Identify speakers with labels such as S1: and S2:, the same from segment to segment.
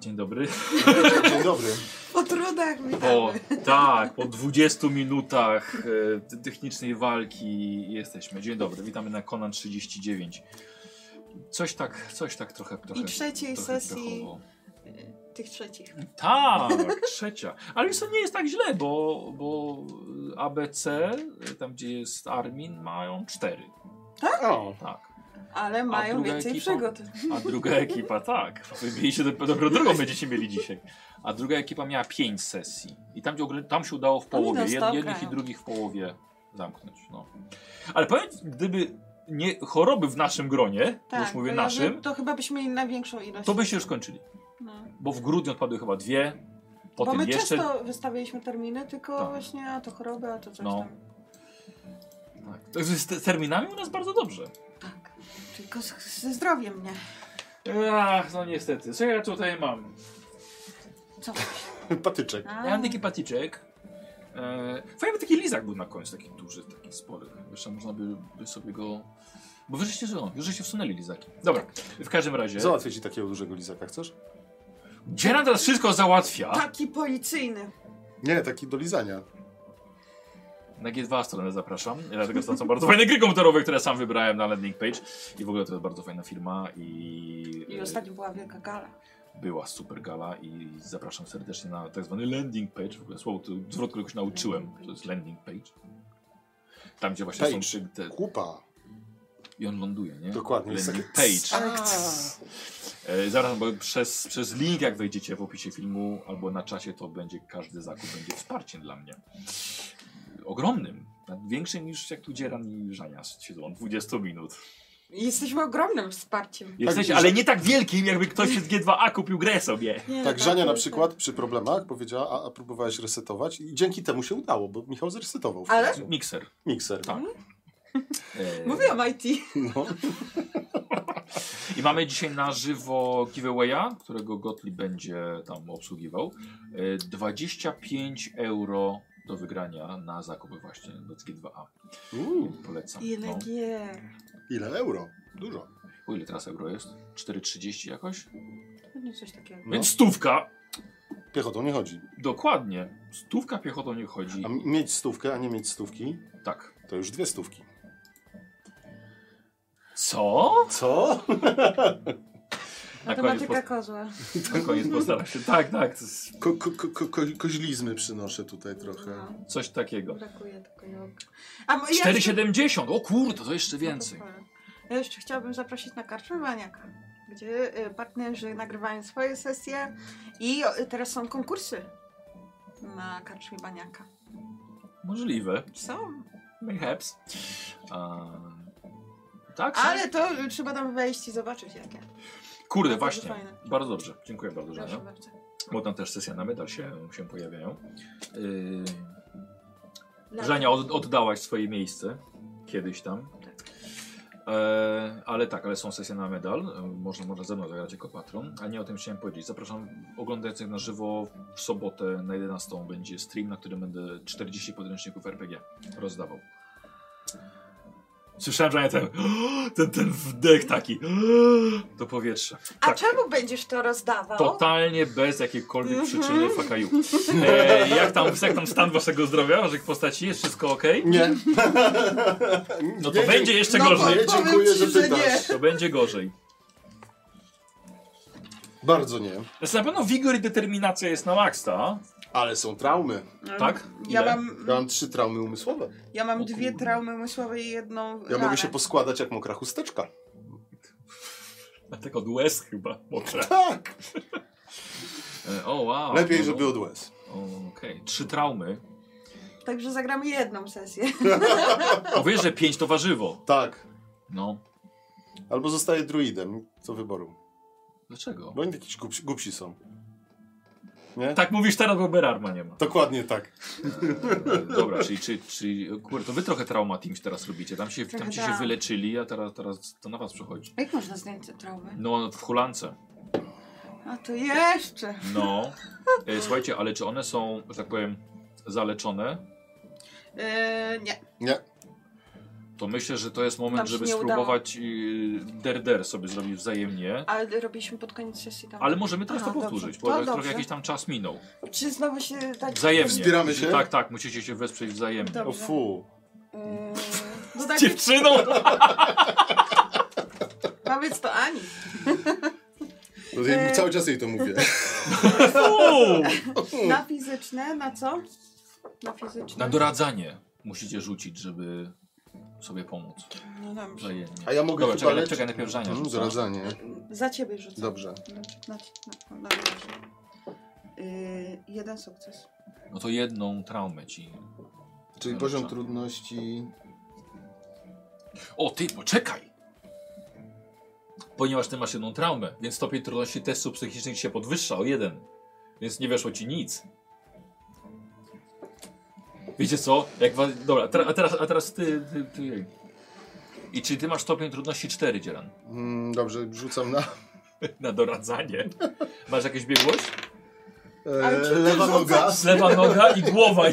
S1: Dzień dobry.
S2: Dzień dobry.
S3: Po trudach witamy.
S1: Po, tak, po 20 minutach e, t- technicznej walki jesteśmy. Dzień dobry, witamy na Conan 39. Coś tak, coś tak trochę, trochę,
S3: I trzeciej
S1: trochę
S3: sesji
S1: pechowo.
S3: y, tych trzecich.
S1: Tak, trzecia. Ale wiesz co, nie jest tak źle, bo, bo ABC, e, tam gdzie jest Armin, mają cztery.
S2: O,
S1: Tak.
S3: Ale mają
S1: druga
S3: więcej
S1: ekipa?
S3: przygód.
S1: A druga ekipa, tak. Wy mieliście dopiero, dopiero drugą będziecie mieli dzisiaj. A druga ekipa miała pięć sesji. I tam, gdzie, ogr- tam się udało w
S3: Oni
S1: połowie.
S3: non-stop
S1: Jed, jednych i
S3: grają.
S1: drugich w połowie zamknąć. No. Ale powiedz, gdyby nie choroby w naszym gronie, już mówię
S3: Tak, bo ja
S1: naszym,
S3: bym- to chyba byśmy mieli największą ilość.
S1: to byście już kończyli.
S3: No.
S1: Bo w grudniu odpadły chyba dwie,
S3: Bo
S1: potem
S3: my
S1: jeszcze.
S3: często wystawialiśmy terminy, tylko
S1: Tak.
S3: właśnie a to choroby, a to coś
S1: No.
S3: tam.
S1: Tak. Także z te- terminami u nas bardzo dobrze.
S3: Tak. Tylko z, ze zdrowiem mnie.
S1: Ach, no niestety. Co ja tutaj mam?
S3: Co?
S2: patyczek.
S3: A,
S1: Ja mam taki patyczek. E, fajnie by taki lizak był na końcu, taki duży, taki spory. Jeszcze można by, by sobie go... Bo wy żeście, no, już żeście wsunęli lizaki. Dobra, w każdym razie.
S2: Załatwię ci takiego dużego lizaka, chcesz?
S1: Dzieran teraz wszystko załatwia.
S3: Taki policyjny.
S2: Nie, taki do lizania.
S1: Na G2 stronę zapraszam. Dlatego to są bardzo fajne gry komputerowe, które sam wybrałem na landing page. I w ogóle to jest bardzo fajna firma i...
S3: I ostatnio była wielka gala.
S1: była super gala i zapraszam serdecznie na tak zwany landing page. W ogóle słowo, to zwrot, którego się nauczyłem, to jest landing page. Tam, gdzie właśnie są
S2: Page.
S1: trzy te,
S2: Kupa.
S1: I on ląduje, nie?
S2: Dokładnie, jest
S1: Landing
S2: takie-
S1: page. E, zaraz, bo przez, przez link, jak wejdziecie w opisie filmu albo na czasie, to będzie każdy zakup będzie wsparciem dla mnie. Ogromnym. Nawet Większym niż jak tu Dzieran i Żanias siedzą od 20 minut.
S2: Tak,
S3: Jesteśmy ogromnym wsparciem.
S1: Jesteś,
S2: że-
S1: ale nie tak wielkim, jakby ktoś z G2A kupił grę sobie.
S3: Nie, no,
S2: Tak, Żania
S3: to-
S2: na przykład przy problemach powiedziała, a, a próbowałeś resetować i dzięki temu się udało, bo Michał zresetował. w
S3: Ale-
S2: końcu.
S1: Mikser.
S2: Mikser.
S1: Tak. E,
S3: Mówiłam IT.
S2: No.
S1: I mamy dzisiaj na żywo giveawaya, którego Gotli będzie tam obsługiwał. E, 25 euro do wygrania na zakupy właśnie Becki 2A.
S2: Mm,
S1: Polecam.
S3: Ile
S1: No.
S3: gier.
S2: ile euro? Dużo.
S1: O ile teraz euro jest? 4,30 jakoś?
S3: Pewnie coś takiego.
S2: No.
S1: Więc stówka!
S2: Piechotą nie chodzi.
S1: Dokładnie. Stówka piechotą nie chodzi.
S2: A m- mieć stówkę, a nie mieć stówki,
S1: Tak.
S2: to już dwie stówki.
S1: Co?
S2: Co?
S1: Na
S3: Matematyka
S1: koniec
S3: kozła.
S1: Na koniec postaram się. Tak, tak. to jest
S2: Ko, ko, ko, ko, ko, koźlizmy przynoszę tutaj trochę.
S3: No,
S1: Coś takiego.
S3: brakuje tylko jog. A mo- ja jeszcze-
S1: 4,70! O kurde, to jeszcze więcej.
S3: No Ja jeszcze chciałabym zaprosić na karczmę Maniaka, gdzie y, partnerzy nagrywają swoje sesje i o, y, teraz są konkursy na karczmie Baniaka.
S1: Możliwe.
S3: Są,
S1: Mayhaps. A... Tak? są?
S3: ale to y, trzeba tam wejść i zobaczyć jakie.
S1: Kurde,
S3: Bardzo
S1: właśnie.
S3: fajne.
S1: Bardzo dobrze. Dziękuję bardzo,
S3: Proszę
S1: Żania.
S3: bardzo.
S1: Bo tam też sesje na medal się, się pojawiają. Yy,
S3: Lato.
S1: Żania od, oddałaś swoje miejsce kiedyś tam.
S3: Tak.
S1: E, ale tak, ale są sesje na medal. E, Można, można ze mną zagrać jako patron. A nie o tym chciałem powiedzieć. Zapraszam oglądających na żywo w sobotę na 11 będzie stream, na którym będę 40 podręczników RPG rozdawał. Słyszałem, że ja ten, ten, ten wdech taki to powietrze.
S3: A
S1: Tak.
S3: czemu będziesz to rozdawał?
S1: Totalnie bez jakiejkolwiek
S3: Mhm.
S1: przyczyny fakaju. E, jak, tam, jak tam stan waszego zdrowia, waszych postaci? Jest wszystko ok?
S2: Nie.
S1: No to będzie jeszcze
S3: No
S1: gorzej.
S2: Nie,
S3: Powiem
S2: dziękuję,
S3: ci,
S2: że
S3: że
S2: pytasz.
S1: To będzie gorzej.
S2: Bardzo nie.
S1: Znaczy na pewno wigor i determinacja jest na maksta.
S2: Ale są traumy.
S3: Mm,
S1: tak?
S3: Ja
S1: Ile?
S3: mam,
S2: Ja mam trzy traumy umysłowe.
S3: ja mam
S1: O
S3: dwie
S1: kurde.
S3: traumy umysłowe i jedną
S2: Ja
S3: ranę.
S2: mogę się poskładać jak mokra chusteczka.
S1: Dlatego tak od łez chyba mokre.
S2: Tak!
S1: E, o wow.
S2: Lepiej,
S1: No,
S2: żeby
S1: no.
S2: od łez.
S1: O, Okej, trzy traumy.
S3: Także zagramy jedną sesję.
S1: Mówię, że pięć to warzywo.
S2: Tak.
S1: No.
S2: Albo zostaję druidem, co wyboru.
S1: Dlaczego?
S2: Bo oni jakieś głupsi, głupsi są. Nie?
S1: Tak mówisz teraz, bo Berarma nie ma.
S2: Dokładnie tak.
S1: E, dobra, czyli, czyli, czyli kurde, to wy trochę trauma teams teraz robicie. Tam się, tam
S3: Trochę
S1: ci się
S3: tak.
S1: wyleczyli, a teraz, teraz to na was przychodzi.
S3: Jak można zdjąć te traumy?
S1: No, w hulance.
S3: A to jeszcze.
S1: No. E, słuchajcie, ale czy one są, że tak powiem, zaleczone?
S3: Yy, Y, nie.
S2: Nie.
S1: to myślę, że to jest
S3: Nam
S1: moment,
S3: się
S1: żeby
S3: nie udało.
S1: spróbować y, der-der sobie zrobić wzajemnie.
S3: Ale robiliśmy pod koniec sesji tam.
S1: Ale możemy teraz
S3: Aha,
S1: to
S3: dobrze.
S1: powtórzyć,
S3: To
S1: bo jak trochę
S3: dobrze.
S1: jakiś tam czas minął.
S3: Czy znowu się tak...
S1: Wzajemnie.
S2: Wspieramy się?
S1: Tak, tak, musicie się wesprzeć wzajemnie.
S3: Dobra.
S2: O fu.
S3: Mm, no tak,
S1: Dziewczyną!
S3: powiedz to Ani.
S2: No, ja
S3: E.
S2: Cały czas jej to mówię. Mm.
S3: Na fizyczne, na co? Na fizyczne.
S1: Na doradzanie musicie rzucić, żeby sobie pomóc.
S3: No dobrze.
S1: Wzajemnie.
S2: A ja mogę
S1: Dobra,
S2: chyba
S1: czekaj,
S2: lecieć-
S1: czekaj, najpierw Żania
S2: Mm,
S1: rzuca.
S2: Doradzanie.
S3: Za ciebie rzucę.
S2: Dobrze.
S3: Na, na, na, dobrze. Yy, jeden sukces.
S1: No to jedną traumę ci.
S2: Czyli
S1: Dobrze.
S2: poziom trudności...
S1: O ty, poczekaj! Ponieważ ty masz jedną traumę, więc stopień trudności testu psychicznych się podwyższa o jeden. Więc nie weszło ci nic. Wiecie co? Jak wa... Dobra, ter- a teraz, a teraz ty, ty, ty. I czy ty masz stopień trudności 4, Dzielan?
S2: Mm, dobrze, rzucam na...
S1: Na doradzanie. Masz jakieś biegłość?
S3: Ale czy
S2: E,
S3: ty
S2: lewa
S3: rzucasz?
S2: noga.
S1: Lewa noga i głowa.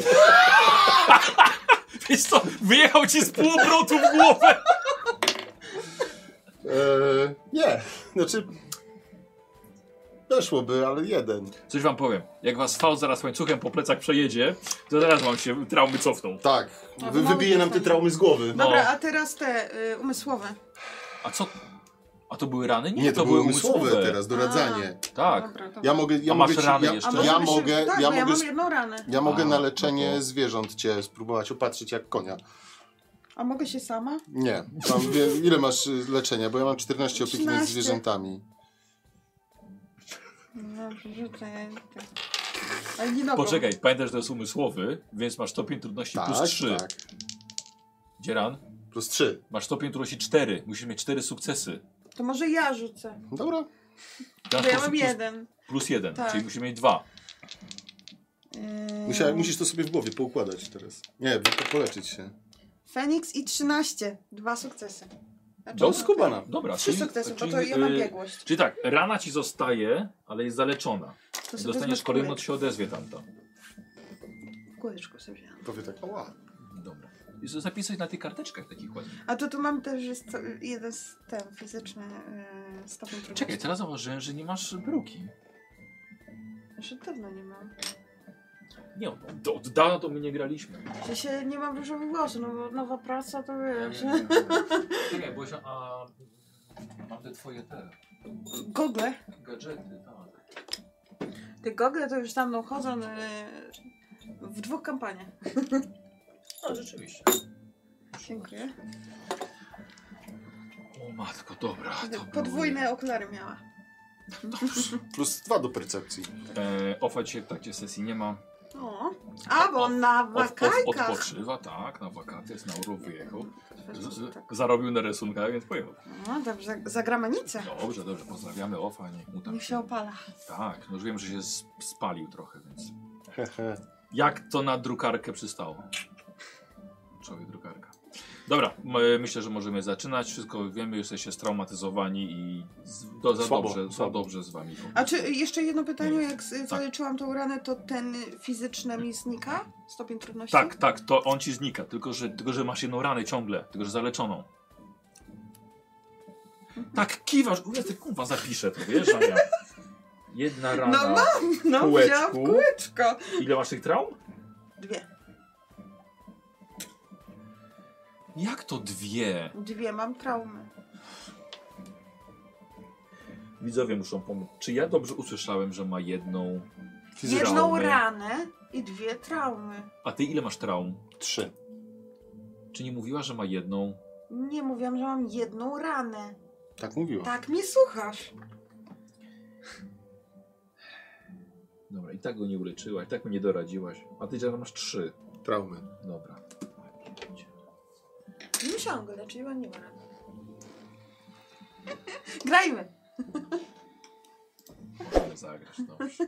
S1: Wiesz co, wyjechał ci z pół obrotu w głowę.
S2: E, nie, znaczy... Weszłoby, ale jeden.
S1: Coś wam powiem, jak was fał zaraz łańcuchem po plecach przejedzie, to zaraz wam się traumy cofną.
S2: Tak,
S3: No,
S2: wy,
S3: mało
S2: wybije nam te
S3: dostanie.
S2: traumy z głowy.
S1: No.
S3: Dobra, a teraz te y, umysłowe.
S1: A co? A to były rany?
S2: Nie, to, były umysłowe, teraz, doradzanie.
S1: Tak,
S3: Dobra, dobra.
S2: Ja mogę... Ja
S1: A masz
S2: mogę ci,
S1: rany
S2: ja,
S1: jeszcze?
S3: A
S2: ja
S3: możemy się-
S2: mogę...
S3: Tak,
S2: ja
S3: bo ja
S2: mogę...
S3: mam
S2: sp-
S3: jedną ranę.
S2: Ja mogę
S1: A,
S2: na leczenie
S1: no to-
S2: zwierząt cię spróbować opatrzyć jak konia.
S3: A mogę się sama?
S2: Nie. Mam, wie- ile masz y, leczenia? Bo ja mam 14 opieki nad
S3: 13.
S2: zwierzętami.
S3: No, rzucę. tak. Ale nie nogą.
S1: poczekaj, pamiętaj, że to jest umysłowy, więc masz stopień trudności
S2: Tak,
S1: plus 3.
S2: tak.
S1: Dzieran,
S2: Plus 3.
S1: masz stopień trudności 4, musisz mieć 4 sukcesy.
S3: To może ja rzucę.
S2: Dobra.
S1: Teraz
S3: Bo ja
S1: plus-
S3: mam
S1: plus-
S3: jeden.
S1: Plus 1,
S3: Tak.
S1: czyli musimy mieć 2.
S3: Yy,
S2: Musiałem, musisz to sobie w głowie poukładać teraz. Nie, bo to poleczyć się.
S3: Feniks i 13. Dwa sukcesy. Znaczy,
S1: Do
S3: no,
S2: skubana.
S1: Dobra,
S3: Trzy sukcesy, bo to ja mam
S1: y,
S3: biegłość.
S1: Czyli tak, rana ci zostaje, ale jest zaleczona.
S3: To sobie
S1: Dostaniesz
S3: wezmę
S1: kolejną, to
S3: kółeczko.
S1: się odezwie tamta.
S3: Kółeczko sobie wziąłem.
S2: Powie tak, ała.
S1: Dobra. I z- zapisać na tych karteczkach takich ładnych.
S3: A to tu mam też jest to- jeden z ten fizyczny yy, stopień trudności.
S1: Czekaj, teraz zauważyłem, że nie masz bruki.
S3: Już od dawna nie mam.
S1: Nie, od, od dawna to my nie graliśmy.
S3: Że się nie mam różowych włosów, no bo nowa praca to wiesz.
S1: Czekaj, Bosia, a mam te twoje te
S3: Gogle.
S1: gadżety, tak.
S3: Te gogle to już za mną chodzą yy, w dwóch kampaniach.
S1: No rzeczywiście.
S3: Dziękuję.
S1: O matko, dobra. To
S3: Podwójne okulary miała.
S2: Plus 2 do percepcji.
S1: było- E, Ofa dzisiaj w trakcie sesji nie ma.
S3: O, a bo na
S1: Od, od,
S3: wakajkach.
S1: odpoczywa, tak, na wakacje, z Nauru wyjechał. Z, z,
S3: Tak.
S1: zarobił na rysunkach, więc pojechał.
S3: No dobrze, za gramanicę.
S1: Dobrze, dobrze, pozdrawiamy Ofa, niech mu tam
S3: Tak. Niech się opala.
S1: Tak, no już wiem, że się sp- spalił trochę, więc. Jak to na drukarkę przystało? Człowiek drukarka. Dobra, my, myślę, że możemy zaczynać. Wszystko wiemy, jesteście straumatyzowani i z, do, za,
S2: Słabo,
S1: dobrze, za
S2: słabo.
S1: dobrze z wami.
S3: A czy jeszcze jedno pytanie, jak z-
S1: Tak.
S3: zaleczyłam tą ranę, to ten fizyczny mi znika? Stopień trudności?
S1: Tak, tak, to on ci znika, tylko że, tylko że masz jedną ranę ciągle, tylko że zaleczoną. Tak, kiwasz, u, ja ty kurwa zapiszę to, wiesz, Ania. Jedna rana.
S3: No No,
S2: Kółeczku.
S3: wzięłam kółeczko.
S1: Ile masz tych traum?
S3: Dwie.
S1: Jak to dwie?
S3: Dwie mam traumy.
S1: Widzowie muszą pomóc. Czy ja dobrze usłyszałem, że ma jedną fizyczną
S3: Jedną
S1: traumę?
S3: ranę i dwie traumy.
S1: A ty ile masz traum?
S2: 3.
S1: Czy nie mówiła, że ma jedną?
S3: Nie mówiłam, że mam jedną ranę.
S2: Tak mówiła.
S3: Tak mnie słuchasz.
S1: Dobra, i tak go nie uleczyłaś, tak mnie nie doradziłaś. A ty działa masz trzy.
S2: Traumy.
S1: Dobra.
S3: Nie musiałam go leczyć, bo nie ma rany. Grajmy.
S1: Możemy zagrać, dobrze.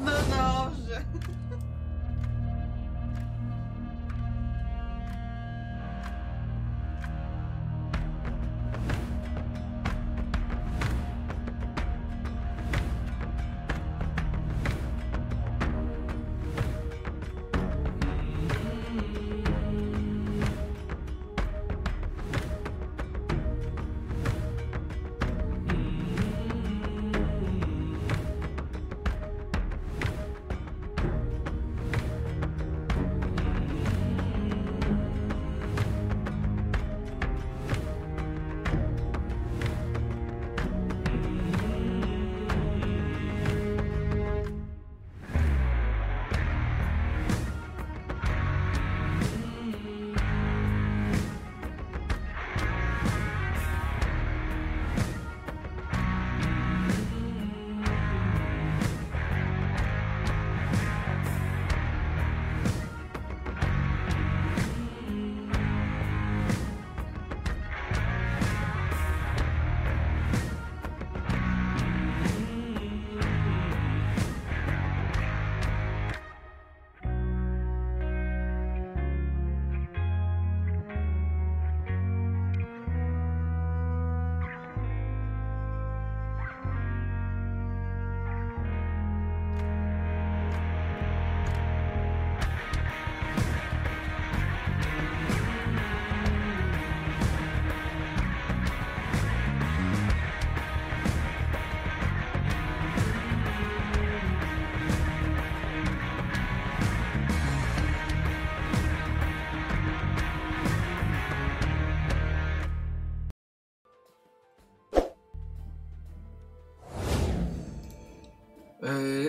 S3: No dobrze.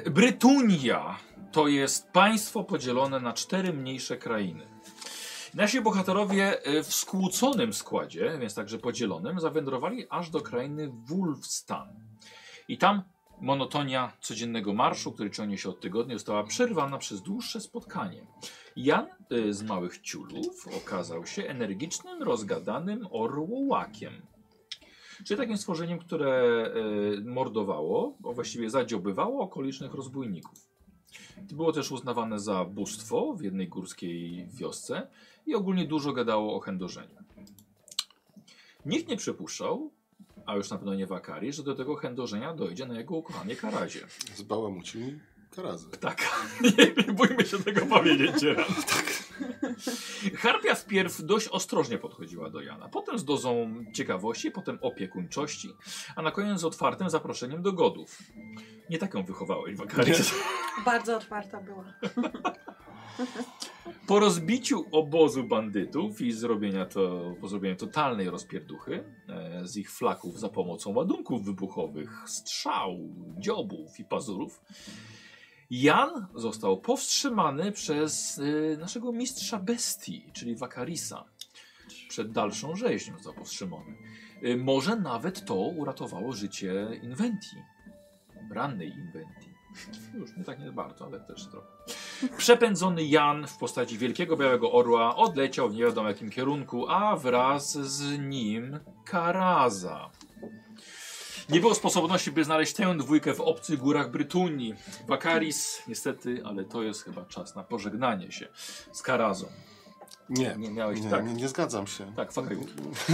S1: E, Brytunia to jest państwo podzielone na cztery mniejsze krainy. Nasi bohaterowie e, w skłóconym składzie, więc także podzielonym, zawędrowali aż do krainy Wulfstan. I tam monotonia codziennego marszu, który ciągnie się od tygodnia, została przerwana przez dłuższe spotkanie. Jan e, z Małych Ciulów okazał się energicznym, rozgadanym orłołakiem. Czyli takim stworzeniem, które e, mordowało, a właściwie zadziobywało okolicznych rozbójników. Było też uznawane za bóstwo w jednej górskiej wiosce i ogólnie dużo gadało o chędożeniu. Nikt nie przypuszczał, a już na pewno nie Wakari, że do tego chędożenia dojdzie na jego ukochanej Karazie.
S2: Zbałamucił mi karazy.
S1: Tak, nie, nie bójmy się tego powiedzieć. tak. Harpia wpierw dość ostrożnie podchodziła do Jana, potem z dozą ciekawości, potem opiekuńczości, a na koniec z otwartym zaproszeniem do godów. Nie taką wychowałeś, Wakary.
S3: Bardzo otwarta była.
S1: Po rozbiciu obozu bandytów i zrobienia to, po zrobieniu totalnej rozpierduchy e, z ich flaków za pomocą ładunków wybuchowych, strzał, dziobów i pazurów, Jan został powstrzymany przez e, naszego mistrza bestii, czyli Wakarisa. Przed dalszą rzeźnią został powstrzymany. E, może nawet to uratowało życie Inventi, rannej Inventi. Już nie tak nie bardzo, ale też trochę. Przepędzony Jan w postaci wielkiego białego orła odleciał w nie wiadomo jakim kierunku, a wraz z nim Karaza. Nie było sposobności, by znaleźć tę dwójkę w obcych górach Brytunii. Wakaris, niestety, ale to jest chyba czas na pożegnanie się z Karazą.
S2: Nie,
S1: Nie miałeś
S2: nie,
S1: tak.
S2: nie, nie zgadzam się.
S1: Tak, fakaj.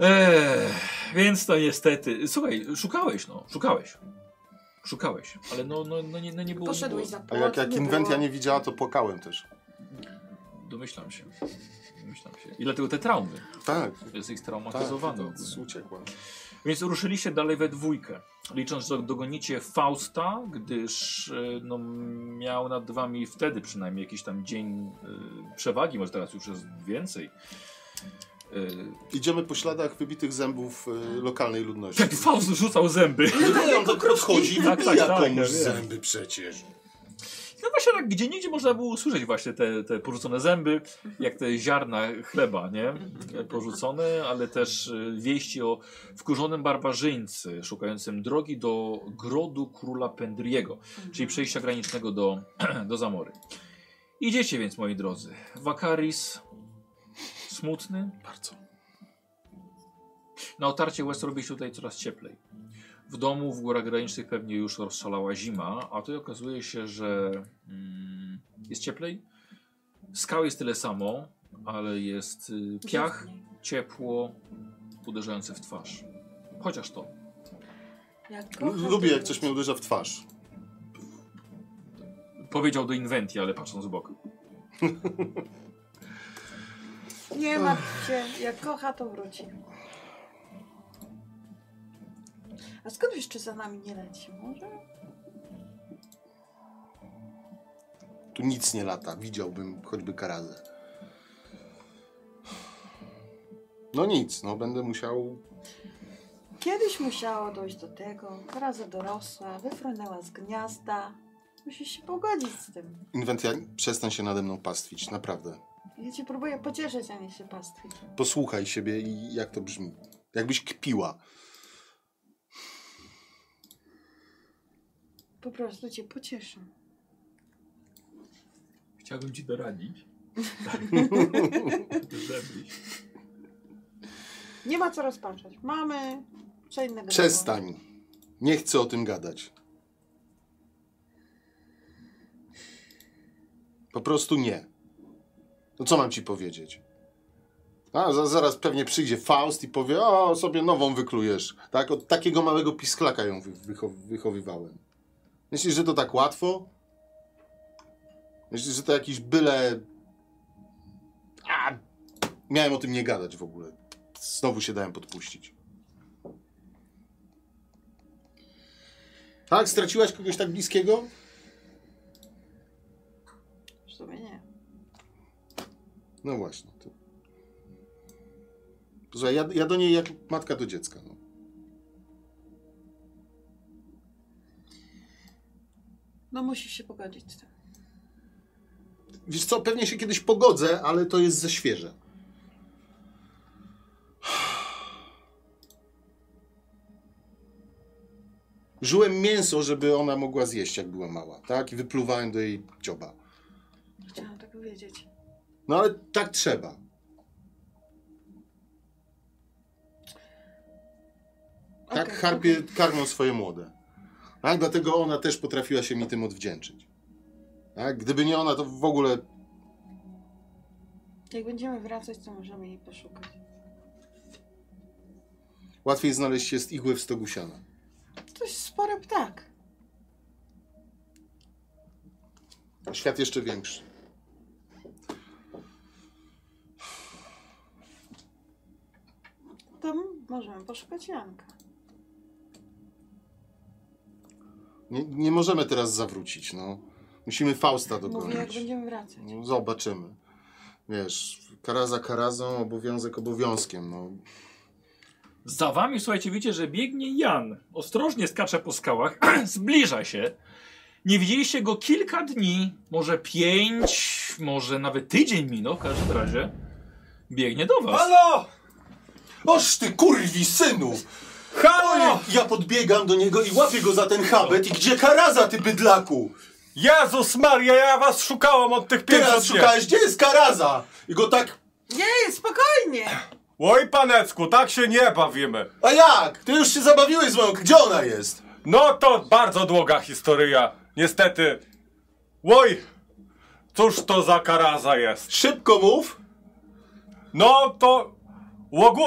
S1: E, więc to niestety. Słuchaj, szukałeś, no, szukałeś. Szukałeś, ale no, no, no, nie, no nie było.
S3: Poszedłeś
S1: nie było.
S3: za
S2: A jak,
S3: płot,
S2: jak
S3: nie
S2: inwentia
S3: było-
S2: nie widziała, to płakałem też.
S1: Domyślam się. Domyślam się. I dlatego te traumy.
S2: Tak,
S1: Jest ich
S2: tak,
S1: straumatyzowany.
S2: to uciekła.
S1: Więc ruszyliście dalej we dwójkę. Licząc, że dogonicie Fausta, gdyż e, no, miał nad wami wtedy przynajmniej jakiś tam dzień e, przewagi, może teraz już jest więcej. E,
S2: Idziemy po śladach wybitych zębów y, lokalnej ludności.
S1: Jak Tak, Faust rzucał zęby.
S2: Nie, on to rozchodzi i
S1: Tak,
S2: wybija
S1: tak, tak, ja
S2: komuś
S1: wiem.
S2: zęby przecież.
S1: No właśnie tak gdzie nigdzie można było usłyszeć właśnie te, te porzucone zęby, jak te ziarna chleba, nie? Porzucone, ale też y, wieści o wkurzonym barbarzyńcy szukającym drogi do grodu króla Pendriego, czyli przejścia granicznego do, do Zamory. Idziecie więc, moi drodzy. Wakaris smutny,
S2: Bardzo.
S1: Na otarcie West robi się tutaj coraz cieplej. W domu w górach granicznych pewnie już rozszalała zima, a tutaj okazuje się, że mm, jest cieplej. Skał jest tyle samo, ale jest y, piach, ciepło, uderzające w twarz. Chociaż to.
S3: Jak
S2: Lu-
S3: kochasz-
S2: Lubię, jak coś mnie uderza w twarz.
S1: Powiedział do inwentii, ale patrząc z boku.
S3: Nie martw się, jak kocha, to wróci. A skąd wiesz, czy za nami nie leci? Może?
S2: Tu nic nie lata, widziałbym choćby karazę. No nic, no będę musiał...
S3: Kiedyś musiało dojść do tego, razy dorosła, wyfrunęła z gniazda. Musisz się pogodzić z tym.
S2: Inwentia, przestań się nade mną pastwić, naprawdę.
S3: Ja cię próbuję pocieszyć, a nie się pastwić.
S2: Posłuchaj siebie i jak to brzmi. Jakbyś kpiła.
S3: Po prostu cię pocieszę.
S1: Chciałbym ci doradzić. Żebyś.
S3: Nie ma co rozpaczać. Mamy co innego. do
S2: Przestań. Nie chcę o tym gadać. Po prostu nie. No co mam ci powiedzieć? A za, zaraz pewnie przyjdzie Faust i powie, o sobie nową wyklujesz. Tak, od takiego małego pisklaka ją wy, wycho, wychowywałem. Myślisz, że to tak łatwo? Myślisz, że to jakiś byle... A, miałem o tym nie gadać w ogóle. Znowu się dałem podpuścić. Tak? Straciłaś kogoś tak bliskiego?
S3: tego. W sumie nie.
S2: No właśnie. To... Słuchaj, ja, ja do niej jak matka do dziecka. No.
S3: No musisz się pogodzić z tym.
S2: Wiesz co, pewnie się kiedyś pogodzę, ale to jest za świeże. Żułem mięso, żeby ona mogła zjeść, jak była mała, tak? I wypluwałem do jej dzioba.
S3: Chciałam tak powiedzieć.
S2: No ale tak trzeba. Tak
S3: Okej,
S2: harpie karmią swoje młode. Tak? Dlatego ona też potrafiła się mi tym odwdzięczyć. Tak? Gdyby nie ona, to w ogóle
S3: okej. Jak będziemy wracać, to możemy jej poszukać.
S2: łatwiej znaleźć jest igłę w stogu siana.
S3: To jest spory ptak.
S2: A Świat jeszcze większy.
S3: To m- możemy poszukać Janka.
S2: Nie, nie możemy teraz zawrócić, no. Musimy Fausta
S3: Mówię, jak
S2: dogonić.
S3: będziemy wracać.
S2: No, zobaczymy. Wiesz, kara za karazą, obowiązek obowiązkiem, no.
S1: Za wami, słuchajcie, widzicie, że biegnie Jan. Ostrożnie skacze po skałach, zbliża się. Nie widzieliście go kilka dni, może pięć, może nawet tydzień minął w każdym razie. Biegnie do was.
S4: Halo!
S2: Oż ty kurwi synu!
S4: Halo!
S2: Ja podbiegam do niego i łapię go za ten habet i gdzie karaza, ty bydlaku?
S4: Jezus Maria, ja was szukałam od tych
S2: Teraz
S4: pięciu dni.
S2: szukałeś, gdzie jest karaza? I go tak,
S3: Nie, spokojnie!
S4: Oj panecku, tak się nie bawimy.
S2: a jak? Ty już się zabawiłeś z moją, gdzie ona jest?
S4: No to bardzo długa historia. Niestety. Oj! Cóż to za karaza jest?
S2: Szybko mów!
S4: No to... Łogu...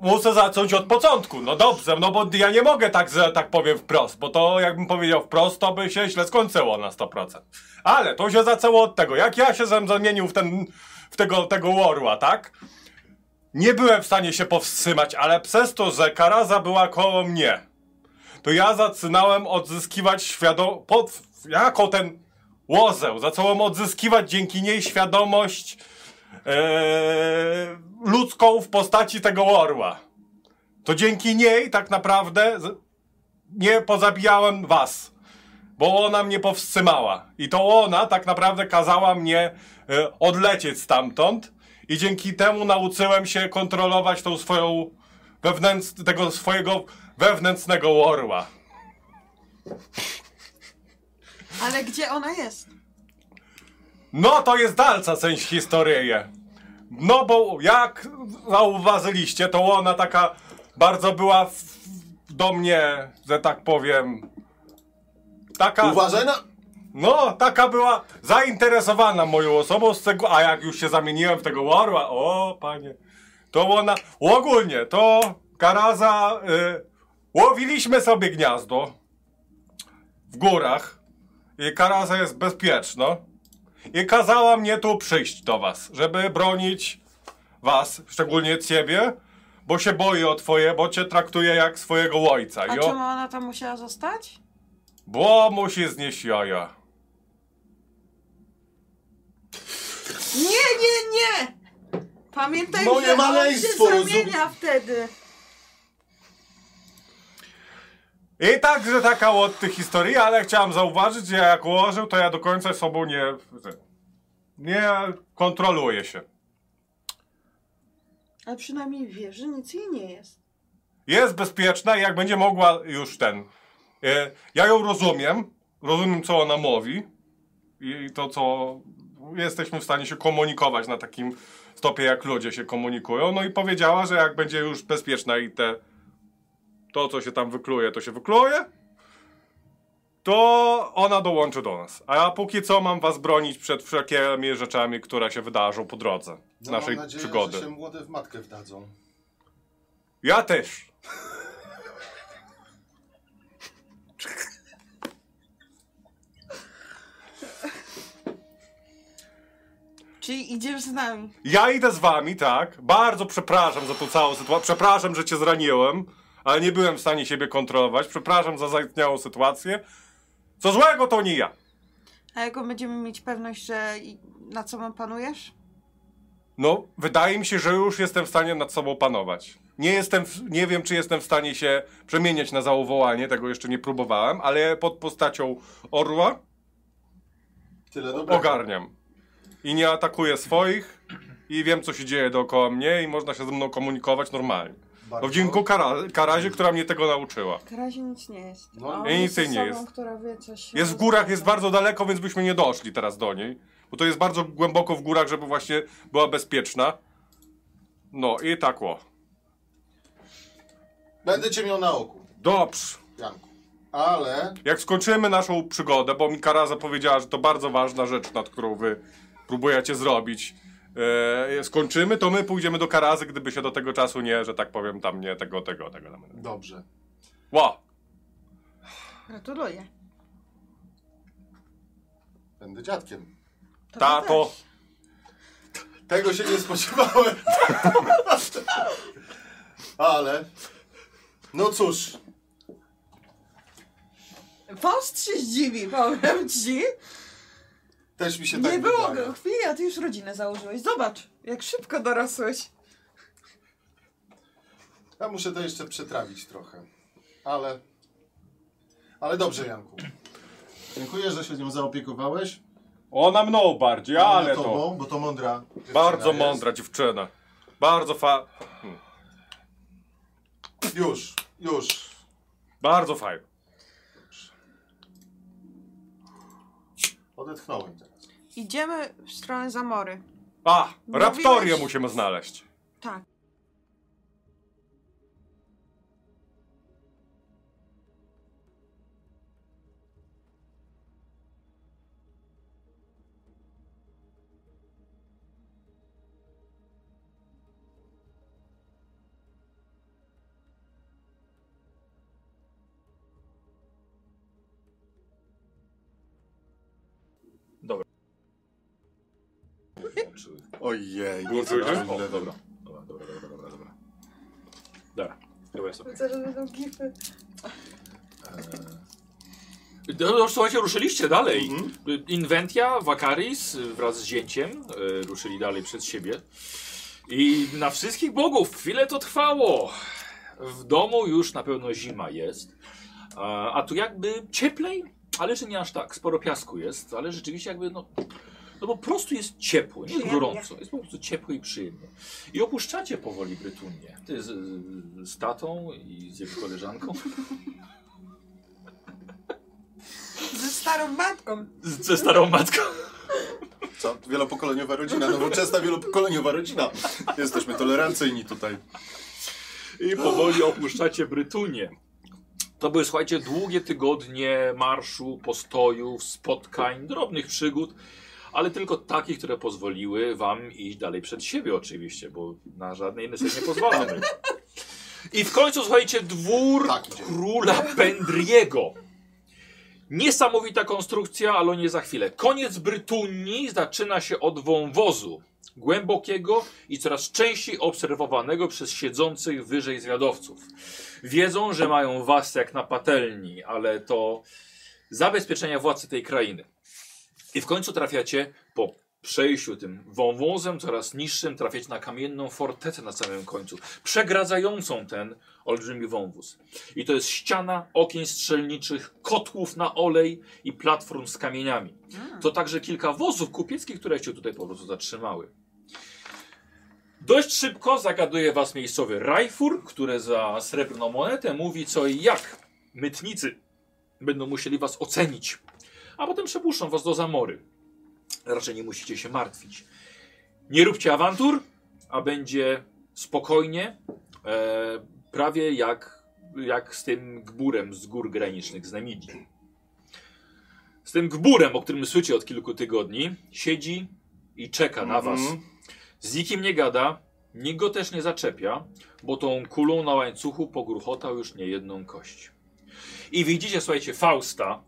S4: Muszę zacząć od początku. No dobrze, no bo ja nie mogę tak, że tak powiem wprost, bo to jakbym powiedział wprost, to by się źle skończyło na 100%. Ale to się zaczęło od tego, jak ja się zam- zamienił w ten... w tego, tego orła, tak? Nie byłem w stanie się powstrzymać, ale przez to, że karaza była koło mnie, to ja zaczynałem odzyskiwać świadomość, pod... jako ten łozeł, zacząłem odzyskiwać dzięki niej świadomość e, ludzką w postaci tego orła. To dzięki niej tak naprawdę z- nie pozabijałem was, bo ona mnie powstrzymała. I to ona tak naprawdę kazała mnie e, odlecieć stamtąd i dzięki temu nauczyłem się kontrolować tą swoją wewnętrz, tego swojego wewnętrznego orła.
S3: Ale gdzie ona jest?
S4: No to jest dalca część historii. No bo jak zauważyliście, to ona taka bardzo była w, do mnie, że tak powiem, taka...
S2: Uważaj na...
S4: No, taka była zainteresowana moją osobą, z tego, a jak już się zamieniłem w tego orła, o panie, to ona, ogólnie, to Karaza, y, łowiliśmy sobie gniazdo w górach i Karaza jest bezpieczna i kazała mnie tu przyjść do was, żeby bronić was, szczególnie ciebie, bo się boi o twoje, bo cię traktuje jak swojego ojca.
S3: A
S4: i o-
S3: czemu ona tam musiała zostać?
S4: Bo musi znieść jaja.
S3: Nie, nie, nie! Pamiętaj,
S2: Moje
S3: że on się
S2: maleństwo, rozum-
S3: zamienia wtedy.
S4: I także taka od tych historii, ale chciałam zauważyć, że jak ułożył, to ja do końca sobą nie. Nie kontroluję się.
S3: Ale przynajmniej wie, że nic jej nie jest.
S4: Jest bezpieczna i jak będzie mogła już ten. e, Ja ją rozumiem. Rozumiem, co ona mówi. I to, co jesteśmy w stanie się komunikować na takim stopie, jak ludzie się komunikują. No i powiedziała, że jak będzie już bezpieczna i te. To, co się tam wykluje, to się wykluje. to ona dołączy do nas. A ja póki co mam was bronić przed wszelkimi rzeczami, które się wydarzą po drodze
S5: No,
S2: No
S4: z naszej przygody.
S2: młode w matkę wdadzą.
S4: Ja też.
S3: Czyli idziesz z nami.
S4: Ja idę z wami, tak. Bardzo przepraszam za tą całą sytuację. Przepraszam, że cię zraniłem, ale nie byłem w stanie siebie kontrolować. Przepraszam za zaistniałą sytuację. Co złego to nie ja.
S3: A jaką będziemy mieć pewność, że i- nad sobą panujesz?
S4: No, wydaje mi się, że już jestem w stanie nad sobą panować. Nie jestem, w, nie wiem, czy jestem w stanie się przemieniać na zawołanie, tego jeszcze nie próbowałem, ale pod postacią orła
S5: Tyle dobrego.
S4: ogarniam. I nie atakuję swoich i wiem, co się dzieje dookoła mnie i można się ze mną komunikować normalnie. Bo
S5: Bardzo.
S4: wdzięku kara, Karazie, która mnie tego nauczyła.
S6: Karazie nic nie jest.
S5: No,
S6: A
S4: i nic
S6: jest
S4: jej nie
S6: osobą,
S4: jest.
S6: Która wie, co się
S4: Jest w górach, jest bardzo daleko, więc byśmy nie doszli teraz do niej. Bo to jest bardzo głęboko w górach, żeby właśnie była bezpieczna. No i tak o.
S5: Będę cię miał na oku,
S4: Dobrze.
S5: Janku. Ale
S4: Jak skończymy naszą przygodę, bo mi Kara zapowiedziała, że to bardzo ważna rzecz, nad którą wy próbujecie zrobić. e, skończymy, to my pójdziemy do Karazy, gdyby się do tego czasu nie, że tak powiem, tam nie tego, tego, tego. tego.
S5: dobrze.
S4: Ła!
S6: Gratuluję.
S5: Będę dziadkiem.
S6: To
S4: Tato!
S6: też.
S5: Tego się nie spodziewałem. Ale. No cóż,
S6: Faust się zdziwi, powiem ci.
S5: też mi się tak
S6: Nie było
S5: wydaje.
S6: go chwili, a ty już rodzinę założyłeś. Zobacz, jak szybko dorosłeś.
S5: Ja muszę to jeszcze przetrawić trochę. Ale. Ale dobrze, Janku. Dziękuję, że się nią zaopiekowałeś.
S4: Ona mną bardziej, ale
S5: Ona
S4: to.
S5: tobą, bo to mądra. dziewczyna
S4: Bardzo
S5: jest.
S4: mądra dziewczyna. Bardzo fa...
S5: Już, już.
S4: Bardzo fajna.
S5: Odetchnąłem teraz.
S6: Idziemy w stronę zamory.
S4: A!
S6: Mówiłeś-
S4: Raptorię musimy znaleźć.
S6: Tak.
S5: Ojej,
S4: Było co innego?
S7: O, dobra. Dobra, dobra, dobra, dobra, dobra. Dobra, chyba jest okej.
S6: Widzę, że będą gify.
S1: No, no, słuchajcie, ruszyliście dalej. Mhm. Inventia, Wakaris y, wraz z zięciem y, ruszyli dalej przed siebie. I na wszystkich bogów chwilę to trwało. W domu już na pewno zima jest. A, a tu jakby cieplej, ale czy nie aż tak. Sporo piasku jest, ale rzeczywiście jakby no... No po prostu jest ciepło, nie jest
S6: Przyjemnie.
S1: gorąco. Jest po prostu ciepło i przyjemnie. I opuszczacie powoli Brytunię. Ty z, z tatą i z jego koleżanką.
S6: Ze starą matką.
S1: Z, ze starą matką.
S2: Co? Wielopokoleniowa rodzina, nowoczesna wielopokoleniowa rodzina. Jesteśmy tolerancyjni tutaj.
S1: I powoli opuszczacie Brytunię. To były, słuchajcie, długie tygodnie marszu, postojów, spotkań, drobnych przygód, ale tylko takich, które pozwoliły wam iść dalej przed siebie oczywiście, bo na żadne inne sobie nie pozwalamy. I w końcu, słuchajcie, dwór
S5: Tak, idzie.
S1: króla Pendriego. Niesamowita konstrukcja, ale o nie za chwilę. Koniec Brytunii zaczyna się od wąwozu, głębokiego i coraz częściej obserwowanego przez siedzących wyżej zwiadowców. Wiedzą, że mają was jak na patelni, ale to zabezpieczenia władcy tej krainy. I w końcu trafiacie po przejściu tym wąwozem coraz niższym, trafiacie na kamienną fortecę na samym końcu, przegradzającą ten olbrzymi wąwóz. I to jest ściana okien strzelniczych, kotłów na olej i platform z kamieniami. To także kilka wozów kupieckich, które się tutaj po prostu zatrzymały. Dość szybko zagaduje was miejscowy Rajfur, który za srebrną monetę mówi co i jak. Mytnicy będą musieli was ocenić, a potem przepuszczą was do zamory. Raczej nie musicie się martwić. Nie róbcie awantur, a będzie spokojnie, e, prawie jak, jak z tym gburem z gór granicznych z Namidii. Z tym gburem, o którym słyszycie od kilku tygodni, siedzi i czeka na was.
S4: Mhm.
S1: Z nikim nie gada, nikt go też nie zaczepia, bo tą kulą na łańcuchu pogruchotał już nie jedną kość. I widzicie, słuchajcie, Fausta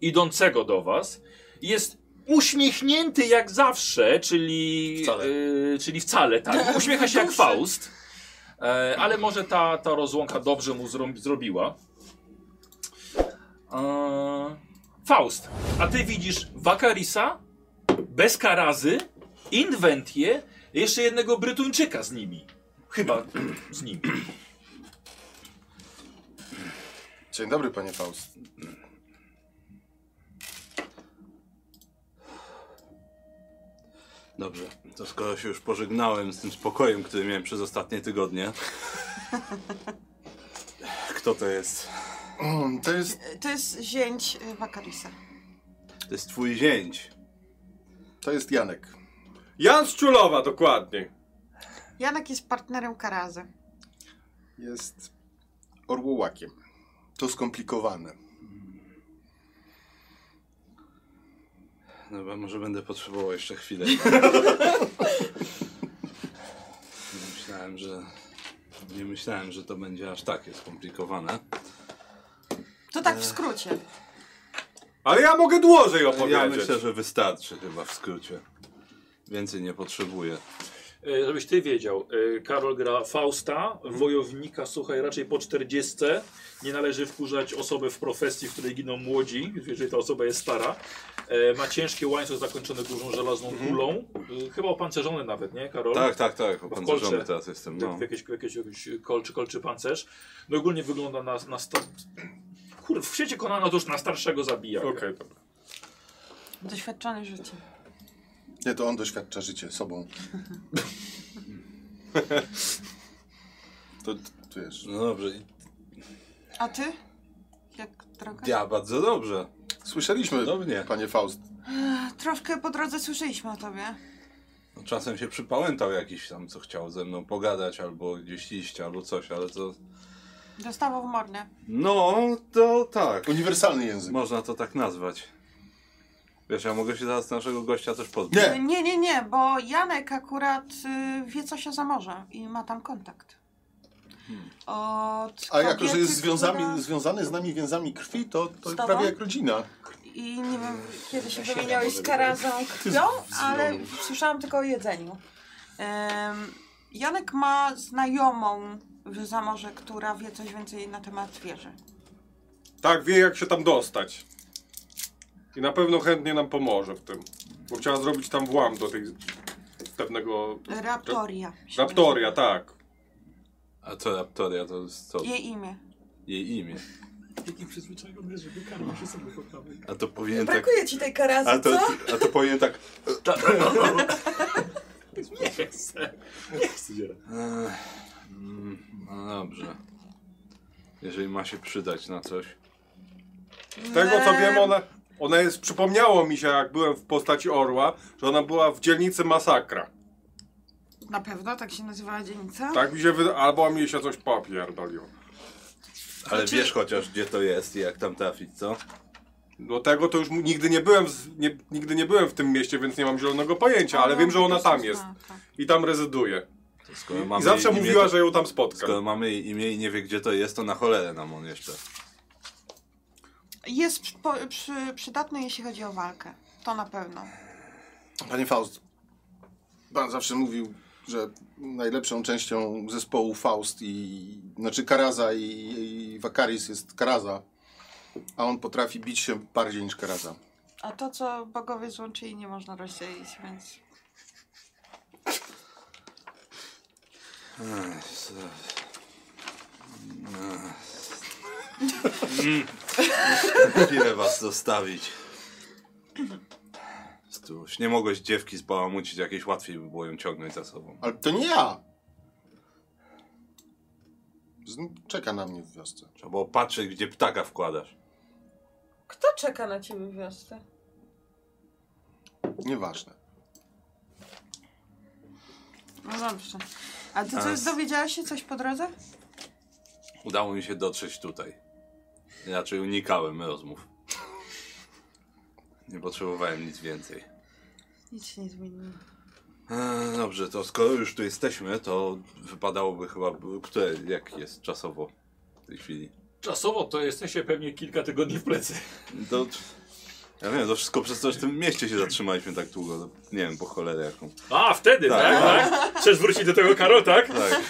S1: idącego do was. Jest uśmiechnięty jak zawsze, czyli
S2: Wcale.
S1: y, czyli wcale tak. Uśmiecha się jak Faust. E, ale może ta, ta rozłąka dobrze mu zro, zrobiła. E, Faust, a ty widzisz Wakarisa, Beskarazy, Inwentię, jeszcze jednego Brytuńczyka z nimi. Chyba z nimi.
S2: Dzień dobry, panie Faust.
S8: Dobrze, to skoro się już pożegnałem z tym spokojem, który miałem przez ostatnie tygodnie. Kto to jest?
S2: Mm, To jest...
S3: Y, To jest zięć y, Wakarisa.
S8: To jest twój zięć.
S2: To jest Janek.
S4: Jan z Ciulowa, dokładnie.
S3: Janek jest partnerem Karazy.
S2: Jest orłołakiem. To skomplikowane.
S8: Dobra, No może będę potrzebował jeszcze chwilę. nie myślałem, że... Nie myślałem, że to będzie aż takie skomplikowane.
S3: To
S5: E.
S3: tak w skrócie.
S4: Ale ja mogę dłużej
S8: Ja
S4: opowiedzieć.
S8: myślę, że wystarczy chyba w skrócie. Więcej nie potrzebuję.
S1: E, Żebyś ty wiedział, e, Karol gra Fausta, wojownika, słuchaj, raczej po 40. Nie należy wkurzać osoby w profesji, w której giną młodzi, jeżeli ta osoba jest stara. E, Ma ciężkie łańcuch zakończone dużą żelazną kulą. E, Chyba opancerzony nawet, nie, Karol?
S8: Mhm. Tak, tak, tak. Opancerzony
S1: kolcze.
S8: teraz jestem.
S1: Jak-
S8: No.
S1: w jakiś, w jakiś, jakiś kolczy, kolczy pancerz. No ogólnie wygląda na, na star... Kur, w świecie Konana to już na starszego zabija.
S4: Okej, dobra.
S3: Doświadczony życie.
S2: Nie, to on doświadcza życie sobą. to, to wiesz...
S8: No dobrze.
S3: A ty? Jak droga?
S8: Ja bardzo dobrze.
S2: Słyszeliśmy,
S8: Podobnie.
S2: panie Faust.
S3: Troszkę po drodze słyszeliśmy o tobie.
S8: No, Czasem się przypałętał jakiś tam, co chciał ze mną pogadać, albo gdzieś iść, albo coś, ale to...
S3: Dostawał w mordę.
S8: No, to tak.
S2: Uniwersalny język.
S3: No
S8: Można to tak nazwać. Wiesz, ja mogę się zaraz naszego gościa też pozbyć.
S2: Nie.
S3: Nie, nie, nie, bo Janek akurat y, wie coś o zamorze i ma tam kontakt.
S2: Hmm.
S3: Od
S2: A jako, że
S3: kobiety,
S2: jest związami,
S3: która-
S2: związany z nami więzami krwi, to, to
S3: Z tobą?
S2: prawie jak rodzina.
S3: I nie wiem, kiedy się wymieniałeś z Karazą krwią, ale słyszałam tylko o jedzeniu. Em, Janek ma znajomą w Zamorze, która wie coś więcej na temat wieży.
S4: Tak, wie jak się tam dostać. I na pewno chętnie nam pomoże w tym. Bo chciała zrobić tam włam do tej pewnego...
S3: Raptoria. się
S4: Raptoria, tak.
S8: A to Raptoria to jest co?
S3: nazywa. Jej imię.
S8: Jej imię.
S1: Taki przyzwyczajony, żeby Karol się sobie poprawił.
S8: A to powinien tak...
S3: Brakuje ci tej Karazy,
S8: A to,
S3: co?
S8: a to powinien tak...
S1: Nie chcę. Nie chcę.
S8: Ech, mm, No dobrze. Jeżeli ma się przydać na coś.
S4: Z tego co
S3: Eee,
S4: wiem, ona, ona jest, przypomniało mi się, jak byłem w postaci orła, że ona była w dzielnicy Masakra.
S3: Na pewno tak się nazywała dzielnica?
S4: Tak mi się wyda... albo mi się coś popierdoliło.
S8: Ale
S3: Znaczy-
S8: wiesz chociaż, gdzie to jest i jak tam trafić, co?
S4: Do tego to już mu- nigdy nie byłem, z, nie, nigdy nie byłem w tym mieście, więc nie mam zielonego pojęcia, ale wiem, że
S3: No,
S4: ona tam jest
S3: tak.
S4: i tam rezyduje.
S8: To skoro
S4: I
S8: mamy
S4: zawsze
S8: jej imię,
S4: mówiła,
S8: to-
S4: że ją tam spotka.
S8: Skoro mamy jej imię i nie wie, gdzie to jest, to na cholerę nam on jeszcze.
S3: Jest przy, po, przy, przydatny, jeśli chodzi o walkę. To na pewno.
S2: Panie Faust, pan zawsze mówił, że najlepszą częścią zespołu Faust i... Znaczy Karaza i, i Wakaris jest Karaza, a on potrafi bić się bardziej niż Karaza.
S3: A to, co bogowie złączyli, nie można rozdzielić, więc...
S8: Ile was zostawić? Stuś, nie mogłeś dziewki zbałamucić, jakieś łatwiej by było ją ciągnąć za sobą.
S2: Ale to nie ja! Z- Czeka na mnie w wiosce.
S8: Trzeba było patrzeć, gdzie ptaka wkładasz.
S3: Kto czeka na ciebie w wiosce?
S2: Nieważne.
S3: No dobrze. A ty coś
S8: Teraz-
S3: dowiedziałaś się coś po drodze?
S8: Udało mi się dotrzeć tutaj. Raczej unikałem rozmów. Nie potrzebowałem nic więcej.
S3: Nic się nie zmieniło.
S8: Eee, Dobrze, to skoro już tu jesteśmy, to wypadałoby chyba, które, jak jest czasowo w tej chwili.
S1: Czasowo to jesteście pewnie kilka tygodni w plecy.
S8: To, ja wiem, to wszystko przez to, że w tym mieście się zatrzymaliśmy tak długo. To, nie wiem, po cholerę jaką.
S1: A, wtedy,
S8: Tak.
S1: tak? tak? Chcesz wrócić do tego Karol, tak?
S8: Tak.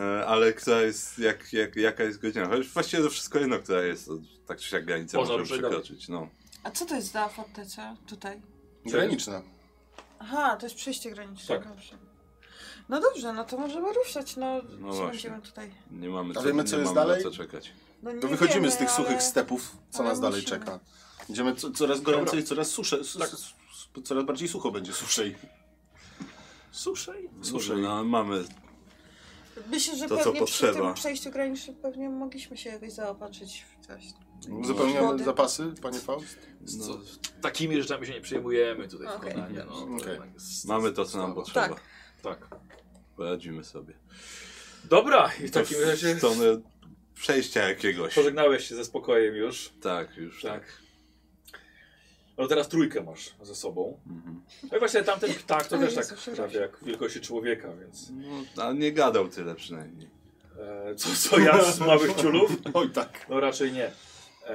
S8: E, Ale która jest, jak, jak, jaka jest godzina? Chociaż właściwie to wszystko jedno, która jest, to tak czy siak granicę
S1: Można
S8: może
S1: ruszyć dalej.
S8: przekroczyć. No.
S3: A co to jest za forteca tutaj?
S2: Graniczne.
S3: Aha, to jest przejście graniczne.
S1: Tak.
S3: Dobrze. No dobrze, no to możemy ruszać, no,
S8: No
S3: co
S8: właśnie.
S3: będziemy tutaj.
S8: Nie mamy
S2: A wiemy,
S8: nie
S2: co jest
S8: mamy na
S2: dalej?
S8: co czekać.
S3: No, nie
S2: To wychodzimy
S3: wiemy,
S2: z tych suchych
S3: ale-
S2: stepów, co
S3: ale
S2: nas dalej
S3: musimy.
S2: czeka. Idziemy co, coraz goręcej, coraz susze, s- s- s- coraz bardziej sucho będzie suszej.
S7: Suszej?
S8: Słuchaj, no, mamy.
S6: Myślę, że
S8: To, co
S6: pewnie przy
S8: potrzeba.
S6: tym przejściu granicznym pewnie mogliśmy się jakoś zaopatrzyć w coś.
S2: Zapełniamy
S6: Wody.
S2: zapasy, panie Faust?
S7: Co, takimi rzeczami się nie przejmujemy tutaj w
S6: Okej.
S7: Konanie. No, to
S2: Okej.
S1: Tak,
S7: jednak jest-
S8: Mamy to, co nam potrzeba.
S6: Tak.
S7: Tak.
S8: Poradzimy sobie.
S1: Dobra, i w
S8: To
S1: takim razie
S8: W stronę przejścia jakiegoś.
S1: pożegnałeś się ze spokojem już.
S8: Tak, już tak.
S1: No teraz trójkę masz ze sobą.
S8: Mhm.
S1: No i właśnie tamten ptak to
S6: O
S1: też
S6: Jezu,
S1: tak
S6: przepraszam.
S1: prawie jak wielkości człowieka, więc...
S8: No, a nie gadał tyle przynajmniej.
S1: E, co, co ja z małych ciulów?
S2: Oj tak.
S1: No raczej nie. E,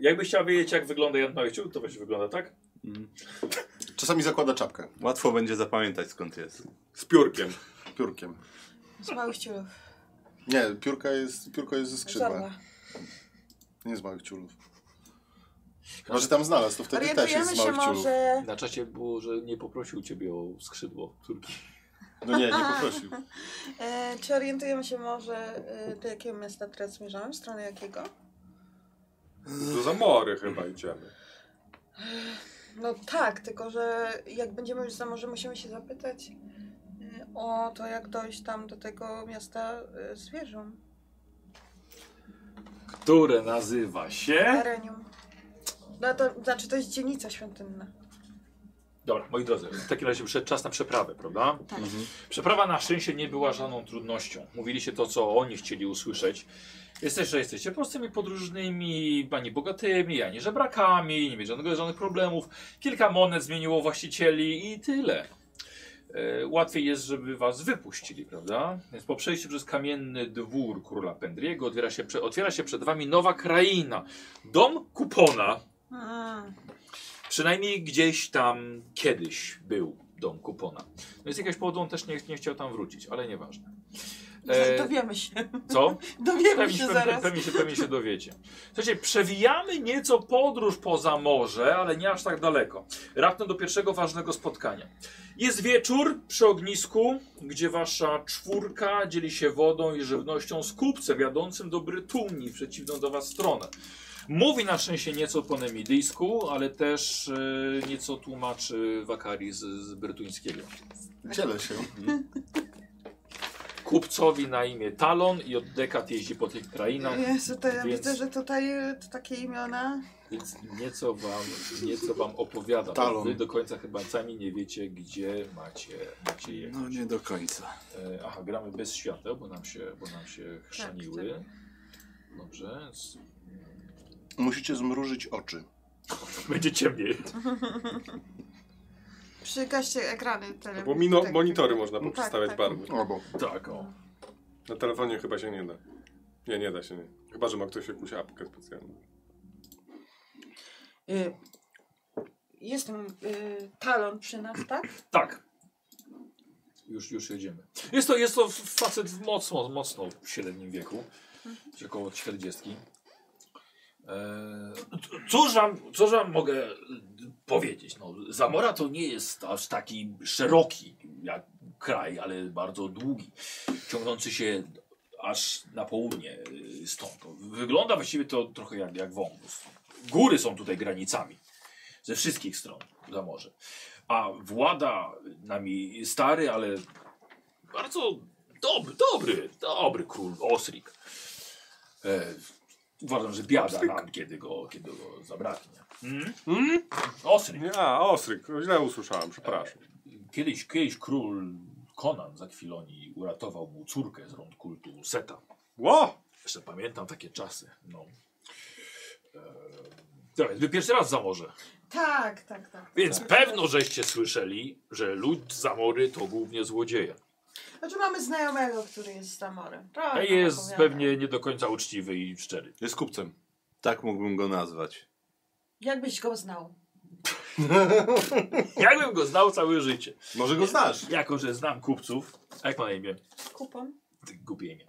S1: jakbyś chciał wiedzieć, jak wygląda Jan Mały Ciul, to właśnie wygląda tak?
S2: Czasami zakłada czapkę
S8: Łatwo będzie zapamiętać skąd jest.
S7: Z piórkiem.
S2: piórkiem.
S6: Z małych ciulów.
S2: Nie, piórka jest, piórko jest ze skrzydła.
S6: Żadna.
S2: Nie z małych ciulów. Chyba, że tam znalazł, to wtedy też jest
S6: Orientujemy
S2: z
S6: się
S2: małych ciulów.
S6: może...
S7: Na czacie było, że nie poprosił ciebie o skrzydło córki.
S2: No nie, nie poprosił.
S6: E, czy orientujemy się może, e, do jakiego miasta teraz zmierzamy? W stronę jakiego?
S4: Do zamory chyba idziemy.
S6: No tak, tylko że jak będziemy już za morze, musimy się zapytać e, o to, jak dojść tam do tego miasta e, zwierzą.
S7: Które nazywa
S1: E?
S7: się...
S6: Arenium. No to znaczy, to jest dzielnica świątynna.
S1: Dobra, moi drodzy, w takim razie przyszedł czas na przeprawę, prawda? Mhm.
S6: Tak.
S1: Przeprawa na szczęście nie była żadną trudnością. Mówiliście to, co oni chcieli usłyszeć. Jesteś, że jesteście prostymi podróżnymi, ani bogatymi, ani żebrakami, nie mieć żadnego, żadnych problemów. Kilka monet zmieniło właścicieli i tyle. E, łatwiej jest, żeby was wypuścili, prawda? Więc po przejściu przez kamienny dwór króla Pendriego otwiera się, prze, otwiera się przed wami nowa kraina. Dom Kupona.
S6: Mm.
S1: Przynajmniej gdzieś tam kiedyś był dom kupona. No i z jakiegoś powodu on też nie, nie chciał tam wrócić, ale nieważne. E,
S6: Dowiemy się.
S1: Co?
S6: Dowiemy
S1: Pewnie
S6: się
S1: się,
S6: zaraz.
S1: pewnie, się, pewnie się dowiecie. Słuchajcie, przewijamy nieco podróż poza morze, ale nie aż tak daleko. Raptem do pierwszego ważnego spotkania. Jest wieczór przy ognisku, gdzie wasza czwórka dzieli się wodą i żywnością z kupcem jadącym do Brytunii w przeciwną do was stronę. Mówi na szczęście nieco po nemidyjsku, ale też e, nieco tłumaczy wakari z, z brytuńskiego.
S2: Dzielę się.
S1: Kupcowi na imię Talon i od dekad jeździ po tych krainach.
S6: Jezu, to ja
S1: Więc-
S6: widzę, że tutaj e, to takie imiona.
S1: Więc nieco wam, nieco wam opowiadam.
S2: Talon.
S1: Wy do końca chyba sami nie wiecie, gdzie macie, macie je.
S8: No nie do końca.
S1: E, aha, gramy bez świateł, bo nam się, bo nam się chrzaniły. Dobrze. s-
S2: Musicie zmrużyć oczy.
S1: Będzie ciemniej.
S6: Przygaście ekrany
S4: No
S6: tele.
S4: Bo mino,
S6: tak,
S4: monitory
S6: tak.
S4: można poprzestawiać
S6: tak.
S4: barwy.
S2: Albo.
S1: Tak, o.
S4: Na telefonie chyba się nie da. Nie, nie da się, nie. Chyba, że ma ktoś jakąś apkę specjalną.
S6: Y, Jestem y, talon przy nas, tak?
S1: Tak. Już, już jedziemy. Jest to, jest to facet w mocno, mocno w średnim wieku. czyli Około 40. Eee, c- cóż, wam, cóż wam mogę y, powiedzieć? No, Zamora to nie jest aż taki szeroki jak kraj, ale bardzo długi. Ciągnący się aż na południe y, stąd. Wygląda właściwie to trochę jak, jak wąwóz. Góry są tutaj granicami. Ze wszystkich stron Zamorze. A włada nami stary, ale bardzo dobry, dobry, dobry król Osrik. E, uważam, że biada nam, kiedy go, kiedy go zabraknie. Mm? Osrik.
S4: Nie, a, ostryk. Źle usłyszałem, przepraszam.
S1: Kiedyś, kiedyś król Konan za Kwilonii uratował mu córkę z rąk kultu Seta.
S4: Ło!
S1: Jeszcze pamiętam takie czasy. No. E, dobra, wy pierwszy raz za morze.
S6: Tak, tak, tak.
S1: Więc
S6: tak.
S1: pewno żeście słyszeli, że lud zamory to głównie złodzieje.
S6: Znaczy mamy znajomego, który jest z Zamorem. Tak,
S1: A
S6: nam
S1: jest
S6: opowiada.
S1: pewnie nie do końca uczciwy i szczery.
S2: Jest kupcem.
S8: Tak mógłbym go nazwać.
S6: Jakbyś go znał.
S1: Jakbym go znał całe życie.
S2: Może go znasz.
S1: Jako, że znam kupców. A jak ma na imię?
S6: Kupon?
S1: Ty Głupie imię.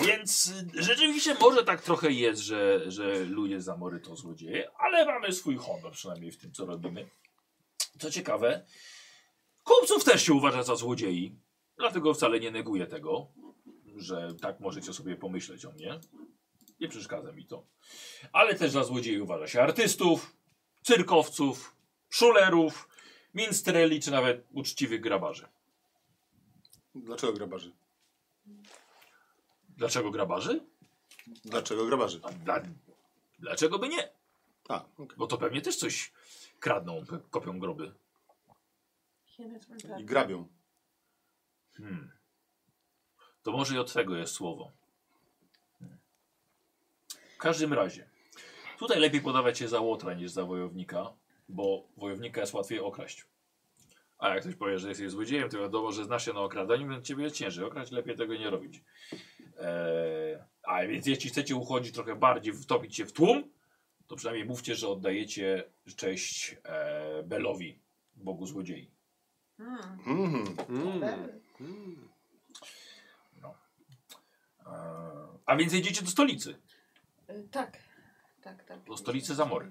S1: E, więc rzeczywiście może tak trochę jest, że, że ludzie z zamory to złodzieje, ale mamy swój honor przynajmniej w tym, co robimy. Co ciekawe, kupców też się uważa za złodziei. Dlatego wcale nie neguję tego, że tak możecie sobie pomyśleć o mnie. Nie przeszkadza mi to. Ale też za złodziei uważa się artystów, cyrkowców, szulerów, minstreli czy nawet uczciwych grabarzy.
S2: Dlaczego grabarzy?
S1: Dlaczego grabarzy?
S2: Dlaczego grabarzy?
S1: Dla... Dlaczego by nie?
S2: A, okej.
S1: Bo to pewnie też coś kradną, p- kopią groby.
S2: I grabią.
S1: Hmm. To może i od tego jest słowo. Hmm. W każdym razie, tutaj lepiej podawać się za łotra niż za wojownika, bo wojownika jest łatwiej okraść. A jak ktoś powie, że jesteś złodziejem, to wiadomo, że znasz się na okradaniu, więc ciebie jest ciężej okraść, lepiej tego nie robić. Eee, a więc jeśli chcecie uchodzić trochę bardziej, wtopić się w tłum, to przynajmniej mówcie, że oddajecie cześć e, Belowi, bogu złodziei.
S3: Hmm,
S6: Mm.
S2: Mhm.
S1: Hmm.
S6: Tak.
S1: Eee, a więc jedziecie do stolicy.
S3: Y, Tak, tak, tak.
S1: Do stolicy Zamory.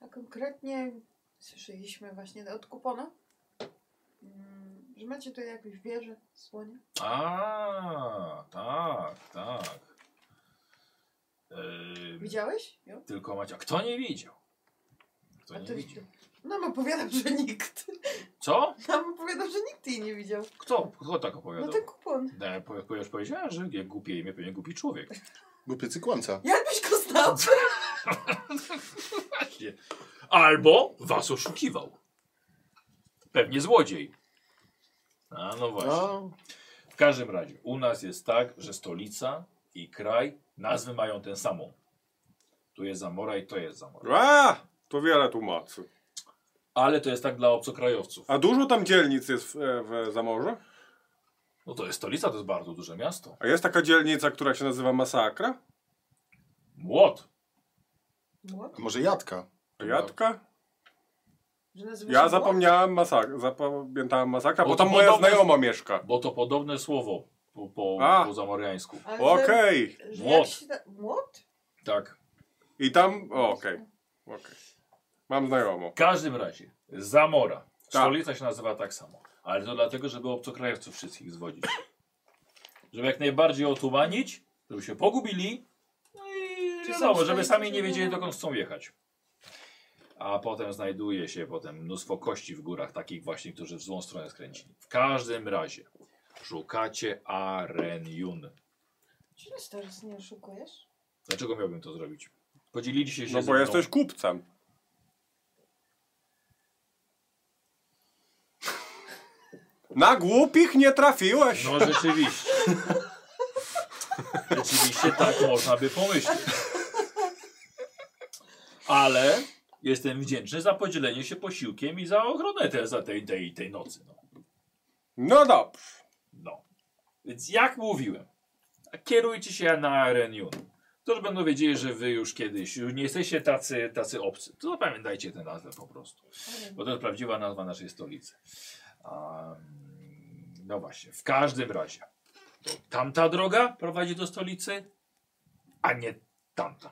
S3: A konkretnie słyszeliśmy właśnie od kupona, mm, że macie tu jakąś wieżę, słonie.
S1: A, tak, tak. Ym,
S3: Widziałeś ją?
S1: tylko Macia, kto nie widział? Kto
S3: A
S1: nie
S3: to-
S1: widział?
S3: Nam opowiadał, że nikt.
S1: Co?
S3: Nam opowiadał, że nikt jej nie widział.
S1: Kto? Kto tak opowiadał?
S3: No ten kupon.
S1: Ne, po- po- już powiedziałem, że jak głupie imię, pewnie głupi człowiek.
S2: Głupicy kłamca.
S3: Jakbyś go znał?
S1: Właśnie. Albo was oszukiwał. Pewnie złodziej. A no właśnie.
S5: No,
S1: W każdym razie, u nas jest tak, że stolica i kraj nazwy mają tę samą. Tu jest Zamora i to jest Zamora.
S4: A, to wiele tłumaczy.
S1: Ale to jest tak dla obcokrajowców.
S4: A dużo tam dzielnic jest w, e, w Zamorzu?
S1: No to jest stolica, to jest bardzo duże miasto.
S4: A jest taka dzielnica, która się nazywa Masakra?
S1: Młot.
S3: Młot?
S2: A może jadka?
S1: Tak,
S4: Jadka?
S3: Że nazywa się
S4: Ja
S3: młot?
S4: zapomniałem masakra, zapamiętałem masakra, bo
S1: Bo
S4: tam
S1: No to
S4: moja
S1: podobne-
S4: znajoma mieszka.
S1: Bo to podobne słowo po, po,
S4: A.
S1: po zamoriańsku.
S3: Ale że-
S4: Okej.
S3: że
S1: Młot.
S3: jak się da- Młot?
S1: Tak.
S4: I tam, o, okej. okej. Mam znajomą.
S1: W każdym razie, Zamora. Stolica się nazywa tak samo. Ale to dlatego, żeby obcokrajowców wszystkich zwodzić. Żeby jak najbardziej otumanić, żeby się pogubili. No i
S3: Czy
S1: wiadomo,
S3: są
S1: żeby
S3: w stanie
S1: sami nie
S3: coś
S1: wiedzieli,
S3: innego?
S1: dokąd chcą jechać. A potem znajduje się potem mnóstwo kości w górach, takich właśnie, którzy w złą stronę skręcili. W każdym razie, szukacie Arenjun.
S3: Czy nas teraz nie oszukujesz?
S1: Dlaczego miałbym to zrobić? Podzieliliście się
S4: No
S1: ze
S4: bo
S1: mną.
S4: jesteś kupcem. Na głupich nie trafiłeś.
S1: No rzeczywiście. rzeczywiście tak można by pomyśleć. Ale jestem wdzięczny za podzielenie się posiłkiem i za ochronę te, za tej, tej, tej nocy. No.
S4: No dobrze.
S1: no. Więc jak mówiłem, kierujcie się na Arenion. To, że będą wiedzieli, że wy już kiedyś już nie jesteście tacy, tacy obcy. To zapamiętajcie tę nazwę po prostu. Bo to jest prawdziwa nazwa naszej stolicy. A, mm, no właśnie, w każdym razie. To tamta droga prowadzi do stolicy, a nie tamta.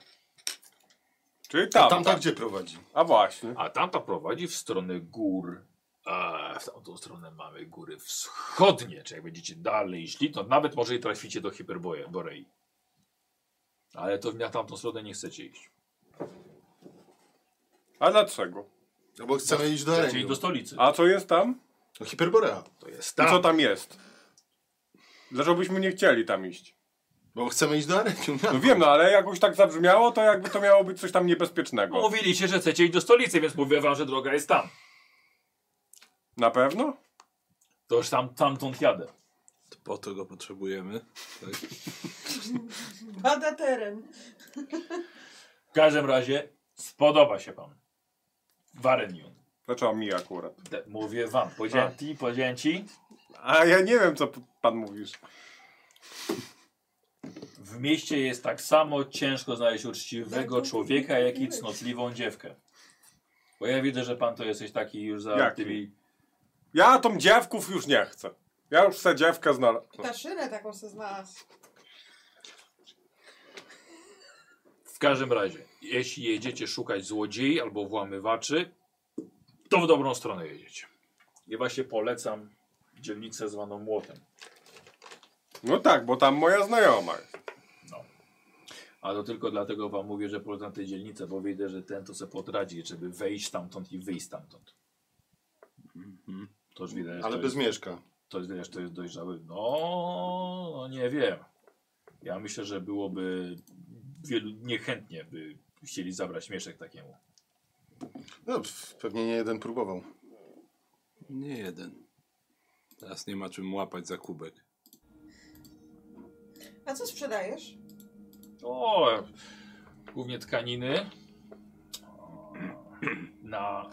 S4: Czyli
S2: A
S4: tam.
S1: tak.
S2: tamta tak, gdzie prowadzi?
S4: A właśnie.
S1: A tamta prowadzi w stronę gór. A w tamtą stronę mamy góry wschodnie. Czy jak będziecie dalej szli, to nawet może i traficie do Hiperborei. Ale to na tamtą stronę nie chcecie iść.
S4: A dlaczego?
S2: No bo chcemy
S1: Tak.
S2: iść do
S1: Chcecie iść
S2: Ereniu.
S1: do stolicy.
S4: A co jest tam?
S2: Do Hiperborea.
S1: To jest
S4: I
S1: tam.
S4: co tam jest? Dlaczego byśmy nie chcieli tam iść?
S2: Bo chcemy iść do Ereniu.
S4: No wiem, no ale jakoś tak zabrzmiało, to jakby to miało być coś tam niebezpiecznego.
S1: Mówiliście, że chcecie iść do stolicy, więc mówię wam, że droga jest tam.
S4: Na pewno?
S1: To już tam, tamtąd jadę.
S8: To po to go potrzebujemy. Tak.
S3: Bada teren.
S1: W każdym razie spodoba się wam. Warenion.
S4: Dlaczego Znaczy, mi akurat?
S1: D- Mówię wam. Powiedziałem
S4: A.
S1: ci, powiedziałem ci.
S4: A ja nie wiem, co p- pan mówisz.
S1: W mieście jest tak samo ciężko znaleźć uczciwego
S3: Tak, to
S1: człowieka, jak i
S3: mówiłeś.
S1: cnotliwą dziewkę. Bo ja widzę, że pan to jesteś taki już za
S4: Jaki?
S1: tymi...
S4: Ja tą dziewków już nie chcę. Ja już se dziewkę znalazłem.
S3: Ptaszynę taką se znalazł.
S1: W każdym razie, jeśli jedziecie szukać złodziei albo włamywaczy, to w dobrą stronę jedziecie. Ja właśnie polecam dzielnicę zwaną Młotem.
S4: No tak, bo tam moja znajoma jest.
S1: A to tylko dlatego wam mówię, że polecam tę dzielnicę, bo widzę, że ten to se podradzi, żeby wejść stamtąd i wyjść stamtąd. To już widać,
S2: Mhm. Ale
S1: to
S2: bez mieszka.
S1: To jest, wiesz, to jest dojrzały. No, no, nie wiem. Ja myślę, że byłoby wielu niechętnie by chcieli zabrać mieszek takiemu.
S2: No, pf, pewnie nie jeden próbował.
S8: Nie jeden. Teraz nie ma czym łapać za kubek.
S3: A co sprzedajesz?
S1: O, głównie tkaniny. Na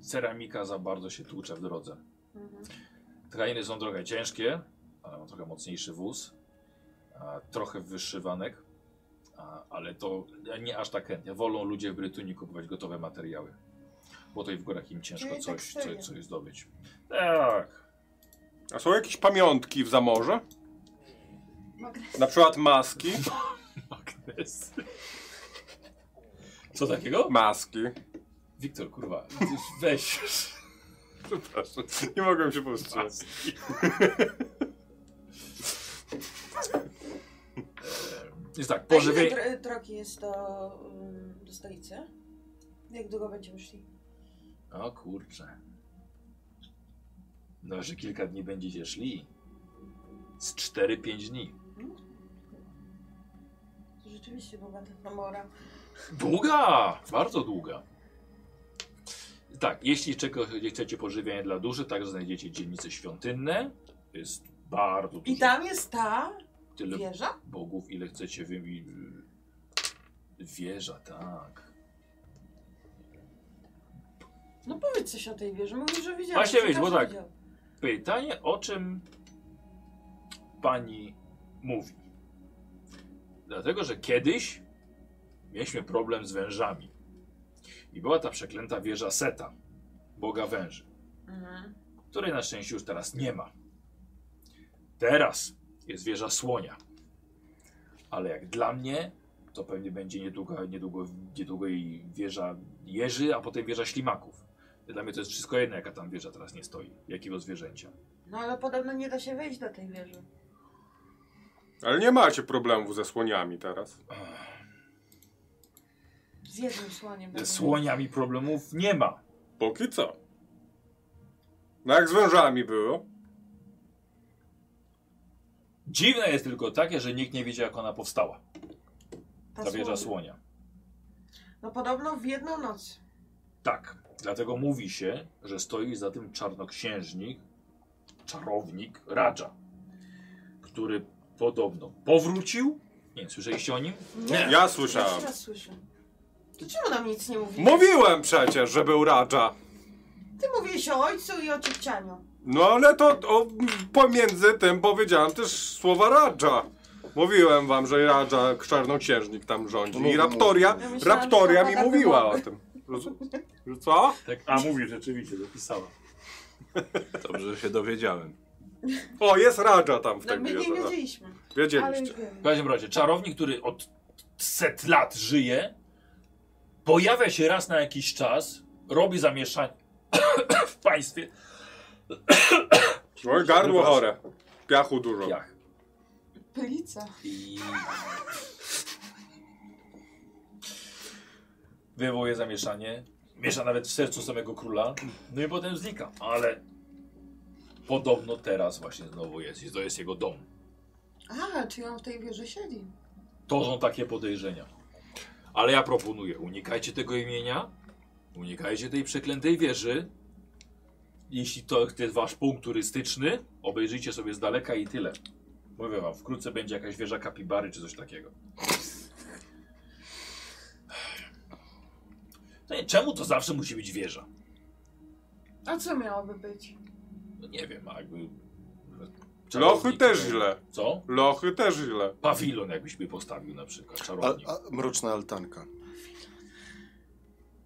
S1: ceramika za bardzo się tłucze w drodze. Tkaniny są trochę ciężkie, ale ma trochę mocniejszy wóz, a trochę wyższy wanek, a, ale to nie aż tak chętnie. Wolą ludzie w Brytunii kupować gotowe materiały, bo tutaj w górach im ciężko
S3: Czyli
S1: coś,
S3: tekstylia.
S1: coś, coś zdobyć. Tak,
S4: A są jakieś pamiątki w Zamorze? Na przykład maski.
S1: magnes. Co takiego?
S4: Maski.
S1: Wiktor, kurwa, weź. Ehm,
S4: Przepraszam, nie mogłem się powstrzymać.
S1: Jest tak,
S3: A ile
S1: pożywienie.
S3: dro- drogi jest do, ym, do stolicy? Jak długo będziemy szli?
S1: O kurczę. No, że kilka dni będziecie szli. Z 4-5 dni.
S3: To rzeczywiście długa ta komora.
S1: Długa! Bardzo długa. Tak, jeśli czego chcecie pożywienie dla duszy, także znajdziecie dzielnice świątynne. Jest bardzo dużo.
S3: I tam jest ta
S1: Tyle
S3: wieża?
S1: bogów, ile chcecie wymienić. Wieża, tak.
S3: No powiedz coś o tej wieży. Mówisz, że widziałeś.
S1: Właśnie
S3: to
S1: wiedz, bo
S3: każdy
S1: tak.
S3: widział.
S1: Pytanie, o czym pani mówi. Dlatego, że kiedyś mieliśmy problem z wężami. I była ta przeklęta wieża Seta, boga węży,
S3: Mhm.
S1: której na szczęście już teraz nie ma. Teraz jest wieża słonia. Ale jak dla mnie, to pewnie będzie niedługo, niedługo, niedługo i wieża jeży, a potem wieża ślimaków. Dla mnie to jest wszystko jedno, jaka tam wieża teraz nie stoi, jakiego zwierzęcia.
S3: No ale podobno nie da się wejść do tej wieży.
S4: Ale nie macie problemów ze słoniami teraz.
S3: Z jednym słoniem.
S1: Ze e, słoniami problemów nie ma.
S4: Póki co. No jak z wężami było.
S1: Dziwne jest tylko takie, że nikt nie wiedział, jak ona powstała.
S3: Ta
S1: Ta wieża
S3: słonia.
S1: słonia.
S3: No podobno w jedną noc.
S1: Tak. Dlatego mówi się, że stoi za tym czarnoksiężnik, czarownik Radża, który podobno powrócił. Nie, słyszeliście o nim?
S3: Nie.
S4: Ja
S3: Pierwszy
S4: słyszałem.
S3: raz słyszę. To czemu nam nic nie mówi?
S4: Mówiłem przecież, że był Radża.
S3: Ty mówiłeś o ojcu i o ciepcianiu.
S4: No ale to o, pomiędzy tym powiedziałem też słowa Radża. Mówiłem wam, że Radża czarnoksiężnik tam rządzi. I Raptoria,
S3: Ja myślałam, że
S4: Raptoria
S3: to
S4: mi
S3: taka
S4: mówiła
S3: wymówka.
S4: o tym. Rozum- że Co?
S1: Tak, a mówi rzeczywiście, dopisała.
S8: Dobrze, że się dowiedziałem.
S4: O, jest Radża tam w
S3: No
S2: Tak
S4: tym
S3: my nie
S4: wieży.
S3: wiedzieliśmy. Ale już
S4: Wiedzieliście.
S1: W
S3: wiemy.
S1: każdym razie, czarownik, który od set lat żyje, pojawia się raz na jakiś czas, robi zamieszanie w państwie.
S4: Moje gardło chore. Piachu dużo.
S1: piach.
S3: Pylica.
S1: I... Wywołuje zamieszanie. Miesza nawet w sercu samego króla. No i potem znika. Ale podobno teraz właśnie znowu jest. I to jest jego dom.
S3: A, czyli on w tej wieży siedzi.
S1: To są takie podejrzenia. Ale ja proponuję, unikajcie tego imienia. Unikajcie tej przeklętej wieży. Jeśli to jest wasz punkt turystyczny, obejrzyjcie sobie z daleka i tyle. Mówię wam, wkrótce będzie jakaś wieża kapibary czy coś takiego. No i czemu to zawsze musi być wieża?
S3: A co miałoby być?
S1: No nie wiem, a jakby...
S4: Lochy
S1: czarownik-
S4: też źle.
S1: Co?
S4: Lochy też źle.
S1: Pawilon jakbyś by postawił na przykład,
S2: A,
S1: czarownik.
S2: a, mroczna altanka.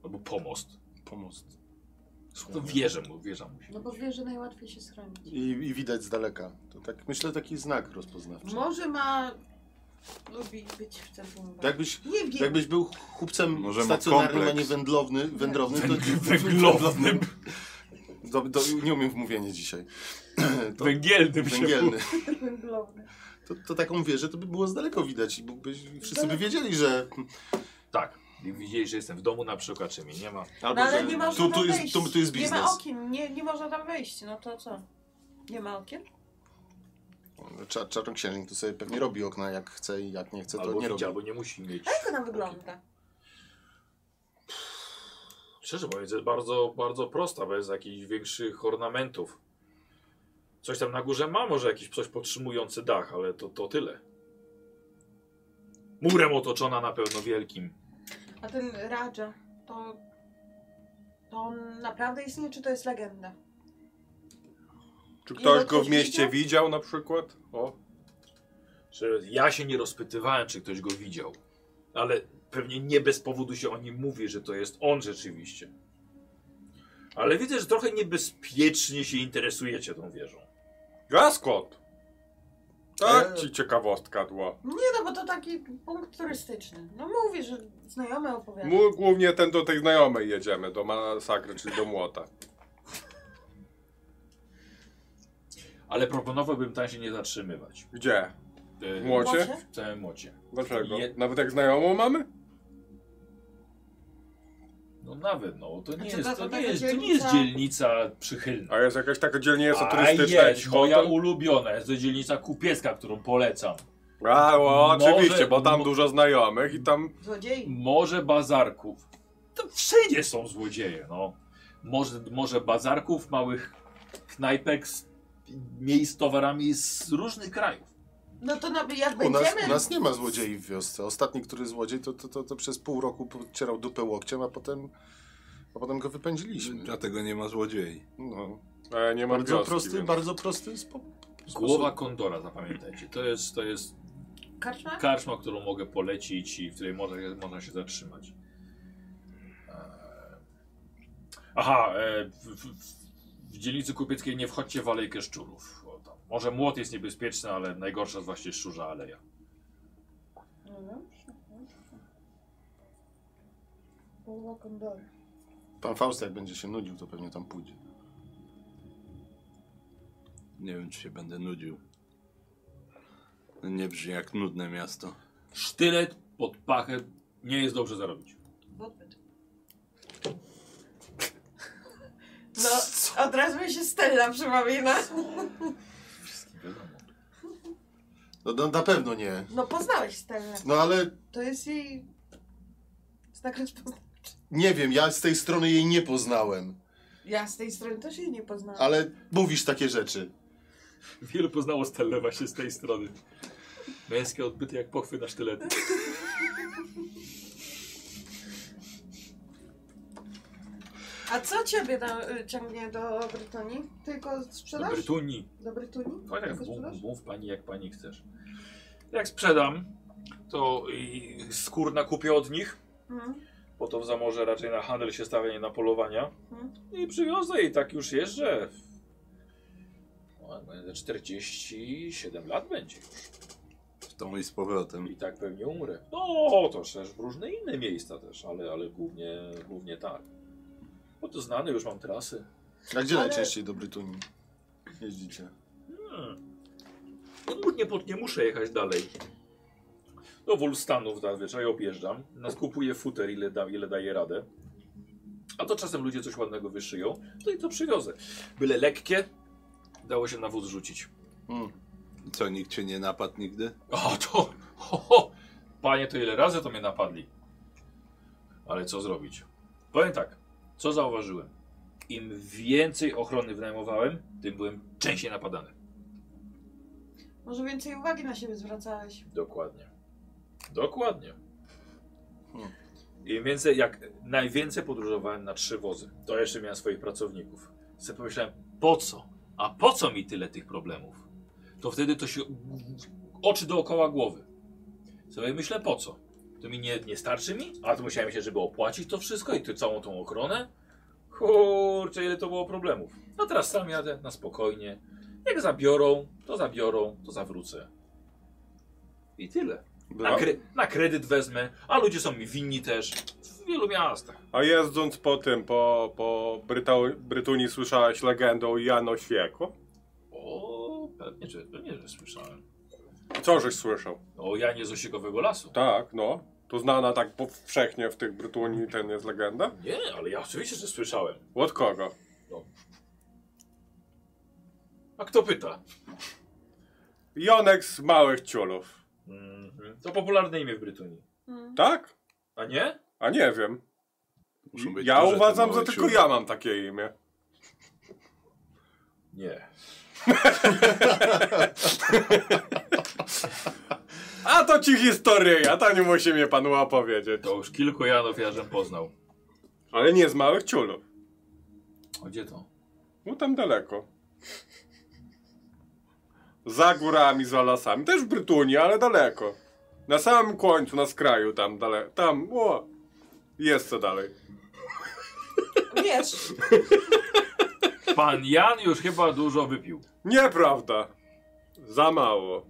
S1: Albo pomost.
S2: Pomost.
S1: To wieżę, mu- wieża musi
S3: No bo wie, że najłatwiej się schronić.
S2: I, I widać z daleka. To tak, myślę taki znak rozpoznawczy.
S3: Może ma... Lubi być w centrum uwagi.
S2: Jakbyś,
S3: Nie wiem.
S2: jakbyś był chłopcem
S8: Może ma
S2: stacjonarnym, a
S8: kompleks.
S2: nie wędlowny, wędrowny, No to
S1: Węglownym.
S2: do, do, nie umiem w mówienie dzisiaj. To,
S1: Węgielnym się
S2: węgielny. tak
S3: Węglowny.
S2: hmm, To, to taką wieżę to by było z daleko widać i byłbyś, wszyscy by wiedzieli, że
S1: Tak. I Widzieli, że jestem w domu na przykład, czy mnie nie ma.
S3: No ale nie można
S2: tu, tu,
S3: tam
S2: jest,
S3: wejść.
S2: tu, tu jest
S3: Nie ma
S2: biznes.
S3: okien, nie, nie można tam wejść, no to co? Nie ma okien?
S2: Czar, czarnoksiężnik to sobie pewnie robi okna jak chce i jak nie chce, to
S1: Albo
S2: nie
S1: nie,
S2: robi.
S1: albo nie musi mieć.
S3: Jak ona wygląda?
S1: Szczerze mówiąc, jest bardzo, bardzo prosta, bez jakichś większych ornamentów. Coś tam na górze ma, może jakiś coś podtrzymujący dach, ale to, to tyle. Murem otoczona na pewno wielkim.
S3: A ten Raja, to... To on naprawdę istnieje, czy to jest legenda?
S4: Czy
S3: Ile
S4: ktoś go
S3: ktoś
S4: w mieście
S3: widział?
S4: widział na przykład? O.
S1: Że ja się nie rozpytywałem, czy ktoś go widział. Ale pewnie nie bez powodu się o nim mówi, że to jest on rzeczywiście. Ale widzę, że trochę niebezpiecznie się interesujecie tą wieżą.
S4: Gaskot! Tak
S2: E.
S4: ci ciekawostka dła.
S3: Nie no, bo to taki punkt turystyczny. No mówi, że znajomy opowiada.
S4: Mu głównie ten do tej znajomej jedziemy, do masakry, czyli do młota.
S1: Ale proponowałbym tam się nie zatrzymywać.
S4: Gdzie?
S1: E,
S4: W młocie?
S3: Może?
S1: W całym mocie.
S4: Dlaczego?
S1: Je-
S4: Nawet jak znajomą mamy?
S1: No nawet, no to nie
S3: czy
S1: jest,
S3: to
S1: to
S3: taka
S1: nie jest, to nie
S3: dzielnica-
S1: jest dzielnica przychylna.
S4: A jest jakaś taka dzielnica
S1: A
S4: turystyczna,
S1: jest
S4: jakiś
S1: moja
S4: hotel?
S1: ulubiona, jest to dzielnica kupiecka, którą polecam.
S4: A, o,
S1: Może-
S4: oczywiście, bo tam
S1: mo-
S4: dużo znajomych i tam...
S3: Złodziei.
S1: Morze bazarków. To wszędzie są złodzieje, no. Morze, morze bazarków, małych knajpek, z, miejsc z towarami z różnych krajów.
S3: No to na, jak
S2: U nas,
S3: będziemy...
S2: u nas nie ma złodziei w wiosce. Ostatni, który złodziej, to, to, to, to przez pół roku podcierał dupę łokciem, a potem, a potem go wypędziliśmy.
S8: Dlatego nie ma złodziei.
S2: No.
S4: E, nie mam
S2: Tak. Bardzo
S4: wioski,
S2: prosty,
S4: więc-
S2: bardzo prosty spo- sposób.
S1: Głowa kondora, zapamiętajcie. To jest, to jest
S3: Karczma?
S1: karczma, którą mogę polecić i w której można, można się zatrzymać. Eee, Aha, e, w, w, w dzielnicy kupieckiej nie wchodźcie w alejkę szczurów. O, tam. Może młot jest niebezpieczny, ale najgorsza jest właśnie szczurza aleja.
S9: No dobrze, dobrze. Połowa kondory.
S2: Pan Faust jak będzie się nudził, to pewnie tam pójdzie.
S8: Nie wiem, czy się będę nudził. Nie brzmi jak nudne miasto.
S1: Sztylet pod pachę nie jest dobrze zarobić.
S3: Odbyt. No, od razu mi się Stella przypomina.
S2: No, no na pewno nie.
S3: No poznałeś Stellę.
S2: No ale
S3: To jest jej znak rozpoznania.
S2: nie wiem, ja z tej strony jej nie poznałem.
S3: Ja z tej strony też jej nie poznałam.
S2: Ale mówisz takie rzeczy.
S1: Wielu poznało Stellę właśnie z tej strony. Męskie odbyty jak pochwy na sztylety.
S3: A co ciebie tam y, ciągnie do Brytonii? Tylko
S1: Do
S3: sprzedaż?
S1: Brytunii.
S3: Do Brytunii?
S1: No tak,
S3: Tylko sprzedaż?
S1: mów, mów pani jak pani chcesz. Jak sprzedam, to i skórna kupię od nich,
S3: Mhm.
S1: bo to w Zamorze raczej na handel się stawia, nie na polowania.
S3: Mhm.
S1: I przywiozę i tak już jeżdżę. No, Będę 47 lat będzie już.
S8: W tą i z powrotem.
S1: I tak pewnie umrę. No, to też w różne inne miejsca też, ale, ale głównie, głównie tak. Bo to znane, już mam trasy.
S2: A gdzie
S3: Ale-
S2: najczęściej do Brytunii jeździcie?
S1: Hmm. Nie, pod, nie muszę jechać dalej. Do tak Wolstanów zazwyczaj objeżdżam. Nas kupuje futer, ile, da, ile daje radę. A to czasem ludzie coś ładnego wyszyją, to i to przywiozę. Byle lekkie, dało się na wóz rzucić.
S2: Mm.
S8: Co, nikt cię nie napadł nigdy?
S1: O, to. Ho, ho. Panie, to ile razy to mnie napadli. Ale co zrobić? Powiem tak, co zauważyłem. Im więcej ochrony wynajmowałem, tym byłem częściej napadany.
S3: Może więcej uwagi na siebie zwracałeś.
S1: Dokładnie. Dokładnie.
S2: Hmm.
S1: Im więcej, jak najwięcej podróżowałem na trzy wozy, to jeszcze miałem swoich pracowników. Sobie pomyślałem, po co? A po co mi tyle tych problemów? To wtedy to się oczy dookoła głowy. Sobie myślę, po co? To mi nie, nie starczy mi? A to musiałem się, żeby opłacić to wszystko i tę całą tą ochronę? Kurczę, ile to było problemów. A teraz sam jadę na spokojnie. Jak zabiorą, to zabiorą, to zawrócę. I tyle. Na, kre na kredyt wezmę, a ludzie są mi winni też w wielu miastach.
S4: A jeżdżąc po tym, po, po Bryta- Brytunii słyszałeś legendę o Jano Świeku?
S1: O, pewnie, że, pewnie, że słyszałem.
S4: Co żeś słyszał?
S1: O Janie z Osiekowego Lasu.
S4: Tak, no. To znana tak powszechnie w tych Brytanii ten jest legenda?
S1: Nie, ale ja oczywiście, że słyszałem.
S4: Od kogo?
S1: A kto pyta?
S4: Jonek z małych ciulów.
S1: Mhm. To popularne imię w Brytanii.
S3: Mhm.
S4: Tak?
S1: A nie?
S4: A nie wiem.
S8: Muszą być
S4: Ja
S8: duże te
S4: uważam,
S8: małe
S4: że tylko
S8: ciuchy.
S4: ja mam takie imię.
S1: Nie.
S4: A to ci historia, ta nie musi mnie panu opowiedzieć.
S1: To już kilku Janów Jarzem poznał.
S4: Ale nie z małych ciulów.
S1: A gdzie to?
S4: No tam daleko. Za górami, za lasami. Też w Brytunii, ale daleko. Na samym końcu, na skraju tam daleko. Tam, o. Jest co dalej.
S6: Wiesz,
S1: Pan Jan już chyba dużo wypił.
S4: Nieprawda. Za mało.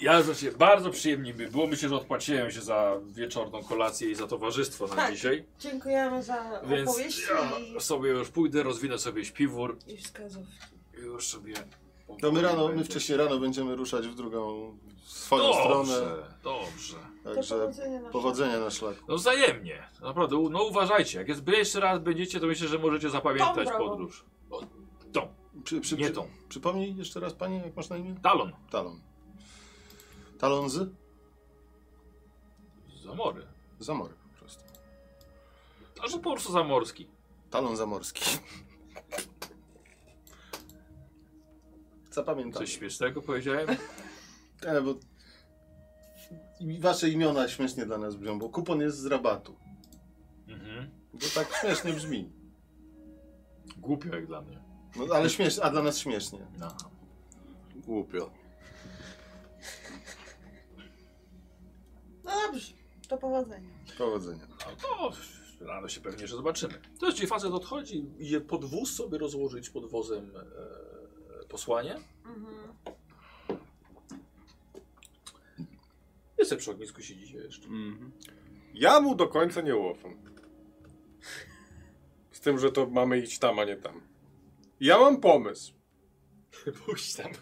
S1: Ja znaczy, bardzo przyjemnie mi było. Myślę, że odpłaciłem się za wieczorną kolację i za towarzystwo na
S6: Tak.
S1: dzisiaj.
S6: dziękujemy za
S1: Więc
S6: opowieść i,
S1: ja sobie już pójdę, rozwinę sobie śpiwór
S6: i wskazówki.
S1: i już sobie...
S2: To No, my rano, my
S1: Będzie.
S2: wcześniej rano będziemy ruszać w drugą swoją stronę.
S1: Dobrze, dobrze.
S3: To
S2: Także
S3: powodzenia na
S2: powodzenia na szlaku.
S1: No wzajemnie. Naprawdę, u- no uważajcie. Jak jest, jeszcze raz będziecie, to myślę, że możecie zapamiętać
S6: Tą drogą.
S1: podróż. O,
S2: Przy, przy,
S1: nie
S2: przy,
S1: tą.
S2: przypomnij jeszcze raz pani, jak masz na imię?
S1: Talon.
S2: Talon. Talon z
S1: Zamory.
S2: Zamory po prostu.
S1: Albo po prostu zamorski.
S2: Talon zamorski. Zapamiętam.
S1: Coś śmiesznego powiedziałem?
S2: E, bo i wasze imiona śmiesznie dla nas brzmią, bo kupon jest z rabatu.
S1: Mhm.
S2: Bo tak śmiesznie brzmi.
S1: Głupio jak dla mnie.
S2: No, ale śmiesznie, a dla nas śmiesznie.
S1: No.
S8: Głupio.
S6: No dobrze, to powodzenia.
S2: Powodzenia.
S1: No to rano się pewnie jeszcze zobaczymy. To jest, czyli facet odchodzi, idzie pod wóz sobie rozłożyć pod wozem e, posłanie.
S6: Mhm.
S1: Jest przy ognisku siedzicie jeszcze.
S8: Mhm.
S4: Ja mu do końca nie ufam. Z tym, że to mamy iść tam, a nie tam. Ja mam pomysł.
S1: Pójdź tam.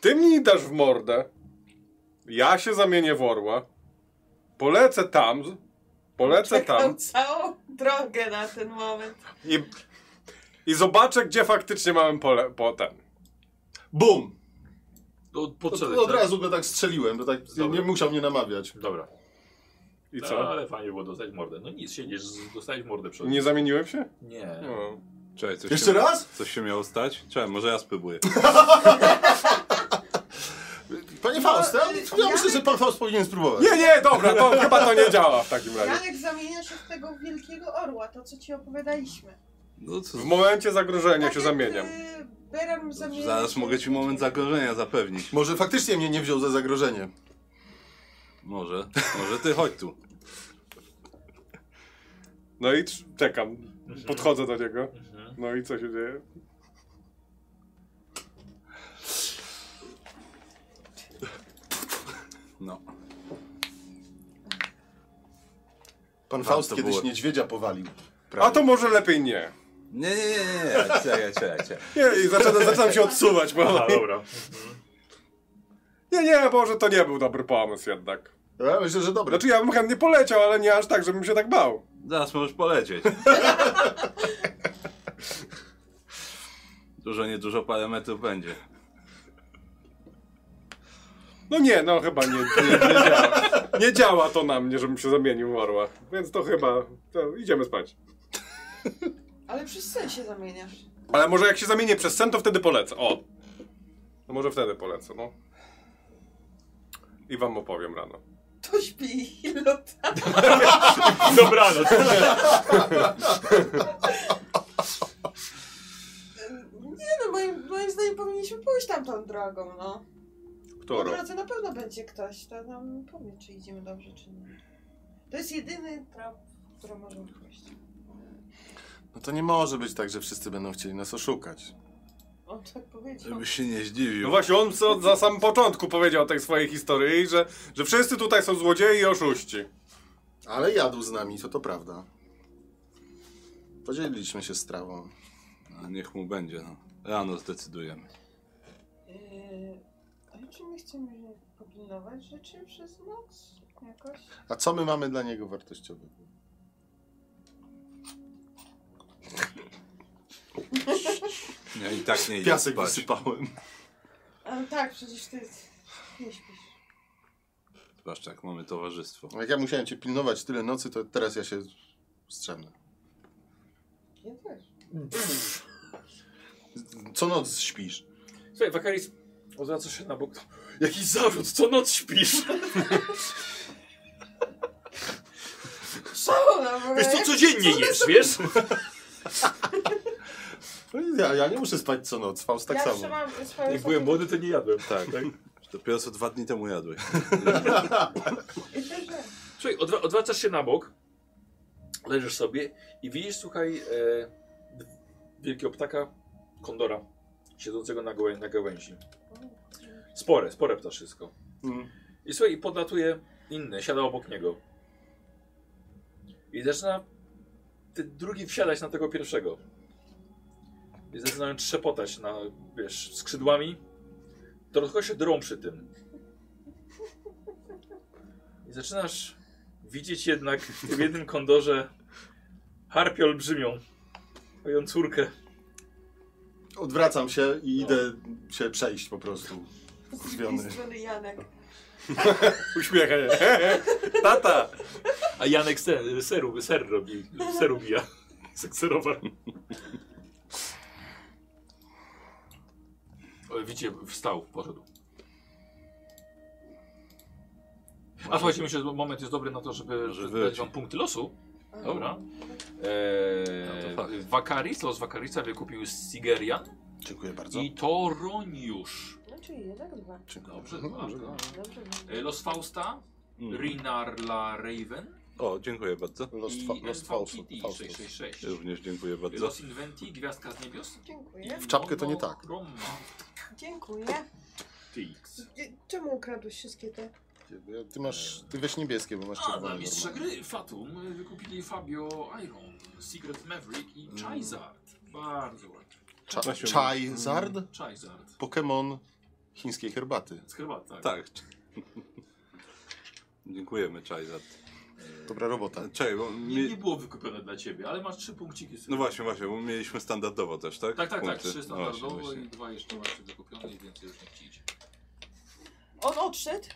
S4: Ty mi dasz w mordę. Ja się zamienię w orła. Polecę tam. z- Polecę
S6: Czekał
S4: tam.
S6: całą drogę na ten moment.
S4: I, i zobaczę, gdzie faktycznie mamy pole, potem.
S2: Bum!
S1: Do,
S2: To,
S1: pod
S2: to
S1: celek,
S2: od
S1: tak?
S2: razu go tak strzeliłem, to tak nie, nie
S1: Dobra.
S2: musiał mnie namawiać.
S1: Dobra.
S4: I
S1: No,
S4: co?
S1: ale fajnie było dostać mordę. No nic, siedzisz, z- dostałeś mordę przy ognisku.
S4: Nie zamieniłem się?
S1: Nie.
S4: No.
S8: Czekaj, coś
S2: Jeszcze
S8: się,
S2: raz?
S8: Coś się miało stać? Czekaj, może ja spróbuję.
S2: Panie Faust, ja, ja
S3: ja-
S2: myślę, że pan Faust powinien spróbować.
S4: Nie, nie, dobra, to chyba to nie działa w takim
S1: Tak.
S4: razie.
S3: Janek zamienia się w tego wielkiego orła, to co ci opowiadaliśmy.
S8: No co?
S4: W momencie zagrożenia
S3: Tak
S4: się
S3: jak,
S4: zamieniam.
S3: y, Beram zamienia
S8: Zaraz
S3: się-
S8: mogę ci moment zagrożenia zapewnić.
S2: Może faktycznie mnie nie wziął za zagrożenie.
S8: Może. Może ty chodź tu.
S4: No i trz- czekam. Podchodzę do niego.
S1: Mhm.
S4: No i co się dzieje?
S8: No.
S2: Pan
S8: Warto
S2: Faust kiedyś
S8: było.
S2: niedźwiedzia powalił.
S4: A to może lepiej nie.
S8: Nie, nie, nie, nie, nie. Czekaj, czekaj, czekaj.
S4: Nie, i zaczynam, zaczynam się odsuwać, bo...
S1: A, dobra.
S4: Nie, nie, może to nie był dobry pomysł jednak.
S2: Ja myślę, że dobra.
S4: Znaczy ja bym chętnie poleciał, ale nie aż tak, żebym się tak bał.
S8: Zaraz możesz polecieć. Dużo, niedużo parę metrów będzie.
S4: No nie, no chyba nie, nie, nie działa. Nie działa to na mnie, żebym się zamienił w orła. Więc to chyba... To idziemy spać.
S6: Ale przez sen się zamieniasz.
S4: Ale może jak się zamienię przez sen, to wtedy polecę. O! No może wtedy polecę, no. I wam opowiem rano.
S6: To śpi tak? i lata.
S1: Dobranoc.
S6: Nie no, moim, moim zdaniem powinniśmy pójść tamtą drogą, no. Po
S4: Którą?
S6: drodze na pewno będzie ktoś, to nam powie, czy idziemy dobrze, czy nie. To jest jedyny trop, który możemy pójść.
S2: No to nie może być tak, że wszyscy będą chcieli nas oszukać.
S6: On tak powiedział.
S8: Żebyś się nie
S4: No
S8: zdziwił.
S4: właśnie, on co za sam początku powiedział tej swojej historii, że, że wszyscy tutaj są złodzieje i oszuści.
S2: Ale jadł z nami, to to prawda. Podzieliliśmy się strawą.
S8: A niech mu będzie, no. Rano no. zdecydujemy.
S6: Yy,
S3: Yy, a czy my chcemy popilnować rzeczy przez noc? Jakoś?
S5: A co my mamy dla niego wartościowego?
S8: Ja i tak nie idę
S2: Piasek
S8: spać.
S2: wysypałem.
S3: A, tak, przecież ty nie śpisz.
S8: Zwłaszcza jak mamy towarzystwo.
S5: Jak ja musiałem cię pilnować tyle nocy, to teraz ja się strzemnę.
S3: Ja też.
S5: Co noc śpisz?
S1: Słuchaj, Wakaris, odwraca się na bok. Jaki zarzut, co noc śpisz?
S6: No,
S1: Wiesz,
S3: E,
S1: co codziennie jesz, wiesz?
S5: No Ja, ja nie muszę spać co noc, Faust tak
S3: ja
S5: samo.
S3: trzymam swoje
S1: Jak byłem młody, to nie jadłem.
S8: Tak. Dopiero co dwa dni temu jadłeś.
S3: I też nie.
S1: Słuchaj, odwra odwracasz się na bok, leżysz sobie i widzisz, słuchaj, e, wielkiego ptaka, kondora, siedzącego na, gołę na gałęzi. Spore, spore ptaszysko.
S2: Mm.
S1: I słuchaj, i podlatuje inne, siada obok niego. I zaczyna ten drugi wsiadać na tego pierwszego. I zaczynają trzepotać na, wiesz, skrzydłami. Trochę się drą przy tym. I zaczynasz widzieć jednak w jednym kondorze harpię olbrzymią. Moją córkę.
S5: Odwracam się
S3: No.
S5: i idę się przejść po prostu.
S3: Z drugiej strony Janek.
S4: Uśmiecha się. Tata!
S1: A Janek ser, seru, ser robi, ser ubija. Sekserowar. O, Widzicie, wstał, poszedł. A słuchajcie, myślę, że moment jest dobry na to, żeby,
S8: Może
S1: żeby
S8: wróci.
S1: dać wam punkty losu. Dobra.
S8: No to fakt.
S1: Eee, Wakaris, los Wakarisa wykupił Sigerian
S5: Dziękuję bardzo.
S1: i Toroniusz.
S3: No czyli jednak dwa.
S1: Dobrze,
S5: Mhm,
S1: dwa.
S5: dobrze.
S3: Dobrze. no.
S1: Eee, Los Fausta, Mhm.
S8: Mm.
S1: Rinar la Raven
S8: O, dziękuję bardzo.
S5: Los,
S1: i
S5: fa- los Faustu.
S1: NVTT
S5: Faustus.
S1: 666.
S8: Również dziękuję bardzo.
S1: Los Inventi, Gwiazdka z Niebios.
S3: Dziękuję.
S5: W czapkę to nie tak.
S3: Dziękuję.
S1: Monochromatics.
S3: Dzie- Czemu ukradłeś wszystkie te?
S5: Ty masz, ty weź niebieskie, bo masz
S1: A, dla
S5: czerwone.
S1: mistrza gry Fatum y, wykupili Fabio Iron, Secret Maverick i Charizard. Bardzo ładnie.
S5: Cza- Mm. Chai Zard?
S1: Charizard.
S5: Pokémon chińskiej herbaty.
S1: Z herbaty, tak.
S8: Tak. Dziękujemy, Czajzat.
S5: Dobra robota.
S2: Tak.
S8: Czekaj, bo
S1: Nie,
S8: mi...
S1: nie było wykupione dla ciebie, ale masz trzy punkciki.
S8: No właśnie, właśnie, bo mieliśmy standardowo też, tak?
S1: Tak, tak, tak.
S8: Punkty.
S1: Trzy
S8: No właśnie,
S1: standardowo
S8: właśnie.
S1: i dwa jeszcze macie wykupione i więcej już nie chcieliście.
S3: On odszedł.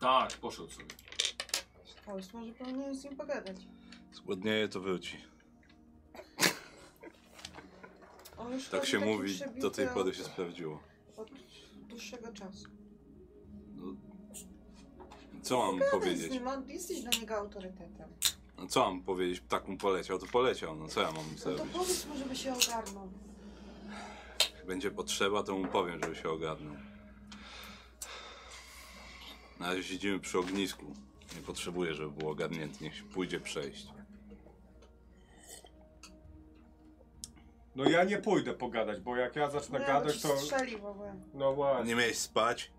S1: Tak, poszedł sobie.
S3: Faust, może powinienem z nim pogadać.
S8: Zgłodnieje, to wróci.
S3: On już
S8: Tak
S3: chodzi
S8: się
S3: taki
S8: mówi,
S3: przebity
S8: do tej pory
S3: od-
S8: się sprawdziło.
S3: Od dłuższego czasu.
S8: No, co mam
S3: Z
S8: powiedzieć?
S3: nim, on, jesteś dla niego autorytetem.
S8: No, co mam powiedzieć? Ptak mu poleciał, to poleciał. No co ja mam
S3: No to
S8: zrobić?
S3: powiedz mu, żeby się ogarnął.
S8: Jak będzie potrzeba, to mu powiem, żeby się ogarnął. Na razie siedzimy przy ognisku. Nie potrzebuję, żeby było ogarnięty. Niech się pójdzie przejść.
S4: No ja nie pójdę pogadać, bo jak ja zacznę
S3: Nie, bo
S4: gadać,
S3: No ci
S4: to...
S3: strzeli w ogóle.
S4: No właśnie.
S8: Nie miałeś spać?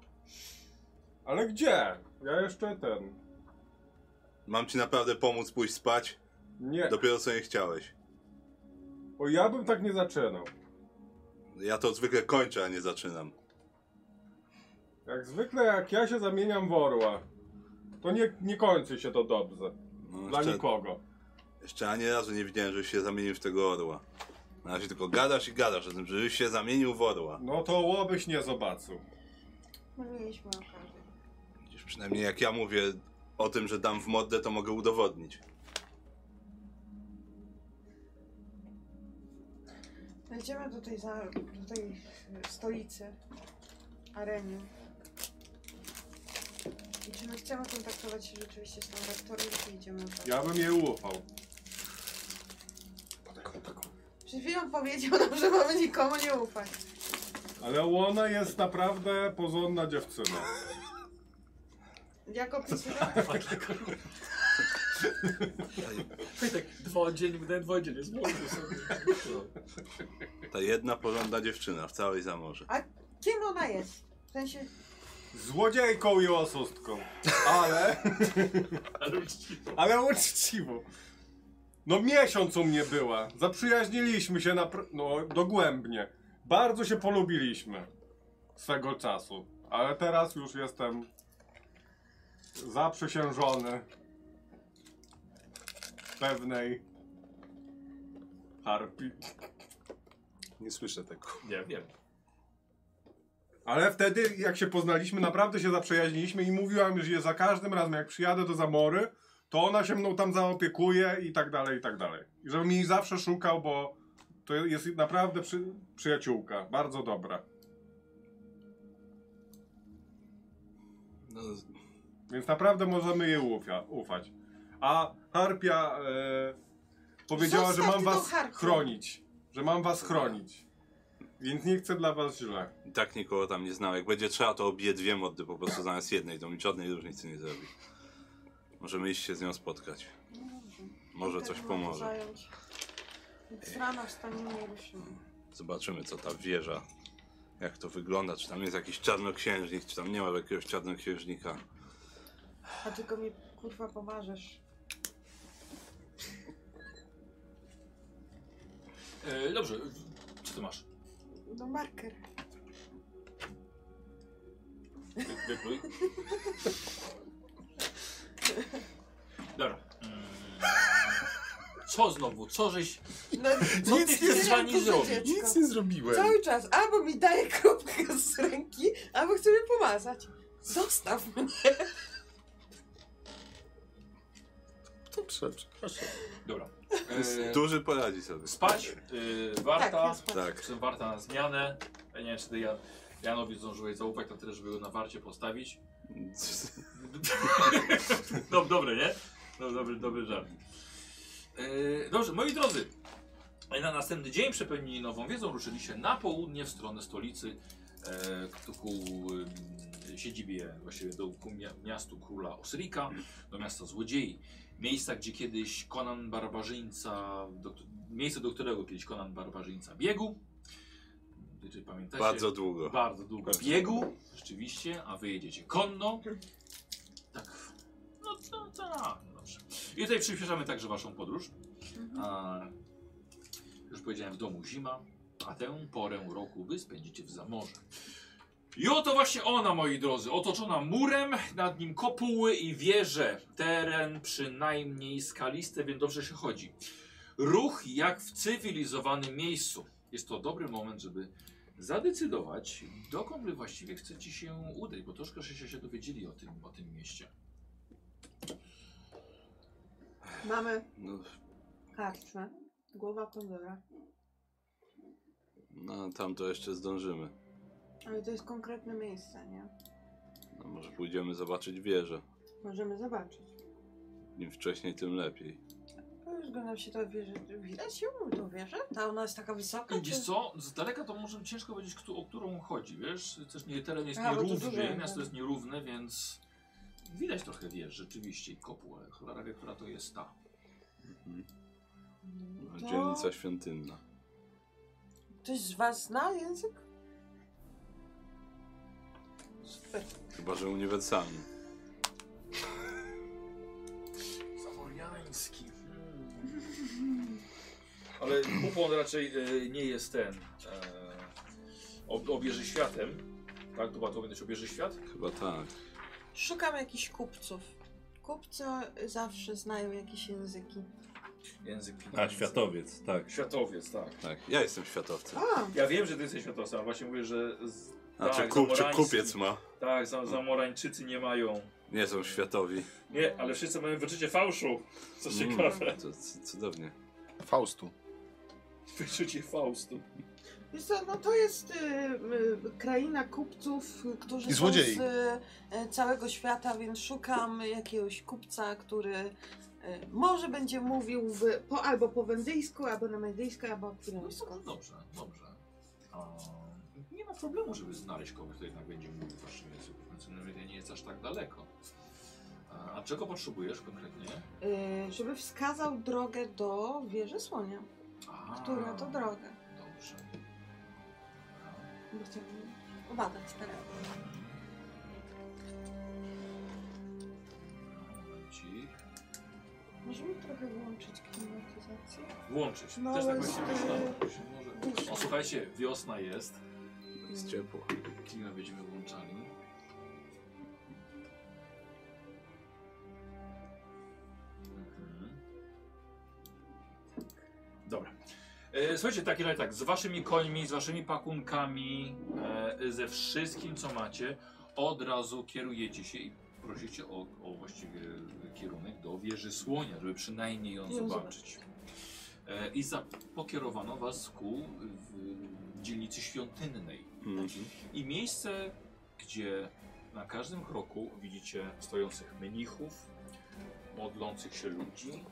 S4: Ale gdzie? Ja jeszcze ten...
S8: Mam ci naprawdę pomóc pójść spać?
S4: Nie,
S8: Dopiero co nie chciałeś.
S4: o ja bym tak nie zaczynał.
S8: Ja to zwykle kończę, a nie zaczynam.
S4: Jak zwykle, jak ja się zamieniam w orła, to nie, nie kończy się to dobrze.
S8: No,
S4: Dla
S8: jeszcze,
S4: nikogo.
S8: jeszcze ani razu nie widziałem, żebyś się zamienił w tego orła. Na razie tylko gadasz i gadasz o tym, żebyś się zamienił w orła.
S4: No to łobyś nie zobaczył.
S3: Mówiliśmy o każdym.
S8: Widzisz, przynajmniej jak ja mówię o tym, że dam w moddę, to mogę udowodnić.
S3: Wejdziemy do tej, za, do tej e, stolicy, arenie. I czy my chcemy kontaktować się rzeczywiście z tą rektorem, czy idziemy tam?
S4: Ja bym jej ufał.
S3: Przed chwilą powiedział nam, że mamy nikomu nie ufać.
S4: Ale ona jest naprawdę porządna dziewczyna.
S3: Jak opisywałem?
S1: tak dwa dzień, wdech, dwa dzień. Jest
S8: Ta jedna porządna dziewczyna w całej zamorze.
S3: Kim ona jest? W sensie,
S4: Złodziejką i oszustką. Ale,
S1: Ale uczciwo.
S4: ale uczciwą. No miesiąc u mnie była. Zaprzyjaźniliśmy się na, no, dogłębnie. Bardzo się polubiliśmy. swego czasu, ale teraz już jestem zaprzysiężony pewnej harpi.
S2: Nie słyszę tego.
S1: Nie wiem.
S4: Ale wtedy, jak się poznaliśmy, naprawdę się zaprzyjaźniliśmy i mówiłam, że za każdym razem, jak przyjadę do Zamory, to ona się mną tam zaopiekuje i tak dalej, i tak dalej. I żebym jej zawsze szukał, bo to jest naprawdę przy, przyjaciółka, bardzo dobra.
S8: No,
S4: Więc naprawdę możemy jej ufia, ufać. A Harpia e, powiedziała,
S3: Zostaw
S4: że mam
S3: ty tą
S4: was
S3: harpię.
S4: chronić. Że mam was chronić. Więc nie chcę dla was źle.
S8: i tak nikogo tam nie znał. Jak będzie trzeba, to obije dwie moddy po prostu zamiast jednej. To mi żadnej różnicy nie zrobi. Możemy iść się z nią spotkać. Może coś pomoże.
S3: tak Zająć. Z rana wstaniemy i ruszymy.
S8: Zobaczymy, co ta wieża, jak to wygląda. Czy tam jest jakiś czarnoksiężnik, czy tam nie ma jakiegoś czarnoksiężnika.
S3: A tylko mi kurwa pomarzysz.
S1: E, dobrze, co ty masz?
S3: No marker.
S1: Wy- Wypluj. Dobra. Mm. Co znowu? Co żeś...
S3: No,
S1: Co ty chcesz z wami zrobić?
S2: Nic nie zrobiłem.
S3: Cały czas albo mi daje kropkę z ręki, albo chce mnie pomazać. Zostaw mnie.
S2: Dobrze, przepraszam.
S1: Dobra.
S8: Jest
S1: E,
S8: Duży poradzi sobie.
S1: spać, e,
S3: Tak,
S1: warta.
S3: ja spadam.
S8: Tak.
S1: Jestem warta na zmianę. Ja nie wiem, czy ty Jan, Janowi zdążyłeś zaufać na tyle, żeby go na warcie postawić. Dob, No, dobry, nie? Dob, dobry, dobry żart. E, dobrze, moi drodzy. Na następny dzień przepełnieni nową wiedzą ruszyliście na południe w stronę stolicy e, k- ku em, siedzibie, właściwie do ku mia- miastu króla Osyrika, do miasta złodziei. Miejsca, gdzie kiedyś Konan Barbarzyńca, do, k- miejsce, do którego kiedyś Konan Barbarzyńca biegł. Czy pamiętacie?
S8: Bardzo długo.
S1: Bardzo długo biegł, rzeczywiście, a wy jedziecie konno. Tak. No to, to no, dobrze. I tutaj przyspieszamy także waszą podróż. A, już powiedziałem, w domu zima, a tę porę roku wy spędzicie w zamorze. I oto właśnie ona, moi drodzy, otoczona murem, nad nim kopuły i wieże. Teren przynajmniej skalisty, więc dobrze się chodzi. Ruch jak w cywilizowanym miejscu. Jest to dobry moment, żeby zadecydować, dokąd wy właściwie chcecie się udać, bo troszkę żeście się dowiedzieli o tym, o tym mieście.
S3: Mamy
S8: No,
S3: karczmę. Głowa Pandora.
S8: no tam to jeszcze zdążymy.
S3: Ale to jest konkretne miejsce, nie?
S8: No, może pójdziemy zobaczyć wieżę.
S3: Możemy zobaczyć.
S8: Im wcześniej, tym lepiej.
S3: Rozglądam się to wieżę. Widać ją, tą wieżę? Ta ona jest taka wysoka?
S1: I Wiesz co, z daleka to może ciężko powiedzieć, któ- o którą chodzi, wiesz? Też nie, teren jest
S3: A, bo to
S1: nierówny,
S3: duże,
S1: miasto
S3: tak.
S1: jest nierówne, więc widać trochę, wiesz, rzeczywiście i kopułę. Cholera wie, która to jest ta.
S3: No to-
S8: Dzielnica świątynna.
S3: Ktoś z was zna język?
S8: Chyba, że uniwersalny.
S1: Zamoriański.
S3: Hmm.
S1: Ale kupon raczej e, nie jest ten. E, ob, obieży światem. Tak, to to będzie obieży świat?
S8: Chyba tak.
S3: Szukam jakichś kupców. Kupcy zawsze znają jakieś języki.
S1: Język
S10: A,
S1: pieniędzy.
S10: światowiec, tak.
S1: Światowiec, tak.
S8: Tak, ja jestem światowcem.
S3: A,
S1: Ja wiem, że ty jesteś światowcem, ale właśnie mówię, że. Z...
S8: Znaczy
S1: tak,
S8: kup, czy
S1: zamorański-
S8: kupiec ma.
S1: Tak, za- zamorańczycy nie mają.
S8: Nie są światowi.
S1: Nie, ale wszyscy mają wyczucie fałszu. Co ciekawe.
S8: Mm, to, c- cudownie.
S2: Faustu.
S1: Wyczucie faustu.
S3: wiesz co, no to jest y, y, kraina kupców, y, którzy
S2: I złodziei.
S3: są z y, całego świata, więc szukam jakiegoś kupca, który y, może będzie mówił w, po, albo po wendyjsku, albo na medyjsku, albo po
S1: No
S3: kryjsku.
S1: to dobrze, dobrze. A, nie ma problemu, żeby znaleźć kogoś, kto jednak będzie mówił w waszym języku. Więc nawet nie jest aż tak daleko. A, a czego potrzebujesz konkretnie?
S3: Y, żeby wskazał drogę do wieży słonia.
S1: A,
S3: Która to droga?
S1: Dobrze.
S3: Bo chciałabym obadać teraz.
S1: Momencik.
S3: Możemy trochę włączyć klimatyzację?
S1: Włączyć.
S3: No,
S1: Też tak
S3: ale
S1: właśnie
S3: z-
S1: myślałem. Się może- O, słuchajcie, wiosna jest.
S8: Jest ciepło.
S11: Klina będziemy włączali.
S1: Tak. Dobra. E, Słuchajcie, tak i tak, z waszymi końmi, z waszymi pakunkami, e, ze wszystkim co macie, od razu kierujecie się i prosicie o, o właściwy kierunek do wieży słonia, żeby przynajmniej ją zobaczyć. E, I za, pokierowano was ku w dzielnicy świątynnej. I miejsce, gdzie na każdym kroku widzicie stojących mnichów, modlących się ludzi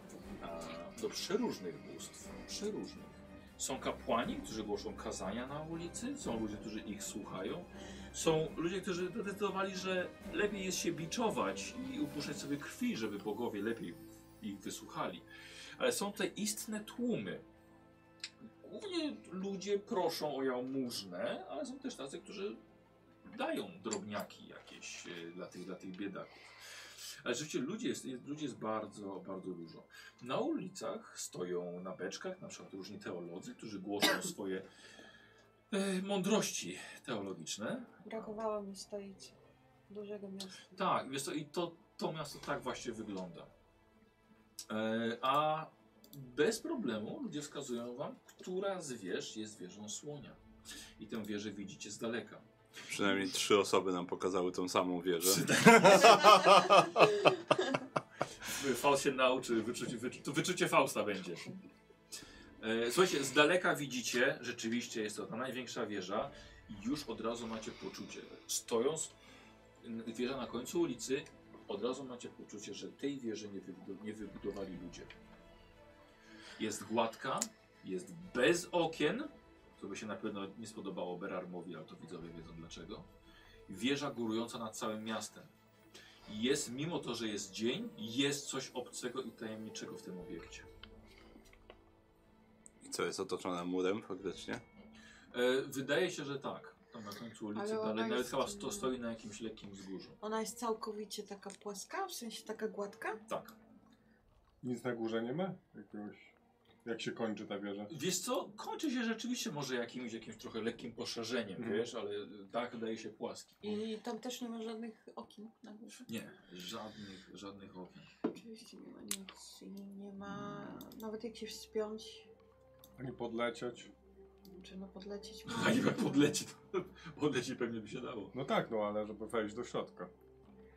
S1: e, do przeróżnych bóstw, przeróżnych. Są kapłani, którzy głoszą kazania na ulicy, są ludzie, którzy ich słuchają, są ludzie, którzy zdecydowali, że lepiej jest się biczować i upuszczać sobie krwi, żeby bogowie lepiej ich wysłuchali. Ale są te istne tłumy, Głównie ludzie proszą o jałmużnę, ale są też tacy, którzy dają drobniaki jakieś e, dla tych, dla tych biedaków. Ale rzeczywiście ludzi jest, jest, ludzi jest bardzo, bardzo dużo. Na ulicach stoją na beczkach na przykład różni teolodzy, którzy głoszą swoje e, mądrości teologiczne.
S6: Brakowało mi stolicy. Dużego miasta.
S1: Tak, wiesz co, i to, to miasto tak właśnie wygląda. E, a bez problemu ludzie wskazują wam, która z wież jest wieżą słonia. I tę wieżę widzicie z daleka.
S8: Przynajmniej trzy osoby nam pokazały tą samą wieżę.
S1: Faust się nauczy, wyczucie, wyczu, to wyczucie Fausta będzie. E, Słuchajcie, z daleka widzicie, rzeczywiście jest to ta największa wieża i już od razu macie poczucie, stojąc, n- wieża na końcu ulicy, od razu macie poczucie, że tej wieży nie, wybudu- nie wybudowali ludzie. Jest gładka, jest bez okien, co by się na pewno nie spodobało Berarmowi, ale to widzowie wiedzą dlaczego. Wieża górująca nad całym miastem. Jest, mimo to, że jest dzień, jest coś obcego i tajemniczego w tym obiekcie.
S8: I co, jest otoczona murem faktycznie?
S1: E, wydaje się, że tak. Tam na końcu ulicy,
S3: Ale ona
S1: ale nawet
S3: jest-
S1: chyba sto, stoi na jakimś lekkim wzgórzu.
S6: Ona jest całkowicie taka płaska, w sensie taka gładka.
S1: Tak.
S4: Nic na górze nie ma? Jakiegoś... Jak się kończy ta wieża?
S1: Wiesz co, kończy się rzeczywiście może jakimś, jakimś trochę lekkim poszerzeniem,
S4: Mhm.
S1: wiesz, ale dach wydaje się płaski.
S3: I tam też nie ma żadnych okien na górze.
S1: Nie, żadnych, żadnych okien.
S3: Oczywiście nie ma nic. I nie ma... Nawet jak się wspiąć,
S4: Ani podlecieć?
S3: czy no podlecieć.
S1: A nie jak podleci, to podleci pewnie by się dało.
S4: No tak, no ale żeby wejść do środka.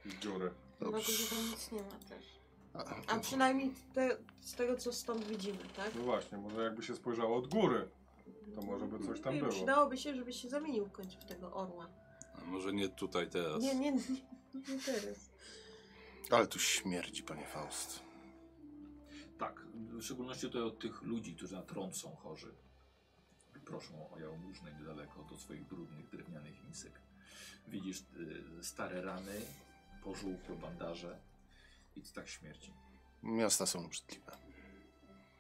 S4: Z dziury.
S3: Na górze tam nic nie ma też. A przynajmniej te, z tego, co stąd widzimy, tak?
S4: No właśnie, może jakby się spojrzało od góry, to może by coś tam
S3: I
S4: było.
S3: Przydałoby się, żeby się zamienił w końcu w tego orła.
S8: A może nie tutaj teraz.
S3: Nie, nie, nie, nie teraz.
S2: Ale tu śmierdzi, panie Faust.
S1: Tak, w szczególności tutaj od tych ludzi, którzy na trąd są chorzy. Proszą o jałmużnę niedaleko do swoich brudnych, drewnianych misek. Widzisz y, stare rany, pożółkłe bandaże i to tak śmierci.
S2: Miasta są obrzydliwe.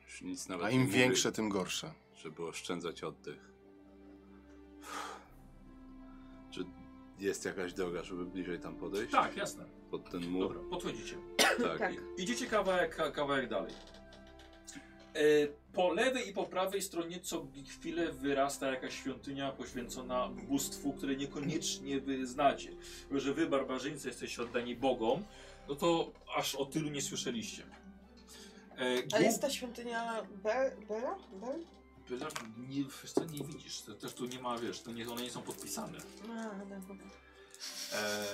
S8: Już nic nawet
S2: A
S8: nie
S2: im
S8: mówi,
S2: większe, tym gorsze.
S8: Żeby oszczędzać oddech. Czy jest jakaś droga, żeby bliżej tam podejść?
S1: Tak, jasne.
S8: Pod ten mur?
S1: Dobra, podchodzicie.
S8: Tak.
S6: Tak.
S8: I,
S1: Idziecie kawałek, ka- kawałek dalej. E, Po lewej i po prawej stronie co chwilę wyrasta jakaś świątynia poświęcona bóstwu, które niekoniecznie wy znacie. Bo że wy, barbarzyńcy, jesteście oddani bogom, no to aż o tylu nie słyszeliście. E,
S6: Ale
S1: głó-
S6: jest ta świątynia Be Bela? Bel?
S1: Wiesz, Nie, wiesz co, nie widzisz, to też tu nie ma, wiesz, to nie, one nie są podpisane.
S6: A, dobra.
S1: E,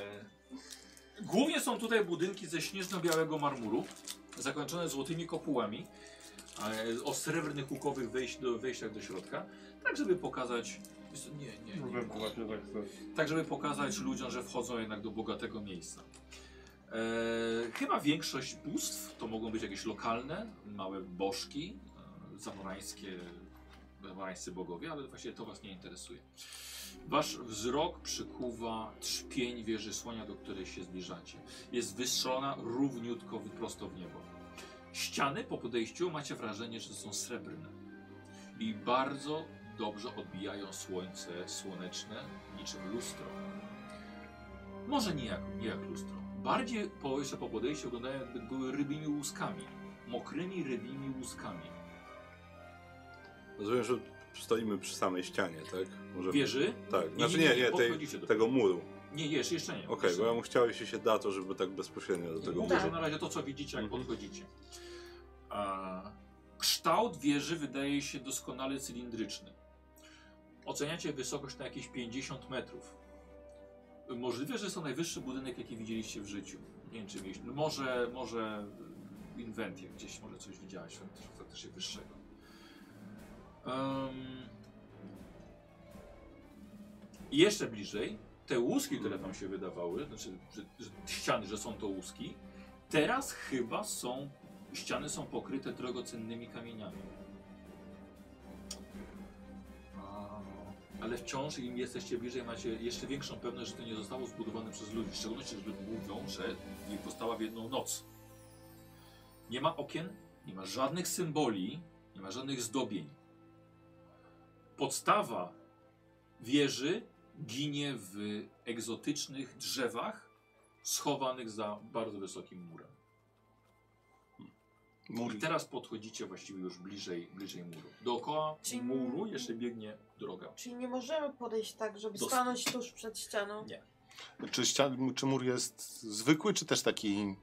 S1: Głównie są tutaj budynki ze śnieżno-białego marmuru, zakończone złotymi kopułami e, o srebrnych hukowych wejść do, wejściach do środka, tak żeby pokazać... wiesz co, Nie, nie, nie.
S4: Wiem, właśnie tak chcę.
S1: Tak żeby pokazać ludziom, że wchodzą jednak do bogatego miejsca. E, chyba większość bóstw to mogą być jakieś lokalne, małe bożki, e, zamorańskie, zamorańscy bogowie, ale właściwie to was nie interesuje. Wasz wzrok przykuwa trzpień wieży słonia, do której się zbliżacie. Jest wystrzelona równiutko w- prosto w niebo. Ściany po podejściu macie wrażenie, że są srebrne i bardzo dobrze odbijają słońce słoneczne niczym lustro. Może nie jak, nie jak lustro. Bardziej po, jeszcze po podejściu wyglądają jakby były rybimi łuskami. Mokrymi rybimi łuskami.
S8: rozumiem, że stoimy przy samej ścianie, tak? Możemy...
S1: Wieży?
S8: Tak,
S1: Nie,
S8: znaczy
S1: nie,
S8: nie,
S1: nie,
S8: nie, tej,
S1: podchodzicie do-
S8: tego muru.
S1: Nie, jeszcze, jeszcze nie.
S8: Okej, bo ja mu chciał, jeśli się da, to żeby tak bezpośrednio do tego
S1: Mówię,
S8: muru.
S1: że na razie to, co widzicie, jak
S8: Mhm.
S1: podchodzicie. A, kształt wieży wydaje się doskonale cylindryczny. Oceniacie wysokość na jakieś 50 metrów. Możliwe, że jest to najwyższy budynek, jaki widzieliście w życiu. Nie wiem, czy mieliście. no Może, może w inwentie gdzieś, może coś widziałeś faktycznie wyższego. Em, I jeszcze bliżej, te łuski, które wam się wydawały, znaczy że, że ściany, że są to łuski, teraz chyba są, ściany są pokryte drogocennymi kamieniami. A, Ale wciąż im jesteście bliżej, macie jeszcze większą pewność, że to nie zostało zbudowane przez ludzi. W szczególności, że mówią, że nie powstała w jedną noc. Nie ma okien, nie ma żadnych symboli, nie ma żadnych zdobień. Podstawa wieży ginie w egzotycznych drzewach schowanych za bardzo wysokim murem. I teraz podchodzicie właściwie już bliżej, bliżej muru. Dookoła
S3: Czyli-
S1: muru jeszcze biegnie droga.
S3: Czyli nie możemy podejść tak, żeby
S1: Dos-
S3: stanąć tuż przed ścianą.
S5: Czy, ścian, czy mur jest zwykły, czy też taki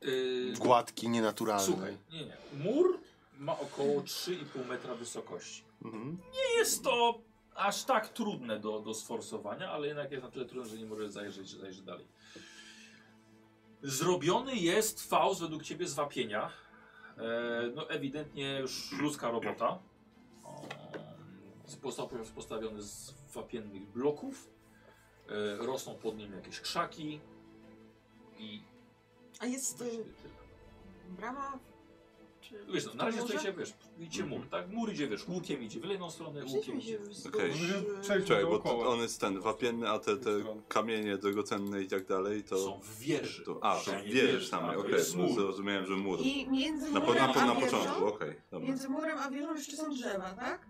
S1: Yy,
S5: gładki, nienaturalny?
S1: słuchaj, nie, nie. Mur ma około 3,5 metra wysokości.
S5: Mhm.
S1: Nie jest to aż tak trudne do, do sforsowania, ale jednak jest na tyle trudne, że nie możesz zajrzeć, zajrzeć dalej. Zrobiony jest faust według ciebie z wapienia. E, no ewidentnie już ludzka robota. O, Został po prostu postawiony z wapiennych bloków. E, rosną pod nim jakieś krzaki. I
S3: A jest y,
S1: właściwie tyle.
S3: brama? Czy...
S1: Wiesz, no, na razie
S3: To może? Mhm.
S1: stoicie, wiesz, idzie mur, tak? Mur idzie, wiesz, łukiem idzie w jedną stronę, łukiem
S3: Przejdźmy się
S1: idzie.
S3: Y, wzdłuż.
S8: Okej.
S4: Przejdźmy
S8: Czekaj, bo
S4: dookoła.
S8: to, on jest ten wapienny, a te, te
S4: Stron.
S8: kamienie drogocenne i tak dalej, to...
S1: Są w wieży.
S8: to a, to
S1: Że nie
S8: wież
S1: a
S8: samej,
S1: to
S8: okej,
S1: jest
S8: no,
S1: mur.
S8: zrozumiałem, że mur.
S3: I między
S8: Na, po,
S3: murem
S8: na, po, na
S3: a
S8: początku,
S3: wieżą?
S8: okej, dobra.
S3: Między murem a wieżą jeszcze są drzewa, tak?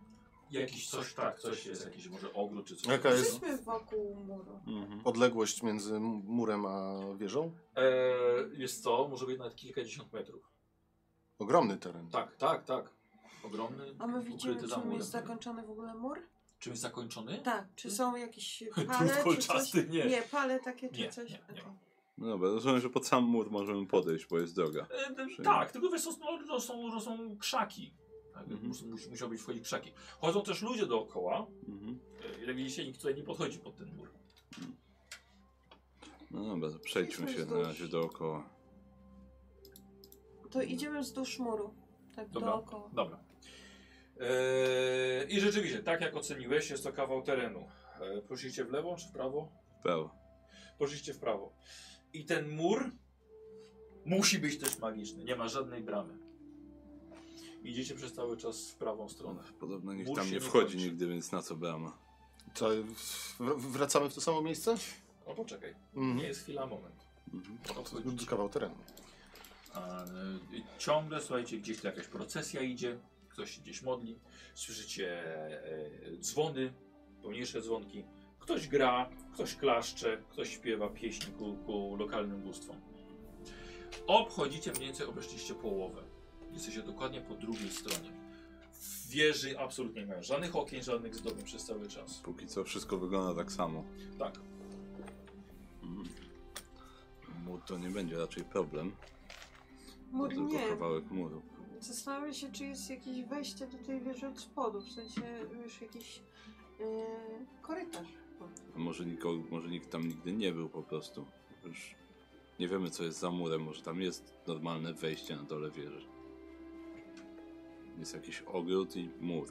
S1: Jakiś coś tak, coś jest, jakiś może ogród czy coś.
S5: Jaka jest-
S3: Przejdźmy wokół muru.
S8: Mhm.
S5: Odległość między m- murem a wieżą?
S1: Eee, jest to, może być nawet kilkadziesiąt metrów.
S5: Ogromny teren.
S1: Tak, tak, tak. Ogromny,
S3: A my
S1: ukryty
S3: widzimy,
S1: za
S3: czym
S1: murem.
S3: jest zakończony w ogóle mur?
S1: Czymś zakończony?
S3: Tak, czy
S8: Hmm?
S3: są jakieś pale czy coś?
S1: Trójkolczasty, nie.
S3: Nie, pale takie czy
S1: Nie,
S3: coś?
S1: nie, nie.
S3: Okej.
S8: No dobra, rozumiem, że pod sam mur możemy podejść, bo jest droga.
S1: E, d-
S8: Przyjmę.
S1: tak, tylko wiesz, to, no, to, są, to są krzaki. Tak,
S8: Mhm.
S1: mus, mus, musiałbyś wchodzić w krzaki. Chodzą też ludzie dookoła.
S8: Mhm.
S1: E, Jak widzicie, nikt tutaj nie podchodzi pod ten mur.
S8: No dobra, to przejdźmy się
S3: Przejdźmy
S8: na
S3: wzdłuż.
S8: razie dookoła.
S3: To idziemy wzdłuż muru. Tak
S1: Dobra.
S3: dookoła.
S1: Dobra. Eee, I rzeczywiście, tak jak oceniłeś, jest to kawał terenu. Eee, poszliście w lewo czy w prawo?
S8: Peł.
S1: Poszliście w prawo. I ten mur musi być też magiczny. Nie ma żadnej bramy. Idziecie przez cały czas w prawą stronę.
S8: Podobno nikt
S1: Mur
S8: tam
S1: się
S8: nie
S1: nie
S8: wchodzi
S1: kończy.
S8: nigdy, więc na co brama?
S5: Co, w- wracamy w to samo miejsce?
S1: O, poczekaj. Nie
S5: Mhm.
S1: jest chwila, moment.
S8: Mhm.
S5: Duży
S1: Odchodzicie.
S5: kawał terenu.
S1: A, y, Ciągle, słuchajcie, gdzieś tu jakaś procesja idzie, ktoś się gdzieś modli, słyszycie e, dzwony, pomniejsze dzwonki, ktoś gra, ktoś klaszcze, ktoś śpiewa pieśni ku, ku lokalnym bóstwom. Obchodzicie mniej więcej, obeszliście połowę. Jesteście dokładnie po drugiej stronie. W Wieży absolutnie nie mają żadnych okien, żadnych zdobień przez cały czas.
S8: Póki co wszystko wygląda tak samo.
S1: Tak.
S8: Mhm. Mur to nie będzie raczej problem, bo
S3: Mur
S8: No tylko
S3: nie.
S8: kawałek muru.
S3: Zastanawiam się, czy jest jakieś wejście do tej wieży od spodu, w sensie już jakiś yy, korytarz.
S8: A może, niko, może nikt tam nigdy nie był po prostu. Już nie wiemy co jest za murem, może tam jest normalne wejście na dole wieży. Jest jakiś ogród i mur.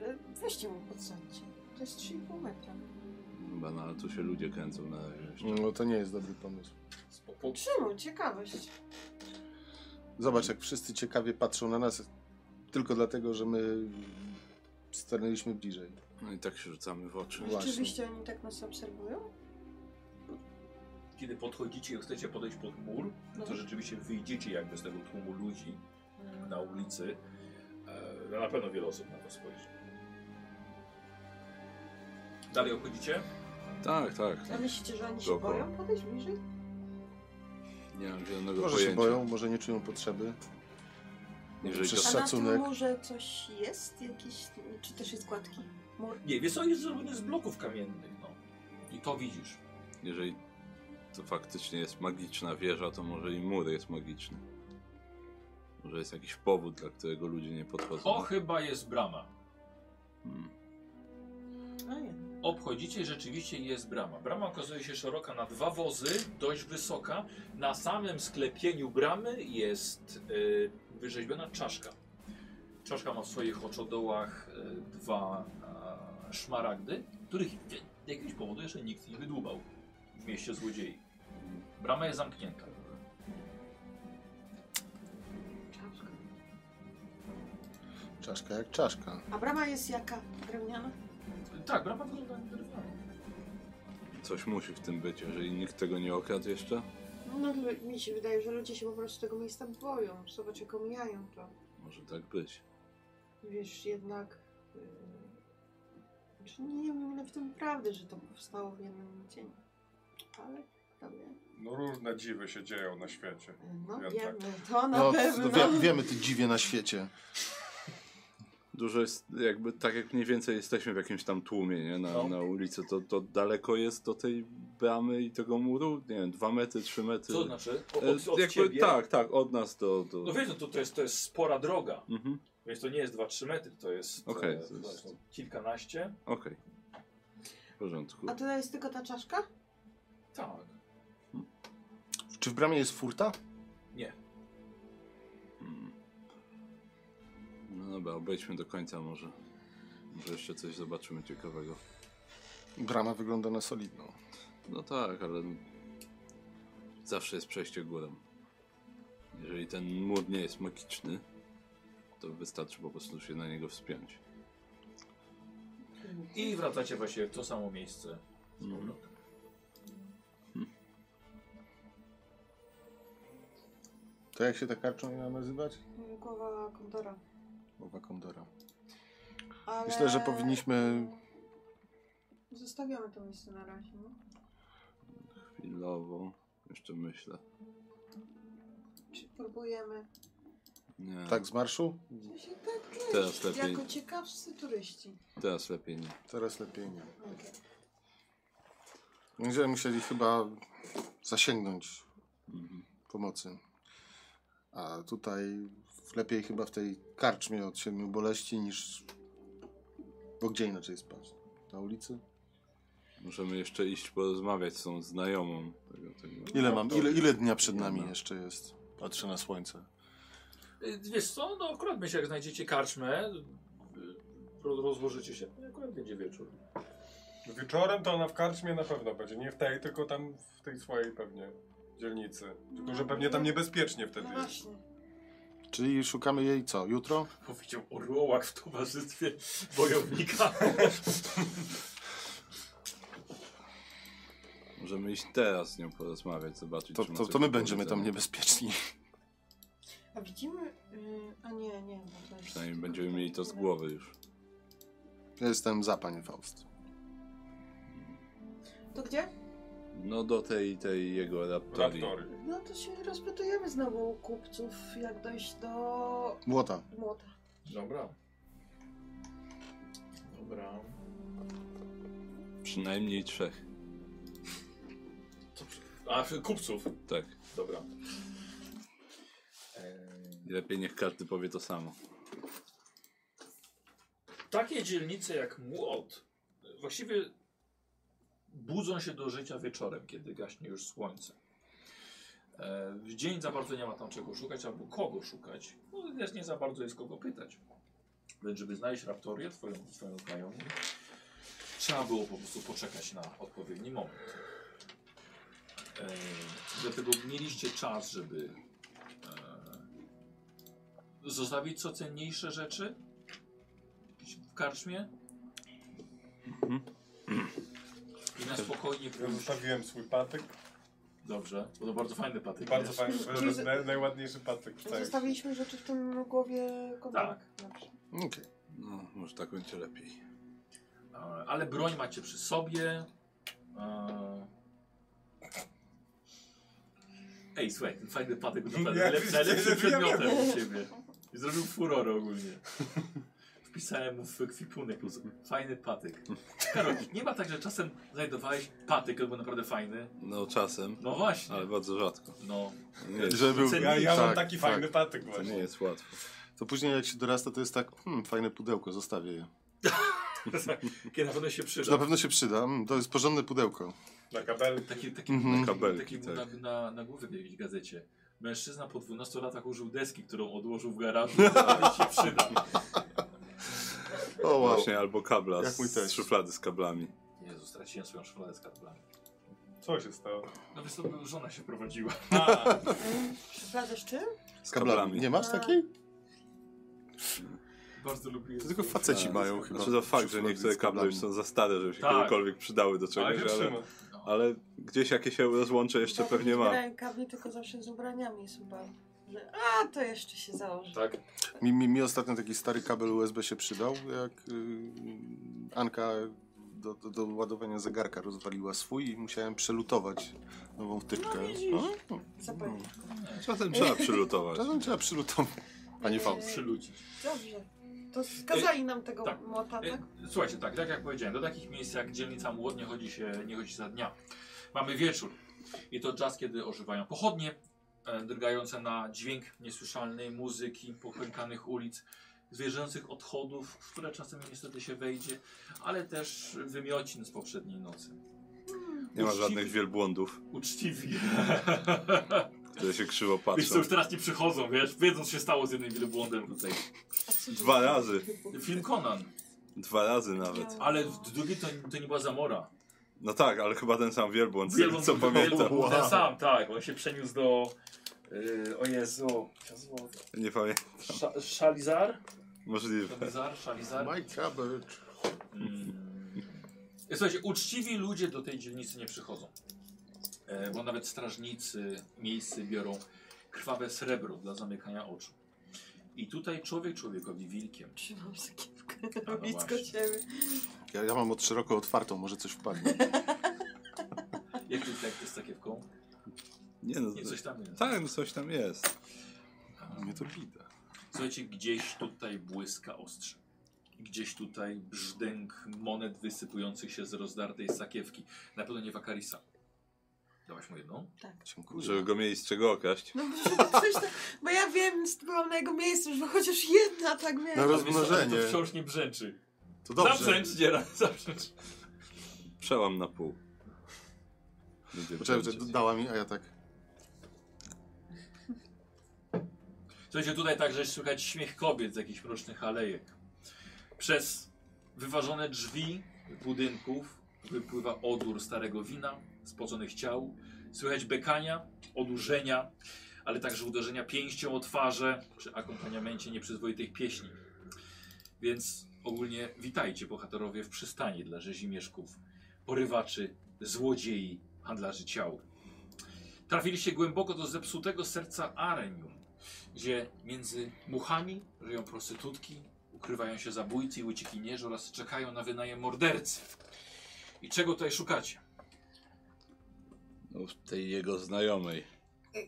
S3: E, Weźcie mu podsadźcie. To jest 3,5 metra.
S8: Chyba no, ale tu się ludzie kręcą na razie jeszcze.
S2: Mm.
S5: No to nie jest dobry pomysł.
S1: Spoko.
S3: Czemu? Ciekawość.
S5: Zobacz, jak wszyscy ciekawie patrzą na nas tylko dlatego, że my stanęliśmy bliżej.
S8: No i tak się rzucamy w oczy.
S5: Właśnie.
S3: Rzeczywiście oni tak nas obserwują?
S1: Kiedy podchodzicie i chcecie podejść pod mur, no to rzeczywiście wyjdziecie jakby z tego tłumu ludzi, na ulicy. E, na pewno wiele osób na to spojrzy. Dalej obchodzicie?
S8: Tak, tak.
S3: A myślicie, że oni się
S8: Dookoła.
S3: boją podejść bliżej?
S8: Nie mam zielonego
S5: Może
S8: pojęcia.
S5: się boją, może nie czują potrzeby.
S8: Jeżeli
S5: Przez
S8: to...
S6: A na
S5: Szacunek.
S6: tym murze coś jest? Jakieś, czy też jest gładki mur?
S1: Nie, wiesz co, jest zrobiony z bloków kamiennych, no. I to widzisz.
S8: Jeżeli to faktycznie jest magiczna wieża, to może i mur jest magiczny. Może jest jakiś powód, dla którego ludzie nie podchodzą.
S1: To chyba jest brama.
S8: Hmm.
S6: No nie.
S1: Obchodzicie i rzeczywiście jest brama. Brama okazuje się szeroka na dwa wozy, dość wysoka. Na samym sklepieniu bramy jest y, wyrzeźbiona czaszka. Czaszka ma w swoich oczodołach y, dwa e, szmaragdy, których z jakiegoś powodu jeszcze nikt nie wydłubał w mieście złodziei. Brama jest zamknięta.
S6: Czaszka.
S5: Czaszka jak czaszka.
S6: A brama jest jaka? Drewniana?
S1: Tak, brama wygląda drewniana.
S8: Coś musi w tym być, jeżeli nikt tego nie okradł jeszcze.
S3: No lu- mi się wydaje, że ludzie się po prostu tego miejsca boją. Zobacz jak omijają to.
S8: Może tak być.
S3: Wiesz, jednak... Yy, czy nie, nie wiem ile w tym prawdy, że to powstało w jednym dzień. Ale... Kto wie?
S4: No różne dziwy się dzieją na świecie.
S3: No
S4: Wiem,
S3: wiemy, to na
S5: No,
S3: pewno.
S5: no wie, wiemy ty dziwie na świecie.
S8: Dużo jest, jakby tak jak mniej więcej jesteśmy w jakimś tam tłumie, nie? Na,
S1: No.
S8: na ulicy, to, to daleko jest do tej bramy i tego muru, nie wiem, dwa metry, trzy metry.
S1: Co to znaczy? O-
S8: E,
S1: Od, od
S8: jakby,
S1: ciebie?
S8: Tak, tak, od nas do... do...
S1: No wiesz, no to, to, jest, to jest spora droga.
S8: Mhm,
S1: Więc to nie jest 2-3 metry, to jest,
S8: Okej,
S1: e,
S8: to jest-
S1: zobacz, no, kilkanaście.
S8: okej. W porządku.
S3: A to jest tylko ta czaszka?
S1: Tak.
S5: Czy w bramie jest furta?
S1: Nie.
S8: Mm. No dobra, obejdźmy do końca może. Może jeszcze coś zobaczymy ciekawego.
S5: Brama wygląda na solidną.
S8: No tak, ale zawsze jest przejście górą. Jeżeli ten mur nie jest magiczny, to wystarczy po prostu się na niego wspiąć.
S1: I wracacie właśnie w to samo miejsce. z
S8: Mhm.
S1: powrotem.
S5: To jak się ta karczą miała nazywać?
S3: Głowa kontora.
S5: Mowa Kondora.
S3: Ale...
S5: Myślę, że powinniśmy-
S3: Zostawiamy to miejsce na razie. No?
S8: Chwilowo, jeszcze myślę.
S3: Czy próbujemy?
S8: Nie,
S5: Tak z marszu?
S3: Czy się tak czuć?
S8: Teraz lepiej.
S3: Jako ciekawscy turyści.
S8: teraz lepiej nie.
S5: Teraz lepiej nie.
S3: Okay.
S5: Będziemy musieli chyba zasięgnąć
S8: Mhm.
S5: pomocy. A tutaj lepiej chyba w tej karczmie od siedmiu boleści niż... Bo gdzie inaczej spać? Na ulicy?
S8: Możemy jeszcze iść porozmawiać z tą znajomą tego, tego.
S5: Ile mam? Ile, ile dnia przed
S8: Jedna.
S5: nami jeszcze jest? Patrzę na słońce.
S1: Y, Wiesz co, no akurat myślę, jak znajdziecie karczmę, y, ro- rozłożycie się, no akurat będzie wieczór.
S4: Wieczorem to ona w karczmie na pewno będzie. Nie w tej, tylko tam w tej swojej pewnie dzielnicy. Tylko, że pewnie tam niebezpiecznie
S3: No
S4: wtedy jest.
S3: właśnie.
S5: Czyli szukamy jej co? Jutro?
S1: Powiedział orłołak w towarzystwie wojownika.
S8: Możemy iść teraz z nią porozmawiać, zobaczyć.
S5: To,
S8: czy ma
S5: to,
S8: coś
S5: to my
S8: do
S5: będziemy tam
S8: powiedzenia.
S5: niebezpieczni.
S3: A widzimy... Yy, a nie, nie. Bo to jest...
S8: Przynajmniej będziemy mieli to z głowy już.
S5: Ja Jestem za, panie Faust.
S3: To gdzie?
S8: No do tej, tej jego raptorii.
S4: Raptory.
S3: No to się rozpytujemy znowu u kupców, jak dojść do
S5: Młota.
S3: młota.
S1: Dobra. Dobra.
S8: Przynajmniej trzech.
S1: Co przy- A, kupców.
S8: Tak.
S1: Dobra. Eee,
S8: Lepiej niech każdy powie to samo.
S1: takie dzielnice jak Młot właściwie budzą się do życia wieczorem, kiedy gaśnie już słońce. E, W dzień za bardzo nie ma tam czego szukać albo kogo szukać. No też nie za bardzo jest kogo pytać. Więc żeby znaleźć raptorię, twoją, twoją znajomą, trzeba było po prostu poczekać na odpowiedni moment. E, dlatego mieliście czas, żeby e, zostawić co cenniejsze rzeczy, w karczmie. I na spokojnie
S4: Ja
S1: pójść.
S4: Zostawiłem swój patyk.
S1: Dobrze, bo to bardzo fajny patyk.
S4: Bardzo
S1: jest.
S4: fajny,
S3: Czyli z-
S4: naj, najładniejszy patyk
S8: Tak.
S4: w całej.
S3: Zostawiliśmy rzeczy w tym głowie kontora.
S1: Tak.
S3: Dobrze.
S5: Okej.
S8: No, może tak będzie lepiej.
S1: E, Ale broń macie przy sobie. E, Ej, słuchaj, ten fajny patyk był naprawdę
S4: Ja
S1: lepszy,
S4: widzę,
S1: najlepszym
S4: że ja
S1: przedmiotem
S4: wiem.
S1: u ciebie. I zrobił furorę ogólnie. Wpisałem mu w kwipunek plus fajny patyk. Karol, nie ma tak, że czasem znajdowałeś patyk, który był naprawdę fajny?
S8: No czasem,
S1: No właśnie.
S8: ale bardzo rzadko.
S1: No.
S8: Nie jest,
S2: Żeby był...
S4: Ja, ja mam
S2: Tak,
S4: taki
S2: tak.
S4: fajny patyk
S8: to nie
S4: właśnie.
S8: jest łatwo.
S2: To później jak się dorasta, to jest tak, hmm, fajne pudełko, zostawię je.
S1: Kiedy na pewno się
S2: Że na
S1: przyda.
S2: pewno się przyda, mm, to jest porządne pudełko.
S4: Na kabelki.
S1: Taki, taki,
S2: Mhm.
S1: taki,
S8: Kabelki,
S1: taki był na,
S8: tak.
S1: na, na głowie w jakiejś gazecie. Mężczyzna po 12 latach użył deski, którą odłożył w garażu, która się przyda.
S2: O wow.
S8: Właśnie albo kabla
S2: Jak
S8: z,
S2: mój
S8: z
S2: też.
S8: szuflady z kablami.
S1: Jezu, straciłem swoją szufladę z kartulami.
S4: Co się stało?
S1: No wiesz co, żona się prowadziła.
S4: A,
S3: Szufladę z czym?
S8: Z
S2: Z kablami.
S8: kablami.
S2: Nie masz takiej?
S1: Bardzo lubiłem.
S2: To tylko faceci mają chyba.
S8: Znaczy to fakt, że
S2: Szuflady
S8: niektóre
S2: z kablami.
S8: kable już są za stare, żeby się
S1: Tak.
S8: kiedykolwiek przydały do
S4: ale nie
S8: czegoś, ale,
S4: trzyma.
S8: ale gdzieś jakieś się rozłącze jeszcze pewnie ma.
S3: Rękawi No, tylko zawsze z ubraniami są bardzo. Że, a, to jeszcze się założy.
S1: Tak.
S2: Mi, mi, mi ostatnio taki stary kabel USB się przydał, jak y, Anka do, do, do ładowania zegarka rozwaliła swój i musiałem przelutować nową wtyczkę. No, no,
S3: Zapomnij.
S8: Czasem trzeba przylutować.
S2: czasem trzeba przelutować. Panie Faust.
S1: Przyluci.
S8: No.
S3: Dobrze. To skazali nam tego
S1: tak.
S3: młota, tak?
S1: E, Słuchajcie, tak, tak jak powiedziałem, do takich miejsc jak dzielnica Młot nie chodzi się, nie chodzi się za dnia. Mamy wieczór i to czas, kiedy ożywają pochodnie, e, drgające na dźwięk niesłyszalnej muzyki, popękanych ulic, zwierzęcych odchodów, w które czasem niestety się wejdzie, ale też wymiocin z poprzedniej nocy.
S8: Nie ma
S1: Uczciwi-
S8: żadnych wielbłądów,
S1: Uczciwi.
S8: które się krzywo
S1: Wiesz
S8: patrzą.
S1: co, już teraz nie przychodzą, wiesz, wiedzą co się stało z jednym wielbłądem tutaj.
S8: Dwa razy.
S1: Film Conan,
S8: Dwa razy nawet.
S1: ale w drugi to, to nie była zamora.
S8: No tak, ale chyba ten sam wielbłąd, z tego
S1: Wielbłąd
S8: co
S1: był
S8: pamiętam.
S1: wielbłąd, Ten sam, tak, on się przeniósł do... Yy, o Jezu,
S8: Nie pamiętam.
S1: Sza, Szalizar?
S8: Możliwe.
S1: Szalizar, Szalizar.
S2: My kabel.
S1: Mm. Słuchajcie, uczciwi ludzie do tej dzielnicy nie przychodzą. E, bo nawet strażnicy miejscy biorą krwawe srebro dla zamykania oczu. I tutaj człowiek człowiekowi wilkiem.
S3: Trzymam sakiewkę
S1: no
S3: blisko
S1: właśnie.
S3: ciebie.
S2: Ja, ja mam od szeroko otwartą, może coś wpadnie.
S1: Jak to jak to z takiewką?
S8: Nie no,
S1: Nie, coś tam jest.
S8: tak, no coś tam jest.
S2: Nie to widać.
S1: Słuchajcie, gdzieś tutaj błyska ostrze. Gdzieś tutaj brzdęk monet wysypujących się z rozdartej sakiewki. Na pewno nie wakarisa. Dałaś mu jedną?
S8: Żeby go mieli z czego okraść.
S3: No może coś tam, bo ja wiem, byłam na jego miejscu, żeby chociaż jedna tak
S2: Na
S8: No
S3: miała.
S2: rozmnożenie.
S1: To wciąż nie brzęczy.
S2: To dobrze.
S1: Zabrzęcz, dziera, zabrzęcz.
S8: Przełam na pół. Będzie
S2: Poczekaj,
S8: wręczyć.
S2: że dała mi, a ja tak.
S1: Słuchajcie, tutaj także słychać śmiech kobiet z jakichś mrocznych alejek. Przez wyważone drzwi budynków wypływa odór starego wina, spoconych ciał. Słychać bekania, odurzenia, ale także uderzenia pięścią o twarze przy akompaniamencie nieprzyzwoitych pieśni. Więc ogólnie witajcie bohaterowie w przystani dla rzezimieszków, porywaczy, złodziei, handlarzy ciał. Trafiliście głęboko do zepsutego serca Arenium, gdzie między muchami żyją prostytutki, ukrywają się zabójcy i uciekinierzy oraz czekają na wynajem mordercy. I czego tutaj szukacie?
S8: No, tej jego znajomej,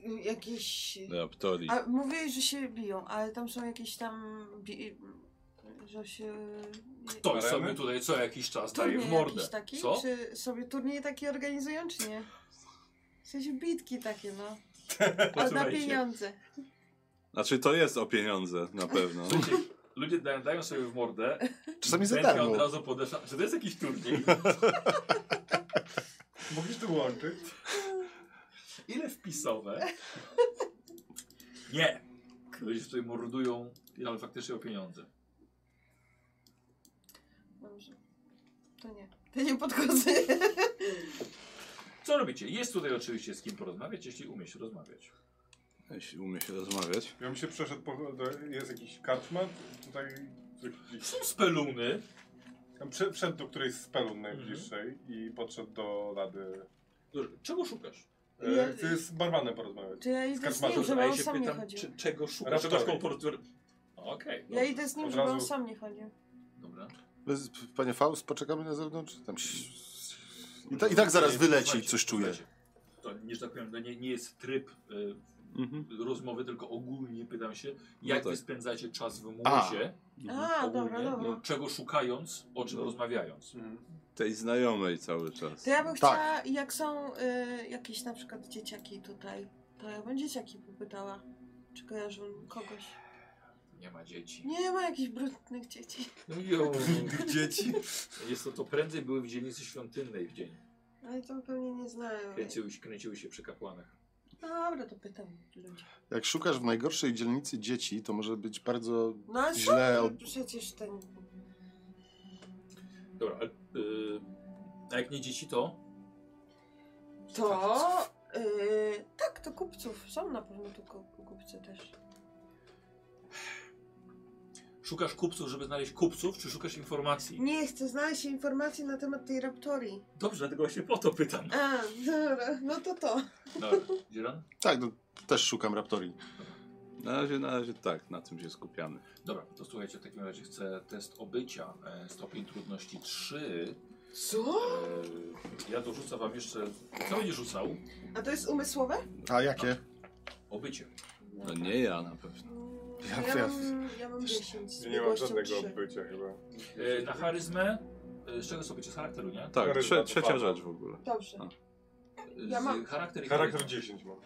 S3: Y- Jakieś...
S8: Raptorii.
S3: A mówię, że się biją, ale tam są jakieś tam... Bi... Że się...
S1: Ktoś
S4: Areny?
S1: sobie tutaj co jakiś czas daje w
S3: Turniej
S1: mordę.
S3: jakiś taki?
S1: Co?
S3: Czy sobie turniej taki organizują, czy nie? W sensie bitki takie, no. Ale na
S1: Posłuchajcie.
S3: pieniądze.
S8: Znaczy to jest o pieniądze, na pewno.
S1: Słuchajcie, ludzie dają, dają sobie w mordę.
S2: Czasami za
S1: Benka
S2: darmo.
S1: od razu podeszła. Czy to jest jakiś turniej?
S4: Musisz tu łączyć.
S1: Ile wpisowe? Nie. Ludzie tutaj mordują, ale faktycznie o pieniądze.
S3: Dobrze. To nie. To nie podchodzę.
S1: Co robicie? Jest tutaj oczywiście z kim porozmawiać, jeśli umie się rozmawiać.
S8: Jeśli umie się rozmawiać.
S4: Ja bym się przeszedł po... do- Jest jakiś karczmat? Tutaj...
S1: Są speluny.
S4: Tam przy- Wszedł do którejś z pelun najbliższej i podszedł do lady.
S1: Dobrze, Czego szukasz?
S4: E, Chcę z barmanem porozmawiać.
S3: Czy ja idę z
S4: Skarb
S3: nim,
S4: Mazur,
S3: żeby
S1: A
S3: on
S1: ja się
S3: sam nie
S1: pytam,
S3: chodził?
S1: czy, czego szukasz?
S4: Raptory.
S1: Szukasz komportur... Okej,
S3: Ja
S1: dobrze,
S3: idę z nim,
S4: Od
S3: żeby on
S4: razu-
S3: sam nie chodził.
S1: dobra.
S2: Bez- Panie Faust, poczekamy na zewnątrz? Tam... I, ta, I tak zaraz wyleci,
S1: Słuchajcie,
S2: coś czuję.
S1: słuchajcie, To, nie, że tak powiem, to nie, nie jest tryb y,
S8: Mhm.
S1: rozmowy, tylko ogólnie pytam się,
S2: No
S1: jak
S8: tak.
S1: wy spędzacie czas w muzie,
S3: A, dobra,
S1: ogólnie,
S3: dobra.
S1: Mhm, no, czego szukając, o czym
S8: No.
S1: rozmawiając.
S4: Mhm.
S8: Tej znajomej cały czas.
S3: To ja
S12: Tak.
S3: bym chciała, jak są y, jakieś na przykład dzieciaki tutaj, to ja bym dzieciaki popytała, czy kojarzą kogoś.
S1: Nie ma dzieci.
S3: Nie ma jakichś brudnych dzieci.
S1: No jo.
S8: Dzieci?
S1: Jest to, to prędzej były w dzielnicy świątynnej w dzień.
S3: Ale No to pewnie nie znają. No
S1: Kręciły się, kręciły się przy kapłanach.
S3: Dobra, to pytam ludzi.
S2: Jak szukasz w najgorszej dzielnicy dzieci, to może być bardzo
S3: No ale co?
S2: źle od...
S3: Przecież ten...
S1: Dobra, ale, y, a jak nie dzieci to?
S3: To... Y, tak, to kupców. Są na pewno tu ku- kupcy też.
S1: Szukasz kupców, żeby znaleźć kupców, czy szukasz informacji?
S3: Nie chcę znaleźć informacji na temat tej raptorii.
S1: Dobrze, tego się po to pytam.
S3: A, dobra, no to to.
S1: Dobra, Dzieran?
S2: Tak, no, też szukam raptorii.
S8: Na razie, na razie tak, na tym się skupiamy.
S1: Dobra, to słuchajcie, w takim razie chcę test obycia. E, stopień trudności 3.
S3: Co?
S1: E, ja dorzucę wam jeszcze. Co będzie rzucał?
S3: A to jest umysłowe?
S2: A jakie?
S1: Obycie.
S8: No nie ja na pewno.
S3: Ja, Mm, ja, mam, ja mam 10 z
S4: Ja nie mam
S3: biegłością
S4: żadnego
S3: 3.
S4: odbycia chyba.
S1: E, na charyzmę. E, z czego sobie z charakteru, nie? E,
S8: Tak,
S4: Charyzma
S8: trze
S4: to
S8: trzecia
S4: fakt.
S8: rzecz w ogóle.
S3: Dobrze.
S1: Z
S3: Ja mam-
S1: Charakter i
S4: Charakter
S1: charyzma.
S4: 10 mam.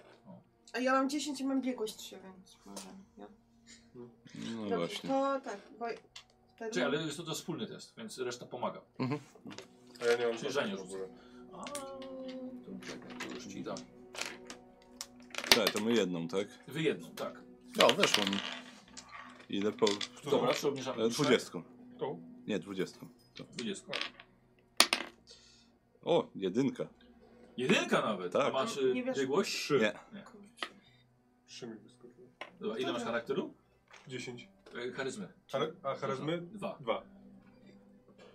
S3: A ja mam 10 i mam biegłość 3, więc może. Ja.
S8: No
S3: Dobrze,
S8: właśnie.
S3: To tak, bo. Wtedy...
S1: Czyli, ale jest to, to wspólny test, więc reszta pomaga.
S4: A ja nie mam
S1: Czyli żenie
S4: w ogóle.
S1: A, to czekaj, to już ci dam.
S8: Tak, to my jedną, tak?
S1: Wy jedną, tak.
S2: No, weszło mi.
S8: Ile po...
S4: no.
S1: Dobra, czy obniżamy? Tak?
S8: E, Dwudziestką.
S4: Tą?
S8: Nie, dwudziestką.
S1: 20.
S8: O, jedynka.
S1: Jedynka nawet.
S8: Tak.
S1: A masz y,
S3: Nie wiesz-
S1: biegłość?
S8: Nie.
S3: Kurczę.
S4: 3 mi wyskoczyło.
S1: Dobra, ile masz charakteru?
S4: 10.
S1: E, charyzmy.
S4: Chary- a charyzmy?
S1: Dwa.
S4: 2.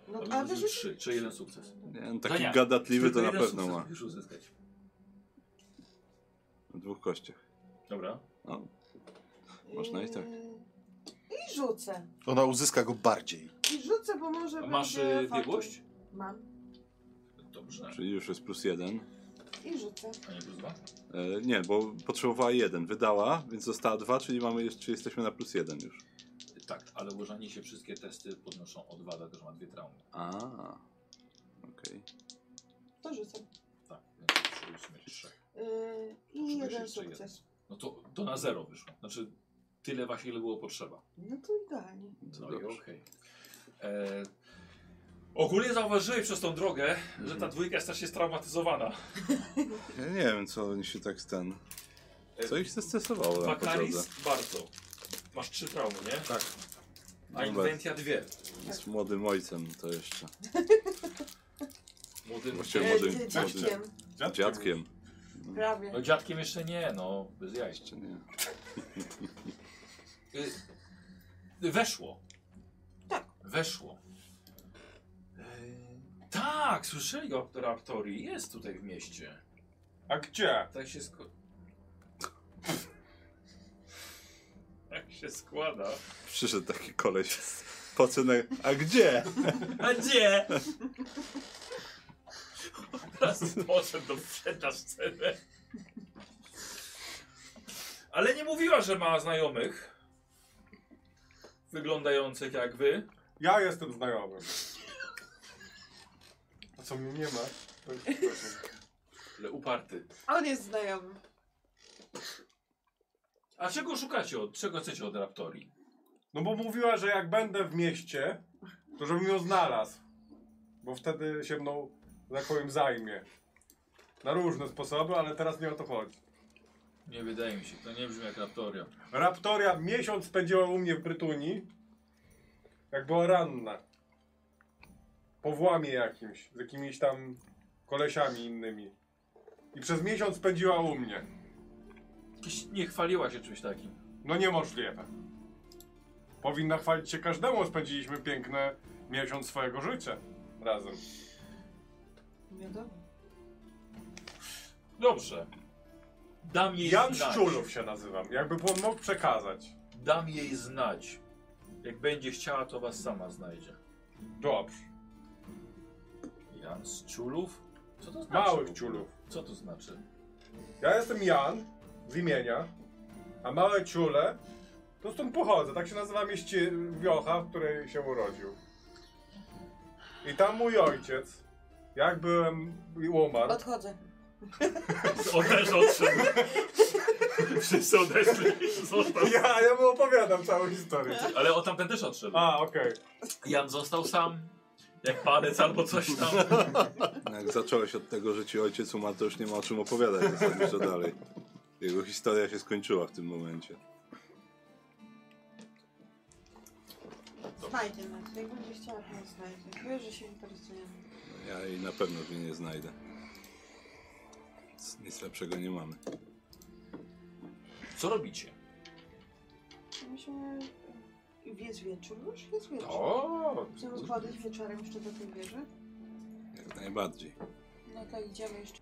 S3: No,
S1: Dobrze,
S3: a
S1: to
S3: wy
S1: jest
S3: rzuć.
S1: trzy, czyli jeden sukces.
S8: Nie, no, taki
S1: Dania,
S8: gadatliwy to
S1: Tylko
S8: na
S1: jeden
S8: pewno
S1: sukces
S8: ma.
S1: musisz uzyskać.
S8: W dwóch kościach.
S1: Dobra.
S8: No, Można i tak.
S3: Yy, I rzucę.
S2: Ona uzyska go bardziej.
S3: I rzucę, bo może.
S1: A masz
S3: będzie
S1: y,
S3: faktur.
S1: biegłość?
S3: Mam.
S1: Dobrze.
S8: czyli już jest plus jeden.
S3: I rzucę.
S1: A nie plus dwa?
S8: E, nie, bo potrzebowała jeden, wydała, więc została dwa, czyli mamy jeszcze, jesteśmy na plus jeden już.
S1: Tak, ale łożanie się wszystkie testy podnoszą o dwa, dlatego że ma dwie traumy.
S8: A, okej.
S3: To rzucę.
S1: Tak, więc przy ósmej trzech.
S3: Yy, I
S1: Potrzebujesz
S3: jeden
S1: jeszcze
S3: sukces.
S1: No to, to na zero wyszło. Znaczy tyle właśnie, ile było potrzeba.
S3: No to idealnie.
S1: No i
S8: dobrze.
S1: okej. E, Ogólnie zauważyłeś przez tą drogę, że
S8: Mhm.
S1: ta dwójka jest strasznie straumatyzowana.
S8: Ja nie wiem, co oni się tak ten... Co ich zestresowało na podrodze?
S1: Bakaris E, bardzo. Masz trzy traumy, nie? Tak. A
S8: Dobra.
S1: Inventia dwie.
S8: Z młodym ojcem to jeszcze.
S1: Młody,
S8: Właściwie
S3: Yy,
S8: młodym,
S3: dzie-
S8: młodym
S3: dziadkiem.
S8: dziadkiem.
S3: Prawie.
S1: No dziadkiem jeszcze nie, no bez jaj.
S8: Jeszcze nie.
S1: Y, Weszło.
S3: Tak.
S1: Weszło. Y, Tak, słyszeli o Raptorii. Jest tutaj w mieście.
S4: A gdzie?
S1: Tak się sko... Tak się składa.
S8: Przyszedł taki koleś. Pocynek. A gdzie?
S1: A gdzie? Teraz poszedł do przedna scenę. Ale nie mówiła, że ma znajomych. Wyglądających jak wy.
S4: Ja jestem znajomym. A co mnie nie ma? To jest problem.
S1: Ale uparty.
S3: On jest znajomy.
S1: A czego szukacie? Od czego chcecie od Raptorii?
S4: No bo mówiła, że jak będę w mieście, to żebym ją znalazł. Bo wtedy się mną, że tak powiem, zajmie. Na różne sposoby, ale teraz nie o to chodzi.
S1: Nie wydaje mi się, to nie brzmi jak Raptoria.
S4: Raptoria miesiąc spędziła u mnie w Brytunii, jak była ranna. Po włamie jakimś, z jakimiś tam kolesiami innymi. I przez miesiąc spędziła u mnie.
S1: Jakiś nie chwaliła się czymś takim.
S4: No niemożliwe. Powinna chwalić się każdemu, spędziliśmy piękne miesiąc swojego życia razem.
S3: Wiadomo.
S1: Dobrze. Dam jej
S4: Jan
S1: znać.
S4: Szczulów się nazywam, jakby pan mógł przekazać.
S1: Dam jej znać. Jak będzie chciała, to was sama znajdzie.
S4: Dobrze.
S1: Jan z ciulów? Co to znaczy?
S4: Małych ciulów.
S1: Co to znaczy?
S4: Ja jestem Jan z imienia A małe ciule, to stąd pochodzę. Tak się nazywa mieście Wiocha, w której się urodził. I tam mój ojciec, jak byłem i umarł,
S3: Odchodzę.
S13: On też odszedł. Wszyscy odeszli. Został.
S4: ja, ja mu opowiadam całą historię.
S1: Tak.
S14: Ale o tamten też odszedł.
S4: A, okej.
S14: Jan został sam. Jak panec albo coś tam.
S8: No Jak zacząłeś od tego, że ci ojciec umarł, to już nie ma o czym opowiadać zasadniczo dalej. Jego historia się skończyła w tym momencie.
S3: Znajdzie nas. Jak będzie chciała, to nas znajdzie. Wiesz, że się interesujemy.
S8: No Ja jej na pewno w niej nie znajdę. Więc Nic lepszego nie mamy.
S14: Co robicie?
S3: Musimy... Jest wieczór już? Jest wieczór.
S4: O,
S3: Chcemy podejść wieczorem jeszcze do tej wieży?
S8: Jak najbardziej.
S3: No to idziemy jeszcze.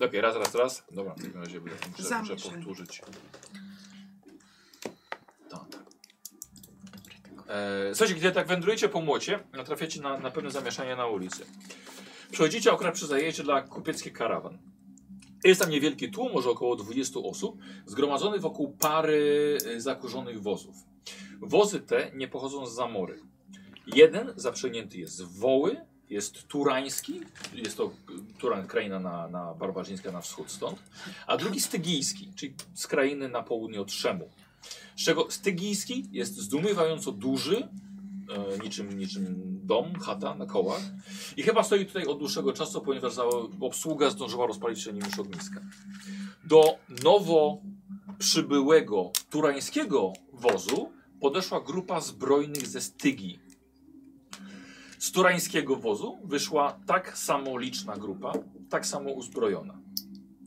S1: Okej, raz, raz, raz. Dobra, w takim razie będę muszę, muszę
S3: Zamieszaj.
S1: powtórzyć. Tak. E, słuchajcie, gdy tak wędrujecie po młocie, natrafiacie na, na pewne zamieszanie na ulicy. Przechodzicie akurat przy zajeździe dla kupiecki karawan. Jest tam niewielki tłum, może około 20 osób, zgromadzony wokół pary e, zakurzonych wozów. Wozy te nie pochodzą z zamory. Jeden zaprzęgnięty jest z woły, jest turański, jest to e, Turan, kraina na, na barbarzyńska na wschód stąd, a drugi stygijski, czyli z krainy na południe od Szemu. Z czego stygijski jest zdumiewająco duży, e, niczym, niczym dom, chata na kołach i chyba stoi tutaj od dłuższego czasu, ponieważ za, obsługa zdążyła rozpalić się nim już ogniska. Do nowo przybyłego turańskiego wozu podeszła grupa zbrojnych ze Stygii. Z turańskiego wozu wyszła tak samo liczna grupa, tak samo uzbrojona.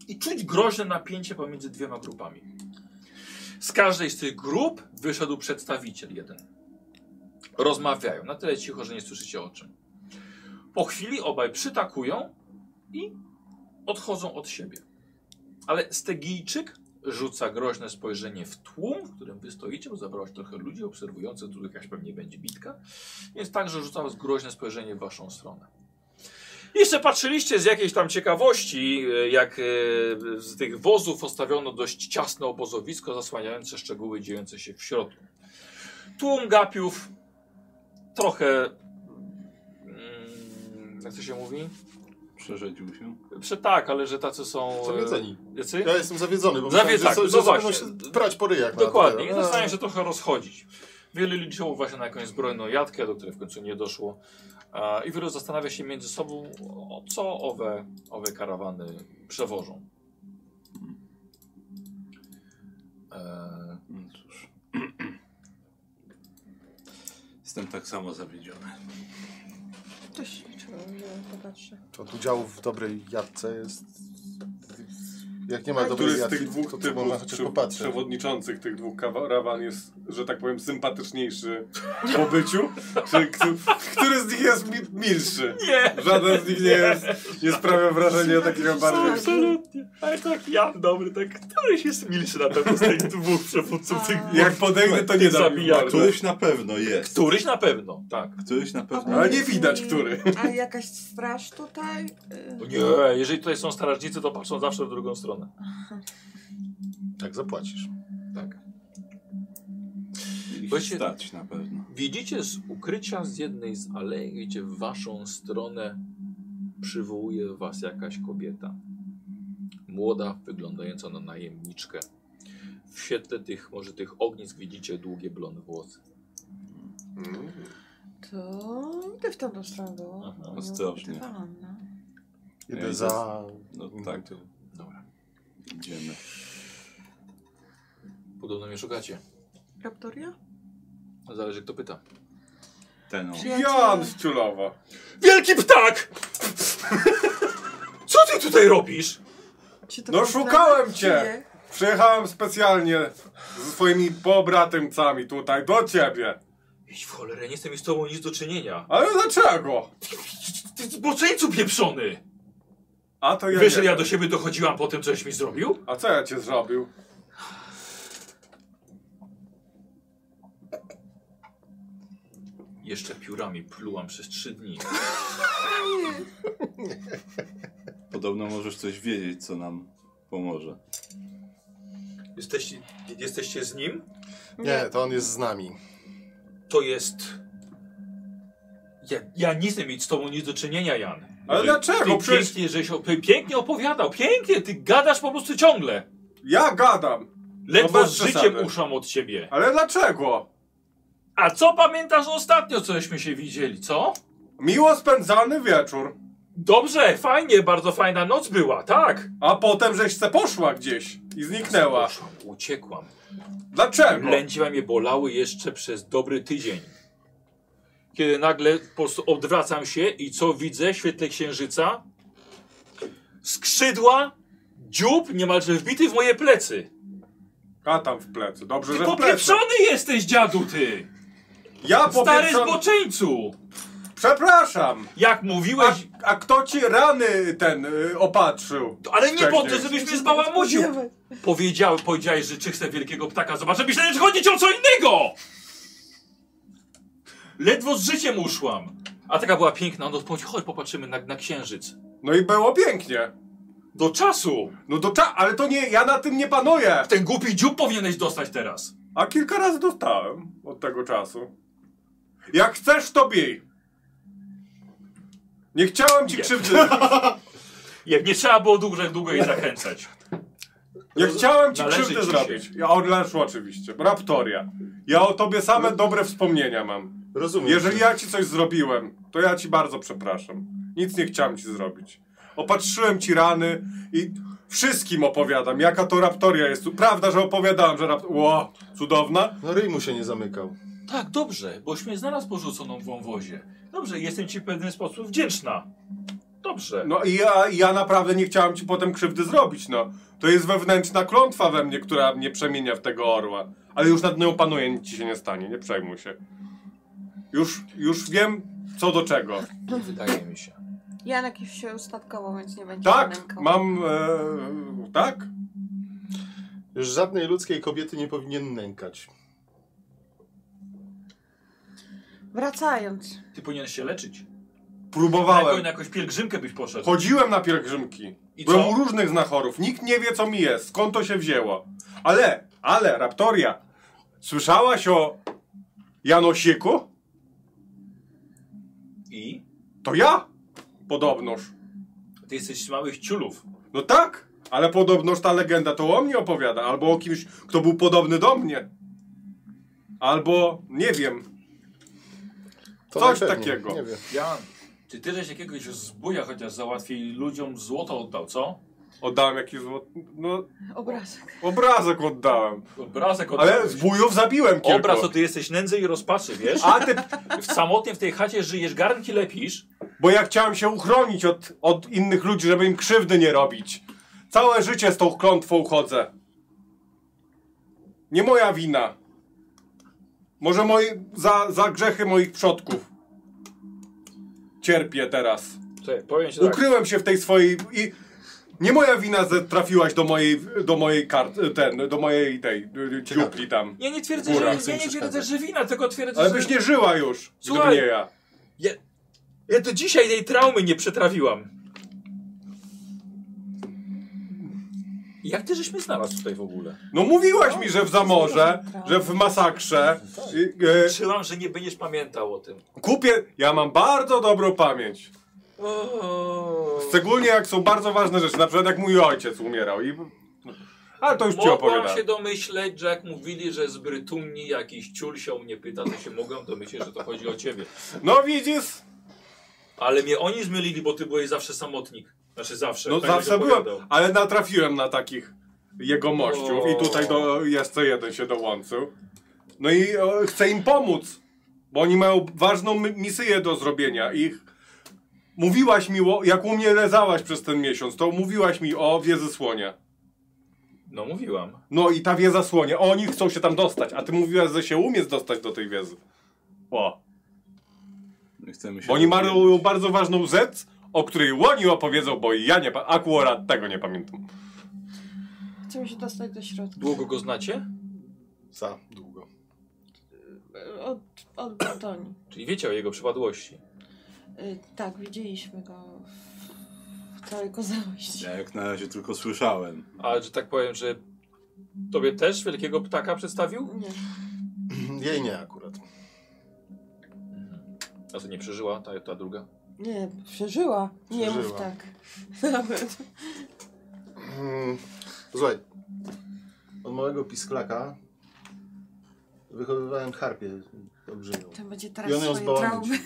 S1: I czuć groźne napięcie pomiędzy dwiema grupami. Z każdej z tych grup wyszedł przedstawiciel jeden. Rozmawiają na tyle cicho, że nie słyszycie o czym. Po chwili obaj przytakują i odchodzą od siebie. Ale Stegijczyk rzuca groźne spojrzenie w tłum, w którym wy stoicie, bo zabrałaś trochę ludzi obserwujących, tu jakaś pewnie będzie bitka. Więc także rzucał tak, groźne spojrzenie w waszą stronę. Jeszcze patrzyliście z jakiejś tam ciekawości, e, jak e, z tych wozów postawiono dość ciasne obozowisko zasłaniające szczegóły dziejące się w środku. Tłum gapiów trochę, mm, jak to się mówi?
S8: Przerzedził się.
S1: Prze tak, ale że tacy są... e,
S2: Zawiedzeni.
S1: Jacy?
S2: Ja jestem zawiedzony, bo
S1: Zawie- tak,
S2: myślałem, że,
S1: no
S2: że, że
S1: właśnie.
S2: będą się prać po ryjach. na
S1: Dokładnie, i
S2: dopiero.
S1: zaczynają się trochę rozchodzić. Wielu liczyło właśnie na jakąś zbrojną jatkę, do której w końcu nie doszło. A, I wielu zastanawia się między sobą, o co owe, owe karawany przewożą. E,
S8: No cóż. Jestem tak samo zawiedziony.
S3: Też się liczyło, że popatrzę.
S2: To Od udziału w dobrej jadce jest... Jak nie ma
S4: Który
S2: dobrej
S4: z
S2: jadki,
S4: tych dwóch
S2: to, to
S4: typów
S2: można chociaż
S4: prze-
S2: popatrzeć.
S4: przewodniczących tych dwóch karawan jest, że tak powiem, sympatyczniejszy w pobyciu? Czy, który, który z nich jest mi, milszy?
S13: Nie!
S4: Żaden z nich nie, jest, nie sprawia wrażenia takiego bardziej...
S13: Absolutnie. Ale tak Jan dobry, tak któryś jest milszy na pewno z tych dwóch przewódców. Tych...
S4: Jak podejdę, to nie da mi w
S13: Zabijak.
S4: mordę.
S8: Któryś na pewno jest.
S1: Któryś na pewno, tak.
S8: Któryś na pewno
S4: Ale nie widać, który.
S3: A jakaś straż tutaj? Y,
S1: Nie, jeżeli tutaj są strażnicy, to patrzą zawsze w drugą stronę.
S2: Tak zapłacisz.
S8: Tak. Mieli się
S1: Właśnie-
S8: stać na pewno.
S1: Widzicie z ukrycia z jednej z alei, gdzie w waszą stronę przywołuje was jakaś kobieta. Młoda, wyglądająca na najemniczkę. W świetle tych, może tych ognisk widzicie długie blond włosy.
S3: To idę w tamtą stronę było.
S1: Aha.
S3: No,
S8: Ostrożnie.
S3: ukrywałam, no.
S8: Ja
S2: Idę
S8: idę
S2: za...
S8: No tak,
S1: Dobra.
S8: idziemy.
S1: Podobno mnie szukacie.
S3: Raptoria?
S1: Zależy kto pyta.
S8: Ten o.
S4: Jan z Ciulowa.
S1: Wielki ptak! Co ty tutaj robisz?
S3: Czy to
S4: No,
S3: był plan,
S4: szukałem
S3: czy
S4: cię!
S3: nie?
S4: Przyjechałem specjalnie ze swoimi pobratymcami tutaj, do ciebie.
S1: Idź w cholerę, nie jestem mi z tobą nic do czynienia.
S4: Ale dlaczego?
S1: Ty zboczeńcu pieprzony!
S4: A to ja
S1: Wiesz, że
S4: nie-
S1: ja do siebie dochodziłam po tym, coś mi zrobił?
S4: A co ja cię zrobił?
S1: Jeszcze piórami plułam przez trzy dni.
S8: Podobno możesz coś wiedzieć, co nam pomoże.
S1: Jesteście, jesteście z nim?
S2: Nie, to on jest z nami.
S1: To jest... Ja, ja nie chcę mieć z tobą nic do czynienia, Jan.
S4: Ale
S8: Że-
S4: dlaczego?
S1: Ty
S4: Przecież
S1: pięknie, żeś, o- ty pięknie opowiadał, pięknie, ty gadasz po prostu ciągle.
S4: ja gadam.
S1: Ledwo
S4: No bez
S1: z życiem
S4: przesady.
S1: uszam od ciebie.
S4: Ale dlaczego?
S1: A co pamiętasz ostatnio, cośmy się widzieli, co?
S4: Miło spędzany wieczór.
S1: Dobrze, fajnie, bardzo fajna noc była, tak?
S4: A potem żeś se poszła gdzieś i zniknęła.
S1: Poszłam, uciekłam.
S4: Dlaczego?
S1: Lędźwa mnie bolały jeszcze przez dobry tydzień. Kiedy nagle po prostu odwracam się i co widzę w świetle księżyca? Skrzydła, dziób niemalże wbity w moje plecy.
S4: A tam w plecy. Dobrze,
S1: Ty
S4: że w plecy.
S1: popieprzony jesteś, dziadu, ty!
S4: Ja
S1: Stary
S4: popieprzony.
S1: zboczeńcu!
S4: Przepraszam.
S1: Jak
S4: A,
S1: mówiłeś,
S4: a kto ci rany ten y, opatrzył?
S1: ale nie po to,
S4: wcześniej.
S1: żebyś mnie zbałamucił. Powiedział, powiedziałeś, że czy chcę wielkiego ptaka zobaczyć. Myślałem, że chodzi ci o co innego! Ledwo z życiem uszłam. A taka była piękna, no to chodź, popatrzymy na, na księżyc.
S4: No i było pięknie.
S1: Do czasu!
S4: No to cza, ale to nie, ja na tym nie panuję.
S1: Ten głupi dziób powinieneś dostać teraz.
S4: A kilka razy dostałem od tego czasu. Jak chcesz, to bij. Nie chciałem ci
S1: Nie.
S4: krzywdy.
S1: Jak nie trzeba było dłużej, długo jej zachęcać.
S4: Nie chciałem ci
S1: Należy
S4: krzywdy
S1: ci się.
S4: zrobić. Ja odleszło oczywiście. Raptoria. Ja o tobie same
S1: No.
S4: dobre wspomnienia mam.
S2: Rozumiem.
S4: Jeżeli ja ci coś zrobiłem, to ja ci bardzo przepraszam. Nic nie chciałem ci zrobić. Opatrzyłem ci rany i wszystkim opowiadam, jaka to raptoria jest. Prawda, że opowiadałem, że rapt... Ło, cudowna.
S2: No ryj mu się nie zamykał.
S1: Tak, dobrze, boś mnie znalazł porzuconą w wąwozie. Dobrze, jestem ci w pewien sposób wdzięczna. Dobrze.
S4: No i ja, ja naprawdę nie chciałem ci potem krzywdy zrobić, no. To jest wewnętrzna klątwa we mnie, która mnie przemienia w tego orła. Ale już nad nią panuję, nic ci się nie stanie, nie przejmuj się. Już, już wiem, co do czego.
S1: Nie wydaje mi się.
S3: Janek już się ustatkował, więc nie będzie
S4: Tak,
S3: Janenką.
S4: mam... E, tak?
S2: Już żadnej ludzkiej kobiety nie powinien nękać.
S3: Wracając.
S1: Ty powinieneś się leczyć. Jako,
S4: Próbowałem.
S1: na jakąś pielgrzymkę byś poszedł.
S4: Chodziłem na pielgrzymki.
S1: no- I
S4: Byłem
S1: co?
S4: u różnych znachorów. Nikt nie wie, co mi jest, skąd to się wzięło. Ale, ale, Raptoria, słyszałaś o Janosiku?
S1: I?
S4: To ja? Podobnoż.
S1: Ty jesteś z małych ciulów.
S4: No tak, ale podobnoż ta legenda to o mnie opowiada, albo o kimś, kto był podobny do mnie. Albo, nie wiem,
S2: To
S4: Coś
S2: najpewniej.
S4: takiego.
S2: Nie wiem.
S15: Jan.
S16: Czy ty żeś jakiegoś zbuja chociaż załatwił i ludziom złoto oddał, co?
S4: oddałem jakiś złot... no,
S3: Obrazek.
S4: obrazek oddałem.
S16: Obrazek oddał.
S4: Ale zbójów zabiłem kilku.
S1: Obraz to ty jesteś nędzy i rozpaczy, wiesz?
S4: A ty,
S1: W samotnie w tej chacie żyjesz, garnki lepisz.
S4: bo ja chciałem się uchronić od, od innych ludzi, żeby im krzywdy nie robić. Całe życie z tą klątwą chodzę. Nie moja wina. Może moi, za, za grzechy moich przodków. Cierpię teraz.
S1: Czekaj, powiem ci tak.
S4: Ukryłem się w tej swojej i nie moja wina, że trafiłaś do mojej, do mojej kart, ten, do mojej tej y, y, dziupli tam.
S1: Ja nie twierdzę,
S4: Góra,
S1: że,
S2: chcę
S1: ja
S2: im
S1: nie twierdzę,
S2: przeszkadzać.
S1: że wina, tylko twierdzę,
S4: Ale
S1: że...
S4: byś nie żyła już, gdyby
S1: Słuchaj.
S4: nie ja.
S1: Ja do dzisiaj tej traumy nie przetrawiłam. Jak ty żeś mnie znalazł tutaj w ogóle?
S4: No mówiłaś mi, że w Zamorze, że w masakrze. y, y,
S1: Trzymam, że nie będziesz pamiętał o tym.
S4: Kupię. Ja mam bardzo dobrą pamięć.
S1: O...
S4: Szczególnie jak są bardzo ważne rzeczy, na przykład jak mój ojciec umierał i. Ale to już ci
S1: Mogłam
S4: opowiadałem.
S1: się domyśleć, że jak mówili, że z Brytunii jakiś ciul się o mnie pyta, to się mogłem domyśleć, że to chodzi o ciebie.
S4: No widzisz?
S1: Ale mnie oni zmylili, bo ty byłeś zawsze samotnik. Znaczy zawsze.
S4: No
S1: tak
S4: zawsze
S1: jak
S4: byłem,
S1: opowiadał.
S4: ale natrafiłem na takich jegomościów i tutaj do, jeszcze jeden się dołączył. No i e, chcę im pomóc, bo oni mają ważną mi- misję do zrobienia. Ich mówiłaś mi, o- jak u mnie leżałaś przez ten miesiąc, to mówiłaś mi o wiezy słonia.
S1: No mówiłam.
S4: No i ta wieza słonia, oni chcą się tam dostać, a ty mówiłaś, że się umiesz dostać do tej wiezy. O,
S8: Nie chcemy się
S4: bo oni
S8: rozwijać.
S4: mają bardzo ważną rzecz, o której oni opowiedzą, bo ja nie, pa- akurat tego nie pamiętam.
S3: Chcemy się dostać do środka.
S1: Długo go znacie?
S2: Za długo.
S3: Y, Od, od Brytonii.
S1: Czyli wiecie o jego przypadłości.
S3: Y, tak, widzieliśmy go w całej kozałości.
S8: Ja jak na razie tylko słyszałem.
S1: A że tak powiem, że tobie też wielkiego ptaka przedstawił?
S3: Nie.
S2: Jej nie akurat.
S1: Mhm. A to nie przeżyła ta, ta druga?
S3: Nie, przeżyła. Nie mów
S2: Przeżyła.
S3: tak. Nawet.
S2: Mm, Słuchaj, od małego pisklaka wychowywałem harpię olbrzymią.
S3: To będzie
S2: I
S3: teraz
S2: on ją
S3: swoje
S2: zbałamucił.
S3: traumy.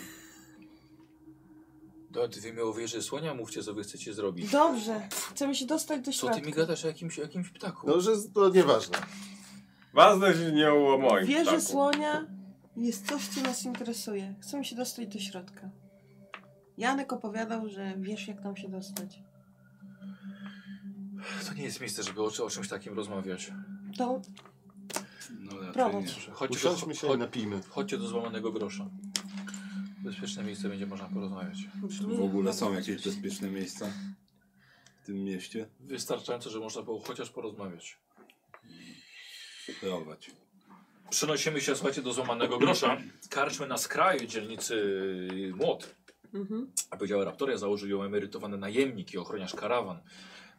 S1: Do ty mi o wieży słonia mówcie, co wy chcecie zrobić.
S3: Dobrze, chcemy się dostać do
S1: Co ty mi
S3: środka.
S1: gadasz o jakimś, o jakimś ptaku?
S2: No, że z- to nieważne.
S4: Ważne, że nie było moim.
S3: Wieże
S4: ptaku.
S3: słonia jest coś, co nas interesuje. Chcemy się dostać do środka. Janek opowiadał, że wiesz jak tam się dostać.
S1: To nie jest miejsce, żeby o, o czymś takim rozmawiać.
S3: To
S8: No raczej
S3: Prowadź.
S8: nie.
S1: Chodźcie do,
S2: Usiądźmy się i
S1: cho,
S2: napijmy.
S1: chodźcie do złamanego grosza. Bezpieczne miejsce będzie można porozmawiać.
S3: brzmi...
S8: W ogóle są jakieś bezpieczne miejsca w tym mieście?
S1: Wystarczająco, że można było chociaż porozmawiać.
S8: Prowadź.
S1: Przenosimy się, słuchajcie, do złamanego grosza. Karczmy na skraju dzielnicy Młot.
S3: Mhm.
S1: A powiedziała Raptoria, założył ją emerytowany najemnik i ochroniarz karawan.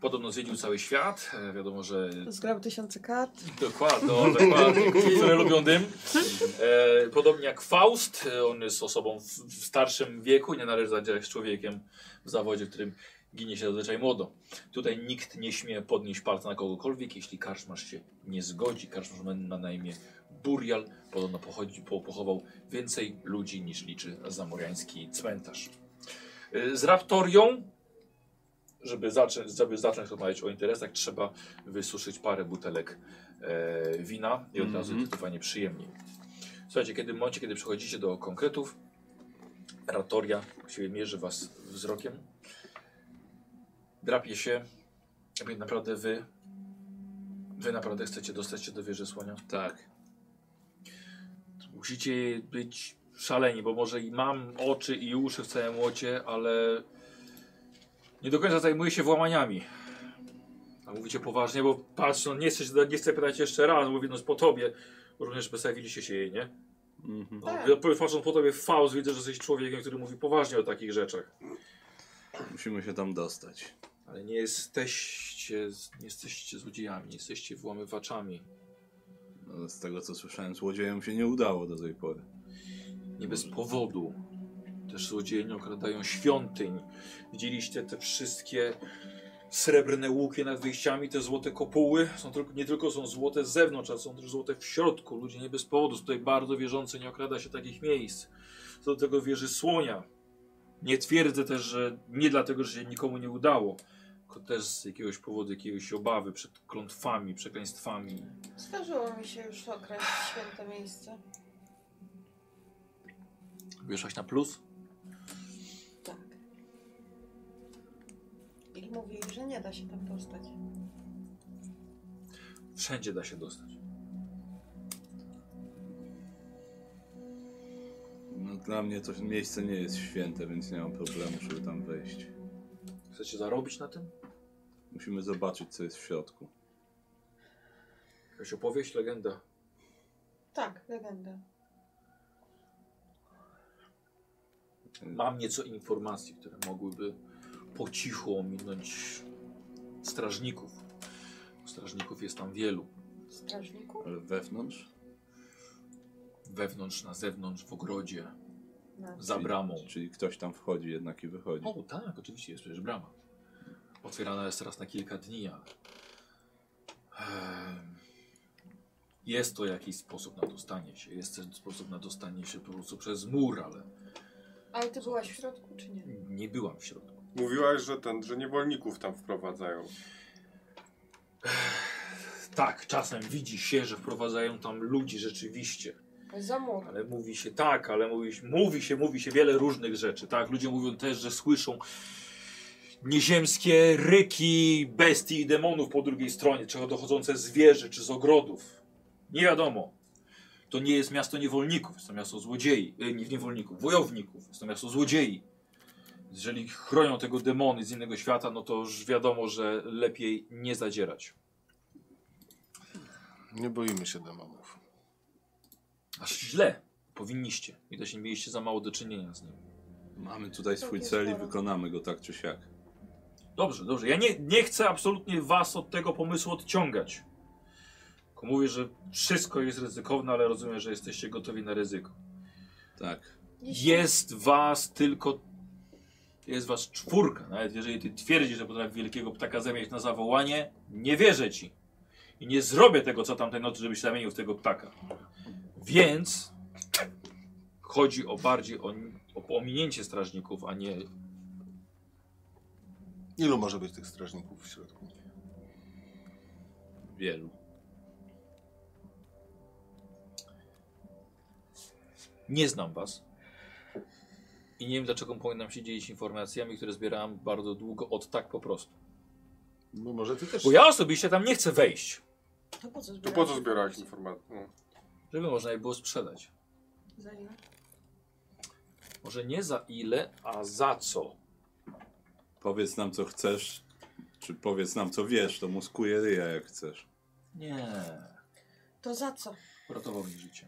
S1: Podobno zwiedził cały świat. E, Wiadomo, że
S3: Zgrał tysiące kart.
S1: Dokładnie, no, dokładnie. które lubią dym. E, podobnie jak Faust, e, on jest osobą w, w starszym wieku, nie należy zadziałać z człowiekiem w zawodzie, w którym ginie się zazwyczaj młodo. Tutaj nikt nie śmie podnieść palca na kogokolwiek, jeśli karczmarz się nie zgodzi. Karczmarz ma na na imię Burial, podobno pochodzi, po, pochował więcej ludzi niż liczy zamoriański cmentarz. E, z Raptorią, żeby zacząć, żeby zacząć rozmawiać o interesach, trzeba wysuszyć parę butelek e, wina i od razu
S8: Mhm.
S1: zdecydowanie przyjemniej. Słuchajcie, kiedy w momencie, kiedy przechodzicie do konkretów, Ratoria właściwie mierzy was wzrokiem, drapie się, jakby naprawdę wy, wy naprawdę chcecie dostać się do wieży słonia?
S8: Tak.
S1: Musicie być szaleni, bo może i mam oczy i uszy w całym łocie, ale nie do końca zajmuję się włamaniami. A mówicie poważnie, bo patrz, no nie chcę, się- nie chcę pytać jeszcze raz, mówię, no po tobie. Bo Również postawiliście się jej, nie?
S8: Mhm.
S1: No, ja Patrząc po tobie w Faust, widzę, że jesteś człowiekiem, który mówi poważnie o takich rzeczach.
S8: Musimy się tam dostać.
S1: Ale nie jesteście, z- nie jesteście złodziejami, nie jesteście włamywaczami.
S8: No, z tego co słyszałem, złodziejom się nie udało do tej pory.
S1: Nie bez powodu. Też złodzieje nie okradają świątyń. Widzieliście te wszystkie srebrne łukie nad wyjściami, te złote kopuły. Są tylko, nie tylko są złote z zewnątrz, ale są też złote w środku. Ludzie nie bez powodu. są Tutaj bardzo wierzący nie okrada się takich miejsc. Co do tego wierzy słonia. Nie twierdzę też, że nie dlatego, że się nikomu nie udało. Tylko też z jakiegoś powodu, jakiejś obawy przed klątwami, przekleństwami.
S3: Zdarzyło mi się już okraść święte miejsce.
S1: Wyszłaś na plus?
S3: Tak. I mówili, że nie da się tam dostać.
S1: Wszędzie da się dostać.
S8: No, dla mnie to miejsce nie jest święte, więc nie mam problemu, żeby tam wejść.
S1: Chcecie zarobić na tym?
S8: Musimy zobaczyć, co jest w środku.
S1: Jakaś opowieść, legenda.
S3: Tak, legenda.
S1: Mam nieco informacji, które mogłyby po cichu ominąć strażników. Strażników jest tam wielu.
S3: Strażniku?
S8: Ale wewnątrz?
S1: Wewnątrz, na zewnątrz, w ogrodzie,
S3: No.
S1: za bramą.
S8: Czyli, czyli ktoś tam wchodzi jednak i wychodzi.
S1: O, tak, oczywiście, jest przecież brama. Otwierana jest teraz na kilka dni, a... Em, Jest to jakiś sposób na dostanie się. Jest ten sposób na dostanie się po prostu przez mur, ale
S3: Ale ty byłaś w środku, czy nie?
S1: nie byłam w środku.
S4: Mówiłaś, że ten, że niewolników tam wprowadzają.
S1: Tak, czasem widzi się, że wprowadzają tam ludzi rzeczywiście.
S3: Za mur.
S1: Ale mówi się tak, ale mówi, się- mówi się, mówi się wiele różnych rzeczy, tak? Ludzie mówią też, że słyszą nieziemskie ryki bestii i demonów po drugiej stronie, czy dochodzące z wieży, czy z ogrodów. Nie wiadomo. To nie jest miasto niewolników, jest to miasto złodziei, e, nie niewolników, wojowników, jest to miasto złodziei. Jeżeli chronią tego demony z innego świata, no to już wiadomo, że lepiej nie zadzierać.
S2: Nie boimy się demonów.
S1: Aż źle. Powinniście. Widać, nie mieliście za mało do czynienia z nim.
S8: Mamy tutaj swój
S3: Takie
S8: cel i
S3: sporo.
S8: wykonamy go tak czy siak.
S1: Dobrze, dobrze. Ja nie, nie chcę absolutnie was od tego pomysłu odciągać. Tylko mówię, że wszystko jest ryzykowne, ale rozumiem, że jesteście gotowi na ryzyko.
S8: Tak.
S3: Jeśli-
S1: Jest was tylko... Jest was czwórka. Nawet jeżeli ty twierdzisz, że potrafi wielkiego ptaka zamieć na zawołanie, nie wierzę ci. I nie zrobię tego, co tamtej nocy, żebyś zamienił w tego ptaka. Więc chodzi o bardziej o, o ominięcie strażników, a nie
S2: Ilu może być tych strażników w środku?
S8: Wielu.
S1: Nie znam was. I nie wiem, dlaczego powinnam się dzielić informacjami, które zbierałem bardzo długo, od tak po prostu.
S2: No może ty też.
S1: Bo ja osobiście tam nie chcę wejść,
S3: To po co
S4: To po co zbierałeś informacje? No.
S1: żeby można je było sprzedać.
S3: Za ile?
S1: Może nie za ile, a za co.
S8: Powiedz nam co chcesz, czy powiedz nam co wiesz, to mózguje ryja jak chcesz.
S1: Nie,
S3: To za co?
S1: uratował mi życie.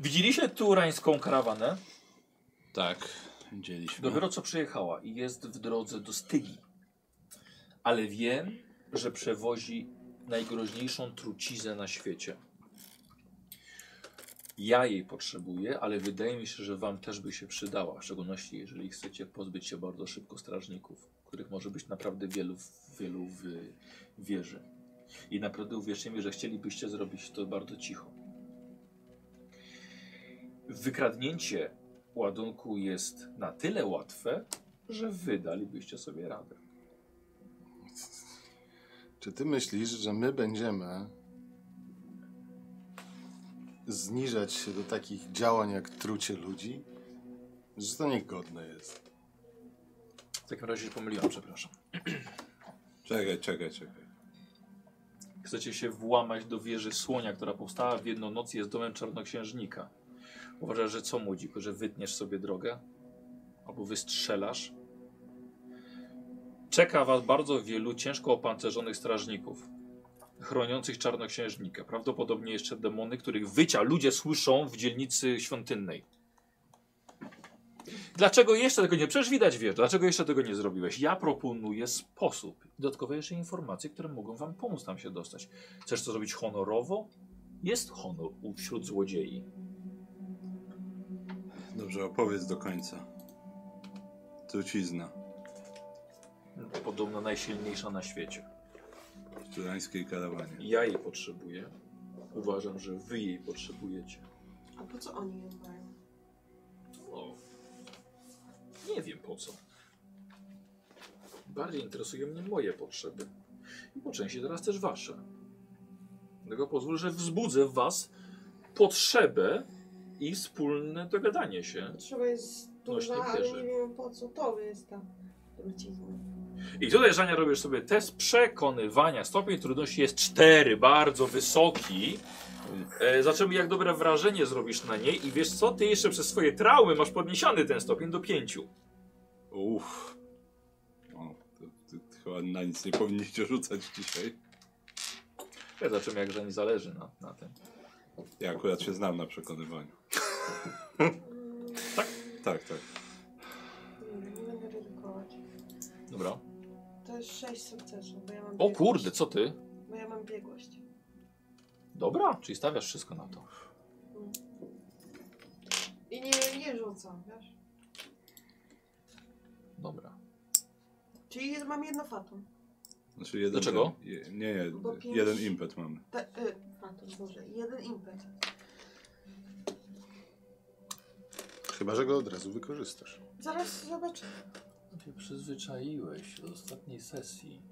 S1: Widzieliście turańską karawanę?
S8: Tak, dzieliśmy.
S1: Dopiero co przyjechała i jest w drodze do Stygi. Ale wiem, że przewozi najgroźniejszą truciznę na świecie. Ja jej potrzebuję, ale wydaje mi się, że wam też by się przydała, w szczególności jeżeli chcecie pozbyć się bardzo szybko strażników, których może być naprawdę wielu, w- wielu w wieży. I naprawdę uwierzcie mi, że chcielibyście zrobić to bardzo cicho. Wykradnięcie ładunku jest na tyle łatwe, że wydalibyście sobie radę.
S2: Czy ty myślisz, że my będziemy zniżać się do takich działań jak trucie ludzi? Że to niegodne jest.
S1: W takim razie się pomyliłam, przepraszam.
S8: Czekaj, czekaj, czekaj.
S1: Chcecie się włamać do wieży słonia, która powstała w jedną noc i jest domem czarnoksiężnika. Uważasz, że co młodziku, że wytniesz sobie drogę? Albo wystrzelasz? Czeka was bardzo wielu ciężko opancerzonych strażników, chroniących czarnoksiężnika. Prawdopodobnie jeszcze demony, których wycia ludzie słyszą w dzielnicy świątynnej. Dlaczego jeszcze tego nie? Przecież widać wiesz, dlaczego jeszcze tego nie zrobiłeś? Ja proponuję sposób. Dodatkowe jeszcze informacje, które mogą wam pomóc tam się dostać. Chcesz to zrobić honorowo? Jest honor u- wśród złodziei.
S8: Dobrze, opowiedz do końca. Trucizna
S1: Podobno najsilniejsza na świecie.
S8: w turańskiej karawanie.
S1: Ja jej potrzebuję. Uważam, że wy jej potrzebujecie.
S3: A po co oni ją mają?
S1: O, No, nie wiem po co. Bardziej interesują mnie moje potrzeby. I po części teraz też wasze. Dlatego pozwól, że wzbudzę w was potrzebę i wspólne dogadanie się.
S3: Potrzeba jest
S1: Nośnie
S3: duża, ale
S1: wieży.
S3: nie wiem po co to jest ta trucizna.
S1: I tutaj, Żania, robisz sobie test przekonywania. Stopień trudności jest 4, bardzo wysoki. E, zaczynamy, jak dobre wrażenie zrobisz na niej i wiesz co, ty jeszcze przez swoje traumy masz podniesiony ten stopień do 5.
S8: Uff. O, to, to, to chyba na nic nie powinniście rzucać dzisiaj.
S1: Ja zaczynam, jak Żani zależy na, na tym.
S8: Ja akurat się znam na przekonywaniu. tak? Tak, tak.
S3: Nie, nie będę ryzykować.
S1: Dobra.
S3: To jest sześć sukcesów, bo ja mam
S1: O
S3: biegłość.
S1: kurde, co ty?
S3: Bo ja mam biegłość.
S1: Dobra, czyli stawiasz wszystko na to.
S3: I nie, nie rzucam, wiesz?
S1: Dobra.
S3: Czyli jest, mam jedno fatum.
S8: Znaczy jeden,
S1: Dlaczego?
S8: Je, nie, jed,
S3: Bo pięć-
S8: jeden impet mamy.
S3: Te, y, fatum, boże. Jeden impet.
S2: Chyba, że go od razu wykorzystasz.
S3: Zaraz zobaczę.
S1: No Ty przyzwyczaiłeś się do ostatniej sesji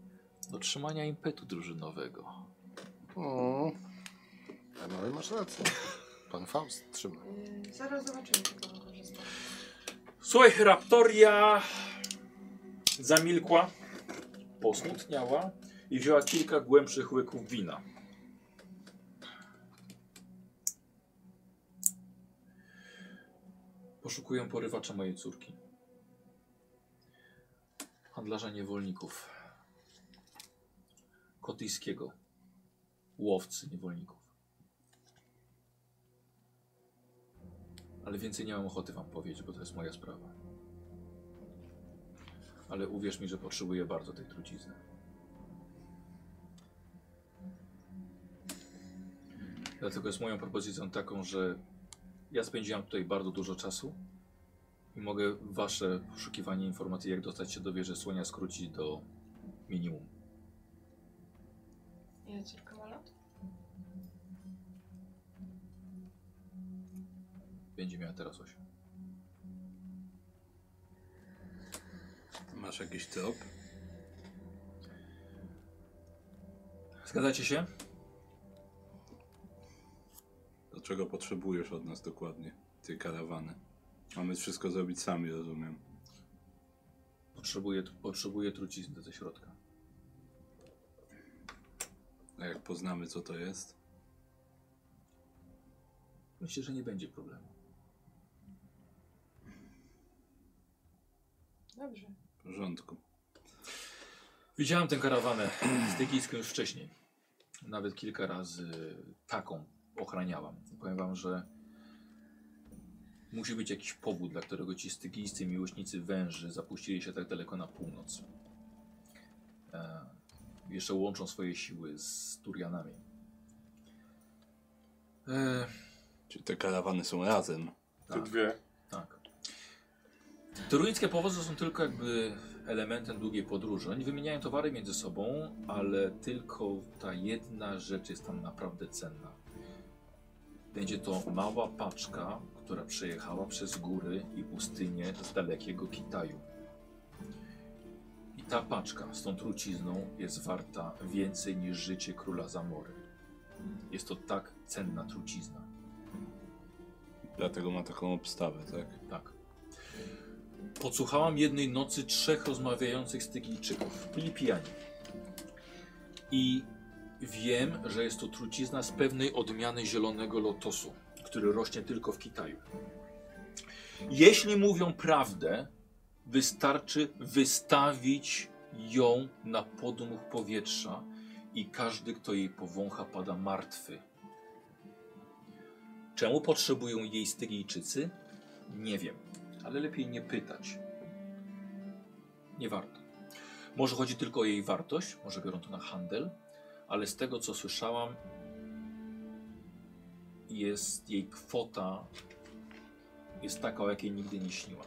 S1: do trzymania impetu drużynowego.
S2: O, ale masz rację. Pan Faust trzyma.
S3: Y, zaraz zobaczymy, czy to wykorzystam.
S17: Słuchaj, raptoria zamilkła, posmutniała i wzięła kilka głębszych łyków wina.
S1: Poszukuję porywacza mojej córki. Handlarza niewolników. Kotyjskiego. Łowcy niewolników. Ale więcej nie mam ochoty wam powiedzieć, bo to jest moja sprawa. Ale uwierz mi, że potrzebuję bardzo tej trucizny. Dlatego jest moją propozycją taką, że ja spędziłam tutaj bardzo dużo czasu i mogę wasze poszukiwanie informacji, jak dostać się do wieży słonia, skrócić do minimum.
S3: Ile córka ma lat?
S1: Będzie miała teraz 8.
S8: Masz jakiś trop?
S17: Zgadzacie się?
S8: To czego potrzebujesz od nas dokładnie? Tej karawany. Mamy wszystko zrobić sami, rozumiem.
S1: Potrzebuję, potrzebuję trucizny ze środka.
S8: A jak poznamy co to jest?
S1: Myślę, że nie będzie problemu.
S3: Dobrze.
S8: W porządku.
S1: Widziałem tę karawanę z Tygijską już wcześniej. Nawet kilka razy taką ochraniałam. I Powiem wam, że musi być jakiś powód, dla którego ci stygijscy miłośnicy węży zapuścili się tak daleko na północ. E, jeszcze łączą swoje siły z Turianami. E,
S8: Czy te karawany są razem?
S4: Te
S1: tak.
S4: dwie.
S1: Tak. Toruńskie powozy są tylko jakby elementem długiej podróży. Oni wymieniają towary między sobą, ale tylko ta jedna rzecz jest tam naprawdę cenna. Będzie to mała paczka, która przejechała przez góry i pustynię z dalekiego Kitaju. I ta paczka z tą trucizną jest warta więcej niż życie króla Zamory. Jest to tak cenna trucizna.
S8: Dlatego ma taką obstawę, tak?
S1: Tak. Podsłuchałam jednej nocy trzech rozmawiających Stygijczyków. Byli pijani. I wiem, że jest to trucizna z pewnej odmiany zielonego lotosu, który rośnie tylko w Kitaju. Jeśli mówią prawdę, wystarczy wystawić ją na podmuch powietrza i każdy, kto jej powącha, pada martwy. Czemu potrzebują jej Stygijczycy? Nie wiem, ale lepiej nie pytać. Nie warto. Może chodzi tylko o jej wartość, może biorą to na handel, ale z tego co słyszałam, jest jej kwota jest taka, o jakiej nigdy nie śniłam.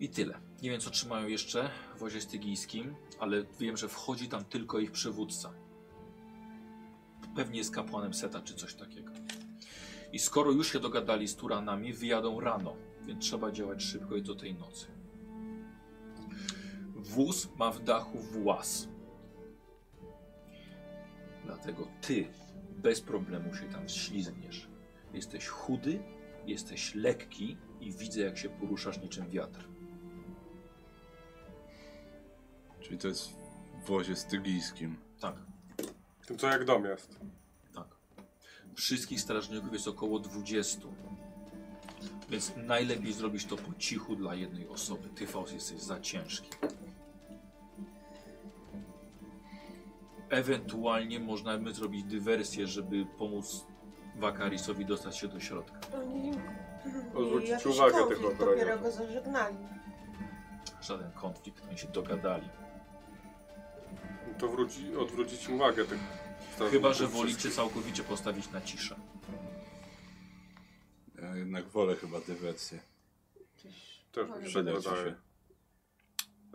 S1: I tyle. Nie wiem, co trzymają jeszcze w wozie stygijskim, ale wiem, że wchodzi tam tylko ich przywódca. Pewnie jest kapłanem Seta czy coś takiego. I skoro już się dogadali z Turanami, wyjadą rano, więc trzeba działać szybko i do tej nocy. Wóz ma w dachu włas. Dlatego ty bez problemu się tam ślizgniesz. Jesteś chudy, jesteś lekki i widzę jak się poruszasz niczym wiatr.
S8: Czyli to jest w wozie stygijskim.
S1: Tak,
S4: To co jak dom jest.
S1: tak. Wszystkich strażników jest około 20. Więc najlepiej zrobić to po cichu dla jednej osoby. Ty, Faust, jesteś za ciężki. Ewentualnie można by zrobić dywersję, żeby pomóc Wakarisowi dostać się do środka.
S3: Oni-
S4: Odwrócić
S3: jakiś
S4: uwagę
S3: konflikt,
S4: tego
S3: Dopiero
S4: broniarza.
S3: go zażegnali.
S1: Żaden konflikt, oni się dogadali.
S4: No To wróci, odwrócić uwagę tych
S1: Chyba,
S4: strażników
S1: że wolicie
S4: wszystkich.
S1: całkowicie postawić na ciszę.
S8: Ja jednak wolę chyba dywersję.
S4: Też
S3: Może
S4: mi się
S8: Przydać
S4: wydaje.
S8: się.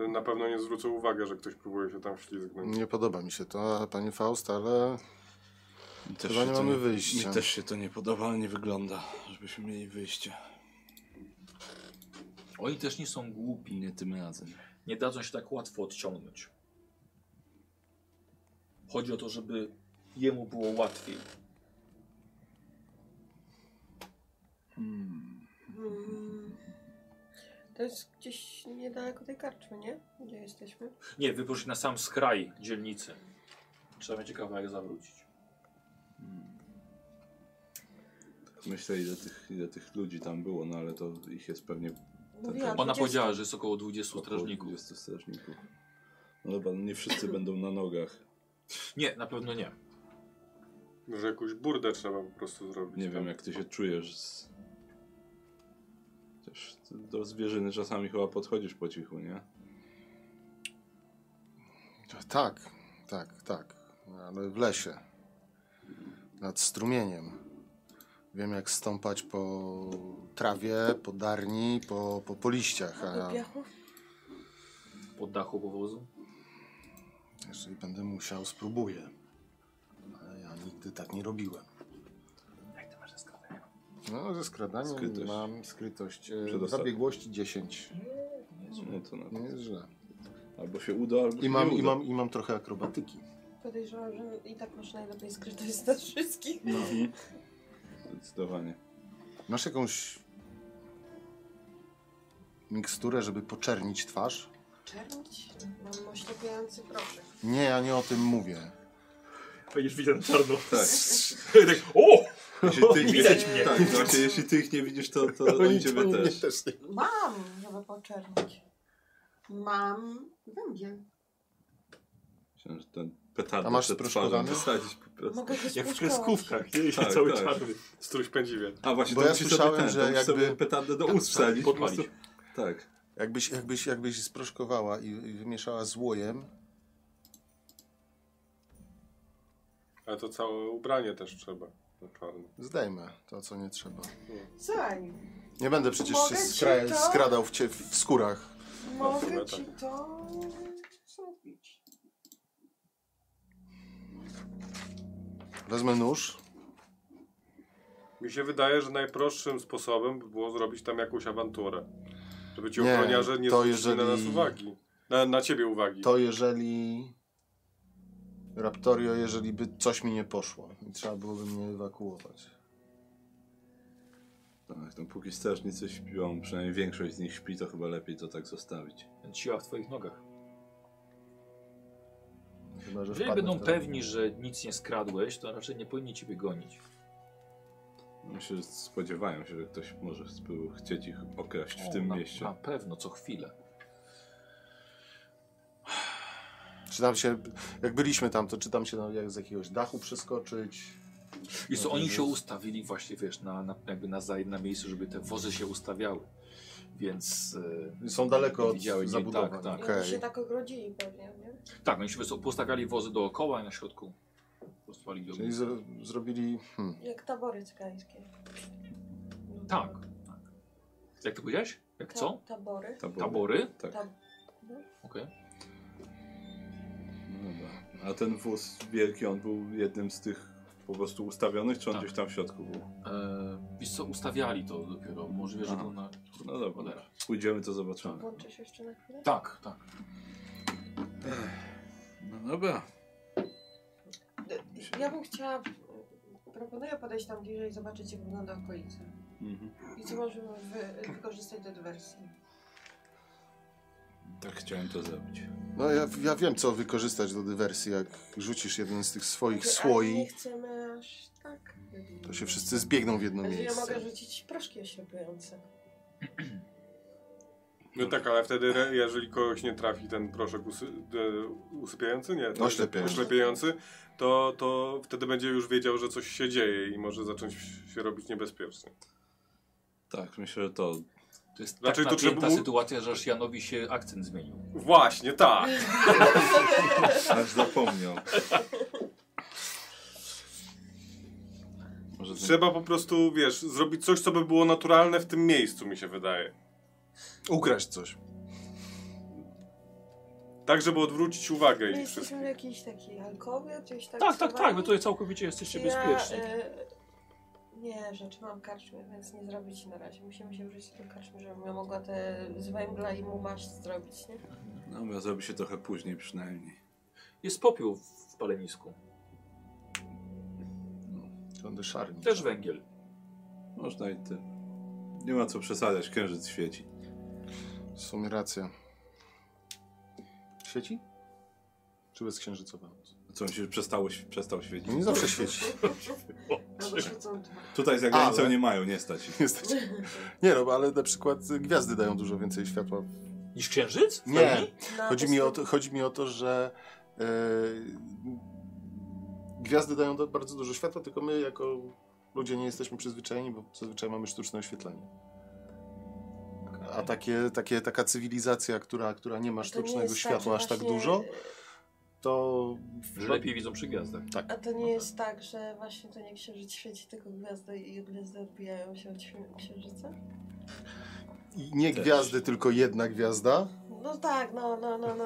S4: Na pewno nie zwrócę uwagi, że ktoś próbuje się tam ślizgnąć.
S2: Nie podoba mi się to, panie Faust, ale
S8: Mi też
S2: Chyba
S8: się
S2: nie
S8: to
S2: mamy wyjścia.
S8: Mi też się to nie podoba, ale nie wygląda, żebyśmy mieli wyjście.
S1: Oni też nie są głupi.
S8: Nie tym razem.
S1: Nie dadzą się tak łatwo odciągnąć. Chodzi o to, żeby jemu było łatwiej.
S3: Mm. To jest gdzieś niedaleko tej karczmy, nie? Gdzie jesteśmy?
S1: Nie, wypuść na sam skraj dzielnicy. Trzeba będzie kawałek zawrócić.
S8: Hmm. Myślę ile tych, ile tych ludzi tam było, no ale to ich jest pewnie
S3: Mówiłam,
S1: Ona
S3: gdzieś-
S1: powiedziała, że jest około 20
S8: około
S1: strażników.
S8: 20 strażników. No dobra, no nie wszyscy będą na nogach.
S1: Nie, na pewno nie.
S4: Może No, jakąś burdę trzeba po prostu zrobić.
S8: Nie wiem
S4: tam.
S8: jak ty się czujesz z... Też do zwierzyny czasami chyba podchodzisz po cichu, nie?
S2: tak, tak, tak. Ale w lesie. Nad strumieniem. Wiem, jak stąpać po trawie, po darni, po, po, po liściach.
S3: A
S2: A
S3: do piachu?
S1: Pod dachu powozu.
S2: jeżeli będę musiał, spróbuję. Ale ja nigdy tak nie robiłem.
S1: Jak to masz skrawę?
S2: No, ze skradaniem
S8: Skrytość.
S2: mam skrytość. e,
S8: Przedostatni.
S2: Zabiegłości 10.
S8: No to na...
S2: Nie jest źle.
S8: Albo się uda, albo się
S2: I mam,
S8: nie uda.
S2: i, mam, I mam trochę akrobatyki.
S3: Podejrzewam, że i tak masz najlepiej skrytość z nas wszystkich.
S8: Mhm. Zdecydowanie.
S2: Masz jakąś miksturę, żeby poczernić twarz?
S3: Czernić? Mam oślepiający proszek.
S2: Nie, ja nie o tym mówię.
S18: Będziesz widział na czarno.
S8: Tak.
S18: tak, o!
S8: Jeśli ty ich
S18: Widać
S8: nie-
S18: mnie.
S8: Tak, znaczy jeśli ty ich nie widzisz, to, to oni ciebie też.
S3: Mam, żeby poczernić. Mam węgiel.
S8: Myślałem, że ten petardę
S2: A masz
S8: przed twarzą
S2: sproszkowany?
S8: wysadzić po prostu.
S3: Mogę go
S18: Jak w
S3: spuszkować.
S18: kreskówkach, nie? I się
S8: Tak,
S18: cały
S8: tak.
S18: czarny.
S4: Struś pędziwie.
S8: A właśnie,
S2: Bo
S8: to
S2: ja
S8: musisz
S2: słyszałem,
S8: sobie ten,
S2: że
S8: to musisz
S2: jakby-
S8: sobie petardę
S18: Tak,
S8: do ust wsadzić. po
S1: podpalić.
S8: prostu. Tak.
S2: Jakbyś, jakbyś, jakbyś sproszkowała i, i wymieszała z łojem,
S4: Ale to całe ubranie też trzeba. Na czarno.
S2: zdejmę to, co nie trzeba.
S3: Słuchaj,
S2: Nie będę przecież się
S3: Mogę ci
S2: skra-
S3: to?
S2: skradał w, cie- w skórach.
S3: mogę
S4: chyba
S3: ci
S4: tak.
S3: to zrobić.
S2: Wezmę nóż.
S4: Mi się wydaje, że najprostszym sposobem by było zrobić tam jakąś awanturę. Żeby ci
S2: Nie,
S4: ochroniarze nie
S2: to
S4: zwrócili na nas
S2: jeżeli-
S4: uwagi. Na, na ciebie uwagi.
S2: To jeżeli... Raptorio, jeżeli by coś mi nie poszło i trzeba byłoby mnie ewakuować.
S8: Tak, no póki strażnicy śpią, przynajmniej większość z nich śpi, to chyba lepiej to tak zostawić.
S1: Więc siła w twoich nogach.
S2: Chyba, że
S1: Jeżeli
S2: wpadnę
S1: będą
S2: wtedy.
S1: pewni, że nic nie skradłeś, to raczej nie powinni ciebie gonić.
S8: Myślę, że No, spodziewają się, że ktoś może spróbował chcieć ich okraść w
S1: O,
S8: tym
S1: na,
S8: mieście.
S1: Na pewno, co chwilę.
S2: Czy tam się, jak byliśmy tam, to czy tam się tam jak z jakiegoś dachu przeskoczyć?
S1: I co,
S2: No to
S1: oni
S2: jest-
S1: się ustawili właśnie, wiesz, na, na, jakby na, zaj- na miejscu, żeby te wozy się ustawiały. Więc e,
S2: Są daleko od
S1: Widziałeś,
S2: zabudowy.
S1: tak, tak.
S3: I
S2: Okej.
S3: oni się tak ogrodzili pewnie, nie?
S1: tak, oni się po prostu postawiali wozy dookoła i na środku postawili
S2: Czyli
S1: ognisko.
S2: z, zrobili... Hmm.
S3: Jak tabory cygańskie. No,
S1: Tak, tak. Jak to powiedziałeś? Jak
S3: Ta,
S1: co?
S3: Tabory.
S8: Tabory?
S1: Tabory?
S8: Tak.
S3: Tab
S1: Okej.
S8: No dobra. A ten wóz wielki, on był jednym z tych po prostu ustawionych, czy on
S1: Tak.
S8: gdzieś tam w środku był?
S1: E, wiesz co, ustawiali to dopiero. Możliwe, że
S8: Aha.
S1: to na...
S8: No dobra,
S1: Cholera.
S8: pójdziemy to zobaczymy.
S3: włączę się jeszcze na chwilę.
S1: Tak, tak.
S8: No dobra.
S3: Ja bym chciała... Proponuję podejść tam bliżej i zobaczyć jak wygląda okolica.
S8: Mhm.
S3: I co możemy wy wykorzystać do dywersji.
S8: Tak chciałem to zrobić.
S2: No ja, ja wiem, co wykorzystać do dywersji, jak rzucisz jeden z tych swoich
S3: Mówię, ale Nie
S2: słoi,
S3: chcemy aż tak.
S2: to się wszyscy zbiegną w jedno
S3: Znaczy, Ja mogę
S2: miejsce.
S3: rzucić proszki oślepiające.
S4: No tak, ale wtedy re- jeżeli kogoś nie trafi ten proszek usy, e, usypiający, nie, tak,
S2: Oślepiający.
S4: oślepiający, to, to wtedy będzie już wiedział, że coś się dzieje i może zacząć się robić niebezpiecznie.
S8: Tak, myślę, że to
S1: To jest tak
S4: Raczej to
S1: napięta
S4: trzeba mu-
S1: sytuacja, że aż Janowi się akcent zmienił.
S4: Właśnie, tak.
S2: Aż zapomniał.
S8: Może ten...
S4: Trzeba po prostu, wiesz, zrobić coś, co by było naturalne w tym miejscu, mi się wydaje.
S2: Ukraść coś.
S4: Tak, żeby odwrócić uwagę
S3: My
S4: ich
S3: jesteśmy w
S4: wszystkich.
S3: jakiejś takiej alkowie, gdzieś tak
S19: Tak, tak, tak,
S3: schowani.
S19: wy tutaj całkowicie jesteście bezpieczni.
S3: Ja, y, nie, rzeczy mam karczmy, więc nie zrobię ci na razie. Musimy się wrócić do karczmy, żebym ja mogła te z węgla i mu maść zrobić, nie?
S8: No, bo zrobi się trochę później przynajmniej.
S1: Jest popiół w palenisku.
S2: Będę szarni.
S1: Też węgiel.
S8: Można i ty. Nie ma co przesadzać, księżyc świeci.
S2: W sumie racja. Świeci? Czy bezksiężycowa?
S8: Co on się przestało, przestał świecić?
S2: Nie zawsze świeci.
S3: Albo świecą dwa.
S8: Tutaj za granicą
S2: Ale-
S8: nie mają, nie stać. ich.
S2: Niestety. Nie no, ale na przykład y, gwiazdy dają dużo więcej światła.
S1: Niż księżyc? W
S2: Nie,
S1: pełni?
S3: Na
S2: chodzi mi o
S3: wyspy-
S2: to, chodzi mi o to że e, gwiazdy dają do- bardzo dużo światła, tylko my jako ludzie nie jesteśmy przyzwyczajeni, bo zazwyczaj mamy sztuczne oświetlenie. A takie, takie, taka cywilizacja, która, która nie ma
S3: to nie
S2: sztucznego
S3: jest
S2: światła
S3: że
S2: aż tak
S3: właśnie-
S2: dużo, to...
S1: Że lepiej widzą przy gwiazdach.
S3: A to
S2: No
S3: nie jest tak, że właśnie to nie księżyc świeci, tylko gwiazdy i gwiazdy odbijają się od świ- księżyca?
S2: I nie
S1: Też.
S2: gwiazdy, tylko jedna gwiazda.
S3: No tak, no, no, no, no.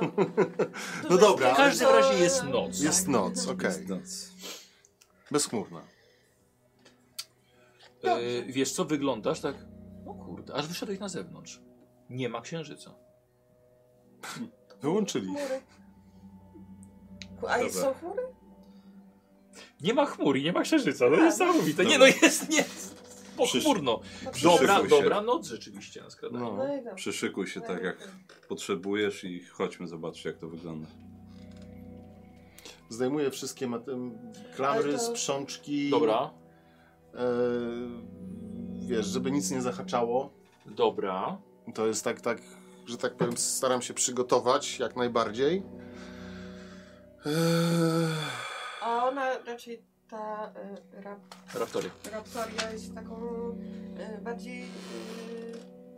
S2: No dobra.
S1: W każdym razie jest noc.
S3: Tak.
S2: Jest noc, okej.
S8: Jest noc.
S2: Bezchmurna.
S1: E, wiesz co, wyglądasz tak... No kurde, aż wyszedłeś na zewnątrz. Nie ma księżyca.
S2: Wyłączyli.
S3: Chmury. A i są chmury?
S1: Nie ma chmur i nie ma księżyca. No
S3: A,
S1: niesamowite. Nie no,
S8: Tak. Dobra.
S1: jest nie... Pochmurno.
S8: Przysz-
S1: Dobra,
S8: Przyszykuj się.
S1: dobra noc rzeczywiście na skradanie.
S2: No.
S3: No i dobrze.
S8: Przyszykuj się tak, jak potrzebujesz i chodźmy zobaczyć, jak to wygląda.
S2: Zdejmuję wszystkie mat- em, klamry,
S3: Ale to-
S2: sprzączki.
S1: Dobra,
S2: E, wiesz, żeby nic nie zahaczało.
S1: dobra.
S2: To jest tak, tak, że tak powiem, staram się przygotować jak najbardziej. E,
S3: A ona raczej ta y, rap,
S1: Raptory.
S3: raptoria jest taką y, bardziej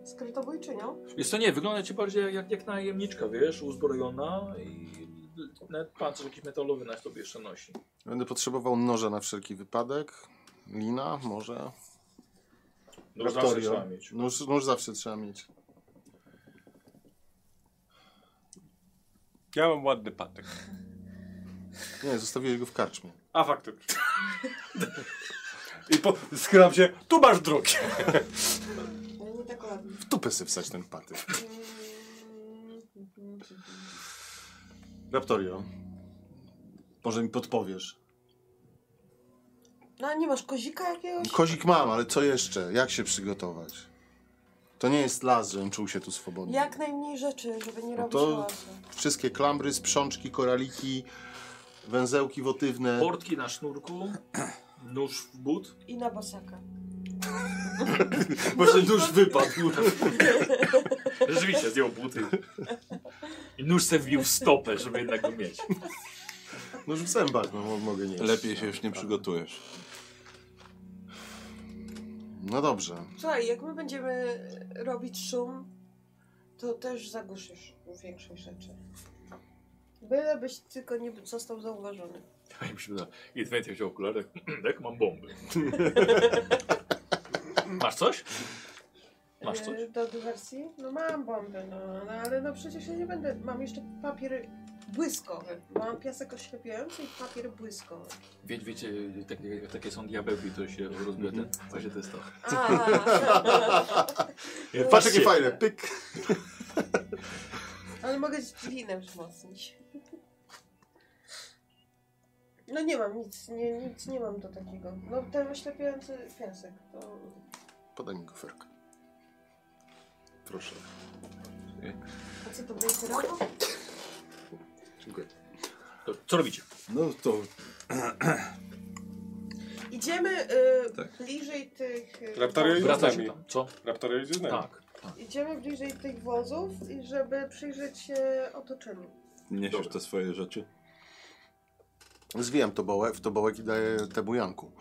S3: y, skrytobójczynią.
S1: Jest to nie, wygląda ci bardziej jak, jak najemniczka, wiesz, uzbrojona i nawet pancerz jakiś metalowy na sobie jeszcze nosi.
S2: Będę potrzebował noża na wszelki wypadek. Lina, może.
S1: No, zawsze
S2: Raptorio.
S1: trzeba mieć.
S2: Nóż, nóż zawsze trzeba mieć.
S4: Ja mam ładny patyk.
S2: Nie, zostawiłeś go w karczmie.
S4: A faktycznie.
S20: I po... schylam się, tu masz drugi.
S3: No nie tak ładnie.
S2: W tupę sobie wsać ten patyk.
S3: Mm.
S2: Raptorio, może mi podpowiesz.
S3: No a nie masz kozika jakiegoś?
S2: Kozik mam, ale co jeszcze? Jak się przygotować? To nie jest las, żebym czuł się tu swobodnie.
S3: Jak najmniej rzeczy, żeby nie
S2: No
S3: robić
S2: to-
S3: hałasu.
S2: Wszystkie klamry, sprzączki, koraliki, węzełki wotywne.
S1: Portki na sznurku, nóż w but.
S3: I na bosaka.
S2: Właśnie już wypadł.
S1: Rzeczywiście, zdjął buty. I nóż se wbił w stopę, żeby jednak go mieć.
S2: No już w zębach, no mo- mogę nie.
S8: Lepiej się już nie przygotujesz.
S2: No dobrze.
S3: Słuchaj, jak my będziemy robić szum, to też zagłuszysz większość rzeczy. Byle byś tylko nie został zauważony.
S1: A mi się wydaje, I Dwayne wziął okulary, jak mam bomby. Masz coś? Masz coś?
S3: E, Do dywersji? No mam bombę, no, no ale no przecież ja nie będę. Mam jeszcze papier błyskowy. Mam piasek oślepiający i papier błyskowy.
S1: Wie, wiecie, takie, takie są diabełki, to się rozbija ten, to się testo.
S3: A,
S2: Patrz jakie fajne, pyk.
S3: ale mogę z winem wzmocnić. No nie mam nic, nie, nic nie mam do takiego. No ten oślepiający piasek, to...
S2: Podaj mi goferkę. Proszę.
S3: A co to będzie robił?
S2: Dziękuję.
S1: To, co robicie?
S8: No to
S3: Idziemy y,
S8: Tak.
S3: bliżej tych. y,
S4: Raptory
S3: wozów.
S4: idą z
S1: Wracacie
S4: nami.
S1: tam, co?
S4: Raptory idzie z nami.
S1: Tak.
S3: Idziemy bliżej tych wozów, i żeby przyjrzeć się otoczeniu.
S8: niesiesz
S1: Dobra.
S8: te swoje rzeczy.
S2: Zwijam tobołek, w tobołek i daję temu Janku.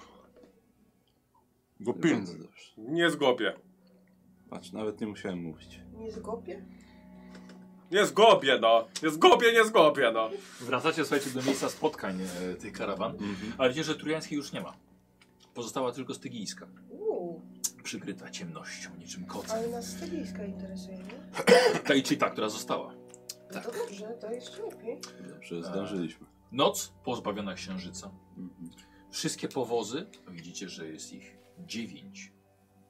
S2: Go pilnuj.
S8: Bardzo dobrze.
S4: Nie zgopię.
S8: Patrz, nawet nie musiałem mówić.
S3: Nie zgopię?
S21: Nie zgobię, no. Nie zgobię, nie zgobię, no.
S1: Wracacie, słuchajcie, do miejsca spotkań e, tych karawan, ale widzicie, że Trójańskiej już nie ma. Pozostała tylko Stygijska,
S3: Uuu,
S1: przykryta ciemnością, niczym kocem.
S3: ale nas styliska interesuje, nie?
S1: Ta Ichita, która została.
S3: No to dobrze, to jeszcze lepiej.
S8: Dobrze, zdążyliśmy.
S1: Noc pozbawiona księżyca. Wszystkie powozy, widzicie, że jest ich dziewięć,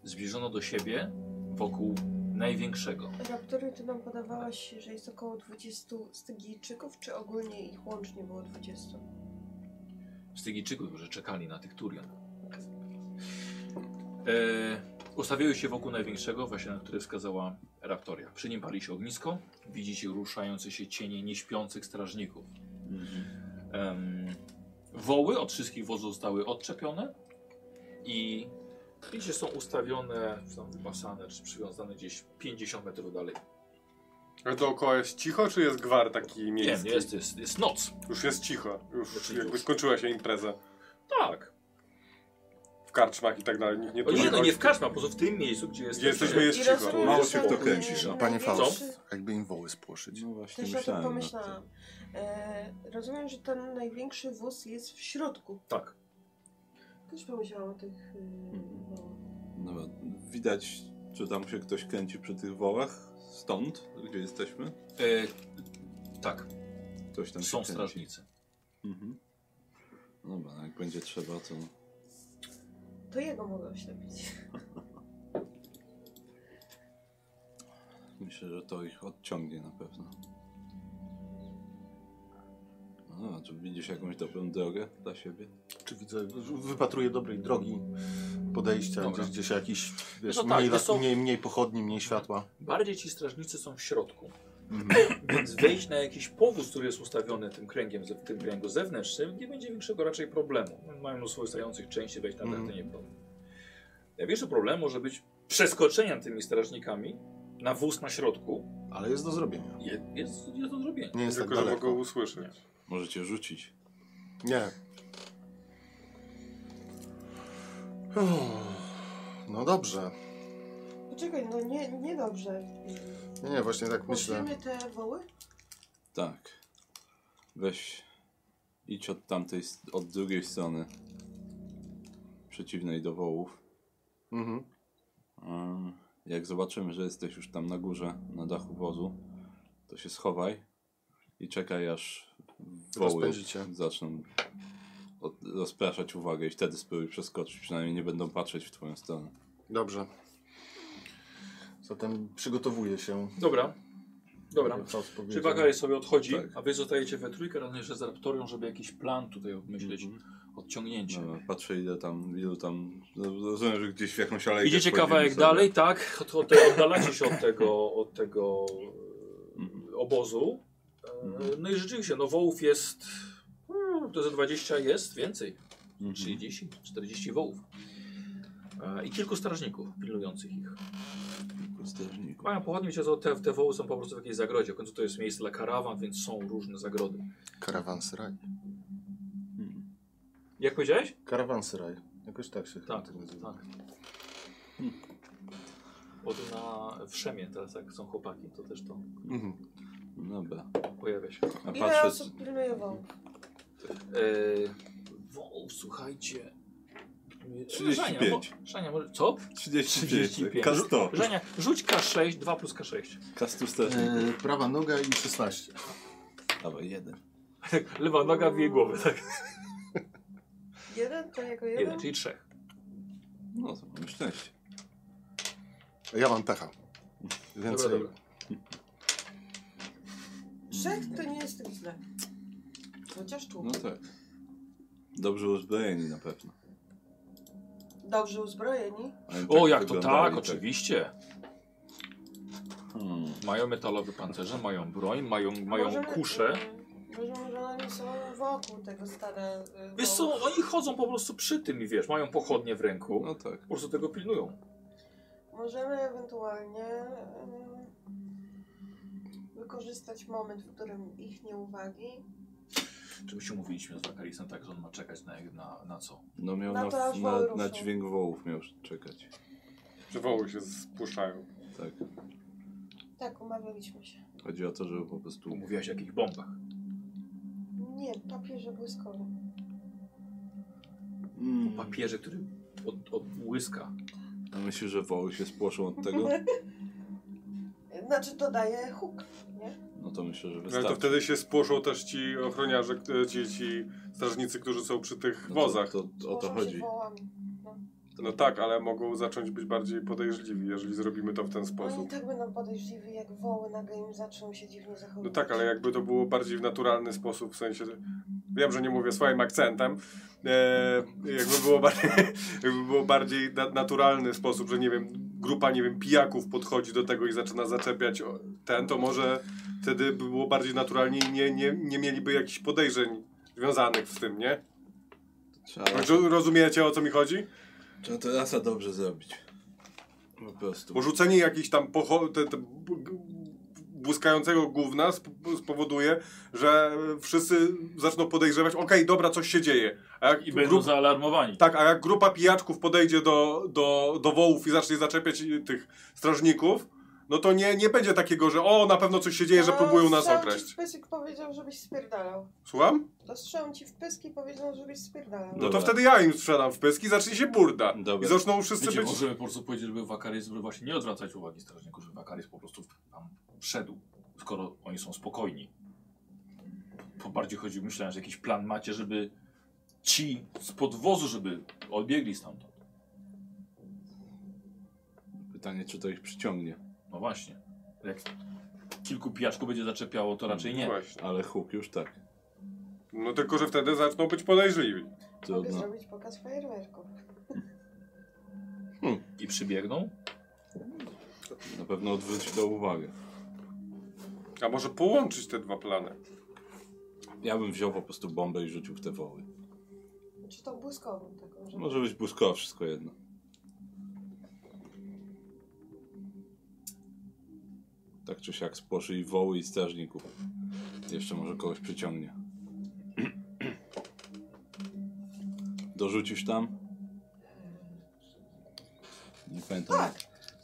S1: zbliżono do siebie wokół największego.
S3: Raptory, ty nam podawałaś, że jest około 20 Stygijczyków, czy ogólnie ich łącznie było 20?
S1: Stygijczyków, którzy czekali na tych Turian. E, ustawiły się wokół największego, właśnie na który wskazała Raptoria. Przy nim pali się ognisko. Widzicie ruszające się cienie nieśpiących strażników. Em, woły od wszystkich wozów zostały odczepione i widzicie, są ustawione, czy tam wypasane, czy przywiązane gdzieś 50 metrów dalej.
S21: Ale dookoła jest cicho, czy jest gwar taki
S1: Nie,
S21: miejski?
S1: jest, jest, jest noc.
S21: Już jest cicho. Już
S1: Znaczy
S21: jakby
S1: już.
S21: skończyła się impreza.
S1: Tak.
S21: W karczmach i tak dalej. Nikt nie
S1: O,
S21: tu
S1: nie, no nie
S21: chodzi.
S1: w każdym, a poza w tym miejscu, gdzie jest...
S21: Gdzie jesteśmy jest
S3: I
S21: cicho.
S3: rozumiem,
S8: Mało
S3: że
S8: się
S3: są,
S8: w to
S3: e,
S8: kręcisz, a
S2: panie
S3: największy-
S2: Faust, jakby im woły spłoszyć.
S8: No właśnie
S3: Też o tym
S8: myślałem. nad tym.
S3: pomyślałam. E, rozumiem, że ten największy wóz jest w środku.
S1: Tak.
S3: Też pomyślałam o tych... y,
S8: Mhm.
S3: no.
S8: No, widać, czy tam się ktoś kręci przy tych wołach. Stąd, gdzie jesteśmy.
S1: E, tak,
S8: Ktoś tam
S1: są
S8: się kręci.
S1: strażnicy.
S8: Mhm. No Dobra, jak będzie trzeba, to...
S3: To jego mogę oślepić.
S8: Myślę, że to ich odciągnie na pewno. No, a czy widzisz jakąś dobrą drogę dla siebie?
S2: Czy widzę, wypatruję dobrej drogi podejścia,
S1: Dobra.
S2: gdzieś, gdzieś jakiś, wiesz,
S1: No to tak,
S2: mniej,
S1: to
S2: las-
S1: są-
S2: mniej, mniej pochodni, mniej światła.
S1: Bardziej ci strażnicy są w środku. Więc wejść na jakiś powóz, który jest ustawiony tym kręgiem, ze- tym kręgu zewnętrznym, nie będzie większego raczej problemu. Mają mnóstwo stojących części, wejść na ten,
S2: Mhm.
S1: to nie problem. Największy problem może być przeskoczenia tymi strażnikami na wóz na środku.
S2: Ale jest do zrobienia.
S1: Je- Jest, jest do zrobienia.
S2: Nie jest
S21: Tylko,
S2: tak
S21: żeby go
S2: daleko.
S21: usłyszeć.
S8: Możecie rzucić.
S2: Nie. Uff. No dobrze.
S3: Poczekaj, no nie, niedobrze.
S2: Nie, nie, właśnie tak myślę.
S3: Musimy te woły?
S8: Tak. Weź. Idź od tamtej, s- od drugiej strony. Przeciwnej do wołów.
S2: Mhm.
S8: A Jak zobaczymy, że jesteś już tam na górze, na dachu wozu, to się schowaj i czekaj aż woły
S2: Rozpędzicie.
S8: zaczną od- rozpraszać uwagę i wtedy spróbuj przeskoczyć. Przynajmniej nie będą patrzeć w twoją stronę.
S2: Dobrze. Zatem przygotowuję się.
S1: Dobra. Dobra.
S2: Faust powiedział.
S1: Czy Wakary sobie odchodzi,
S8: Tak.
S1: a wy zostajecie we trójkę razem jeszcze z Raptorią, żeby jakiś plan tutaj obmyśleć,
S8: Mhm.
S1: odciągnięcie.
S8: Dobra, No, patrzę ile tam, ilu tam, no, rozumiem, że gdzieś w jakąś alejkę
S1: Idziecie
S8: wchodzimy
S1: kawałek
S8: sobie.
S1: dalej, tak? Od, od, oddalacie się od tego, od tego
S8: Mhm.
S1: e, obozu. E,
S8: Mhm.
S1: No i rzeczywiście, no wołów jest. mm, To ze 20 jest więcej.
S8: Mhm.
S1: 30, 40 wołów. E, I kilku strażników pilnujących ich.
S8: Tylko strażników.
S1: Mają pochodnie, wiecie, co, te, te woły są po prostu w jakiejś zagrodzie. W końcu to jest miejsce dla karawan, więc są różne zagrody.
S2: Karawanseraj.
S8: Mhm.
S1: Jak powiedziałeś?
S2: Karawanseraj. Jakoś tak się chyba
S1: Tak,
S2: nazywa.
S1: tak. Bo tu na Wszemie teraz, jak są chłopaki, to też to
S2: Mhm.
S8: Dobra,
S1: pojawia się.
S8: No a
S3: Ile
S8: patrzę,
S3: osób pilnuje wołów?
S1: Eee, wow, słuchajcie. Eee,
S8: 35.
S1: Żania, mo- Żania, może, co?
S8: 35,
S1: 35.
S8: kasto,
S1: Żania, rzuć K6, 2 plus K6.
S8: kastu
S1: tak.
S8: strażników.
S2: E, prawa noga i 16.
S8: Dawaj, jeden.
S1: Lewa noga w jej głowy, tak?
S3: Jeden to jako jeden?
S1: Jeden, czyli trzech.
S8: No to mam szczęście.
S2: Ja mam pecha.
S1: Dobra,
S2: Więcej.
S1: dobra.
S22: tak
S3: Trzech to nie jest tak źle. Chociaż tu.
S8: No tak. Dobrze uzbrojeni na pewno.
S3: Dobrze uzbrojeni.
S8: Ale
S1: O,
S8: tak
S1: jak to
S8: wyglądali,
S1: tak, oczywiście.
S8: Hmm.
S1: Mają metalowe pancerze, mają broń, mają, mają
S3: Możemy,
S1: kusze.
S3: y, Rozumiem, że oni są wokół tego stada. y,
S1: Wiesz co,
S3: wołów.
S1: oni chodzą po prostu przy tym i wiesz, mają pochodnie w ręku.
S8: No tak.
S1: Po prostu tego pilnują.
S3: Możemy ewentualnie y, wykorzystać moment, w którym ich nieuwagi.
S1: Oczywiście mówiliśmy z Wakarisem tak, że on ma czekać na, na, na co?
S8: No miał
S3: No
S8: na,
S3: to aż
S8: na,
S3: woły
S8: na
S3: ruszą.
S8: dźwięk wołów miał czekać.
S4: Przywoły się spuszczają.
S8: Tak.
S3: Tak, umawialiśmy się.
S8: Chodzi o to, żeby po prostu.
S1: Mówiłaś o jakichś bombach.
S22: Hmm.
S3: Nie, papierze błyskowym.
S2: Mm,
S1: O papierze, który od, odbłyska.
S8: A myślisz, że woły się spłoszą od tego?
S3: Znaczy dodaję huk, nie?
S8: No to myślę, że
S4: Ale to
S8: wystarczy.
S4: wtedy się spłoszą też ci ochroniarze, e, ci, ci strażnicy, którzy są przy
S1: No
S4: tych wozach.
S8: No To, to, o to
S3: Złożą
S8: chodzi.
S3: Się wołami.
S4: No tak, ale mogą zacząć być bardziej podejrzliwi, jeżeli zrobimy to w ten
S3: Oni i
S4: sposób.
S3: tak będą podejrzliwi, jak woły nagle im zaczną się dziwnie zachowywać.
S4: No tak, ale jakby to było bardziej w naturalny sposób, w sensie, wiem, że nie mówię swoim akcentem, e, jakby było bardziej, jakby było bardziej na, naturalny sposób, że nie wiem, grupa, nie wiem, pijaków podchodzi do tego i zaczyna zaczepiać o- ten, to może wtedy by było bardziej naturalnie i nie, nie, nie mieliby jakichś podejrzeń związanych z tym, nie?
S8: Trzeba,
S4: Roz- Rozumiecie, o co mi chodzi?
S8: trzeba to rasa dobrze zrobić. Po prostu.
S4: Bo rzucenie jakichś tam pocho- te, te b- g- błyskającego gówna sp- spowoduje, że wszyscy zaczną podejrzewać, okej, dobra, coś się dzieje. A jak
S22: I będą zaalarmowani.
S4: tak, a jak grupa pijaczków podejdzie do, do, do wołów i zacznie zaczepiać i- tych strażników, no to nie, nie będzie takiego, że o, na pewno coś się dzieje, że
S3: A
S4: próbują nas
S3: strzał Ci
S4: okraść.
S3: w pysk powiedział, żebyś spierdalał.
S4: Słucham?
S3: To strzał ci w pysk i powiedział, żebyś spierdalał.
S4: No
S8: Dobra.
S4: to wtedy ja im strzelam w pyski i zacznie się burda.
S8: Dobra.
S4: I zaczną wszyscy
S22: Wiecie,
S4: być...
S22: możemy po prostu powiedzieć, żeby Wakaris, żeby właśnie nie odwracać uwagi strażników, żeby Wakaris po prostu tam wszedł, skoro oni są spokojni. Po bardziej chodzi, myślałem, że jakiś plan macie, żeby ci z podwozu, żeby odbiegli stamtąd.
S8: Pytanie, czy to ich przyciągnie.
S22: No właśnie. Jak kilku pijaczków będzie zaczepiało, to raczej nie.
S4: Właśnie.
S8: Ale huk już tak.
S4: No tylko, że wtedy zaczną być podejrzliwi.
S3: Mogę
S4: no.
S8: Trudno.
S3: zrobić pokaz fajerwerków.
S22: I przybiegną?
S8: Na pewno odwróci to uwagę.
S4: A może połączyć te dwa plany?
S8: Ja bym wziął po prostu bombę i rzucił w te woły.
S3: Czy to błyskowym taką, że...
S8: No, Może być błyskowa, wszystko jedno. Tak czy siak spłoszy i woły i strażników. Jeszcze może kogoś przyciągnie. Dorzucisz tam? Nie pamiętam
S3: Tak.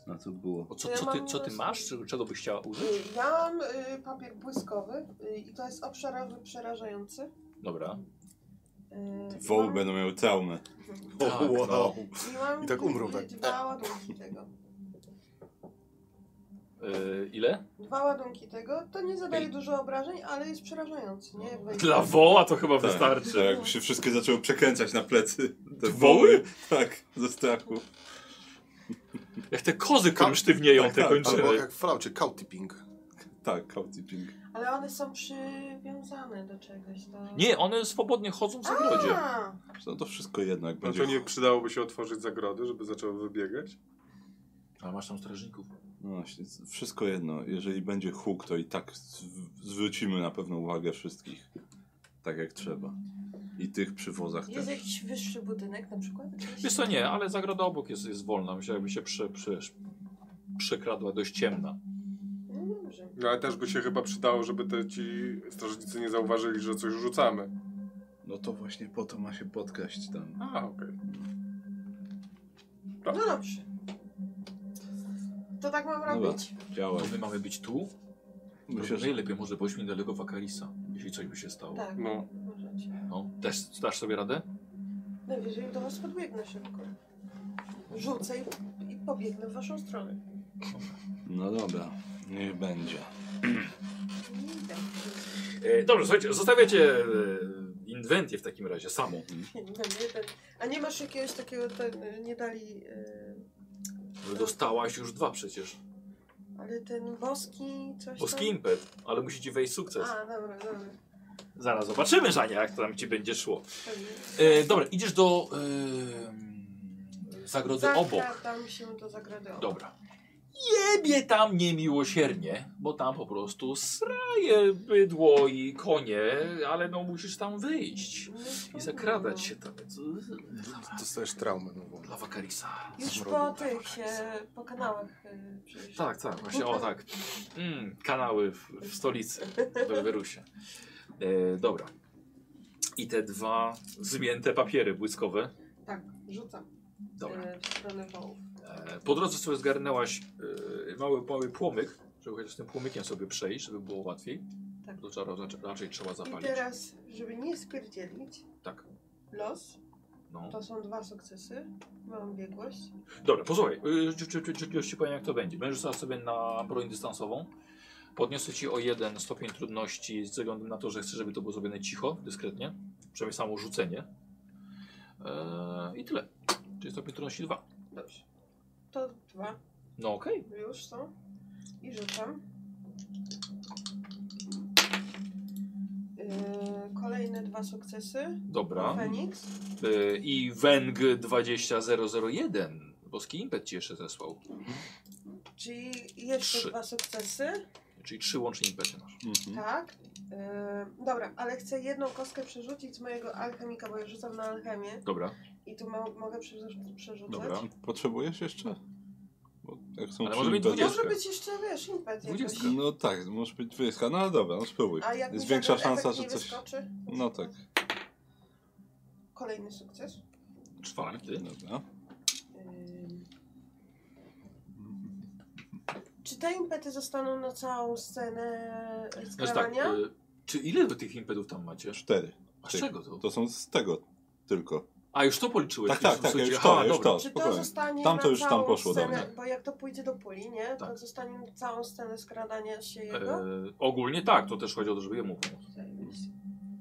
S8: na co było.
S1: O, co,
S3: Ja
S1: co, ty,
S3: mam
S1: co ty
S3: na-
S1: masz? Czy- Czego byś chciała użyć?
S3: Y, Ja mam y, papier błyskowy y, i to jest obszarowy przerażający.
S1: Dobra.
S3: Y,
S8: Woły
S3: mam-
S8: będą miały traumę.
S1: Tak, no.
S3: I, mam
S2: I tak umrą, tak.
S3: Dwa ładunki tego.
S22: Y,
S1: Yy, ile?
S3: Dwa ładunki tego, to nie zadaje dużo obrażeń, ale jest przerażający, nie? Jak wejdzie.
S22: Dla woła to chyba
S8: Tak.
S22: wystarczy.
S8: Tak, jakby się wszystkie zaczęły przekręcać na plecy. Te
S22: Woły?
S8: Tak, ze strachu.
S22: Jak te kozy krążtywnieją
S8: Tak,
S22: te
S8: tak,
S22: kończyny.
S2: Albo jak w flaucie, cowtipping.
S8: Tak, kautiping.
S3: Ale one są przywiązane do czegoś, to...
S1: Nie, one swobodnie chodzą w zagrodzie.
S3: A,
S8: No to wszystko jedno, jak
S4: No
S8: będzie...
S4: to nie przydałoby się otworzyć zagrody, żeby zaczęły wybiegać?
S1: Ale masz tam strażników.
S8: No właśnie, z- wszystko jedno. Jeżeli będzie huk, to i tak z- zwrócimy na pewno uwagę wszystkich. Tak jak trzeba. I tych przy wozach
S3: jest
S8: też.
S3: jakiś wyższy budynek na przykład? Jakiś-
S1: Wiesz co, nie, ale zagroda obok jest, jest wolna. Myślę, jakby się prze, prze, przekradła, dość ciemna.
S3: No dobrze.
S4: No ale też by się chyba przydało, żeby te ci strażnicy nie zauważyli, że coś rzucamy.
S8: No to właśnie po to ma się podkraść tam.
S4: A, okej.
S3: No dobrze. To tak mam robić.
S8: Działa.
S1: To my mamy być tu?
S8: Myślę, że...
S1: Najlepiej może pójdźmy niedaleko Wakarisa, jeśli coś by się stało.
S3: Tak,
S4: No.
S3: możecie.
S1: No, też dasz sobie radę?
S3: Najwyżej do was podbiegnę szybko. Rzucę i, i pobiegnę w waszą stronę.
S8: No dobra, niech będzie.
S3: Nie idę.
S1: E, dobrze, słuchajcie, zostawiacie e, Inventię w takim razie samą.
S3: Nie, nie, nie, ten. A nie masz jakiegoś takiego, ten, nie dali, yy,
S1: Ale Dostałaś już dwa przecież.
S3: ale ten boski, coś
S1: Boski
S3: tam?
S1: impet, ale musi ci wejść sukces.
S3: A, dobra, dobra.
S1: Zaraz zobaczymy, Żania, jak to tam ci będzie szło.
S3: Pewnie.
S1: E, dobra, idziesz do e, zagrody obok.
S3: Zakradam Tak, się do zagrody obok.
S1: Dobra. Jebie tam niemiłosiernie, bo tam po prostu sraje bydło i konie, ale no musisz tam wyjść.
S3: No,
S1: I
S3: trudno.
S1: zakradać się tam.
S2: Dostajesz traumę nową.
S1: Dla Wakarisa.
S3: Już po
S2: Zmrodu.
S3: tych się, po kanałach yy, przecież.
S1: Tak, tak, właśnie, o tak. Mm, kanały w, w stolicy, w Belwerusie. E, dobra. I te dwa zmięte papiery błyskowe.
S3: Tak, rzucam
S1: Dobra.
S3: yy, E, w stronę wołów.
S7: E, Po drodze sobie zgarnęłaś e, mały, mały płomyk, żeby chociaż tym płomykiem sobie przejść, żeby było łatwiej.
S3: Tak.
S7: To trzeba, raczej, raczej trzeba
S3: I
S7: zapalić.
S3: teraz, żeby nie spierdzielić,
S7: Tak.
S3: los,
S7: No.
S3: to są dwa sukcesy, mam biegłość.
S7: Dobra, posłuchaj, y, ci- ci- ci- ci- już ci powiem jak to będzie. Będziesz rzucała sobie na broń dystansową. Podniosę ci o jeden stopień trudności z względu na to, że chcę, żeby to było zrobione cicho, dyskretnie. Przynajmniej samo rzucenie. Eee, I tyle. Czyli stopień trudności dwa.
S3: Dobrze. To dwa
S7: No okej.
S3: już są. I rzucam. Yy, kolejne dwa sukcesy.
S7: Dobra.
S3: Feniks.
S7: Y, I Weng 20001. Boski impet ci jeszcze zesłał.
S3: Czyli jeszcze
S7: Trzy.
S3: dwa sukcesy.
S7: Czyli trzy łącznie impety masz.
S8: Mhm.
S3: Tak. Yy, dobra, ale chcę jedną kostkę przerzucić z mojego alchemika, bo ja rzucam na alchemię.
S7: Dobra.
S3: I tu mo mogę przerzu- przerzucać.
S7: Dobra.
S8: Potrzebujesz jeszcze? Bo jak są
S7: Ale
S8: trzy
S7: może być
S8: impety-
S3: No Może
S7: dwudziestka.
S3: być jeszcze, wiesz, impet jakoś.
S7: Dwudziestka.
S8: No tak, może być 20. No ale dobra, no spróbuj.
S3: A jak
S8: Jest
S3: mi
S8: większa
S3: żaden
S8: szansa,
S3: efekt
S8: że
S3: nie
S8: coś.
S3: wyskoczy?
S8: No tak.
S3: Kolejny sukces.
S7: Czwarty.
S8: Dobra.
S3: Ym. Czy te impety zostaną na całą scenę
S7: Znaczy tak,
S3: skrawania?
S7: y, czy ile wy tych impetów tam macie?
S8: Cztery.
S7: A z
S8: Tych.
S7: czego to?
S8: To są z tego tylko.
S7: A już to policzyłeś?
S8: Tak, tak,
S7: w
S8: tak,
S7: sumie-
S8: już
S7: aha,
S8: to, już
S7: dobra.
S1: no,
S8: to.
S3: Czy to
S8: Spokojnie.
S3: zostanie
S8: Tam
S3: na
S8: to już tam
S3: całą
S8: poszło,
S3: scenę,
S8: dobra.
S3: bo jak to pójdzie do puli, nie? To
S7: Tak.
S3: zostanie na całą scenę skradania się jego.
S7: E, ogólnie tak, to też chodzi o to, żeby jemu pomóc.
S3: Zajebiście.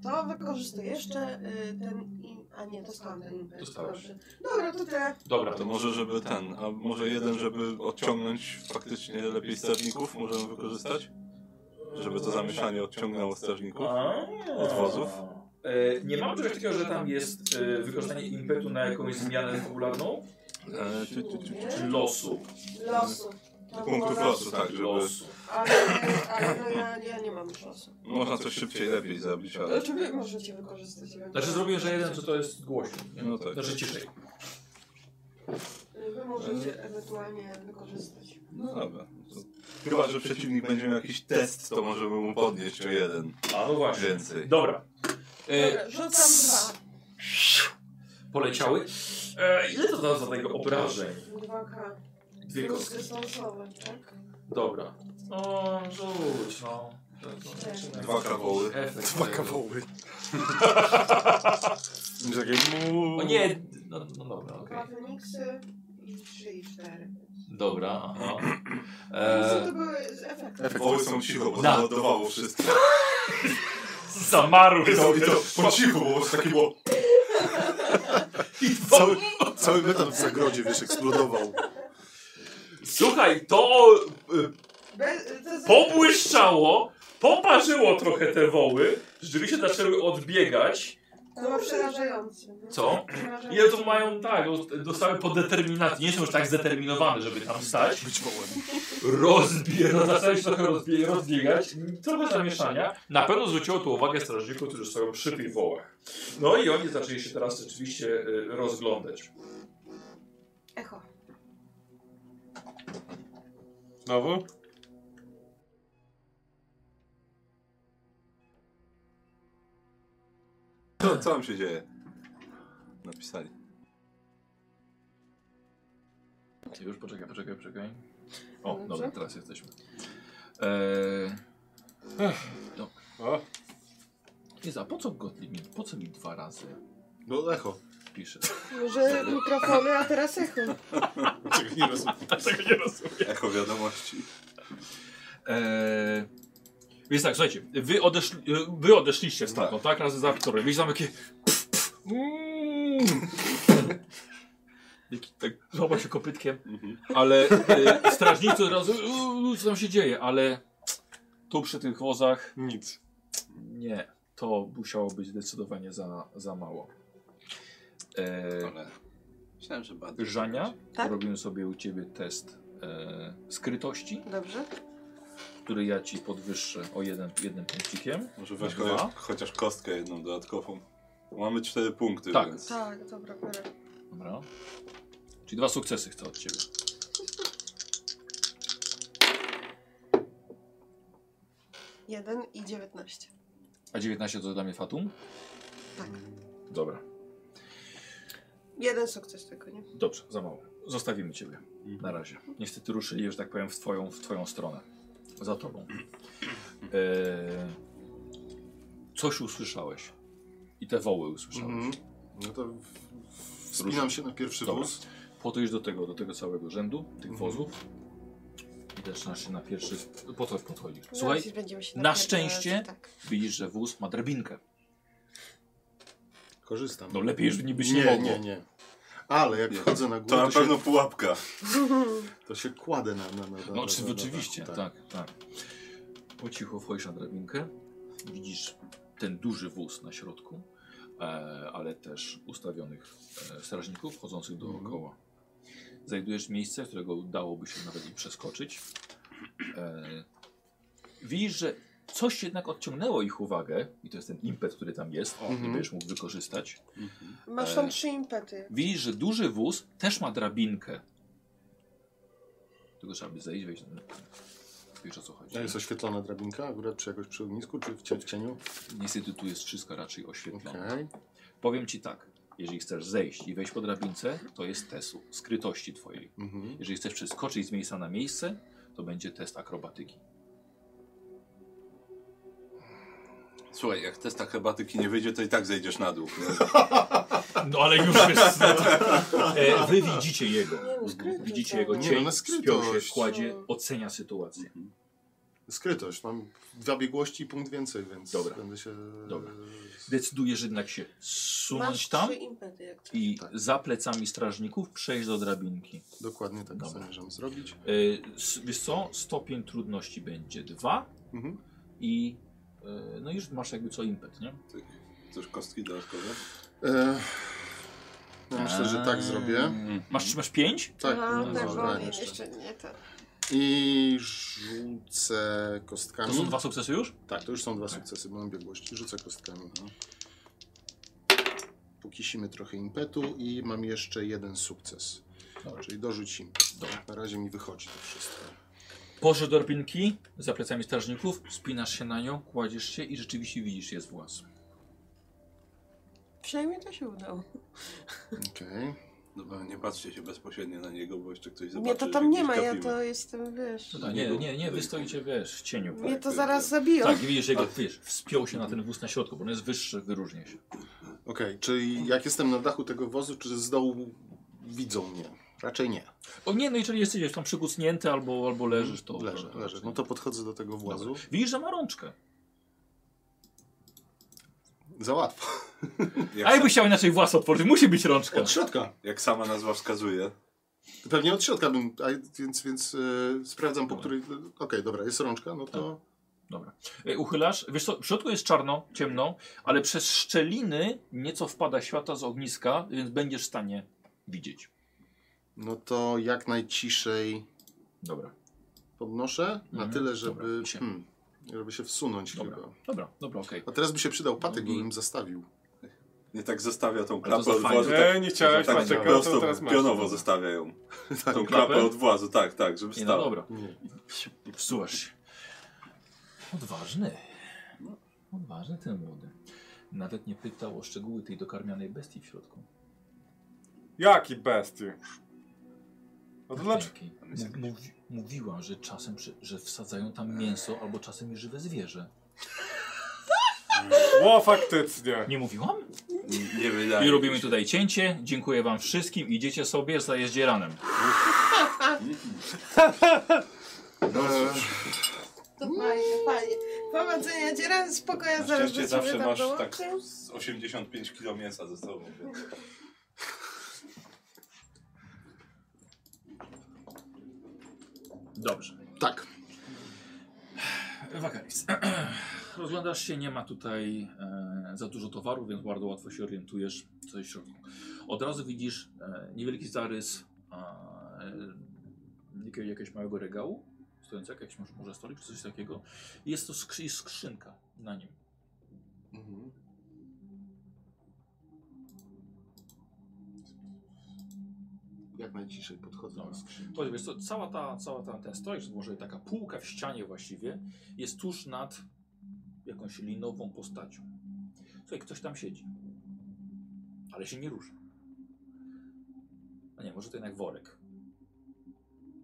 S3: To wykorzystuję jeszcze y, ten im... A nie, dostałam ten impet.
S7: Dostałeś.
S3: Dobrze. Dobra, to te.
S7: Dobra,
S8: To może, żeby ten, a może jeden, żeby odciągnąć faktycznie lepiej strażników, możemy wykorzystać? Żeby to zamieszanie odciągnęło strażników? Od wozów?
S1: E, nie mamy czegoś takiego, że tam jest e, wykorzystanie impetu na jakąś zmianę popularną?
S8: E, ciu, ciu, ciu.
S1: Czy losu?
S3: Losu. To było
S8: Punktów
S3: losu.
S8: losu, tak, żeby
S1: Losu.
S3: Ale, ale no ja, ja nie mam już losu.
S8: można coś szybciej, lepiej zrobić, ale...
S3: To czy wy możecie wykorzystać?
S1: Znaczy zrobię, że jeden, co to jest głośno. nie?
S8: No tak.
S1: Znaczy ciszej.
S3: Y, Wy możecie ewentualnie wykorzystać.
S8: No dobra. To... Chyba, że przeciwnik będzie miał jakiś test, to możemy mu podnieść o jeden
S1: A no właśnie.
S8: więcej.
S1: Dobra. E,
S3: Dobra, rzucam dwa.
S1: poleciały. E, ile to da za tego obrażeń?
S3: 2K.
S1: Dwie kostki.
S3: są osoby, tak?
S1: Dobra. No, rzuć, no. To- to zaczyna-
S8: Dwa kawoły.
S1: Efekt.
S5: Dwa kawoły.
S1: O nie! No, no dobra, okej.
S3: Dwa Feniksy i trzy i cztery.
S1: Dobra, aha.
S3: Co
S1: E,
S3: to były z efektem?
S8: Woły są cicho, bo
S1: Na.
S8: załadowało wszystko.
S1: zamarł
S8: I to, i to po cichu, bo już takie było...
S5: Cały, cały metal w zagrodzie, wiesz, eksplodował.
S1: Słuchaj, to y,
S3: Be- to z-
S1: pobłyszczało, poparzyło trochę te woły, rzeczywiście zaczęły odbiegać.
S3: To było przerażające. no.
S1: Co?
S3: Przerażające.
S1: Ile to mają tak, o- dostały po determinacji, nie są już tak zdeterminowane, żeby tam stać.
S5: Być wołem.
S1: Rozbie, zaczęły się trochę rozbie, rozbiegać, trochę zamieszania. Na pewno zwróciło to uwagę strażników, którzy stoją przy tych wołach. No i oni zaczęli się teraz rzeczywiście y, rozglądać.
S3: Echo.
S21: Znowu?
S8: Co, co tam się dzieje? Napisali.
S7: Już poczekaj, poczekaj, poczekaj. O, dobra, teraz jesteśmy. Eee, no.
S21: O.
S7: Jeza, po co Gottlieb mi, po co mi dwa razy
S5: No echo.
S7: pisze?
S3: Może mikrofony, a teraz echo.
S5: Czego nie rozumiem.
S7: Dlaczego nie rozumiem?
S8: Echo wiadomości.
S7: Eee, więc tak, słuchajcie, wy, odeszli, e, wy odeszliście stamtąd, tak? Razem z Wiktorem. Widzisz tam takie... Mm. Jaki tak złapał się kopytkiem. Ale e, strażnicy od razu, "Uuu, co tam się dzieje, ale tu przy tych wozach
S21: Nic.
S7: nie, to musiało być zdecydowanie za, za mało. E,
S8: Ale... Myślałem, że bardzo.
S7: Żania,
S6: Tak?
S7: robimy sobie u ciebie test e, skrytości,
S6: Dobrze.
S7: który ja ci podwyższę o jeden, jednym punkcikiem.
S8: Może weź
S7: Dwa.
S8: chociaż, chociaż kostkę jedną dodatkową. Mamy cztery punkty,
S7: Tak.
S8: więc...
S3: Tak, dobra, biorę.
S7: Dobra. Czyli dwa sukcesy chcę od ciebie.
S3: Jeden i dziewiętnaście.
S7: A 19 to dla mnie Fatum?
S3: Tak.
S7: Dobra.
S3: Jeden sukces tylko, nie?
S7: Dobrze, za mało. Zostawimy ciebie.
S2: Mhm.
S7: Na razie. Niestety ruszyli, że tak powiem, w twoją, w twoją stronę. Za tobą. Eee, coś usłyszałeś. I te woły usłyszałeś.
S2: Mhm. No to w- w- wspinam się na pierwszy
S7: Dobra.
S2: wóz.
S7: Podejdź do tego, do tego całego rzędu, tych
S2: Mhm.
S7: wozów. I zaczynasz się na pierwszy... Po co podchodzisz? Słuchaj,
S3: Zaraz będziemy się
S7: na
S3: napierdalać,
S7: szczęście-
S3: Tak.
S7: widzisz, że wóz ma drabinkę.
S2: Korzystam.
S7: No lepiej już niby się nie,
S2: Nie,
S7: mogło.
S2: nie, nie. Ale jak
S8: Nie.
S2: wchodzę na
S8: To
S2: górę,
S8: na
S2: to, się,
S8: pewno pułapka.
S2: to się kładę na... na, na, na
S7: No
S2: na-
S7: czy,
S2: na- na-
S7: oczywiście,
S2: tak.
S7: tak, tak, Po cichu wchodzisz na drabinkę, widzisz ten duży wóz na środku, e, ale też ustawionych e, strażników chodzących
S2: Mhm.
S7: dookoła. Znajdujesz miejsce, którego dałoby się nawet i przeskoczyć. E, widzisz, że coś jednak odciągnęło ich uwagę i to jest ten impet, który tam jest, o, nie
S2: Mhm.
S7: będziesz mógł wykorzystać.
S3: Masz tam
S7: E,
S3: trzy impety.
S7: Widzisz, że duży wóz też ma drabinkę. Tylko trzeba by zejść, wejść. Wiesz o co chodzi.
S2: A jest oświetlona drabinka akurat, czy jakoś przy ognisku, czy w cie- w cieniu?
S7: Niestety tu jest wszystko raczej oświetlone.
S2: Okej.
S7: Powiem ci tak, jeżeli chcesz zejść i wejść po drabince, to jest testu skrytości twojej.
S2: Mhm.
S7: Jeżeli chcesz przeskoczyć z miejsca na miejsce, to będzie test akrobatyki.
S8: Słuchaj, jak test akrobatyki nie wyjdzie, to i tak zejdziesz na dół.
S1: No ale już jest. E, wy widzicie jego.
S3: Nie no, skryty
S1: Widzicie
S3: są.
S1: jego
S2: Tak. Nie, no,
S1: cień,
S2: na
S1: spiął się
S2: skrytość.
S1: w kładzie, ocenia sytuację.
S2: Skrytość. Mam dwa biegłości i punkt więcej, więc
S7: Dobra.
S2: będę się...
S7: Dobra. Decydujesz jednak się
S3: Masz
S7: zsunąć tam
S3: trzy impety, jak coś.
S7: i
S2: tak.
S7: za plecami strażników przejść do drabinki.
S2: Dokładnie tak
S7: Dobra.
S2: zamierzam zrobić.
S7: E, s- wiesz co, stopień trudności będzie dwa
S2: Mhm.
S7: i e, no już masz jakby co impet, nie?
S8: Coś kostki dodatkowe?
S2: E, ja myślę, że
S7: Eee.
S2: tak zrobię.
S7: Mhm. Masz, masz pięć?
S2: Tak,
S3: Aha,
S2: no,
S3: tak,
S2: dobra,
S3: bo
S2: jeszcze.
S3: jeszcze nie tak.
S2: I rzucę kostkami.
S7: To są dwa sukcesy już?
S2: Tak, to już są dwa sukcesy, bo mam biegłość. Rzucę kostkami. No. Pokisimy trochę impetu i mam jeszcze jeden sukces.
S7: Dobra.
S2: Czyli dorzuć impet.
S7: Dobra.
S2: Na razie mi wychodzi to wszystko.
S7: Pożycz do drabinki, za plecami strażników, spinasz się na nią, kładziesz się i rzeczywiście widzisz jest włas.
S3: Przynajmniej to się udało.
S2: Okej.
S8: Dobra, No nie patrzcie się bezpośrednio na niego, bo jeszcze ktoś zobaczy,
S3: Mnie to
S8: że
S3: tam nie
S8: gdzieś
S3: ma, ja
S8: kapimy. Tak,
S3: to jestem, wiesz...
S7: No nie, nie, nie, wy stoicie, wiesz, w cieniu.
S3: Mnie to zaraz zabiją.
S7: Tak, i widzisz jego, wiesz, wspiął się na ten wóz na środku, bo on jest wyższy, wyróżnia się.
S2: Okej, czyli jak jestem na dachu tego wozu, czy z dołu widzą mnie? Raczej nie.
S7: O nie, no jeżeli jesteś gdzieś tam przykucnięty albo, albo leżysz, to...
S2: Leżę,
S7: to,
S2: leżę. No to podchodzę do tego
S7: Dobra.
S2: włazu.
S7: Widzisz, że ma rączkę.
S2: Za łatwo.
S8: Jak,
S7: A
S8: sa-
S7: jakby chciał inaczej włas otworzyć, musi być rączka.
S2: Od środka.
S8: jak sama nazwa wskazuje,
S2: Pewnie od środka bym, a, więc, więc e, sprawdzam po
S7: Dobra. Tak.
S2: której... Okej, dobra, jest rączka, no to...
S7: E, Uchylasz, wiesz co, w środku jest czarno, ciemno, ale przez szczeliny nieco wpada światła z ogniska, więc będziesz w stanie widzieć.
S2: No to jak najciszej
S7: Dobra.
S2: podnoszę, na
S7: Mhm.
S2: tyle,
S7: Dobra,
S2: żeby,
S7: ciszę.
S2: hmm, żeby się wsunąć
S7: Dobra. Mhm.
S2: chyba.
S7: Dobra, dobra, okej.
S2: A teraz by się przydał patyk,
S7: Drugi.
S2: bo bym zastawił.
S8: nie tak zostawia tą
S7: to
S8: klapę
S7: za
S8: od
S7: fajne.
S8: włazu.
S4: E,
S21: Nie, nie chciałeś
S8: tak, tak
S21: patyka,
S8: prosto,
S21: to teraz masz.
S8: pionowo zostawia ją. Tą klapę
S7: Klapę?
S8: od włazu, tak, tak, żeby
S7: Nie, no
S8: stała.
S7: dobra. Wsuwasz się. Odważny. Odważny ten młody. Nawet nie pytał o szczegóły tej dokarmianej bestii w środku.
S21: Jaki bestii. No to
S4: znaczy-
S21: dlaczego?
S7: Jakiej? Mów- Mówi, mówiła, że czasem przy, że wsadzają tam mięso albo czasem i żywe zwierzę.
S21: Ło, faktycznie.
S7: Nie mówiłam?
S8: N- Nie wydaje
S7: I
S8: mi
S7: robimy
S8: się.
S7: tutaj cięcie. Dziękuję wam wszystkim. Idziecie sobie, zajeździe ranem.
S3: To fajnie, fajnie. Powodzenia, dzieram spokoju, zaraz
S8: Na
S3: do
S8: szczęście
S3: ciebie
S8: zawsze
S3: tam
S8: masz
S3: dołączę.
S8: tak z 85 kg mięsa ze sobą. więc-
S7: Dobrze.
S2: Tak.
S7: Wakaris. Rozglądasz się, nie ma tutaj e, za dużo towaru, więc bardzo łatwo się orientujesz, co jest w środku. Od razu widzisz e, niewielki zarys e, jakiego- jakiegoś małego regału, stojący jakiś może, może stolik czy coś takiego. I Jest to skrzy, jest skrzynka na nim.
S2: Mhm. Jak najciszej podchodzę
S7: Dobra.
S2: do skrzynki.
S7: To jest, to cała ta, cała ta, ten stolik, czy może taka półka w ścianie właściwie, jest tuż nad jakąś linową postacią. Słuchaj, ktoś tam siedzi, ale się nie rusza. A nie, może to jednak worek.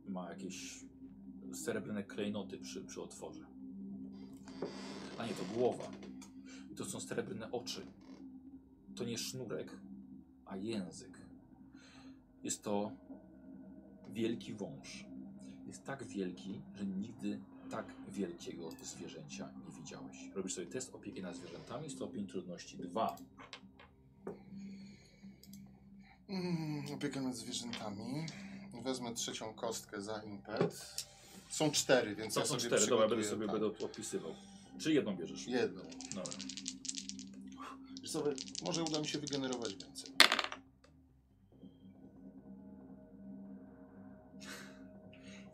S7: Ma jakieś srebrne klejnoty przy, przy otworze. A nie, to głowa. I to są srebrne oczy. To nie sznurek, a język. Jest to wielki wąż. Jest tak wielki, że nigdy tak wielkiego zwierzęcia nie widziałeś. Robisz sobie test opieki nad zwierzętami, stopień trudności 2.
S2: Mm, opieka nad zwierzętami. Wezmę trzecią kostkę za impet. Są cztery, więc
S7: To
S2: ja
S7: są
S2: sobie
S7: cztery, dobra, będę sobie
S2: przygotuję, tak,
S7: będę opisywał. Czy jedną bierzesz?
S2: Jedną.
S7: Dobra.
S2: Wiesz co, może uda mi się wygenerować więcej.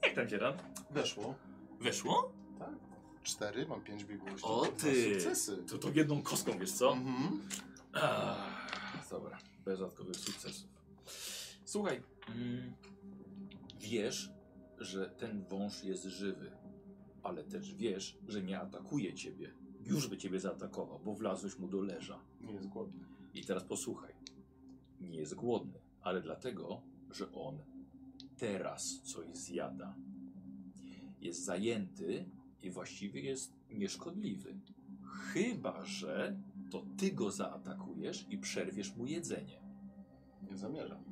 S7: Jak tam dzieran?
S2: Weszło.
S7: Weszło?
S2: Cztery, mam pięć biegłości.
S7: O ty!
S2: Dwa sukcesy.
S7: To, to jedną kostką, wiesz co?
S2: Mhm.
S7: Ach, Ah, dobra, bez dodatkowych sukcesów. Słuchaj, mm, wiesz, że ten wąż jest żywy, ale też wiesz, że nie atakuje ciebie. Już by ciebie zaatakował, bo wlazłeś mu do leża.
S2: Nie jest głodny.
S7: I teraz posłuchaj. Nie jest głodny, ale dlatego, że on teraz coś zjada. Jest zajęty i właściwie jest nieszkodliwy. Chyba, że to ty go zaatakujesz i przerwiesz mu jedzenie.
S2: Nie zamierzam.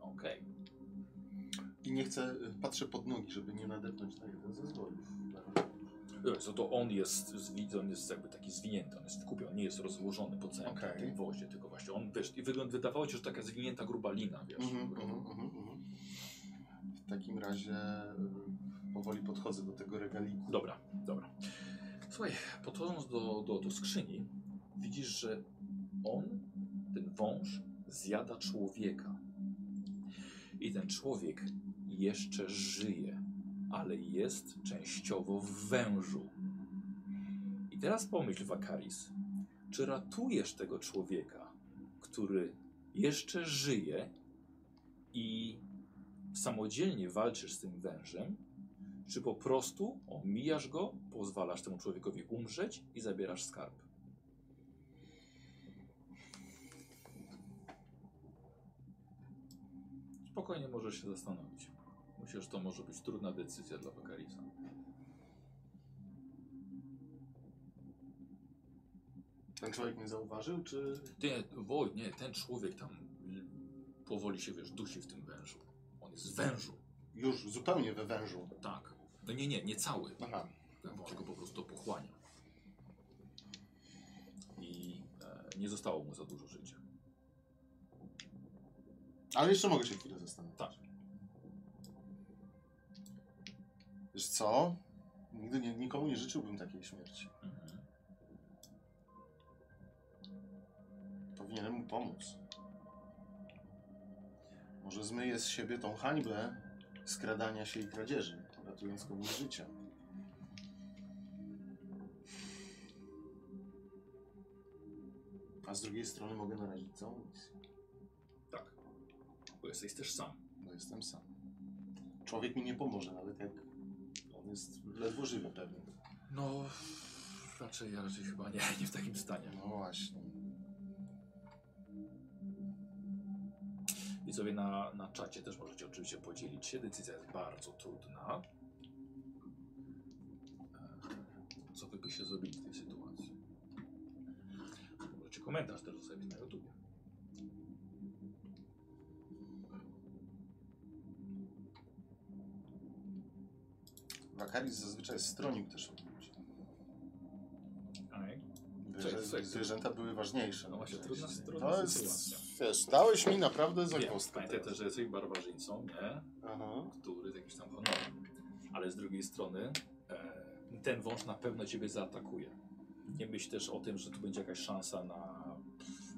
S7: Okej.
S2: I nie chcę, y, patrzę pod nogi, żeby nie nadepnąć na jeden ze zbojów.
S7: Okay. So to on jest, zwi- on jest jakby taki zwinięty, on jest w kupie, on nie jest rozłożony po całym
S2: Okej.
S7: tym wozie, tylko właśnie on, wiesz, i wygląd wydawało ci, że taka zwinięta gruba lina, wiesz.
S2: Mhm, mhm, mhm, mhm. W takim razie y, powoli podchodzę do tego regaliku.
S7: Dobra, dobra. Słuchaj, podchodząc do, do, do skrzyni, widzisz, że on, ten wąż, zjada człowieka. I ten człowiek jeszcze żyje, ale jest częściowo w wężu. I teraz pomyśl, Wakaris, czy ratujesz tego człowieka, który jeszcze żyje i samodzielnie walczysz z tym wężem, czy po prostu omijasz go, pozwalasz temu człowiekowi umrzeć i zabierasz skarb? Spokojnie możesz się zastanowić. Myślę, że to może być trudna decyzja dla Bakarisa.
S2: Ten człowiek mnie zauważył, czy...
S7: Ty, woj, nie, ten człowiek tam y, powoli się, wiesz, dusi w tym wężu. On jest w wężu,
S2: Już zupełnie we wężu.
S7: tak. No nie, nie, nie cały.
S2: Aha.
S7: Ten wąż go po prostu pochłania. I e, nie zostało mu za dużo życia.
S2: Ale jeszcze mogę się chwilę zastanowić.
S7: Tak.
S2: Wiesz co? Nigdy nie, nikomu nie życzyłbym takiej śmierci.
S7: Mhm.
S2: Powinienem mu pomóc. Może zmyje z siebie tą hańbę skradania się i kradzieży, ratując komuś życie. A z drugiej strony mogę narazić całą misję,
S7: Tak. Bo jesteś też sam.
S2: bo No, jestem sam. Człowiek mi nie pomoże, nawet jak on jest ledwo żywy pewnie.
S7: No, raczej, ja raczej chyba nie, nie w takim stanie.
S2: No właśnie.
S7: I sobie na, na czacie też możecie oczywiście podzielić się. Decyzja jest bardzo trudna. E, Co wy byście zrobili w tej sytuacji? Możecie komentarz też zostawić na YouTube.
S2: Wakaris zazwyczaj stronił też od ludzi.
S7: Co jest- co
S2: Zwierzę,
S7: jest-
S2: zwierzęta były ważniejsze.
S7: No właśnie, trudna- trudna
S2: to jest,
S7: sytuacja.
S2: wiesz, dałeś mi naprawdę za
S7: Wiem,
S2: kostkę.
S7: Pamiętaj
S2: teraz.
S7: też, że jesteś barbarzyńcą, nie?
S2: Aha.
S7: Który jakiś tam honorem. Ale z drugiej strony e, ten wąż na pewno ciebie zaatakuje. Nie myśl też o tym, że tu będzie jakaś szansa na,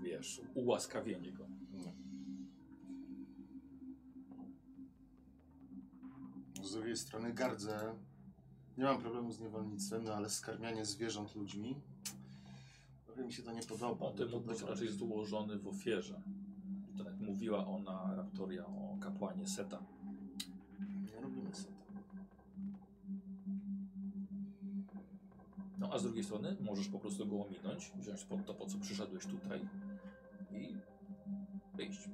S7: wiesz, ułaskawienie go.
S2: Z drugiej strony gardzę. Nie mam problemu z niewolnictwem, no ale skarmianie zwierząt ludźmi. Trochę mi się to nie podoba.
S7: On ten mógł być
S2: Podoba mi
S7: raczej
S2: się.
S7: złożony w ofierze. Tak jak mówiła ona, raptoria, o kapłanie Seta.
S2: Nie robimy sobie tego.
S7: No a z drugiej strony możesz po prostu go ominąć, wziąć pod to, po co przyszedłeś tutaj i wyjść.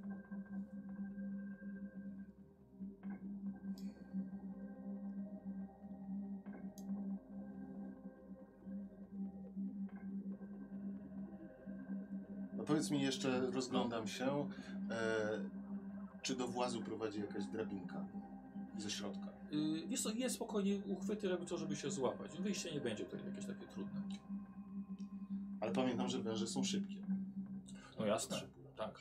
S2: powiedz mi jeszcze, rozglądam się, e, czy do włazu prowadzi jakaś drabinka ze środka?
S7: Yy, wiesz co, jest spokojnie uchwyty, żeby to, żeby się złapać. Wyjście nie będzie tutaj jakieś takie trudne.
S2: Ale pamiętam, że węże są szybkie.
S7: No jasne, tak.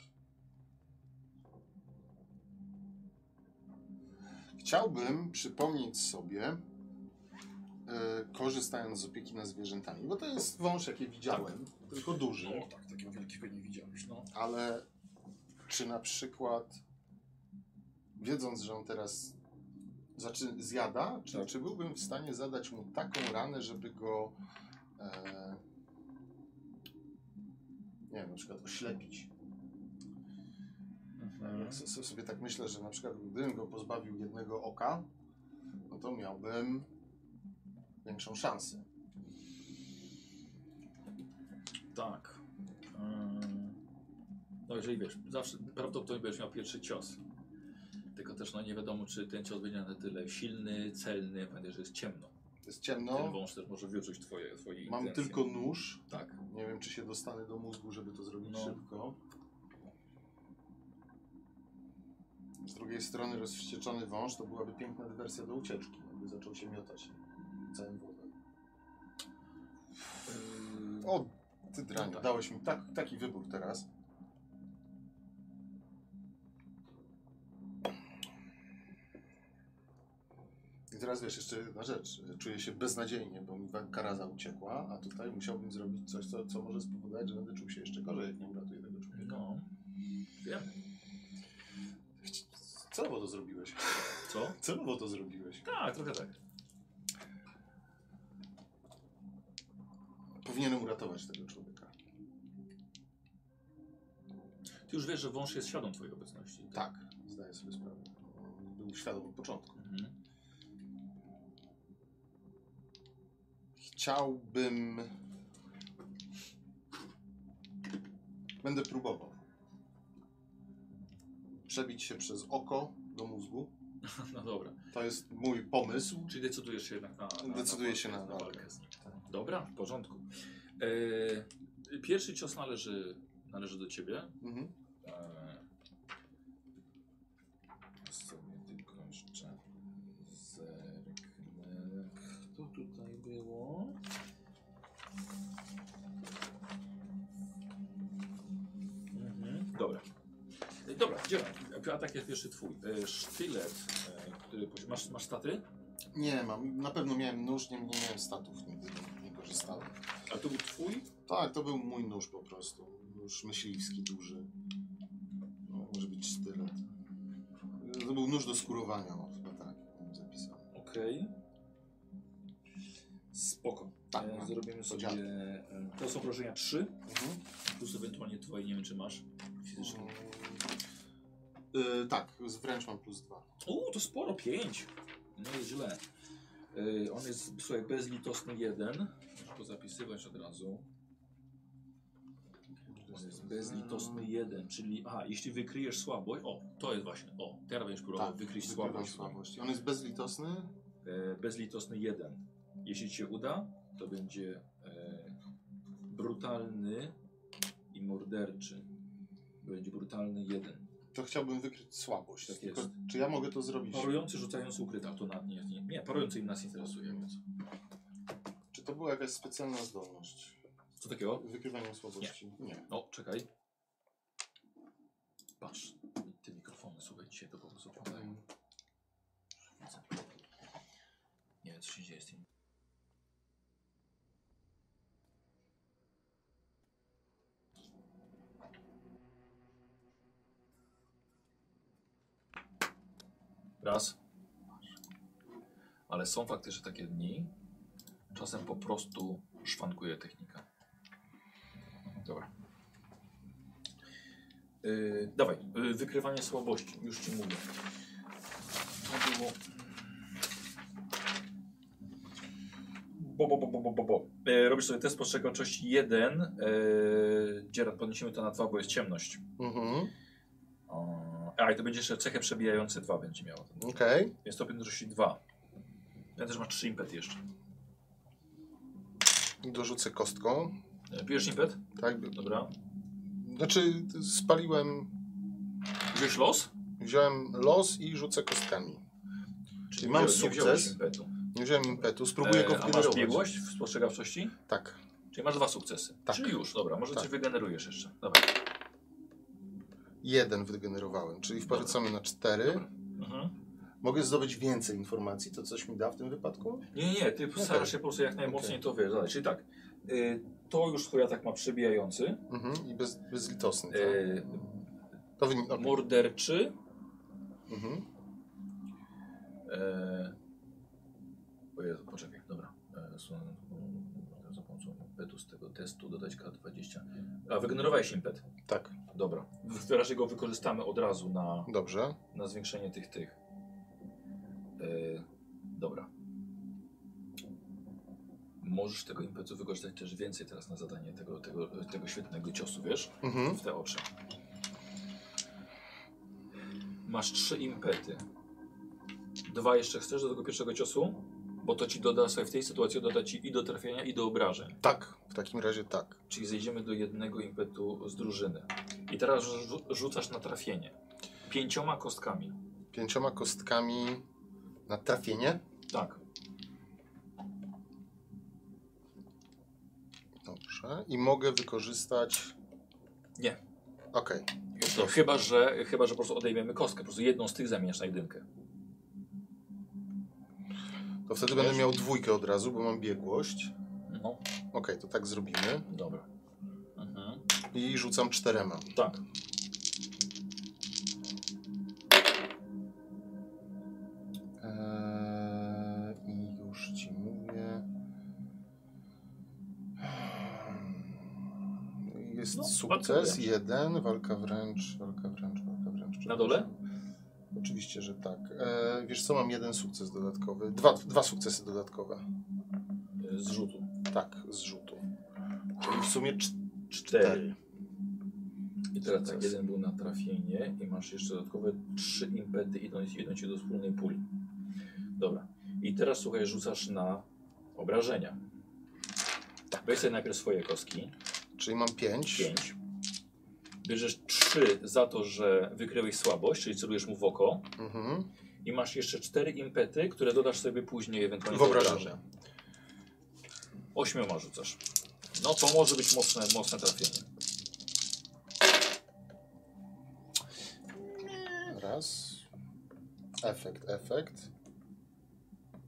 S2: Chciałbym przypomnieć sobie, e, korzystając z opieki nad zwierzętami, bo to jest wąż, jakie widziałem, tylko duży.
S7: O tak, takiego wielkiego nie widziałeś, no.
S2: Ale czy na przykład, wiedząc, że on teraz zaczy- zjada, czy, czy byłbym w stanie zadać mu taką ranę, żeby go, e, nie wiem, na przykład oślepić? Jak
S7: Mhm.
S2: so- so- sobie tak myślę, że na przykład gdybym go pozbawił jednego oka, no to miałbym większą szansę.
S7: Tak. Ym, No jeżeli wiesz, zawsze prawdopodobnie będziesz miał pierwszy cios. Tylko też no nie wiadomo, czy ten cios będzie na tyle silny, celny, pamiętaj, że jest ciemno.
S2: Jest
S7: Ten
S2: ciemno,
S7: wąż też może wyczuć twoje, twoje
S2: No. mam
S7: intencje.
S2: tylko nóż,
S7: Tak.
S2: nie wiem czy się dostanę do mózgu, żeby to zrobić
S7: No.
S2: szybko. Z drugiej strony rozwścieczony wąż to byłaby piękna dywersja do ucieczki, jakby zaczął się miotać całym wodem. O, ty dranie,
S7: No tak.
S2: dałeś mi tak, taki wybór teraz. I teraz wiesz, jeszcze jedna rzecz. Czuję się beznadziejnie, bo mi wa- karaza uciekła, a tutaj musiałbym zrobić coś, co, co może spowodować, że będę czuł się jeszcze gorzej, jak nie uratuję tego człowieka.
S7: No. Wiem.
S2: Chci- Celowo to zrobiłeś.
S7: Co?
S2: Celowo to zrobiłeś.
S7: Tak, trochę tak.
S2: Powinienem uratować tego człowieka.
S7: Ty już wiesz, że wąż jest świadom twojej obecności.
S2: Tak, zdaję sobie sprawę. Był świadom od początku.
S7: Mhm.
S2: Chciałbym. Będę próbował. Przebić się przez oko do mózgu.
S7: No dobra.
S2: To jest mój pomysł.
S7: Czyli decydujesz się jednak na, na,
S2: Decyduję
S7: na
S2: się na
S7: na walkę
S2: walkę.
S7: z nim. Dobra, w porządku. E, pierwszy cios należy, należy do ciebie.
S2: Mhm.
S7: Eee, sobie tylko jeszcze zerknę. Kto tutaj było? Mhm. Dobra. Eee, Dobra, dzielam. Atak jest pierwszy twój. Eee, sztylet, eee, który posi- masz, masz staty?
S2: Nie mam. Na pewno miałem nóż, nie, nie miałem statów, nigdy nie korzystałem.
S7: A to był twój?
S2: Tak, to był mój nóż po prostu. Nóż myśliwski duży. No, może być sztylet. To był nóż do skurowania, no, chyba tak, jak tam zapisałem.
S7: Okej. Spoko.
S2: Tak,
S7: Eee,
S2: mam.
S7: zrobimy sobie.
S2: działa.
S7: eee, To są obrażenia 3,
S2: Mhm.
S7: plus ewentualnie twoje, nie wiem czy masz. Fizyczne.
S2: Mm, y, tak, z- wręcz mam plus dwa.
S7: Uuu, to sporo, 5. No jest źle. Yy, on jest, słuchaj, bezlitosny 1. Muszę to zapisywać od razu. On jest bezlitosny
S2: Mm.
S7: 1, czyli... A, jeśli wykryjesz słabość... O, to jest właśnie. O, teraz będziesz próbował
S2: Tak,
S7: wykryć
S2: wykrywam
S7: słabość.
S2: słabość. On jest bezlitosny.
S7: Yy, bezlitosny 1. Jeśli ci się uda, to będzie e, brutalny i morderczy. Będzie brutalny 1.
S2: To chciałbym wykryć słabość.
S7: Tak
S2: Tylko,
S7: jest.
S2: czy ja mogę to zrobić?
S7: Parujący, rzucający, ukryta. To nad nie... Nie, nie parujący im nas interesuje, więc...
S2: Czy to była jakaś specjalna zdolność?
S7: Co takiego?
S2: Wykrywanie słabości? Nie.
S7: O, czekaj. Patrz, te mikrofony, słuchaj, dzisiaj to po prostu padają.
S2: Mm,
S7: Nie wiem, co się dzieje z tym. Raz. Ale są faktycznie takie dni. Czasem po prostu szwankuje technika. Dobra. Yy, dawaj, yy, wykrywanie słabości, już ci mówię. To było Bo, bo, bo, bo, bo, bo, bo. E, robisz sobie test spostrzegawczości 1. E, Dzieran, podniesiemy to na 2, bo jest ciemność.
S2: Mhm.
S7: O, a, i to będzie jeszcze cechę przebijające 2 będzie miało.
S2: Okej.
S7: Więc to będzie 2. Ja też ma 3 impet jeszcze.
S2: Dorzucę kostką.
S7: E, Pijesz impet?
S2: Tak, by-
S7: Dobra.
S2: Znaczy, spaliłem,
S7: Wziąłeś los?
S2: wziąłem los i rzucę kostkami. Czyli mam
S7: Nie wziąłeś
S2: sukces.
S7: impetu.
S2: Nie wziąłem impetu, spróbuję
S7: E,
S2: go
S7: A masz
S2: wygenerować.
S7: biegłość w spostrzegawczości?
S2: Tak.
S7: Czyli masz dwa sukcesy.
S2: Tak.
S7: Czyli już, dobra, może
S2: Tak.
S7: coś wygenerujesz jeszcze. Dobra.
S2: Jeden wygenerowałem, czyli wpacamy na cztery.
S7: Mhm.
S2: Mogę zdobyć więcej informacji, to coś mi da w tym wypadku?
S7: Nie, nie, ty starasz się po prostu jak najmocniej to wiesz. Dalej. Czyli tak, y, to już twój atak ma przebijający,
S2: Mhm. I bez, bezlitosny, tak?
S7: y,
S2: To wynik... Okay.
S7: morderczy,
S2: Mhm.
S7: Eee, o Jezu, poczekaj, dobra. Eee, są- mm, Za pomocą impetu z tego testu dodać K20. A wygenerowałeś impet.
S2: Tak,
S7: Dobra. W- Teraz jego wykorzystamy od razu na,
S2: dobrze.
S7: na zwiększenie tych tych. Eee, dobra. Możesz tego impetu wykorzystać też więcej teraz na zadanie tego, tego, tego świetnego ciosu, wiesz?
S2: Mhm.
S7: W te oczy. Masz trzy impety. Dwa jeszcze chcesz do tego pierwszego ciosu? Bo to ci doda, sobie w tej sytuacji doda ci i do trafienia, i do obrażeń.
S2: Tak, w takim razie tak.
S7: Czyli zejdziemy do jednego impetu z drużyny. I teraz rzu rzucasz na trafienie. Pięcioma kostkami.
S2: Pięcioma kostkami na trafienie.
S7: Tak.
S2: Dobrze. I mogę wykorzystać.
S7: Nie.
S2: Okej.
S7: No, Chyba że, chyba, że po prostu odejmiemy kostkę. Po prostu jedną z tych zamieniasz na jedynkę.
S2: To wtedy będę miał dwójkę od razu, bo mam biegłość.
S7: No,
S2: Okej, to tak zrobimy.
S7: dobra. Mhm.
S2: I rzucam czterema.
S7: Tak.
S2: Eee, I już ci mówię. Jest
S7: No, walka
S2: sukces,
S7: wręcz.
S2: jeden, walka wręcz, walka wręcz, walka wręcz.
S7: Na dole?
S2: przepraszam. Oczywiście, że tak. Eee, wiesz co, mam jeden sukces dodatkowy, dwa, dwa sukcesy dodatkowe.
S7: Y, Z rzutu.
S2: Tak, z rzutu. Czyli w sumie cz-
S7: Cztery. I teraz tak,
S2: Sukces.
S7: jeden był na trafienie i masz jeszcze dodatkowe trzy impety idąc, idąc ci do wspólnej puli. Dobra. I teraz słuchaj, rzucasz na obrażenia. Tak. Weź sobie najpierw swoje kostki.
S2: czyli mam pięć.
S7: Pięć. Bierzesz trzy za to, że wykryłeś słabość, czyli celujesz mu w oko.
S2: Mhm.
S7: I masz jeszcze cztery impety, które dodasz sobie później ewentualnie
S2: W obrażenia.
S7: obrażenia. Ośmioma rzucasz. No to może być mocne, mocne trafienie.
S2: Raz. Efekt, efekt.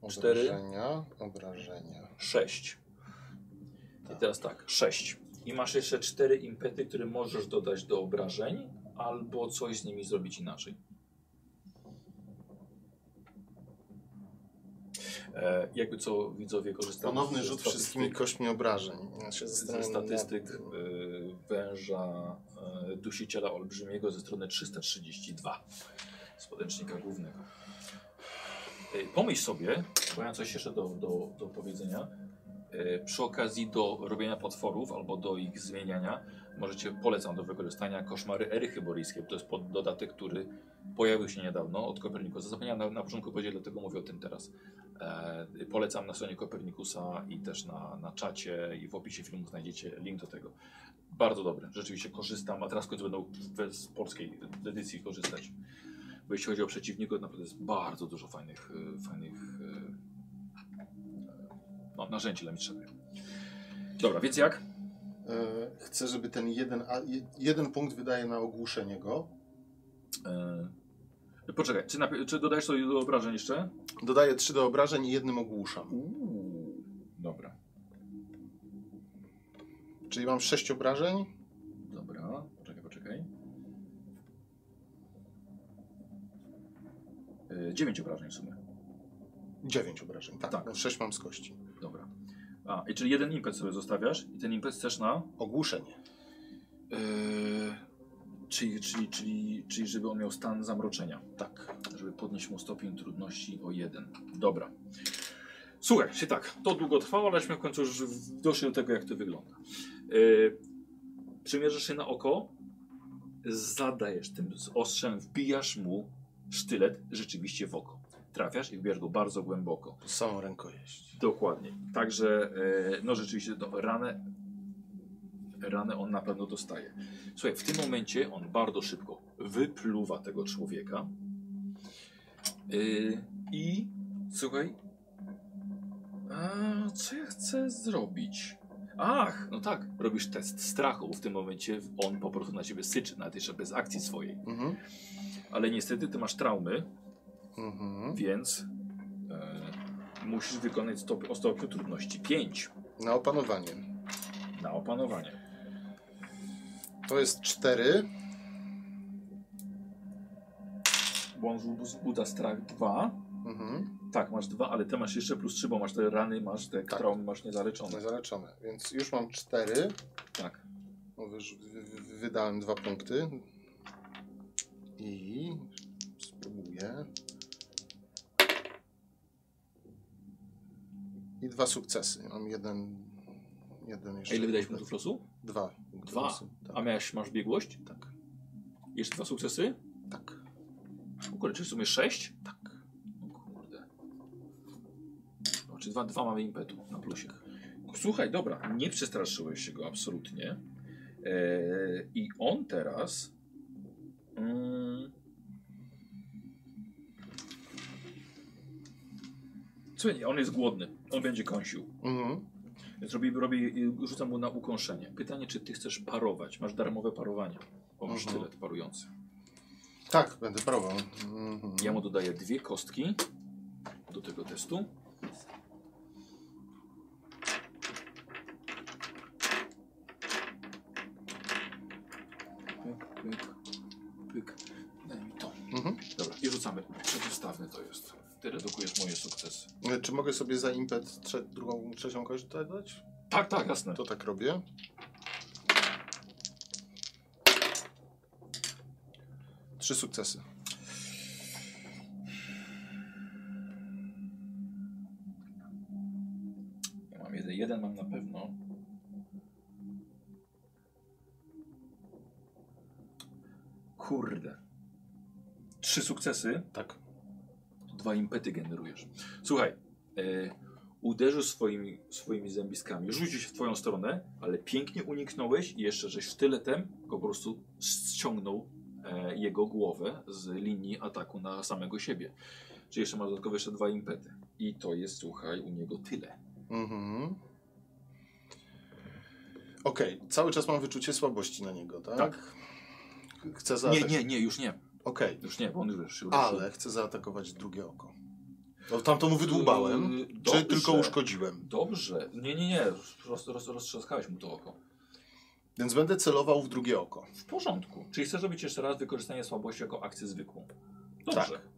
S7: Cztery.
S2: Obrażenia, obrażenia.
S7: 6. I teraz tak, 6. I masz jeszcze 4 impety, które możesz dodać do obrażeń, albo coś z nimi zrobić inaczej. E, jakby co widzowie korzystają
S2: Ponowny
S7: z
S2: rzut
S7: statystyk-
S2: wszystkimi kośćmi obrażeń. Ja się
S7: ze
S2: zastanawiam
S7: statystyk
S2: nad tym.
S7: y, węża y, dusiciela olbrzymiego ze strony 332 z podręcznika głównego. Y, pomyśl sobie, bo ja mam coś jeszcze do, do, do powiedzenia, y, przy okazji do robienia potworów albo do ich zmieniania, możecie, polecam do wykorzystania koszmary ery chyboryjskiej, bo to jest pod, dodatek, który pojawił się niedawno od Kopernikusa. Zapomniałem na, na początku powiedzieć, dlatego mówię o tym teraz. E, polecam na stronie Kopernikusa i też na, na czacie i w opisie filmu znajdziecie link do tego. Bardzo dobre, rzeczywiście korzystam, a teraz w końcu będą we- z polskiej edycji korzystać. Bo jeśli chodzi o przeciwników, naprawdę jest bardzo dużo fajnych, e, fajnych e, no, narzędzi dla mistrza. gry. Dobra, więc jak?
S2: E, Chcę, żeby ten jeden, a, je- jeden punkt wydaje na ogłuszenie go.
S7: E, poczekaj, czy, napi- czy dodajesz sobie do obrażeń jeszcze?
S2: Dodaję trzy do obrażeń i jednym ogłuszam.
S7: Uuu, dobra.
S2: Czyli mam sześć obrażeń.
S7: Dobra, poczekaj, poczekaj. Yy, 9 obrażeń w sumie.
S2: Dziewięć obrażeń, tak.
S7: Tak.
S2: No, Sześć mam z kości.
S7: Dobra. A, i czyli jeden impet sobie zostawiasz i ten impet chcesz na...
S2: Ogłuszenie.
S7: Yy, czyli, czyli, czyli, czyli żeby on miał stan zamroczenia.
S2: Tak.
S7: Żeby podnieść mu stopień trudności o jeden. Dobra. Słuchaj, się tak, to długo trwało, aleśmy w końcu już w- doszli do tego, jak to wygląda. Yy, przymierzysz się na oko, zadajesz tym z ostrzem, wbijasz mu sztylet rzeczywiście w oko. Trafiasz i wbijasz go bardzo głęboko.
S2: Samą rękojeść.
S7: Dokładnie. Także, e, no rzeczywiście, no, ranę ranę on na pewno dostaje. Słuchaj, w tym momencie on bardzo szybko wypluwa tego człowieka yy, i słuchaj, a, co ja chcę zrobić? Ach, no tak, robisz test strachu, bo w tym momencie on po prostu na ciebie syczy, nawet jeszcze bez akcji swojej.
S2: Mhm.
S7: Ale niestety ty masz traumy,
S2: Mhm.
S7: więc e, musisz wykonać stop, o stopniu trudności 5
S2: Na opanowanie.
S7: na opanowanie.
S2: To jest 4.
S7: Bo on wzbudza strach 2.
S2: Mhm.
S7: Tak, masz 2, ale ty masz jeszcze plus 3, bo masz te rany, masz te
S2: Tak.
S7: traumy, masz niezaleczone.
S2: Zaleczone. Więc już mam 4.
S7: Tak.
S2: No, wyż- wy, wy, wydałem dwa punkty. I spróbuję. I dwa sukcesy. Mam jeden. Jeden
S7: A
S2: jeszcze.
S7: ile wydałeś punktów losu?
S2: Dwa. Tak.
S7: Dwa. A miałeś, masz biegłość? Tak. Jeszcze dwa sukcesy?
S2: Tak.
S7: O kurde, czyli w sumie sześć? Tak. O kurde. No, czy dwa, dwa mamy impetu na plusie. Tak. Słuchaj, dobra, nie przestraszyłeś się go absolutnie. Eee, I on teraz... Mm, Słuchaj, on jest głodny. On będzie kąsił.
S2: Mhm.
S7: Więc robi, robi, rzucam mu na ukąszenie. Pytanie, czy ty chcesz parować? Masz darmowe parowanie. Bo masz
S2: Mhm.
S7: sztylet parujący.
S2: Tak, będę próbował. Mhm.
S7: Ja mu dodaję dwie kostki do tego testu. Pyk, pyk, pyk. Daj mi to.
S2: Mhm.
S7: Dobra, i rzucamy. Przeciwstawny to jest. Ty redukujesz moje sukcesy.
S2: E, Czy mogę sobie za impet trze- drugą, trzecią kość dodać?
S7: Tak, tak, jasne.
S2: To tak robię. Trzy sukcesy.
S7: Ja mam jeden, jeden mam na pewno. Kurde. Trzy sukcesy. Tak. Dwa impety generujesz. Słuchaj, e, uderzysz swoimi, swoimi zębiskami, rzucił się w twoją stronę, ale pięknie uniknąłeś i jeszcze żeś sztyletem go po prostu ściągnął e, jego głowę z linii ataku na samego siebie. Czyli jeszcze masz dodatkowo jeszcze dwa impety. I to jest, słuchaj, u niego tyle.
S2: Mhm. Okej, cały czas mam wyczucie słabości na niego, tak?
S7: Tak.
S2: Chcę
S7: Nie,
S2: zaatakować.
S7: nie, nie, już nie.
S2: Okej,
S7: Już nie, bo on już się
S2: ale chcę zaatakować drugie oko. No, tamto mu wydłubałem.
S7: Yy,
S2: Czy
S7: dobrze.
S2: tylko uszkodziłem?
S7: Dobrze. Nie, nie, nie. Roz, roz, roztrzaskałeś mu to oko.
S2: Więc będę celował w drugie oko.
S7: W porządku. Czyli chcesz robić jeszcze raz wykorzystanie słabości jako akcję zwykłą. Dobrze.
S2: Tak.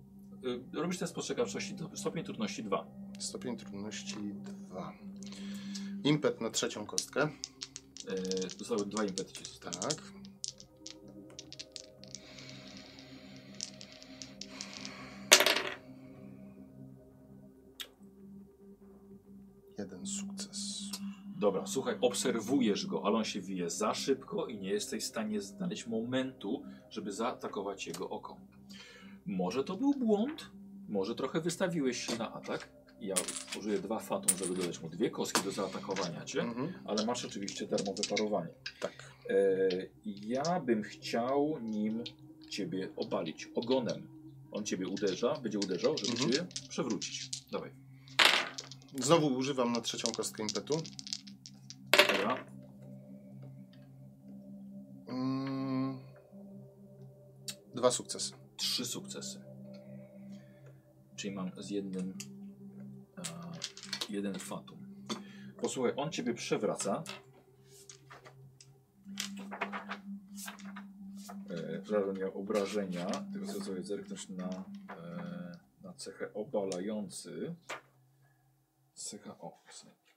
S7: Y, Robisz test spostrzegawczości do- stopień trudności 2.
S2: Stopień trudności 2. Impet na trzecią kostkę.
S7: Yy, Zostały dwa impety ci zostały.
S2: Tak. Jeden sukces.
S7: Dobra, słuchaj, obserwujesz go, ale on się wije za szybko i nie jesteś w stanie znaleźć momentu, żeby zaatakować jego oko. Może to był błąd, może trochę wystawiłeś się na atak. Ja użyję dwa fatum, żeby dodać mu dwie kostki do zaatakowania cię,
S2: Mhm.
S7: ale masz oczywiście darmowe parowanie.
S2: Tak.
S7: E, ja bym chciał nim ciebie obalić ogonem. On ciebie uderza, będzie uderzał, żeby
S2: Mhm.
S7: cię przewrócić. Dawaj.
S2: Znowu używam na trzecią kostkę impetu.
S7: Dobra.
S2: Mm. Dwa sukcesy.
S7: trzy sukcesy. Czyli mam z jednym e, jeden fatum. Posłuchaj, on ciebie przewraca. E, Żaden miał obrażenia. Tylko chcę sobie zerknąć na, e, na cechę obalający. Cecha o.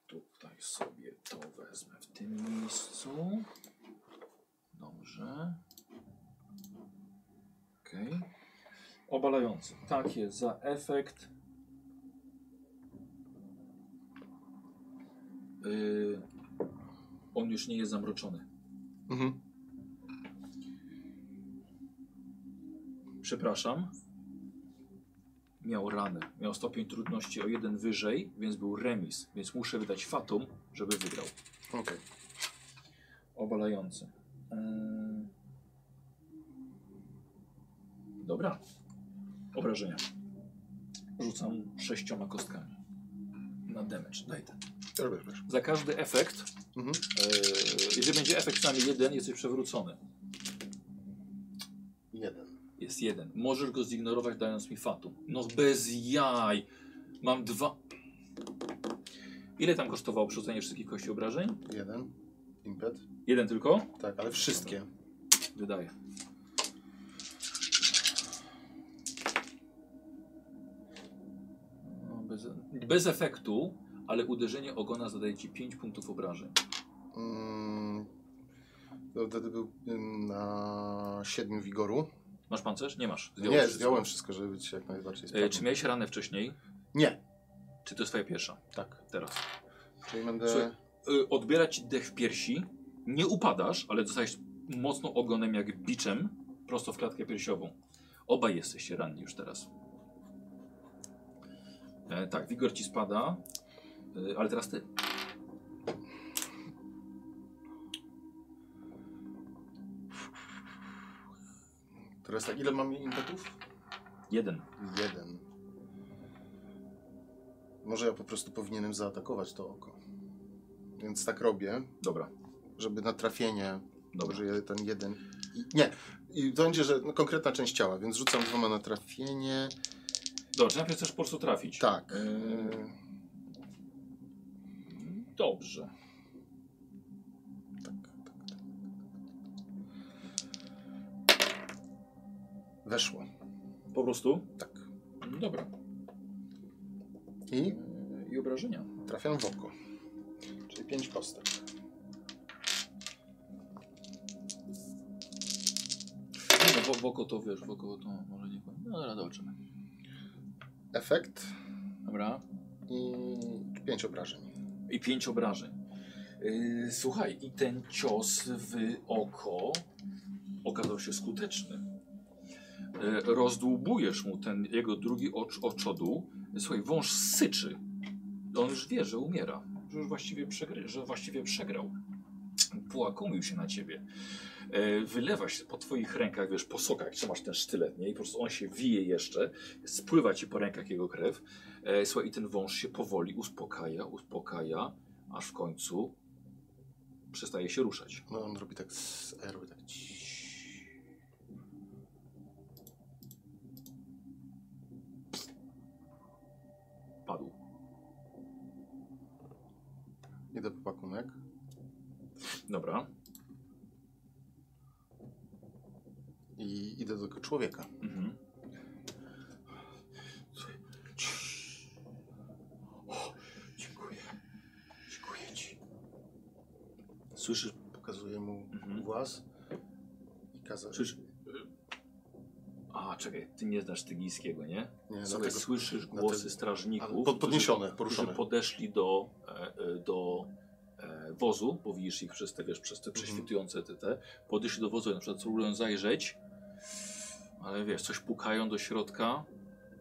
S7: Tutaj sobie to wezmę w tym miejscu. Dobrze. Okej. Obalający. Tak jest, za efekt. Yy, on już nie jest zamroczony.
S2: Mhm.
S7: Przepraszam. Miał ranę. Miał stopień trudności o jeden wyżej, więc był remis. Więc muszę wydać fatum, żeby wygrał.
S2: Okej.
S7: obalający. E, Ym. Dobra. Obrażenia. Rzucam sześcioma kostkami. Na damage, daj ten. Za każdy efekt,
S2: Mhm.
S7: e, jeżeli będzie efekt przynajmniej jeden, jesteś przewrócony.
S2: Jeden.
S7: Jest jeden. Możesz go zignorować dając mi fatum. No bez jaj. Mam dwa. Ile tam kosztowało przerzucenie wszystkich kości obrażeń?
S2: Jeden. Impet.
S7: Jeden tylko?
S2: Tak, ale wszystkie.
S7: Wydaje. No, Bez, bez efektu, ale uderzenie ogona zadaje ci 5 punktów obrażeń.
S2: Mm, to wtedy był ym, na siedmiu wigoru.
S7: Masz pancerz? Nie masz. Zdjąłeś
S2: Nie,
S7: wszystko.
S2: zdjąłem wszystko, żeby być jak najbardziej
S7: E,
S2: sprawny.
S7: czy miałeś ranę wcześniej?
S2: Nie.
S7: Czy to jest twoja pierwsza? Tak. Teraz.
S2: Czyli będę...
S7: Słuchaj. Y, odbiera ci dech w piersi, nie upadasz, ale dostajesz mocno ogonem jak biczem prosto w klatkę piersiową. Obaj jesteście ranni już teraz. E, tak, wigor ci spada, y, ale teraz ty.
S2: Teraz tak, ile mam impetów?
S7: Jeden.
S2: Jeden. Może ja po prostu powinienem zaatakować to oko. Więc tak robię,
S7: Dobra,
S2: żeby na trafienie
S7: dobra.
S2: Dobrze, ten jeden. I, nie, i to będzie, że no, konkretna część ciała, więc rzucam dwoma na trafienie.
S7: Dobrze, najpierw chcesz po prostu trafić.
S2: Tak.
S7: Y,
S2: e,
S7: Dobrze.
S2: Tak, weszło.
S7: Po prostu?
S2: Tak.
S7: Dobra.
S2: I
S7: Y, I obrażenia.
S2: trafiam w oko. Czyli pięć kostek.
S7: Nie, no, w- w oko to wiesz, w oko to może nie powiem. No, ale zobaczymy.
S2: Efekt
S7: Dobra.
S2: i pięć obrażeń.
S7: i pięć obrażeń. Yy, słuchaj, i ten cios w oko okazał się skuteczny. Yy, rozdłubujesz mu ten jego drugi ocz, oczodu. Słuchaj, wąż syczy. On już wie, że umiera. Że już właściwie, przegry, że właściwie przegrał. Płakomił się na ciebie. Yy, wylewa się po twoich rękach, wiesz, po sokach, trzymasz ten sztylet, nie? I po prostu on się wije jeszcze. Spływa ci po rękach jego krew. E, słuchaj, i ten wąż się powoli uspokaja, uspokaja, aż w końcu przestaje się ruszać.
S2: No on robi tak z e, robi tak.
S7: Padł.
S2: Idę po pakunek.
S7: Dobra.
S2: I idę do tego człowieka.
S7: Mhm.
S2: Dziękuję. Dziękuję ci. Słyszysz, pokazuję mu
S7: Mhm.
S2: głaz i kazał.
S7: Słyszysz? A, czekaj, ty nie znasz Tygińskiego, nie?
S2: Nie,
S7: Słuchaj,
S2: dlatego-
S7: słyszysz
S2: dlatego-
S7: głosy
S2: Ale
S7: strażników,
S2: pod- podniesione,
S7: którzy, którzy
S2: poruszone.
S7: podeszli do, e, e, do e, wozu, bo widzisz ich przez te, wiesz, przez te
S2: Mhm.
S7: prześwitujące te, te, podeszli do wozu, i na przykład próbują zajrzeć, ale wiesz, coś pukają do środka,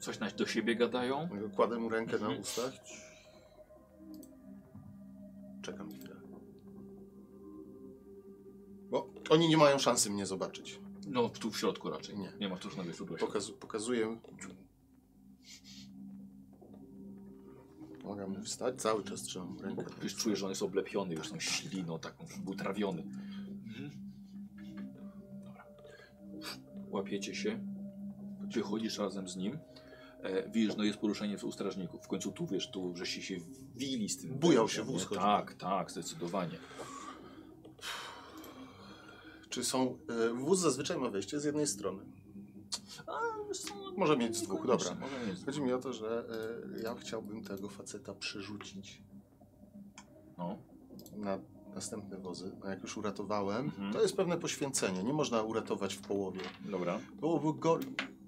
S7: coś na, do siebie gadają.
S2: Kładę mu rękę na
S7: Mhm.
S2: ustach. Czekam chwilę. Bo oni nie mają szansy mnie zobaczyć.
S7: No, tu w środku raczej.
S2: Nie.
S7: Nie, nie ma tu żadnego źródła. światła.
S2: Pokaz, pokazuję. Mogę mu wstać. Cały czas trzymam rękę.
S7: Już czujesz, że on jest oblepiony, już tą śliną taką, Mhm. że był trawiony. Dobra. Łapiecie się, wychodzisz razem z nim. E, widzisz, no jest poruszenie u strażników. W końcu tu, wiesz, tu żeście się wili z tym.
S2: Bujał się
S7: wężem,
S2: wóz,
S7: nie?
S2: chodzi.
S7: Tak, tak, zdecydowanie.
S2: Czy są. Y, wóz zazwyczaj ma wejście z jednej strony. Może mieć z dwóch, dobra.
S7: Może mieć z dwóch.
S2: Chodzi mi o to, że y, ja chciałbym tego faceta przerzucić
S7: No.
S2: na następne wozy, a jak już uratowałem,
S7: Mhm.
S2: to jest pewne poświęcenie. Nie można uratować w połowie.
S7: Dobra.
S2: Byłoby gor...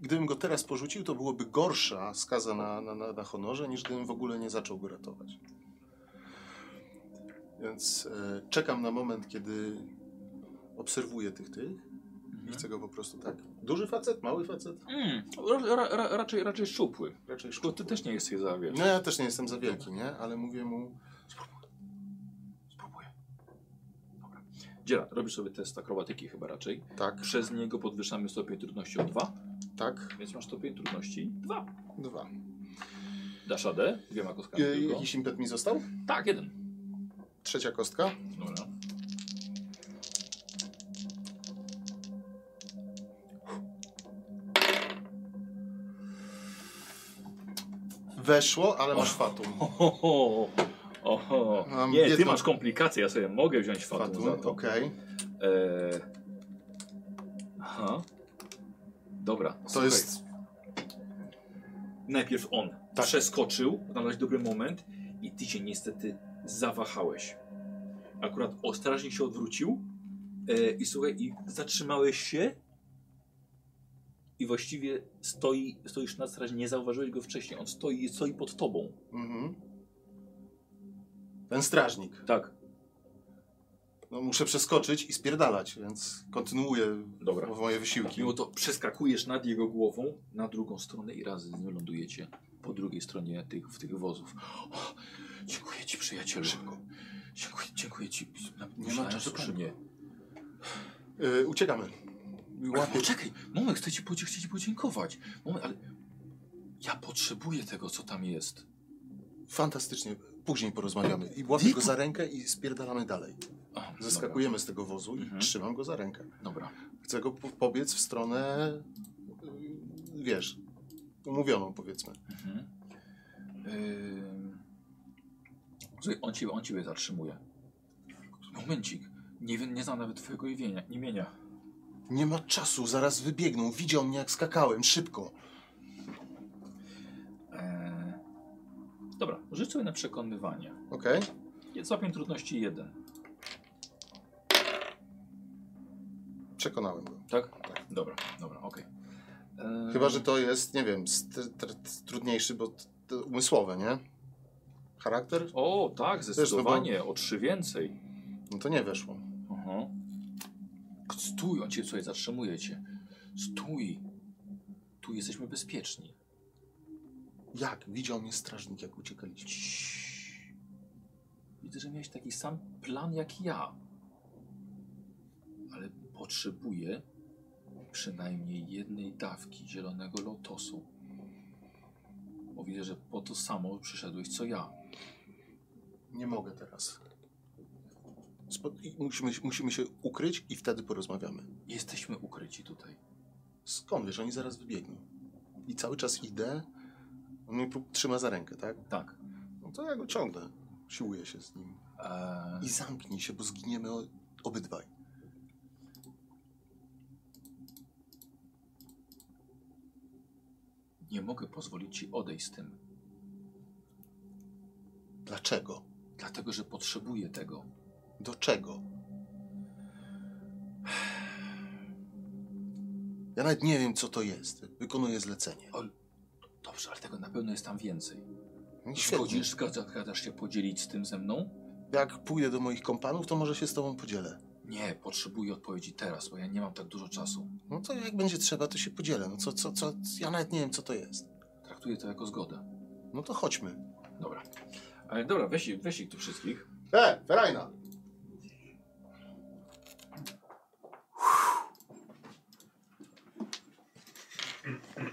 S2: Gdybym go teraz porzucił, to byłoby gorsza skaza na, na, na, na honorze, niż gdybym w ogóle nie zaczął go ratować. Więc e, czekam na moment, kiedy obserwuję tych tych i chcę go po prostu tak. Duży facet, mały facet?
S7: Mm, ra, ra, ra, raczej, raczej szczupły.
S2: Raczej
S7: Tylko ty też nie jesteś za wiesz.
S2: No ja też nie jestem za wielki, nie? Ale mówię mu,
S7: Dziela, robisz sobie test akrobatyki chyba raczej.
S2: Tak,
S7: Przez niego podwyższamy stopień trudności o 2,
S2: tak,
S7: więc masz stopień trudności 2.
S2: dwa.
S7: Dasz AD dwiema kostkami
S2: Y,
S7: Tak, tylko.
S2: jakiś impet mi został?
S7: Tak, jeden.
S2: Trzecia kostka.
S7: Dobra.
S2: Weszło, ale masz fatum.
S7: Oho, oho.
S2: Mam
S7: Nie, ty
S2: jedną-
S7: masz komplikacje, ja sobie mogę wziąć fatum, za to.
S2: okej.
S7: Eee... Aha. Dobra,
S2: To
S7: słuchaj.
S2: jest...
S7: Najpierw on
S2: Tak.
S7: przeskoczył, znalazł dobry moment i ty się niestety zawahałeś. Akurat ostrożnie się odwrócił e, i słuchaj, i zatrzymałeś się i właściwie stoi, stoisz na straży, nie zauważyłeś go wcześniej, on stoi, stoi pod tobą.
S2: Mhm. Ten strażnik.
S7: Tak,
S2: No, muszę przeskoczyć i spierdalać, więc kontynuuję
S7: dobra.
S2: moje wysiłki.
S7: Mimo to przeskakujesz nad jego głową na drugą stronę i razem z nim lądujecie po drugiej stronie tych, w tych wozów. O, dziękuję ci, przyjacielu. Dziękuję, dziękuję ci.
S2: ma
S7: Myślałem,
S2: czasu
S7: że przy mnie.
S2: Y, uciekamy.
S7: Ale
S2: Łapie.
S7: Poczekaj, moment, chcę ci, podzie- chcę ci podziękować. Moment, ale ja potrzebuję tego, co tam jest.
S2: Fantastycznie. Później porozmawiamy. I łapię go za rękę i spierdalamy dalej.
S7: A,
S2: Zeskakujemy z tego wozu i
S7: Mhm.
S2: trzymam go za rękę.
S7: Dobra.
S2: Chcę go po- pobiec w stronę, y, wiesz, umówioną powiedzmy.
S7: dobra. Mhm. Ym. Słuchaj, on ciebie, on ciebie zatrzymuje. Momencik, nie, wiem- nie znam nawet twojego imienia. imienia.
S2: Nie ma czasu, zaraz wybiegną. Widział mnie jak skakałem, szybko.
S7: Eee, dobra, rzuć sobie na przekonywanie.
S2: Okej.
S7: Jest stopień trudności 1,
S2: Przekonałem go.
S7: tak? Tak. Dobra, dobra, okej. Eee,
S2: Chyba, że to jest, nie wiem, st- tr- tr- trudniejszy, bo t- t- umysłowe, nie? Charakter?
S7: O, tak, zdecydowanie, o trzy więcej.
S2: No to nie weszło.
S7: Aha. Stój, on cię tutaj zatrzymuje cię. Stój. Tu jesteśmy bezpieczni.
S2: Jak? Widział mnie strażnik, jak uciekaliśmy.
S7: Ciii. Widzę, że miałeś taki sam plan jak ja. Ale potrzebuję przynajmniej jednej dawki zielonego lotosu. Bo widzę, że po to samo przyszedłeś co ja.
S2: Nie mogę teraz. Spo- i musimy, musimy się ukryć i wtedy porozmawiamy.
S7: Jesteśmy ukryci tutaj.
S2: Skąd wiesz, oni zaraz wybiegną. I cały czas idę. On mnie prób- trzyma za rękę, tak?
S7: Tak.
S2: No to ja go ciągnę. Siłuję się z nim.
S7: Eee,
S2: I zamknij się, bo zginiemy o- obydwaj.
S7: nie mogę pozwolić ci odejść z tym.
S2: Dlaczego?
S7: Dlatego, że potrzebuję tego.
S2: Do czego? Ja nawet nie wiem, co to jest. Wykonuję zlecenie.
S7: Dobrze, ale tego na pewno jest tam więcej.
S2: Świetnie.
S7: Zgodzisz, zgadza- zgadzasz się podzielić z tym ze mną?
S2: Jak pójdę do moich kompanów, to może się z tobą podzielę.
S7: Nie, potrzebuję odpowiedzi teraz, bo ja nie mam tak dużo czasu.
S2: No to jak będzie trzeba, to się podzielę. No co, co, co? Ja nawet nie wiem, co to jest.
S7: Traktuję to jako zgodę.
S2: No to chodźmy.
S7: Dobra. Ale dobra, weź, ich- weź ich tu wszystkich.
S5: E, Ferajna!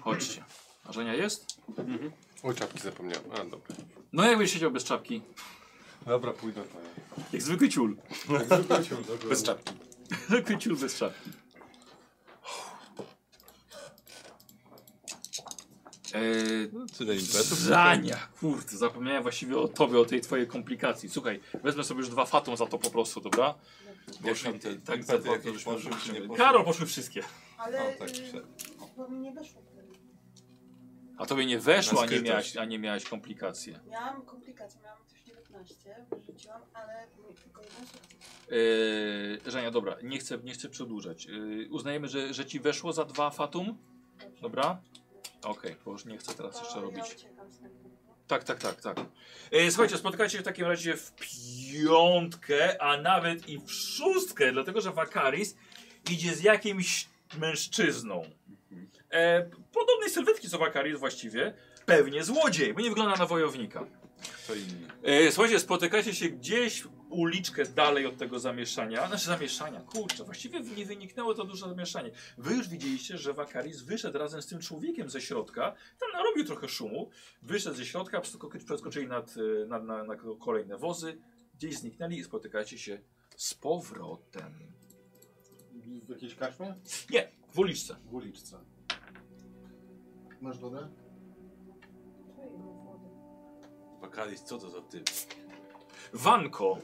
S7: Chodźcie. Marzenia jest?
S21: O, czapki zapomniałem. A, dobra.
S7: No jakbyś siedział bez czapki?
S21: Dobra, pójdę.
S7: Jak zwykły ciul.
S2: Bez czapki.
S7: Zwykły ciul bez czapki. Eee,
S8: Tyle impetów.
S1: Zania, kurde, zapomniałem właściwie o tobie, o tej twojej komplikacji. Słuchaj, wezmę sobie już dwa fatum za to po prostu, dobra?
S8: Poszły te
S1: tak,
S8: impety
S1: tak,
S8: jakieś
S1: tak,
S8: poszły, czy nie poszły?
S1: Karol, poszły wszystkie.
S3: Ale
S8: O, tak,
S3: y,
S8: wszedł.
S3: bo mi nie weszło.
S1: A tobie nie weszło,
S8: Na
S1: a nie,
S8: skrytość.
S1: miałaś, a nie miałaś komplikacji.
S3: Miałam komplikację, miałam też 19, wyrzuciłam, ale mi tylko jeden sukces.
S1: Yy, Żenia, dobra, nie chcę, nie chcę przedłużać. Yy, uznajemy, że, że ci weszło za dwa fatum,
S3: Dobrze.
S1: dobra? Okej, bo już nie chcę teraz
S3: To
S1: jeszcze
S3: ja
S1: robić.
S3: uciekam z tego.
S1: Tak, tak, tak, tak. E, słuchajcie, spotkacie się w takim razie w piątkę, a nawet i w szóstkę, dlatego że Wakaris idzie z jakimś mężczyzną. E, podobnej sylwetki co Wakaris właściwie, pewnie złodziej, bo nie wygląda na wojownika.
S23: To inni.
S7: E, słuchajcie, spotykacie się gdzieś uliczkę dalej od tego zamieszania. Znaczy zamieszania, kurczę, właściwie nie wyniknęło to duże zamieszanie. Wy już widzieliście, że Wakaris wyszedł razem z tym człowiekiem ze środka. Tam narobił trochę szumu. Wyszedł ze środka, przesko- przeskoczyli nad, e, nad, na, na kolejne wozy. Gdzieś zniknęli i spotykacie się z powrotem.
S2: W jakiejś karczmie?
S7: W uliczce.
S2: W uliczce. Masz wodę?
S8: Bakalis, co to za typ?
S7: Wanko,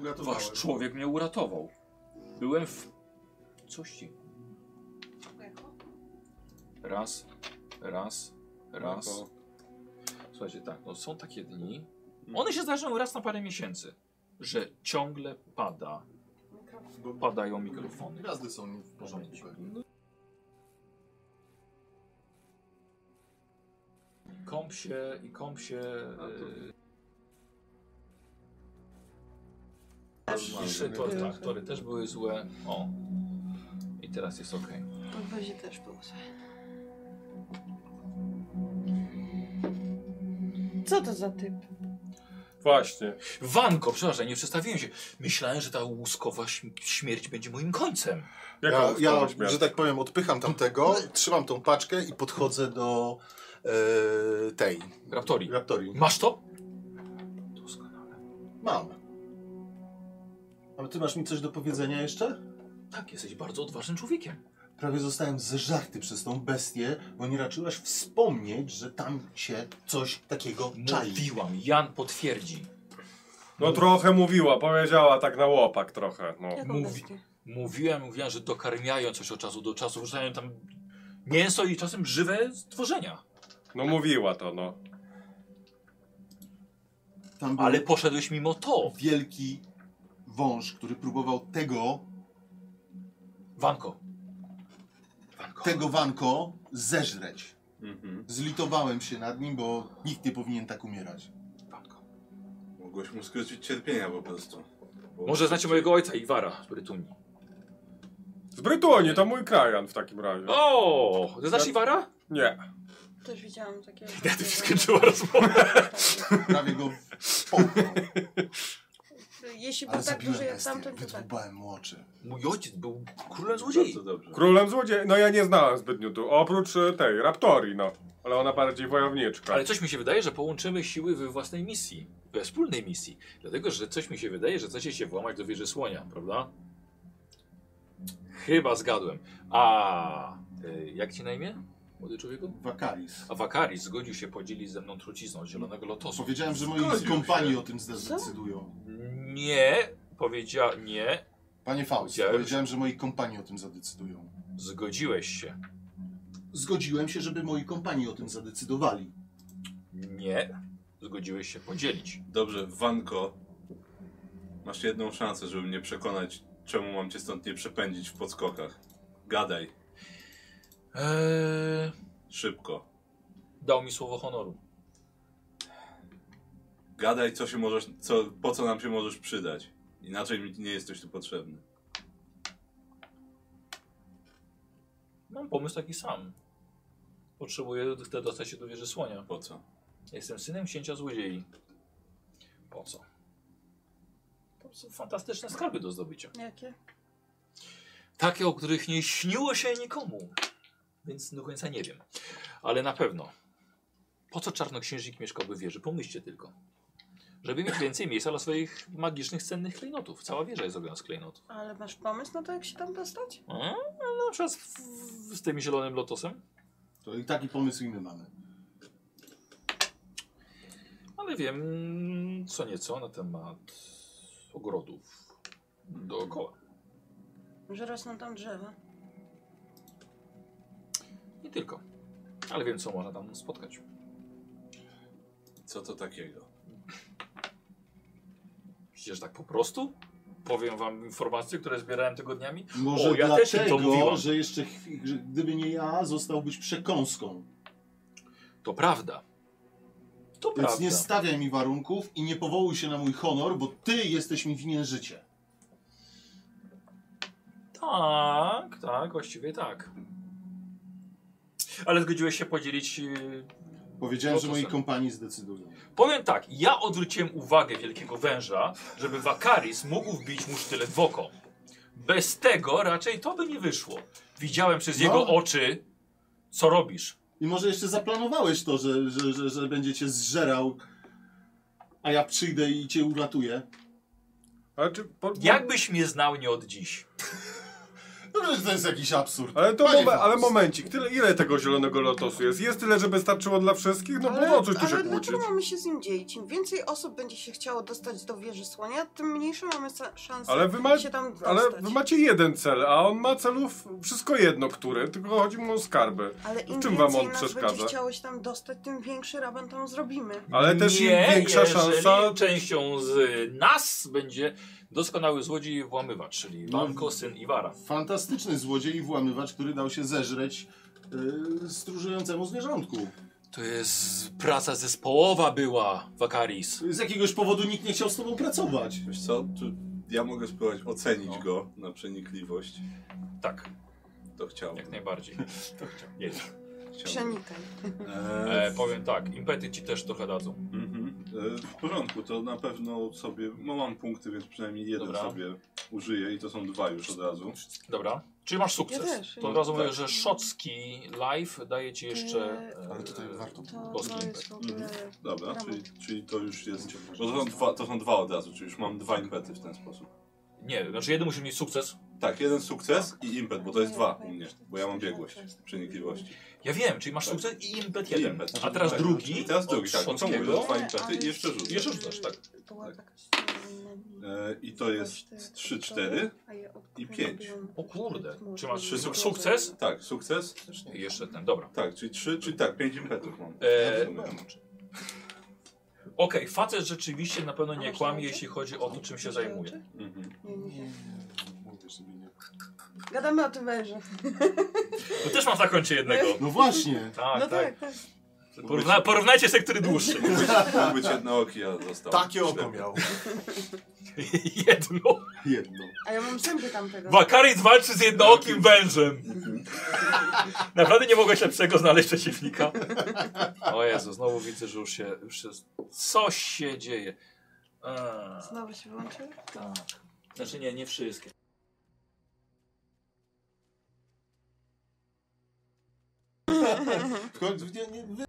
S2: Uratowałem.
S7: wasz człowiek mnie uratował. Byłem w... Coś ci... Raz, raz, raz. Słuchajcie, tak, no są takie dni. One się zdarzają raz na parę miesięcy, że ciągle pada, padają mikrofony.
S2: Gwiazdy są nie w porządku. pewnie.
S7: Kąp się i kąp się. e, Ciszy, tory, tak, tory też były złe. O. I teraz jest ok.
S3: W obozie też było
S6: Co to za typ?
S4: Właśnie.
S7: Wanko, przepraszam, nie przestawiłem się. Myślałem, że ta łuskowa śm- śmierć będzie moim końcem.
S4: Jaką
S2: Ja, ja,
S4: ja,
S2: że tak powiem, odpycham tamtego, trzymam tą paczkę i podchodzę do e, tej
S7: Raptori.
S2: raptorii.
S7: Masz to? Doskonale.
S2: Mam. Ale ty masz mi coś do powiedzenia jeszcze?
S7: Tak, jesteś bardzo odważnym człowiekiem.
S2: Prawie zostałem zeżarty przez tą bestię, bo nie raczyłaś wspomnieć, że tam się coś takiego czai.
S7: Mówiłam, Jan potwierdzi.
S4: No trochę mówiła, powiedziała tak na łopak trochę. No.
S3: Jak
S7: Mówi- Mówiłem, mówiłem, że dokarmiają coś od czasu do czasu, wrzucają tam mięso i czasem żywe stworzenia.
S4: no mówiła to, no.
S2: Tam był
S7: Ale poszedłeś mimo to,
S2: wielki wąż, który próbował tego,
S7: Wanko. Wanko.
S2: tego Wanko zeżreć.
S8: Mhm.
S2: Zlitowałem się nad nim, bo nikt nie powinien tak umierać.
S7: Wanko.
S8: Mogłeś mu skrócić cierpienia po prostu. Bo-
S7: Może znacie mojego ojca Iwara z Brytunii.
S4: Z Brytonii, to mój krajan w takim razie.
S7: O, ty znasz Iwara?
S4: Nie.
S3: Też widziałam takie.
S7: Ja ty się skończyła rozmowa.
S2: Prawie go połknął,
S3: Jeśli był
S2: ale
S3: tak duży
S2: zabiłem
S3: jak
S2: bestię,
S3: tamten, to tak.
S2: wydłubałem mu oczy.
S7: Mój ojciec był królem złodziei.
S8: Bardzo dobrze.
S4: Królem złodziei, no ja nie znałem zbytnio tu, oprócz e, tej, Raptorii, no. Ale ona bardziej wojowniczka.
S7: Ale coś mi się wydaje, że połączymy siły we własnej misji. We wspólnej misji. Dlatego, że coś mi się wydaje, że chcecie się włamać do wieży słonia, prawda? Chyba zgadłem. A y, jak ci na imię, młody człowieku?
S2: Wakaris.
S7: A Wakaris zgodził się podzielić ze mną trucizną z zielonego lotosu.
S2: Powiedziałem, że moi kompanii o tym zdecydują.
S7: Nie, powiedział nie,
S2: Panie Faust,
S7: Powiedziałem,
S2: powiedziałem, że moi kompanii o tym zadecydują.
S7: zgodziłeś się.
S2: Zgodziłem się, żeby moi kompanii o tym zadecydowali.
S7: Nie, zgodziłeś się podzielić.
S8: Dobrze, Wanko. Masz jedną szansę, żeby mnie przekonać, czemu mam cię stąd nie przepędzić w podskokach. Gadaj,
S7: Eee,
S8: szybko.
S7: dał mi słowo honoru.
S8: Gadaj, co się możesz, co, po co nam się możesz przydać. Inaczej mi nie jesteś tu potrzebny.
S7: Mam pomysł taki sam. Potrzebuję d- dostać się do wieży słonia.
S8: Po co?
S7: Jestem synem księcia złodziei. Po co? To są fantastyczne skarby do zdobycia.
S6: Jakie?
S7: Takie, o których nie śniło się nikomu. Więc do końca nie wiem. Ale na pewno. Po co czarnoksiężnik mieszkałby w wieży? Pomyślcie tylko. Żeby mieć więcej miejsca dla swoich magicznych, cennych klejnotów. Cała wieża jest robiona z klejnotów.
S6: Ale masz pomysł na to, jak się tam dostać?
S7: A, na przykład z, z tym zielonym lotosem.
S2: To i taki pomysł i my mamy.
S7: Ale wiem co nieco na temat ogrodów dookoła.
S6: Że rosną tam drzewa.
S7: Nie tylko. Ale wiem, co można tam spotkać.
S8: Co to takiego?
S7: Przecież tak po prostu powiem wam informacje, które zbierałem tygodniami.
S2: Może
S7: O, ja też im to
S2: dlatego,
S7: mówiłam.
S2: że jeszcze chwi- że gdyby nie ja, zostałbyś przekąską.
S7: To prawda. To
S2: Więc
S7: prawda.
S2: nie stawiaj mi warunków i nie powołuj się na mój honor, bo ty jesteś mi winien życie.
S7: Tak,
S1: e,
S7: tak, właściwie tak. Ale zgodziłeś się podzielić yy,
S2: Powiedziałem, że moi
S24: Procesem.
S2: kompanii zdecydują.
S1: Powiem tak, ja odwróciłem uwagę wielkiego węża, żeby Wakaris mógł wbić mu sztylet w oko. Bez tego raczej to by nie wyszło. Widziałem przez
S2: No.
S1: jego oczy, co robisz.
S2: I może jeszcze zaplanowałeś to, że, że, że, że będzie cię zżerał, a ja przyjdę i cię uratuję.
S4: Ale czy... Po,
S1: Jakbyś mnie znał nie od dziś.
S2: No, że to jest jakiś absurd.
S4: Ale to
S2: Panie
S4: momen,
S2: Faust.
S4: ale momencik, tyle, ile tego zielonego lotosu jest? Jest tyle, żeby starczyło dla wszystkich? No bo o coś tu się
S6: ale
S4: kłócić.
S6: dlaczego mamy się z nim dzielić? Im więcej osób będzie się chciało dostać do wieży słonia, tym mniejsze mamy sa- szanse
S4: Ale wy, ma,
S6: się tam dostać.
S4: ale wy macie jeden cel, a on ma celów wszystko jedno, który, tylko chodzi mu o skarby.
S6: Ale im
S4: czym
S6: więcej
S4: wam on
S6: nas
S4: przeszkadza?
S6: będzie chciało się tam dostać, tym większy raban tam zrobimy.
S4: Ale też im większa
S1: jeżeli
S4: szansa...
S1: częścią z nas będzie doskonały złodziej i włamywacz, czyli Wanko, syn Iwara.
S2: Fantastyczny złodziej i włamywacz, który dał się zeżreć yy, stróżującemu zwierzątku.
S1: To jest praca zespołowa była, Wakaris.
S2: Z jakiegoś powodu nikt nie chciał z tobą pracować.
S8: Wiesz co, tu ja mogę spróbować ocenić go na przenikliwość.
S1: No. Tak,
S8: To chciałbym.
S1: jak najbardziej. To chciałem. Jedź.
S8: chciałbym.
S6: Przenikaj.
S8: E,
S1: E, powiem tak, impety ci też trochę dadzą.
S8: mhm. e, w porządku, to na pewno sobie, no mam punkty, więc przynajmniej jeden
S1: Dobra.
S8: sobie użyję i to są dwa już od razu.
S1: Dobra. Czyli masz sukces.
S6: Ja też, ja
S1: to od
S8: też.
S1: razu mówię, że Szocki live daje ci jeszcze.
S6: Eee,
S1: e,
S2: Ale
S8: tak
S2: tutaj warto.
S6: To,
S1: Boski
S6: to no jest
S1: impet.
S6: w ogóle...
S8: Dobra,
S6: Brawo.
S8: czyli, czyli to już jest, bo to są, dwa, to są dwa od razu, czyli już mam dwa impety w ten sposób.
S1: Nie, znaczy jeden musi mieć sukces.
S8: Tak, jeden sukces i impet, bo to jest dwa u mnie, bo ja mam biegłość, przenikliwości.
S1: Ja wiem, czyli masz
S8: Tak.
S1: sukces i impet
S8: I
S1: jeden.
S8: impet.
S1: A teraz
S8: Tak,
S1: drugi.
S8: I teraz drugi,
S1: od
S8: tak, no to
S1: Szockiego.
S8: mówię, to dwa
S6: Ale-
S8: impety
S6: ale-
S8: i jeszcze rzucę.
S1: Jeszcze rzucasz, tak.
S6: Była
S8: Tak.
S6: taka
S8: E, I to
S3: tak,
S8: jest 3, 4. i pięć.
S1: O kurde, czy masz
S6: Trzy
S1: suk- sukces?
S8: Tak, sukces.
S1: I Jeszcze ten, dobra.
S8: Tak, czyli 3, czyli tak, 5 impetów mam.
S1: E,
S8: Ja rozumiem.
S1: Okej, facet rzeczywiście na pewno
S6: A
S1: nie
S6: masz
S1: kłamie,
S6: oczy?
S1: jeśli chodzi o to, czym się zajmuje.
S8: Mhm.
S6: Nie, nie, nie.
S2: Mówię sobie nie.
S6: Gadamy o tym wężu.
S1: To też mam na koncie jednego.
S2: No właśnie.
S1: Tak,
S6: no
S1: tak.
S6: tak, tak.
S1: Porówna, porównajcie se, który dłuższy.
S8: Mógł być jedno oki, ja został.
S2: Takie oko miał.
S1: Jedno.
S2: Jedno.
S6: A ja mam zęby tamtego.
S1: Wakaris walczy z jednookim wężem. Naprawdę nie mogłeś lepszego znaleźć przeciwnika. O Jezu, znowu widzę, że już się... Już się coś się dzieje. Eee,
S6: Znowu się wyłączył?
S1: tak. Znaczy nie, nie wszystkie.
S2: W końcu nie, nie, wy...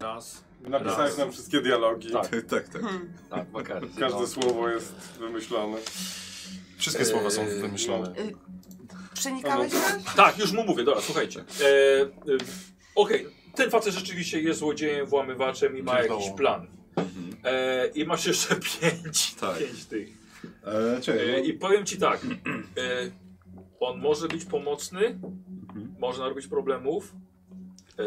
S1: Raz.
S4: Napisałeś nam wszystkie dialogi.
S1: Tak.
S8: Tak, tak.
S6: Hmm.
S1: Tak, Wakaris.
S4: Każde
S1: No.
S4: słowo jest wymyślone. E, no.
S2: Wszystkie słowa są wymyślone.
S6: Przenikałeś nas?
S1: Tak, już mu mówię, dobra, słuchajcie. E, e, Okej, ten facet rzeczywiście jest złodziejem, włamywaczem i ma jakiś plan.
S2: Mhm.
S1: E, I masz jeszcze pięć,
S8: Tak.
S1: pięć tych.
S8: E,
S1: E,
S8: czekaj,
S1: I powiem ci tak, e, on może być pomocny, może narobić problemów, e,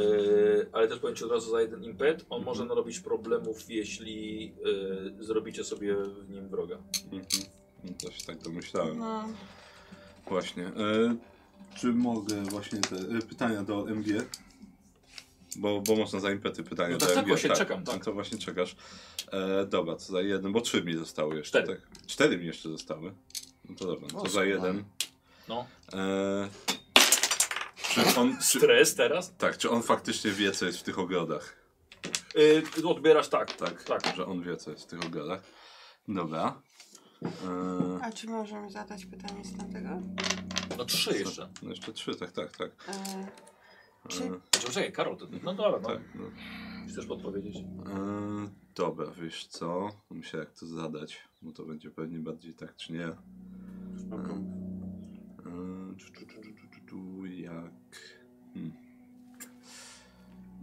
S1: ale też powiem ci od razu za jeden impet, on może narobić problemów, jeśli e, zrobicie sobie w nim wroga.
S8: mhm. No to się tak domyślałem.
S6: No.
S8: Właśnie. E, czy mogę właśnie te e, pytania do MG? Bo, bo można za impety pytania
S1: No
S8: do
S1: tak, tak,
S8: MG.
S1: właśnie czekam, tak.
S8: No To właśnie czekasz. E, dobra, to za jeden, bo trzy mi zostały jeszcze.
S1: Cztery.
S8: Tak? Cztery mi jeszcze zostały. No to dobra, no to za jeden.
S1: No.
S8: E, czy on, czy,
S1: Stres teraz?
S8: tak, czy on faktycznie wie, co jest w tych ogrodach?
S1: E, odbierasz tak,
S8: Tak,
S1: tak.
S8: że on wie, co jest w tych ogrodach. Dobra. Eee,
S6: A czy możemy zadać pytanie z tamtego?
S1: No trzy jeszcze.
S8: no jeszcze trzy, tak, tak, tak.
S6: E, czy
S1: Znaczy, Czekaj, Karol, to, no dobra, no.
S8: tak no.
S1: chcesz podpowiedzieć.
S8: Eee, dobra, wiesz co? Myślę, jak to zadać, bo to będzie pewnie bardziej tak, czy nie. Eee, czu, czu, czu, czu, czu, czu, czu, jak... Hmm.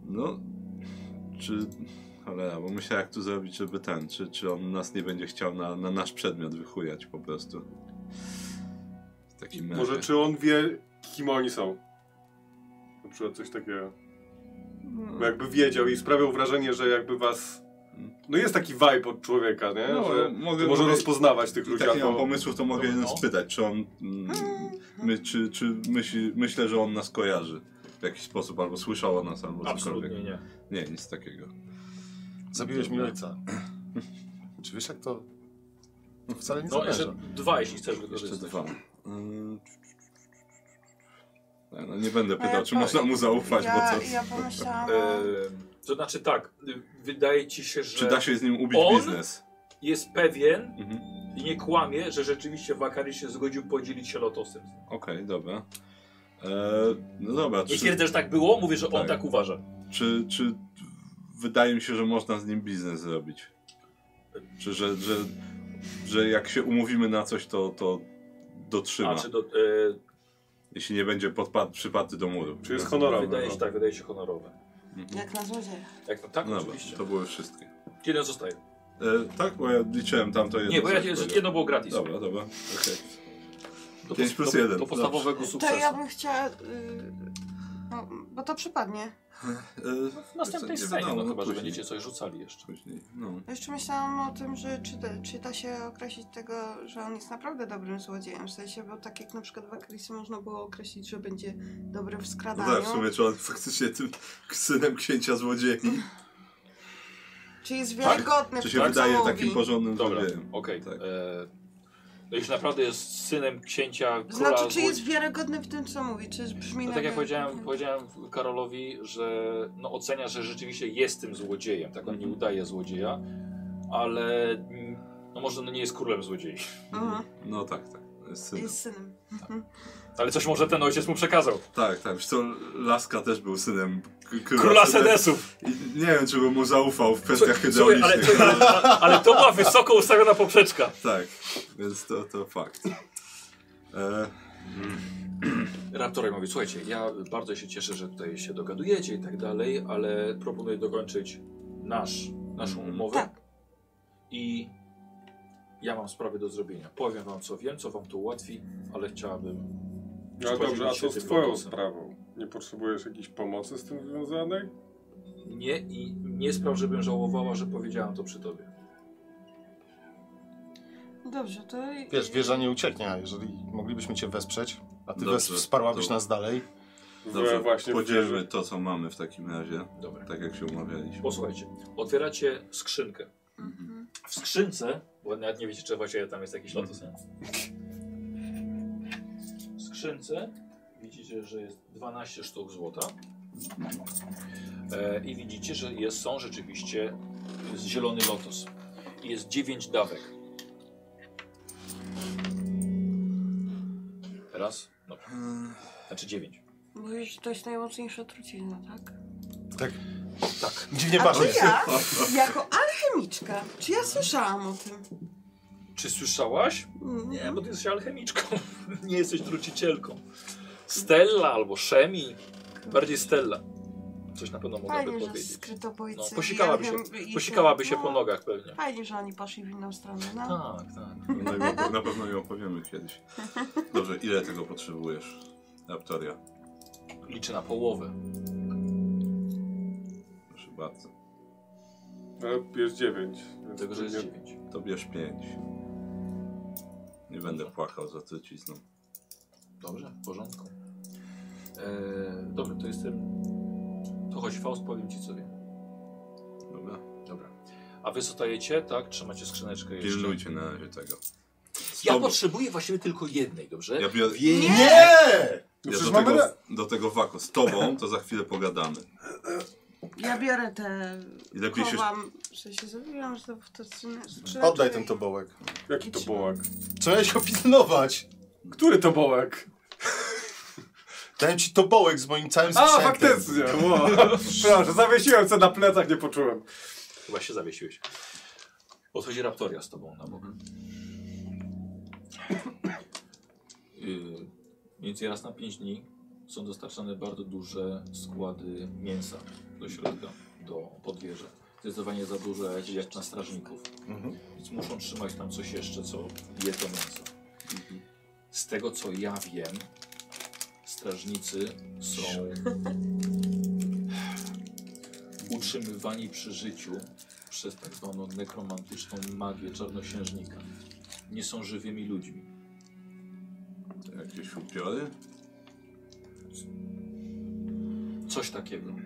S8: No, czy... Cholera, bo myślę, jak to zrobić, żeby ten, czy, czy on nas nie będzie chciał na, na nasz przedmiot wychujać po prostu. W takim
S4: Może
S8: razie.
S4: czy on wie, kim oni są? Na przykład coś takiego. Bo jakby wiedział i sprawiał wrażenie, że jakby was... No jest taki vibe od człowieka, nie?
S8: No,
S4: że
S8: mogę-
S4: może
S8: mogę-
S4: rozpoznawać tych
S8: I
S4: ludzi.
S8: tak nie mam
S4: albo...
S8: pomysłów, to
S4: no.
S8: mogę jeden spytać, czy on... Mm,
S3: Mhm.
S8: my, czy czy myśli, myślę, że on nas kojarzy w jakiś sposób, albo słyszał o nas, albo
S1: Absolutnie
S8: cokolwiek.
S1: nie.
S8: Nie, nic takiego.
S2: Zabiłeś mi ojca. Czy wiesz jak to... No wcale nie
S1: No jeszcze
S2: zamierzam.
S1: dwa, jeśli chcesz
S8: Jeszcze
S1: wykorzystać.
S8: dwa. Ym, No, no Mm. nie będę
S3: No
S8: pytał,
S3: ja
S8: czy
S3: po-
S8: można mu zaufać,
S3: Ja,
S8: bo co?
S3: ja pomyślałam,
S7: E, to znaczy tak, y, wydaje ci się, że
S8: Czy da się z nim ubić
S7: on-
S8: biznes?
S7: jest pewien
S8: Mhm.
S7: i nie kłamie, że rzeczywiście Wakary się zgodził podzielić się lotosem.
S8: Okej, dobra. E, no dobra,
S7: Nie
S8: czy,
S7: twierdzę, że tak było, mówię, że on
S8: Tak.
S7: tak uważa.
S8: czy, czy wydaje mi się, że można z nim biznes zrobić? Czy że, że, że jak się umówimy na coś, to, to dotrzyma,
S7: A czy do, e,
S8: jeśli nie będzie podpad, przypadty do muru.
S4: Czy jest honorowy?
S7: wydaje
S4: no.
S7: się tak, wydaje się honorowe.
S8: Mhm.
S3: jak na złodzieja.
S7: Jak no tak,
S8: No dobra,
S7: oczywiście.
S8: to były wszystkie.
S7: Jeden zostaje.
S8: E, tak, bo ja liczyłem tamto jedno.
S7: Nie, bo ja,
S8: co powiedział.
S7: jedno było gratis.
S8: Dobra, dobra, okej.
S7: Do,
S8: Pięć
S7: pos-
S8: plus
S7: do,
S8: jeden,
S7: Do podstawowego
S3: To
S7: sukcesu.
S3: ja bym chciała... y, no, bo to przypadnie.
S8: E,
S7: No, W następnej
S8: Nie
S7: scenie,
S8: wiadomo,
S7: no
S8: no
S7: chyba, że
S8: później.
S7: będziecie coś rzucali jeszcze.
S8: Później, no.
S3: Jeszcze myślałam o tym, że czy, da- czy da się określić tego, że on jest naprawdę dobrym złodziejem. W sensie, bo tak jak na przykład w Akrisy można było określić, że będzie dobry w
S8: No
S3: skradaniu.
S8: tak, w sumie czy on faktycznie tym synem księcia złodziei,
S3: Czy jest wiarygodny
S8: Tak, czy
S3: w
S8: się
S3: tym, co
S8: wydaje
S3: Tak mówi.
S8: takim porządnym
S7: Dobra,
S8: złodziejem.
S7: okej.
S8: Tak.
S7: e, No jeśli naprawdę jest synem księcia króla
S3: Znaczy, czy jest Mhm.
S7: złodzi-
S3: wiarygodny w tym, co mówi? Czy brzmi
S7: No
S3: na
S7: tak
S3: wiarygodny?
S7: jak powiedziałem, powiedziałem Karolowi, że no ocenia, że rzeczywiście jest tym złodziejem. Tak on
S8: Mhm.
S7: nie udaje złodzieja, ale mm, no może no nie jest królem złodziei.
S3: Mhm,
S8: No tak, tak. Jest synem.
S3: jest synem.
S7: Ale coś może ten ojciec mu przekazał.
S8: Tak, tak. Wiesz co, Laska też był synem k-
S7: Króla
S8: Sedem-
S7: Sedesów!
S8: I nie wiem, czy bym mu zaufał w
S7: Słuchaj,
S8: kwestiach
S7: słuchaj, ale,
S8: hydraulicznych.
S7: ale, ale to była wysoko ustawiona poprzeczka.
S8: Tak, więc to, to fakt. E,
S7: Raptorek mówi, słuchajcie, ja bardzo się cieszę, że tutaj się dogadujecie i tak dalej, ale proponuję dokończyć nasz, naszą
S8: Mhm.
S7: umowę.
S3: Tak.
S7: I ja mam sprawy do zrobienia. Powiem wam co wiem, co wam to ułatwi, ale chciałabym...
S4: No ale dobrze, a
S7: podzielić się
S4: co z
S7: tym
S4: twoją
S7: lotosem.
S4: sprawą? Nie potrzebujesz jakiejś pomocy z tym związanej?
S7: Nie i nie spraw, żebym żałowała, że powiedziałam to przy tobie.
S3: Dobrze, to...
S2: Wiesz, wieża nie ucieknie, a jeżeli moglibyśmy cię wesprzeć, a ty
S8: Dobrze,
S2: wes- wsparłabyś
S8: dobrze.
S2: nas dalej.
S4: W-
S8: dobrze,
S4: właśnie w
S8: No podzielmy
S4: wieży.
S8: to, co mamy w takim razie,
S7: Dobra.
S8: tak jak się umawialiśmy.
S7: Posłuchajcie, otwieracie skrzynkę.
S3: Mhm.
S7: W skrzynce, bo nawet nie wiecie, czy właściwie tam jest jakiś lotos. nie? W skrzynce widzicie, że jest 12 sztuk złota. E, I widzicie, że jest, są rzeczywiście jest zielony lotos. I Jest 9 dawek. Raz, dobra. Znaczy 9.
S3: Bo już to jest najmocniejsza trucizna, tak?
S2: Dziwnie
S3: A czy
S2: bardzo.
S3: ja, jako alchemiczka, czy ja słyszałam o tym?
S7: Czy słyszałaś?
S3: Mm,
S7: Nie, bo ty jesteś alchemiczką. Nie jesteś trucicielką. Stella albo Szemi. Bardziej Stella. Coś na pewno mogłaby
S3: Fajnie, że
S7: powiedzieć.
S3: skryto
S7: No,
S3: bojcy.
S7: posikałaby się, posikałaby się po nogach pewnie.
S3: Fajnie, że oni poszli w inną stronę, no.
S7: Tak, tak.
S8: No i opo- na pewno ją opowiemy kiedyś. Dobrze, ile tego potrzebujesz, Raptoria?
S7: Liczy na połowę.
S8: Proszę bardzo.
S4: Ale Jest dziewięć. więc
S7: Tego, że jest
S4: nie-
S7: 9.
S8: To bierz pięć. Nie będę płakał za trucizną.
S7: Dobrze, w porządku. Eee, dobra, to jestem. To chodź, Faust, powiem ci co wiem.
S8: Dobra?
S7: Dobra. A wy zostajecie, tak? Trzymacie skrzyneczkę jeszcze.
S8: Pilnujcie na razie tego.
S7: Ja
S8: Dobra.
S7: potrzebuję właściwie tylko jednej, dobrze?
S8: Ja biorę...
S2: Nie!
S8: Ja
S2: przecież
S8: do,
S2: mamy
S8: tego,
S2: re-
S8: do tego wako z tobą, to za chwilę pogadamy.
S3: Ja biorę te...
S8: I lepiej się.
S3: Chowam, że się zrobiłam, że to w
S2: Oddaj ten tobołek.
S4: Jaki to bołek?
S2: Trzeba go pilnować.
S4: Który to bołek?
S2: Dałem ci tobołek z moim całym
S4: A,
S2: sprzętem.
S4: faktycznie! Wow. Przepraszam, zawiesiłem co na plecach, nie poczułem.
S7: Chyba się zawiesiłeś. Odchodzi Raptoria z tobą na bok. Yy, więc raz na 5 dni są dostarczane bardzo duże składy mięsa do środka, do podwieży. Zdecydowanie za duże jak, jak na strażników.
S2: Mhm.
S7: Więc muszą trzymać tam coś jeszcze, co je to mięso. Z tego co ja wiem, strażnicy są utrzymywani przy życiu przez tak zwaną nekromantyczną magię czarnoksiężnika. Nie są żywymi ludźmi.
S8: Jakieś upiory?
S7: Coś takiego.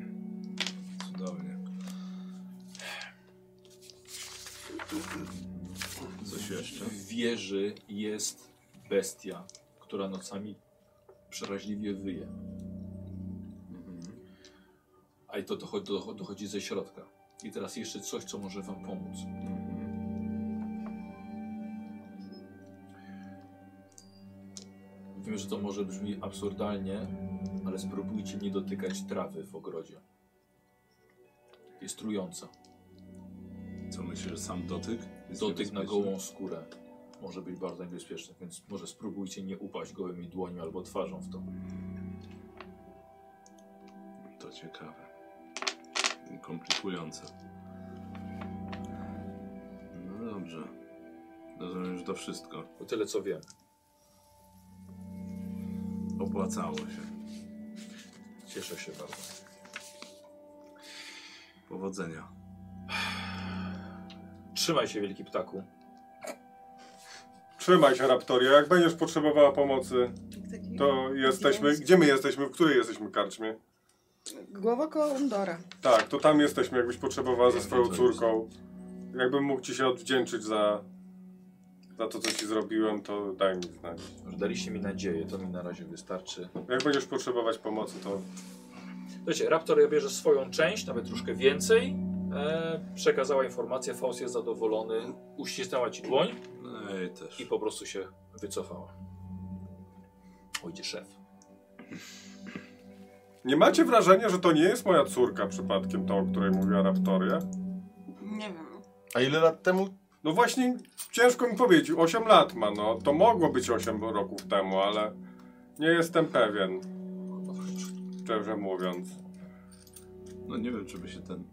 S8: Cudownie. Coś jeszcze?
S7: W wieży jest bestia, która nocami przeraźliwie wyje. Mhm. A i to dochodzi, dochodzi, dochodzi ze środka. I teraz jeszcze coś, co może wam pomóc. Mhm. Wiem, że to może brzmi absurdalnie, ale spróbujcie nie dotykać trawy w ogrodzie. Jest trująca.
S8: Co myślisz, że sam dotyk? jest
S7: Dotyk na
S8: niebezpieczny?
S7: gołą skórę może być bardzo niebezpieczny, więc może spróbujcie nie upaść gołymi dłońmi albo twarzą w to.
S8: To ciekawe. Komplikujące. No dobrze. Rozumiem, że to wszystko.
S7: To tyle co wiem.
S8: Opłacało się.
S7: Cieszę się bardzo.
S8: Powodzenia.
S7: Trzymaj się, wielki ptaku.
S4: Trzymaj się, Raptoria. Jak będziesz potrzebowała pomocy,
S6: Taki...
S4: to jesteśmy... Gdzie my jesteśmy? W której jesteśmy karczmie?
S6: Głowa koło Undora.
S4: Tak, to tam jesteśmy, jakbyś potrzebowała ze swoją córką. Jakbym mógł ci się odwdzięczyć za, za to, co ci zrobiłem, to daj mi znać.
S7: Już daliście mi nadzieję, to mi na razie wystarczy.
S4: Jak będziesz potrzebować pomocy, to
S7: Słuchajcie, Raptor bierze swoją część, nawet troszkę więcej. E, przekazała informację, Faust jest zadowolony, uścisnęła ci dłoń
S8: No i też.
S7: i po prostu się wycofała. Ojdzie szef.
S4: Nie macie wrażenia, że to nie jest moja córka przypadkiem, to, o której mówiła Raptoria?
S25: Nie wiem.
S2: A ile lat temu?
S4: No właśnie, ciężko mi powiedzieć, 8 lat ma, no. To mogło być 8 roków temu, ale nie jestem pewien, szczerze mówiąc.
S8: No nie wiem, czy by się ten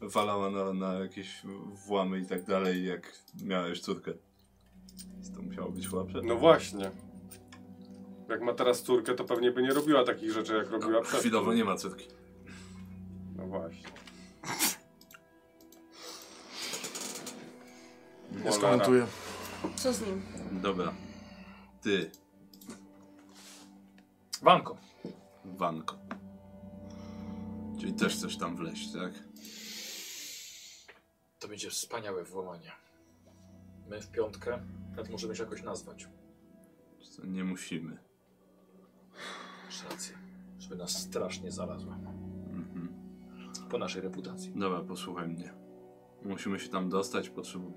S8: walała na, na jakieś włamy i tak dalej, jak miałeś córkę. To musiało być łapsze.
S4: No właśnie. Jak ma teraz córkę, to pewnie by nie robiła takich rzeczy, jak robiła
S8: No,
S4: przed.
S8: chwilowo nie ma córki.
S4: No właśnie.
S2: Nie skomentuję.
S6: Co z nim?
S8: Dobra. Ty,
S7: Wanko.
S8: Wanko. Czyli też chcesz tam wleść, tak?
S7: To będzie wspaniałe włamanie. My w piątkę, nawet możemy się jakoś nazwać.
S8: To nie musimy.
S7: Masz rację. Żeby nas strasznie zalazła.
S8: Mhm.
S7: Po naszej reputacji.
S8: Dobra, posłuchaj mnie. Musimy się tam dostać, potrzebu...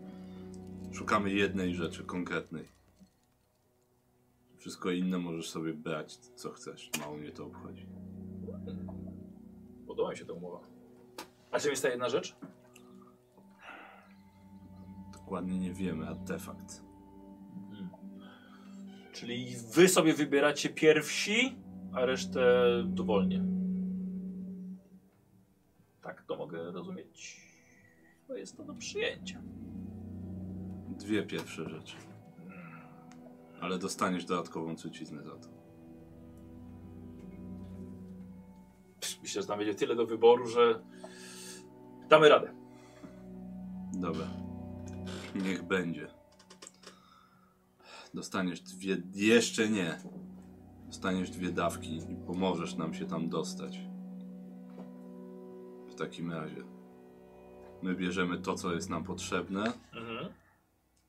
S8: Szukamy jednej rzeczy konkretnej. Wszystko inne możesz sobie brać, co chcesz. Mało mnie to obchodzi.
S7: Podoba mi się ta umowa. A czym jest ta jedna rzecz?
S8: Dokładnie nie wiemy, artefakt.
S7: Czyli wy sobie wybieracie pierwsi, a resztę dowolnie. Tak to mogę rozumieć. To jest to do przyjęcia.
S8: Dwie pierwsze rzeczy. Ale dostaniesz dodatkową truciznę za to.
S7: Psz, Myślę, że tam będzie tyle do wyboru, że damy radę.
S8: Dobra. Niech będzie. Dostaniesz dwie. Jeszcze nie. Dostaniesz dwie dawki i pomożesz nam się tam dostać. W takim razie. My bierzemy to, co jest nam potrzebne.
S7: Mhm.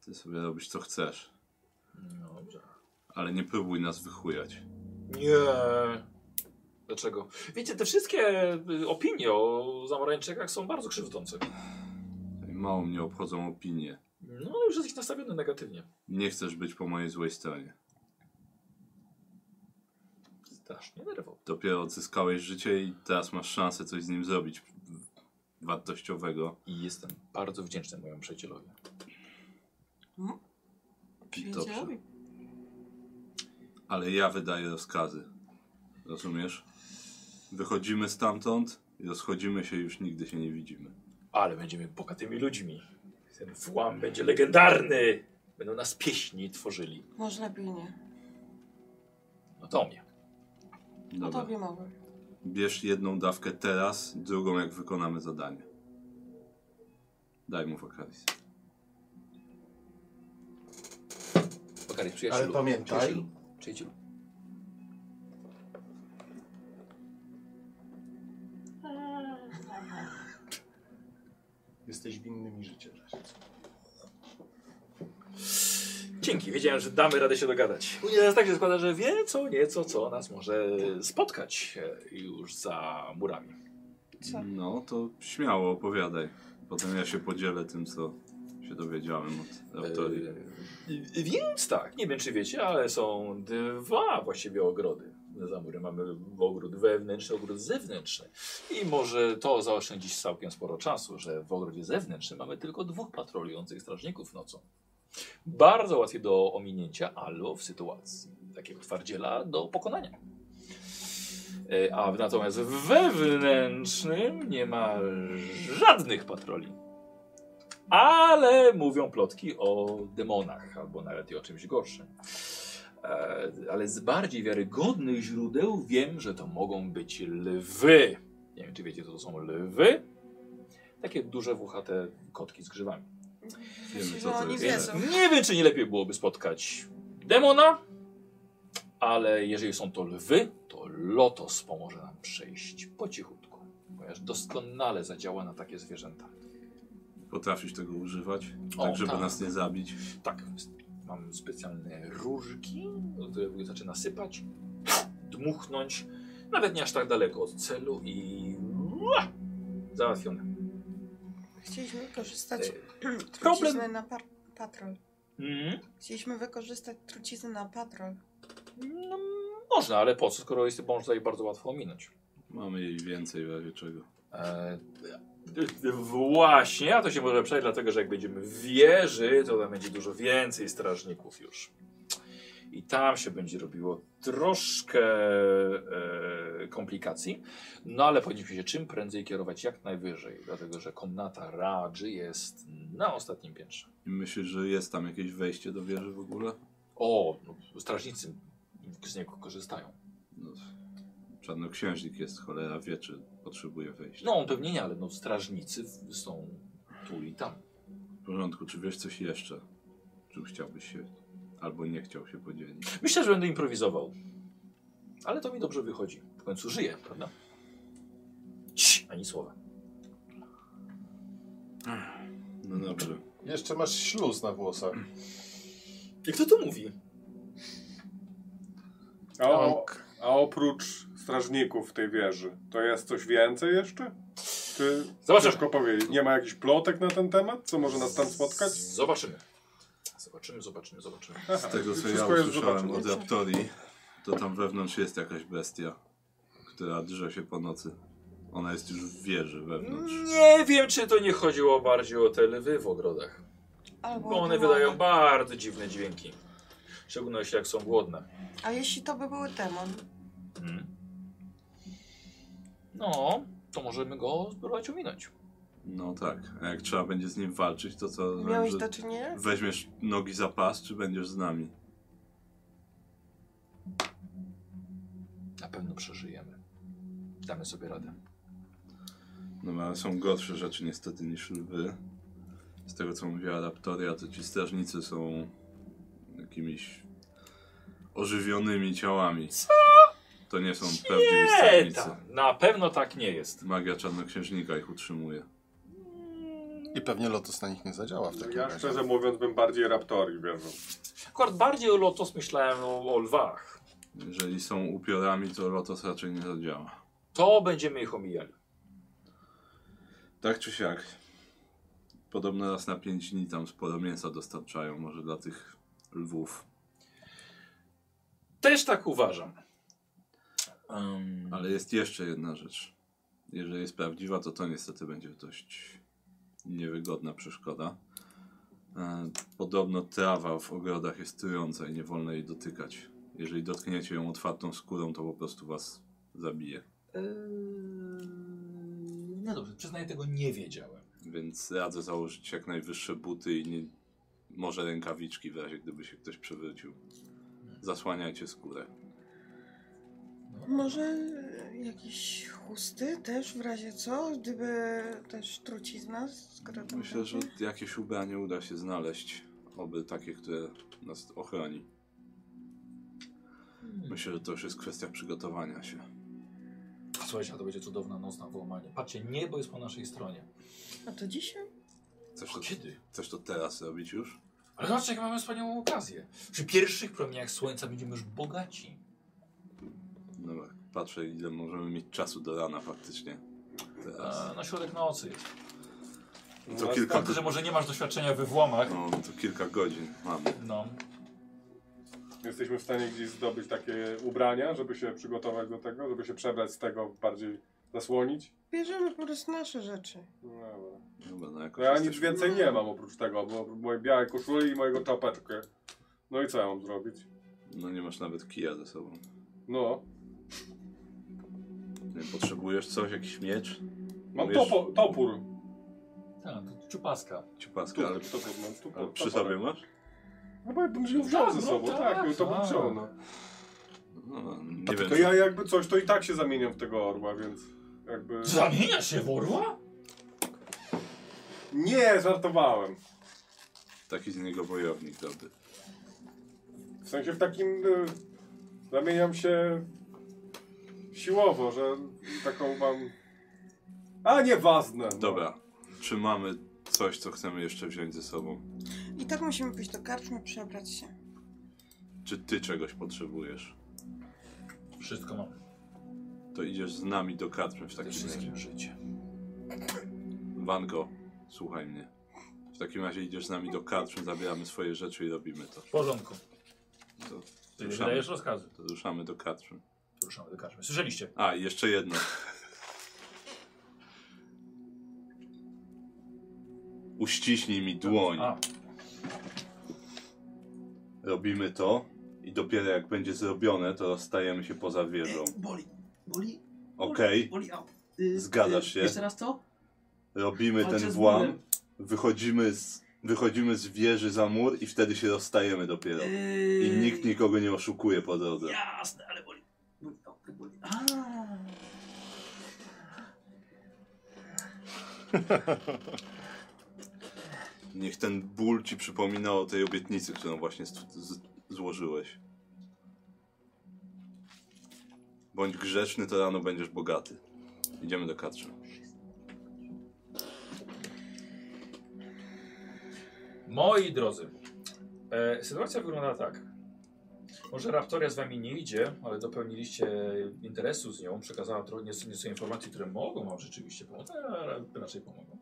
S8: Ty sobie robisz co chcesz.
S7: Dobrze.
S8: Ale nie próbuj nas wychujać.
S7: Nie. Dlaczego? Wiecie, te wszystkie y, opinie o Zamorańczykach są bardzo krzywdzące.
S8: I Mało mnie obchodzą opinie.
S7: No, już jesteś nastawiony negatywnie.
S8: Nie chcesz być po mojej złej stronie.
S7: Strasznie nerwowo.
S8: Dopiero odzyskałeś życie i teraz masz szansę coś z nim zrobić wartościowego.
S7: I jestem bardzo wdzięczny mojemu przyjacielowi.
S8: Dobrze. Ale ja wydaję rozkazy. Rozumiesz? Wychodzimy stamtąd i rozchodzimy się już nigdy się nie widzimy.
S7: Ale będziemy bogatymi ludźmi. Ten włam będzie legendarny. Będą nas pieśni tworzyli.
S25: Może lepiej nie.
S7: No to o mnie.
S6: No
S25: O
S8: Dobra.
S25: tobie mowy.
S8: Bierz jedną dawkę teraz, drugą jak wykonamy zadanie. Daj mu wakaris.
S7: Bakary, przyjacielu.
S2: Ale pamiętaj,
S7: Przyjacielu. przyjacielu.
S2: jesteś winny mi życie.
S7: Dzięki, wiedziałem, że damy radę się dogadać. Uniwersal tak się składa, że wie co nieco, co nas może spotkać e, już za murami.
S6: Co?
S8: No to śmiało opowiadaj. Potem ja się podzielę tym, co się dowiedziałem od autori.
S7: E, Więc tak, nie wiem czy wiecie, ale są dwa właściwie ogrody. Za murem mamy ogród wewnętrzny, ogród zewnętrzny. I może to zaoszczędzić całkiem sporo czasu, że w ogrodzie zewnętrznym mamy tylko dwóch patrolujących strażników nocą. Bardzo łatwiej do ominięcia, ale w sytuacji takiego twardziela do pokonania. E, A natomiast w wewnętrznym nie ma żadnych patroli. Ale mówią plotki o demonach, albo nawet i o czymś gorszym. E, Ale z bardziej wiarygodnych źródeł wiem, że to mogą być lwy. Nie wiem, czy wiecie, co to są lwy. Takie duże, włochate kotki z grzywami.
S8: Wiemy, co
S6: No,
S8: to
S6: oni
S8: jest.
S6: wiedzą.
S7: Nie wiem, czy nie lepiej byłoby spotkać demona, ale jeżeli są to lwy, to lotos pomoże nam przejść po cichutku, ponieważ doskonale zadziała na takie zwierzęta.
S8: Potrafisz tego używać,
S7: O,
S8: tak żeby
S7: tak.
S8: nas nie zabić.
S7: Tak, s- mam specjalne różki, które zaczyna sypać, dmuchnąć, nawet nie aż tak daleko od celu i Ua! załatwione.
S6: Chcieliśmy korzystać
S7: Problem...
S6: trucizny na par- patrol.
S7: Mhm.
S6: Chcieliśmy wykorzystać trucizny na patrol.
S7: No, można, ale po co, skoro jest to tutaj bardzo łatwo ominąć.
S8: Mamy jej więcej w razie czego.
S7: E, e, Właśnie, a to się może przejść, dlatego że jak będziemy w wieży, to tam będzie dużo więcej strażników już. I tam się będzie robiło troszkę e, komplikacji, no ale powinniśmy się czym prędzej kierować jak najwyżej, dlatego że komnata Radży jest na ostatnim piętrze.
S8: I myślisz, że jest tam jakieś wejście do wieży w ogóle?
S7: O, no, strażnicy z niego korzystają.
S8: No, czarnoksiężnik jest, cholera wie, czy potrzebuje wejścia.
S7: No, on pewnie nie, ale no, strażnicy w- są tu i tam.
S8: W porządku, czy wiesz coś jeszcze? Czym chciałbyś się, albo nie chciał się podzielić?
S7: Myślę, że będę improwizował. Ale to mi dobrze wychodzi. W końcu żyję, prawda? Cii, ani słowa.
S8: No dobrze.
S2: Jeszcze masz śluz na włosach.
S7: I kto to mówi?
S4: A, o, a oprócz strażników w tej wieży, to jest coś więcej jeszcze? Czy
S7: Zobaczymy.
S4: ciężko powiedzieć? Nie ma jakichś plotek na ten temat? Co może nas tam spotkać?
S7: Zobaczymy. Zobaczymy, zobaczymy, zobaczymy.
S8: Z tego, co ja
S4: wszystko jest
S8: usłyszałem od
S4: zobaczone.
S8: Raptorii, to tam wewnątrz jest jakaś bestia, która drze się po nocy. Ona jest już w wieży wewnątrz.
S7: Nie wiem, czy to nie chodziło bardziej o te lwy w ogrodach.
S6: Albo
S7: Bo one
S6: demony.
S7: wydają bardzo dziwne dźwięki. W szczególności jak są głodne.
S6: A jeśli to by był demon?
S7: Mm. No, to możemy go spróbować ominąć.
S8: No tak, a jak trzeba będzie z nim walczyć, to co?
S6: Miałeś
S8: że
S6: do czynienia?
S8: Weźmiesz nogi za pas, czy będziesz z nami?
S7: Na pewno przeżyjemy. Damy sobie radę.
S8: No ale są gorsze rzeczy niestety niż lwy. Z tego co mówiła Raptoria, to ci strażnicy są jakimiś ożywionymi ciałami. Co? To nie są prawdziwi
S7: Nie,
S8: strażnicy.
S7: ta, na pewno E, tak nie jest.
S8: Magia czarnoksiężnika ich utrzymuje.
S2: I pewnie lotos na nich nie zadziała w takim
S4: Ja
S2: razie.
S4: szczerze mówiąc bym bardziej raptorii wierzył.
S7: Akurat bardziej o lotos myślałem o, o lwach.
S8: Jeżeli są upiorami, to lotos raczej nie zadziała.
S7: To będziemy ich omijali.
S8: Tak czy siak. Podobno raz na pięć dni tam sporo mięsa dostarczają, może dla tych lwów.
S7: Też tak uważam. Em,
S8: Ale jest jeszcze jedna rzecz. Jeżeli jest prawdziwa, to to niestety będzie dość niewygodna przeszkoda. E, Podobno trawa w ogrodach jest trująca i nie wolno jej dotykać. Jeżeli dotkniecie ją otwartą skórą, to po prostu was zabije.
S1: Yy,
S7: No dobrze, przyznaję, tego nie wiedziałem.
S8: Więc radzę założyć jak najwyższe buty i nie, może rękawiczki w razie gdyby się ktoś przewrócił. Zasłaniajcie skórę.
S6: Może jakieś chusty też w razie co? Gdyby też trucizna, skoro to
S8: Myślę, że jakieś ubranie uda się znaleźć. Oby takie, które nas ochroni. Myślę, że to już jest kwestia przygotowania się.
S7: Słuchajcie, a to będzie cudowna noc na wyłamanie. Patrzcie, niebo jest po naszej stronie.
S6: A to dzisiaj?
S8: Chcesz
S7: O,
S8: to,
S7: kiedy?
S8: chcesz to teraz robić już?
S1: Ale zobaczcie, jak mamy wspaniałą okazję. Przy pierwszych promieniach słońca będziemy już bogaci.
S8: No tak, patrzę ile możemy mieć czasu do rana faktycznie. Teraz. No
S1: E, no środek nocy jest.
S4: no,
S8: To kilka,
S1: Fakt, że może nie masz doświadczenia we włamach.
S8: no, to kilka godzin mamy.
S1: No.
S4: Jesteśmy w stanie gdzieś zdobyć takie ubrania, żeby się przygotować do tego, żeby się przebrać z tego, bardziej zasłonić.
S3: Bierzemy po prostu nasze rzeczy.
S4: No, dobra.
S8: Dobra, no jakoś
S4: No ja nic
S8: jesteśmy-
S4: więcej nie mam oprócz tego, bo moje białe koszuli i mojego czapeczkę. No i co ja mam zrobić?
S8: No nie masz nawet kija ze sobą.
S4: No,
S8: Nie, potrzebujesz coś, jakiś miecz?
S4: mam
S8: Wiesz-
S4: topo, topór.
S1: Tak, to ciupaska.
S8: Ciupaskę,
S4: Tu,
S8: ale,
S4: topór mam, topór,
S8: ale przy
S4: topór.
S8: sobie masz?
S4: No bo ja bym ją wziął
S1: Tak,
S4: ze
S1: no
S4: sobą,
S1: tak,
S4: tak, ja to bym
S1: tak.
S4: wziął. No.
S8: No, nie
S4: A
S8: wiem.
S4: tylko ja jakby coś, to i tak się zamieniam w tego orła, więc jakby...
S1: Zamieniasz się w orła?
S4: Nie, żartowałem.
S8: Taki z niego wojownik dobry.
S4: W sensie w takim... Y, zamieniam się siłowo, że taką mam... A, nieważne. No.
S8: Dobra, czy mamy coś, co chcemy jeszcze wziąć ze sobą?
S7: I tak musimy pójść do karczmy, przebrać się.
S8: Czy ty czegoś potrzebujesz?
S1: Wszystko mam.
S8: To idziesz z nami do karczmy w
S1: Ze
S8: takim razie.
S1: wszystkim życie.
S8: Wango, słuchaj mnie. W takim razie idziesz z nami do karczmy, zabieramy swoje rzeczy i robimy to.
S1: W porządku.
S8: To
S1: Ty
S8: Ruszamy.
S1: wydajesz rozkazy.
S8: To ruszamy do karczmy.
S1: Ruszamy do karczmy. Słyszeliście?
S8: A, i jeszcze jedno. Uściśnij mi dłoń.
S1: A,
S8: Robimy to i dopiero jak będzie zrobione, to rozstajemy się poza wieżą.
S6: E, Boli, boli,
S8: Okej,
S6: boli. au. Y,
S8: Zgadzasz
S6: y,
S8: się?
S6: Jeszcze raz co?
S8: robimy
S6: Walczę
S8: ten
S6: z
S8: włam,
S6: bólem.
S8: wychodzimy z, wychodzimy z wieży za mur i wtedy się rozstajemy dopiero. I
S6: Yy,
S8: nikt nikogo nie oszukuje po drodze.
S6: Jasne, ale boli. Boli, au, boli. A.
S8: Niech ten ból ci przypomina o tej obietnicy, którą właśnie st- z- złożyłeś. Bądź grzeczny, to rano będziesz bogaty. Idziemy do katrza.
S1: moi drodzy, e, sytuacja wygląda tak. Może Raptoria z wami nie idzie, ale dopełniliście interesu z nią, przekazała tro- nieco, nieco informacji, które mogą wam rzeczywiście pomóc, ale raczej pomogą.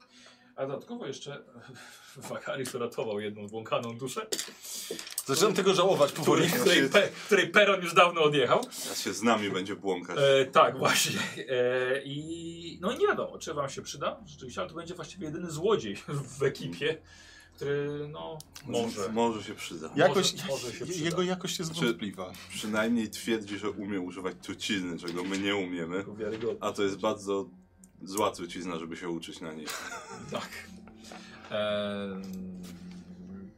S1: A dodatkowo jeszcze Wakaris uratował jedną błąkaną duszę,
S26: Zaczynam tego żałować
S1: której, której, pe, której Peron już dawno odjechał.
S8: Teraz się z nami będzie błąkać.
S1: E, tak, właśnie. E, I no i nie wiadomo, czy wam się przyda rzeczywiście, ale to będzie właściwie jedyny złodziej w ekipie, który no może.
S8: Może się przyda.
S1: Może- może się przyda.
S2: jego jakość jest
S8: Znaczy-
S2: wątpliwa.
S8: Przynajmniej twierdzi, że umie używać trucizny, czego my nie umiemy.
S1: Wiarygodny.
S8: A to jest bardzo zła trucizna, żeby się uczyć na niej.
S1: Tak. Em,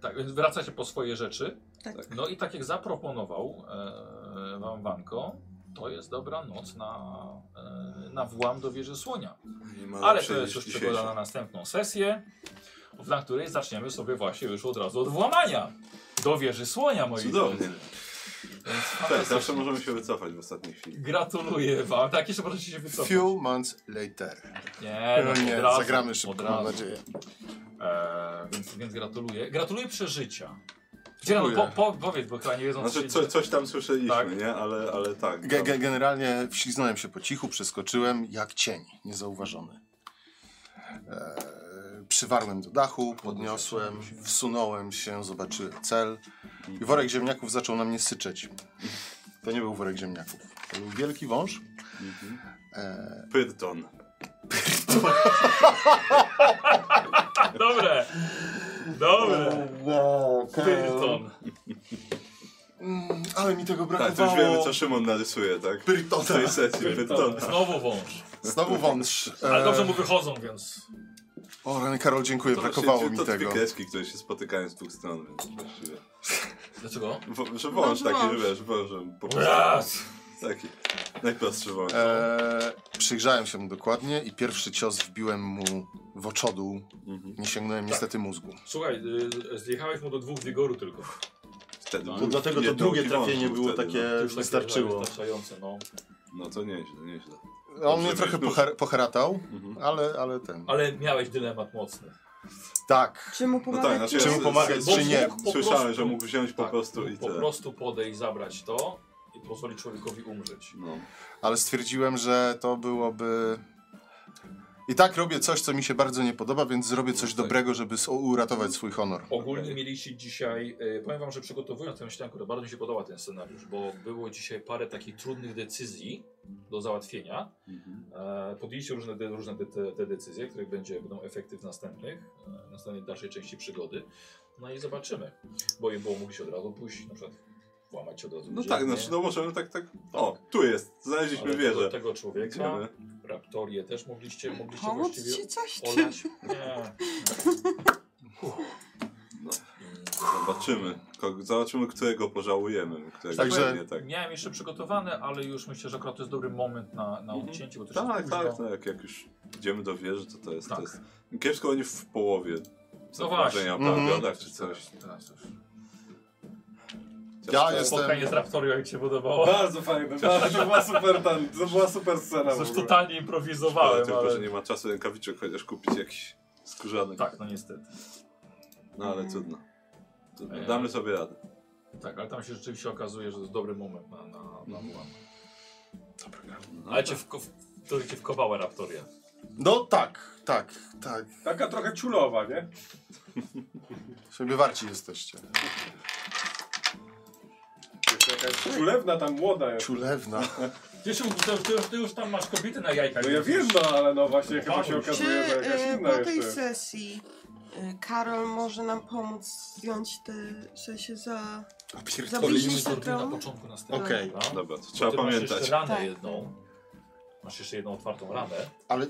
S1: tak, więc wracacie po swoje rzeczy.
S7: Tak.
S1: No i tak jak zaproponował e, wam Wanko, to jest dobra noc na, e, na włam do wieży słonia.
S8: Nie ma
S1: Ale to
S8: lepszej
S1: jest
S8: niż
S1: już przygoda na
S8: dzisiejsza.
S1: następną sesję, na której zaczniemy sobie właśnie już od razu od włamania do wieży słonia, moi
S8: Cudownie.
S1: drodzy.
S8: Tak, zawsze możemy się wycofać w ostatniej chwili.
S1: Gratuluję wam. Tak, jeszcze możecie się wycofać.
S2: Few months later.
S1: Nie, no,
S2: nie,
S1: od razu,
S2: zagramy szybko,
S1: od
S2: mam
S1: razu.
S2: nadzieję.
S1: Eee, więc, więc gratuluję. Gratuluję przeżycia. Gdzie no, po,
S8: Dziękuję.
S1: po, powiedz, bo chyba nie wiedzą,
S8: Znaczy
S1: się
S8: co,
S1: dzieje.
S8: coś tam słyszeliśmy,
S1: No, Tak.
S8: nie? Ale, ale tak.
S2: Ge ge generalnie wśliznąłem się po cichu, przeskoczyłem jak cień, niezauważony. Eee, przywarłem do dachu, podniosłem, wsunąłem się, zobaczyłem cel i worek ziemniaków zaczął na mnie syczeć. To nie był worek ziemniaków, to był wielki wąż.
S8: Pyrton.
S1: Dobre. Dobre. Pyrton.
S2: Mm, ale mi tego
S8: Tak, to już wiemy
S2: brakowało.
S8: co Szymon narysuje, tak?
S2: Pyrtona.
S8: W tej sesji Pyrton.
S1: Pyrton. Znowu wąż.
S2: Znowu wąż.
S8: E.
S1: Ale dobrze
S2: Eee,
S1: mu wychodzą, więc...
S2: O, Rany Karol, dziękuję,
S8: To
S2: brakowało
S8: właśnie-
S2: mi
S8: to
S2: tego.
S8: dwie kreski, które się spotykają z dwóch stron, więc właściwie.
S1: Dlaczego?
S8: Wo- Że wąż
S3: No,
S8: taki,
S3: wąż.
S8: że wiesz, wążem po prostu.
S1: Raz.
S8: Taki. Najprostszy wąż.
S2: Eee, przyjrzałem się mu dokładnie i pierwszy cios wbiłem mu w oczodół.
S8: Mhm.
S2: Nie sięgnąłem niestety mózgu.
S1: Słuchaj, y, zjechałeś mu do dwóch wigoru tylko.
S8: Wtedy
S1: No,
S8: był
S6: dlatego to
S8: jednooki
S6: drugie
S8: wąż
S6: trafienie
S8: był
S6: było
S8: wtedy,
S6: takie,
S1: To
S6: już
S1: takie
S6: wystarczyło.
S1: Wystarczające, no.
S8: No. no to nieźle, nieźle.
S2: On
S8: Dobrze,
S2: mnie trochę
S8: wiesz,
S2: poher poheratał,
S8: Mhm.
S2: ale, ale ten.
S1: Ale miałeś dylemat mocny.
S2: Tak.
S3: Czy mu
S8: No
S3: pomagać?
S8: tak, znaczy
S3: czy
S8: ja
S2: mu
S8: s-
S2: pomagać,
S8: s-
S2: czy nie?
S8: s- Słyszałem, że mógł wziąć po
S1: tak,
S8: prostu i
S1: Po
S8: tyle.
S1: prostu podejść, zabrać to i pozwolić człowiekowi umrzeć.
S8: No.
S2: Ale stwierdziłem, że to byłoby... I tak robię coś, co mi się bardzo nie podoba, więc zrobię coś dobrego, żeby s- uratować swój honor.
S1: Ogólnie mieliście dzisiaj, e, powiem wam, że przygotowując tę ściankę, to bardzo mi się podoba ten scenariusz, bo było dzisiaj parę takich trudnych decyzji do załatwienia.
S8: Mhm.
S1: E, podjęliście różne, de, różne de, te, te decyzje, które będzie, będą efekty w następnych, e, następnej dalszej części przygody. No i zobaczymy, bo je było mogliście od razu pójść, na przykład włamać się od razu.
S8: No
S1: gdzieś,
S8: tak,
S1: nie?
S8: znaczy no możemy tak, tak. O, tu jest,
S1: Ale tak-
S8: znaleźliśmy
S1: do
S8: wieżę.
S1: tego człowieka,
S8: Idziemy.
S1: raptorię też mogliście, mogliście
S3: Pomóc
S1: właściwie
S3: ci coś? Czy...
S1: olać. Nie.
S8: No. Zobaczymy. Ko- Zobaczymy, którego pożałujemy. Którego
S2: Także-
S8: nie tak.
S1: Miałem jeszcze przygotowane, ale już myślę, że akurat to jest dobry moment na, na odcięcie, bo to się
S8: Tak,
S1: późno.
S8: tak, tak. Jak już idziemy do wieży, to to jest.
S1: Tak.
S8: To jest... Kiepsko oni w połowie.
S1: No właśnie.
S8: zobaczenia po
S2: Mhm.
S8: ogrodach czy coś.
S1: Teraz już.
S2: Ja
S8: Chociaż-
S1: Spotkanie
S2: jestem...
S1: z Raptorią jak się podobało.
S4: Bardzo fajne, bardzo, to była super ten, to była super scena. Tak, w
S1: Coś
S4: ogóle.
S1: totalnie
S8: Ale
S1: improwizowałem,
S8: tylko, że
S1: ale...
S8: nie ma czasu rękawiczek chociaż kupić jakiś skórzany.
S1: Tak, no niestety.
S8: No ale trudno. trudno.
S1: Eee.
S8: Damy sobie radę.
S1: Tak, ale tam się rzeczywiście okazuje, że to jest dobry moment na, na, na włam.
S8: No,
S1: Ale cię, wko- w, to cię wkopała Raptoria.
S2: No tak, tak, tak.
S4: Taka trochę ciulowa, nie?
S2: Sobie warci jesteście.
S4: Jeszcze jakaś ciulewna tam młoda jest.
S2: Ciulewna.
S1: Ty, się- ty, ty, już- ty już tam masz kobiety na jajkach.
S4: No ja wiem, no ale no właśnie chyba się
S1: Paweł,
S4: okazuje,
S3: Czy
S4: że jakaś
S3: e,
S4: inna
S3: po tej
S4: jeszcze.
S3: sesji e, Karol może nam pomóc zdjąć te, w sensie za...
S1: Mieliśmy
S3: Zabiliśmy
S1: to ty na
S3: to.
S1: początku następnego.
S2: Okej.
S1: prawda?
S8: Dobra, to
S1: Bo
S8: trzeba
S1: ty Masz
S8: pamiętać.
S1: jeszcze ranę
S3: Tak.
S1: jedną. Masz jeszcze jedną otwartą ranę.
S2: Ale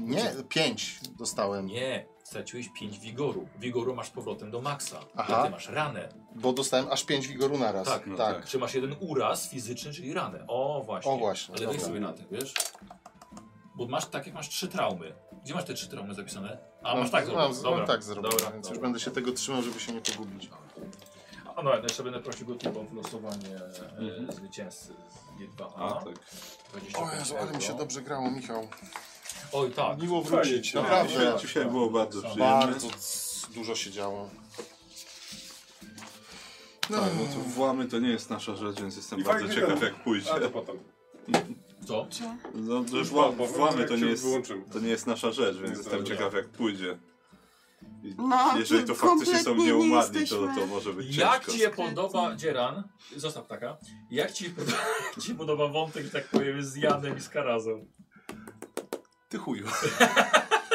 S2: nie, pięć dostałem.
S1: Nie, straciłeś 5 wigoru. Wigoru masz z powrotem do maksa.
S2: Aha.
S1: Ty masz ranę.
S2: Bo dostałem aż pięć wigoru naraz.
S1: Tak,
S2: Tak,
S8: no
S2: tak.
S8: tak.
S1: Czy masz jeden uraz fizyczny, czyli ranę. O właśnie.
S2: O, właśnie,
S1: Ale weź
S2: dobra.
S1: sobie na tym, wiesz? Bo masz tak, jak masz trzy traumy. Gdzie maz te trzy traumy zapisane? A, masz tak
S2: mam,
S1: zrobione.
S2: mam
S1: Dobra.
S2: tak zrobione,
S1: Dobra,
S2: więc
S1: dobra.
S2: już będę się tego trzymał, żeby się nie pogubić.
S1: A no, ja jeszcze będę prosił go tylko o losowanie e, zwycięzcy z G2A.
S8: A, tak.
S1: 20
S2: O Jezu, ale mi się
S1: euro.
S2: dobrze grało, Michał.
S1: Oj tak.
S2: Miło
S4: wrócić,
S2: wrócić, naprawdę.
S8: Dzisiaj, dzisiaj było bardzo przyjemne.
S2: Bardzo c- dużo się działo.
S8: Tak, no to włamy to nie jest nasza rzecz, więc jestem
S4: I
S8: bardzo
S4: fajnie
S8: ciekaw
S4: gadam.
S8: jak pójdzie.
S4: A to potem.
S1: Co?
S8: No, że
S4: Już
S8: włam,
S4: wam powiem,
S8: włamy
S4: jak
S8: to
S4: się
S8: nie, jest,
S4: wyłączymy.
S8: to nie jest nasza rzecz, więc
S4: Nie,
S8: jestem
S4: tak,
S8: ciekaw jak pójdzie. I
S3: No,
S8: Jeżeli to
S3: ty
S8: faktycznie są
S3: kompletnie nie
S8: nieumadni, to,
S3: jesteśmy-
S8: to może być
S1: Jak
S8: ciężko.
S1: ci się podoba, Dzieran, zostaw taka, jak ci, jak ci podoba wątek, że tak powiem, z Janem i z Karazem?
S2: Ty chuju.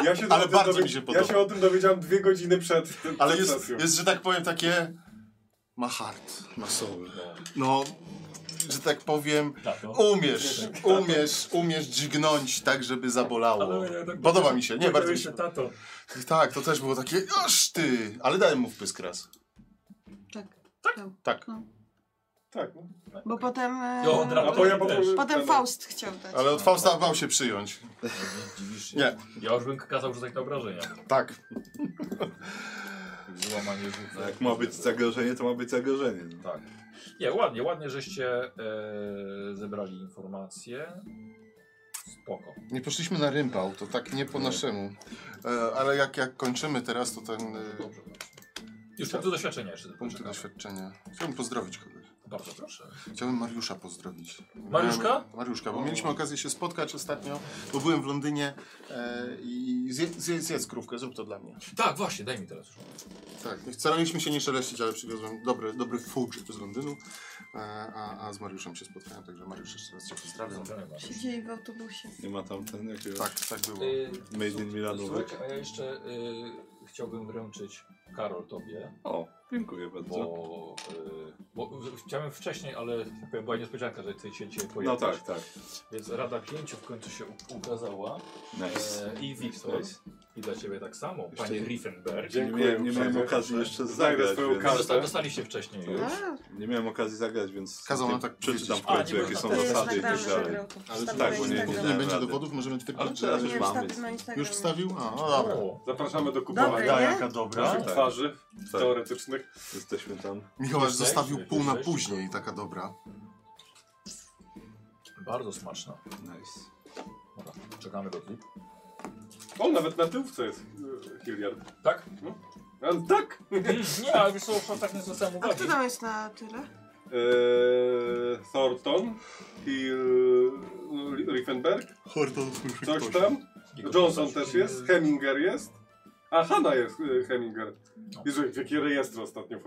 S4: Ja się
S2: Ale
S4: o tym
S2: bardzo
S4: dowie-
S2: mi się
S4: Ja
S2: podoba.
S4: się o tym dowiedziałem dwie godziny przed tym
S2: Ale
S4: przed
S2: jest,
S4: sesją.
S2: jest, że tak powiem, takie... Ma heart, ma soul. No, że tak powiem,
S1: Tak, no.
S2: umiesz, umiesz, umiesz dźgnąć tak, żeby zabolało.
S1: tak
S2: Podoba mi się, nie, bardzo mi tak się...
S1: Tato.
S2: Tak, to też było takie, aż ty! Ale dałem mu wpysk raz.
S3: Tak.
S2: Tak.
S4: Tak, no.
S3: Bo potem...
S6: y,
S3: e,
S6: No,
S1: Jo, od
S4: A
S1: razu.
S4: bo ja potem...
S3: Potem Faust chciał dać.
S2: Ale od Fausta bał się przyjąć.
S1: Dziwisz się.
S2: Nie.
S1: Ja już bym kazał rzucać na obrażenia.
S2: Tak.
S1: Złamanie
S8: No, jak ma być zagrożenie, to ma być zagrożenie. No.
S1: Tak. Nie, ładnie, ładnie, żeście e, zebrali informacje. Spoko.
S2: Nie poszliśmy na rympał, to tak nie po naszemu. E, ale jak, jak kończymy teraz, to ten e,
S1: Dobrze. Już punkty doświadczenia jeszcze
S2: Tak. punkty
S1: poczekamy.
S2: doświadczenia. Chciałbym pozdrowić kogoś.
S1: Bardzo proszę.
S2: Chciałbym Mariusza pozdrowić.
S1: Mariuszka?
S2: Miałem- Mariuszka, bo mieliśmy okazję się spotkać ostatnio, bo byłem w Londynie e, i zje, zje, zjedz krówkę, zrób to dla mnie.
S1: Tak, właśnie, daj mi teraz już.
S2: Tak, staraliśmy się nie szeleścić, ale przywiozłem dobry, dobry fudge z Londynu, e, a, a z Mariuszem się spotkałem, także Mariusz jeszcze raz Cię pozdrawiam.
S1: Pozdrawiam was.
S6: Siedzieli w autobusie.
S8: Nie ma tam ten jakiegoś
S2: Tak, tak było.
S1: Y,
S7: No.
S8: Made in Milanówek.
S1: Słuchajcie, a ja jeszcze y, chciałbym wręczyć Karol tobie,
S8: O, dziękuję bardzo.
S1: bo, y, bo w- chciałem wcześniej, ale była niespodzianka, że ty się cię
S8: No
S1: pojawiłeś.
S8: tak, tak.
S1: Więc Rada Pięciu w końcu się u- ukazała
S8: Nice.
S1: e, i Wiktor.
S8: Nice.
S1: I dla ciebie tak samo,
S8: Jeszcze
S1: panie
S8: nie-
S1: Riefenberg.
S8: Nie miałem, nie miałem okazji jeszcze zagrać,
S4: swoją
S8: więc...
S4: kartę.
S1: Dosta, dostaliście wcześniej
S8: To
S1: już.
S8: już? Nie miałem okazji zagrać, więc
S2: Kazał nam tak
S8: przeczytam w
S2: powiedzieć.
S8: końcu,
S1: A, nie można.
S8: jakie są
S6: To jest
S8: zasady i
S6: nagrane,
S8: tak dalej.
S6: że grał to.
S2: Ale
S6: Wstawił
S8: tak,
S6: na
S8: bo nie-
S6: Instagram.
S2: Nie będzie
S8: Rady.
S2: dowodów, możemy twierdzić,
S8: Ale
S2: że-
S8: teraz
S6: Nie, no
S8: już mamy.
S6: wstawił na Instagram.
S2: Już wstawił? A, no dobra.
S1: O,
S4: Zapraszamy do kupowania
S6: Dobra, nie?
S8: Dobra,
S4: naszych twarzy
S8: tak,
S4: teoretycznych.
S8: jesteśmy tam.
S2: Michał aż
S1: Jesteś?
S2: zostawił pół na
S1: Jesteś?
S2: później, taka dobra.
S1: bardzo smaczna.
S8: Nice.
S1: Dobra, czekamy do klip.
S4: O, nawet na tyłówce jest e, Hilliard.
S7: Tak?
S4: No. A, tak!
S7: Mm, Nie, ale wiesz co, tak nie zwracałem
S6: A
S7: uwagi.
S6: kto tam jest na tyle?
S4: Eee, E, Thornton, Hill, Riefenberg,
S2: Horton
S4: coś tam. Johnson też jest, Heminger jest. A Hanna jest e, Heminger. Jezu, jakie rejestry ostatnio.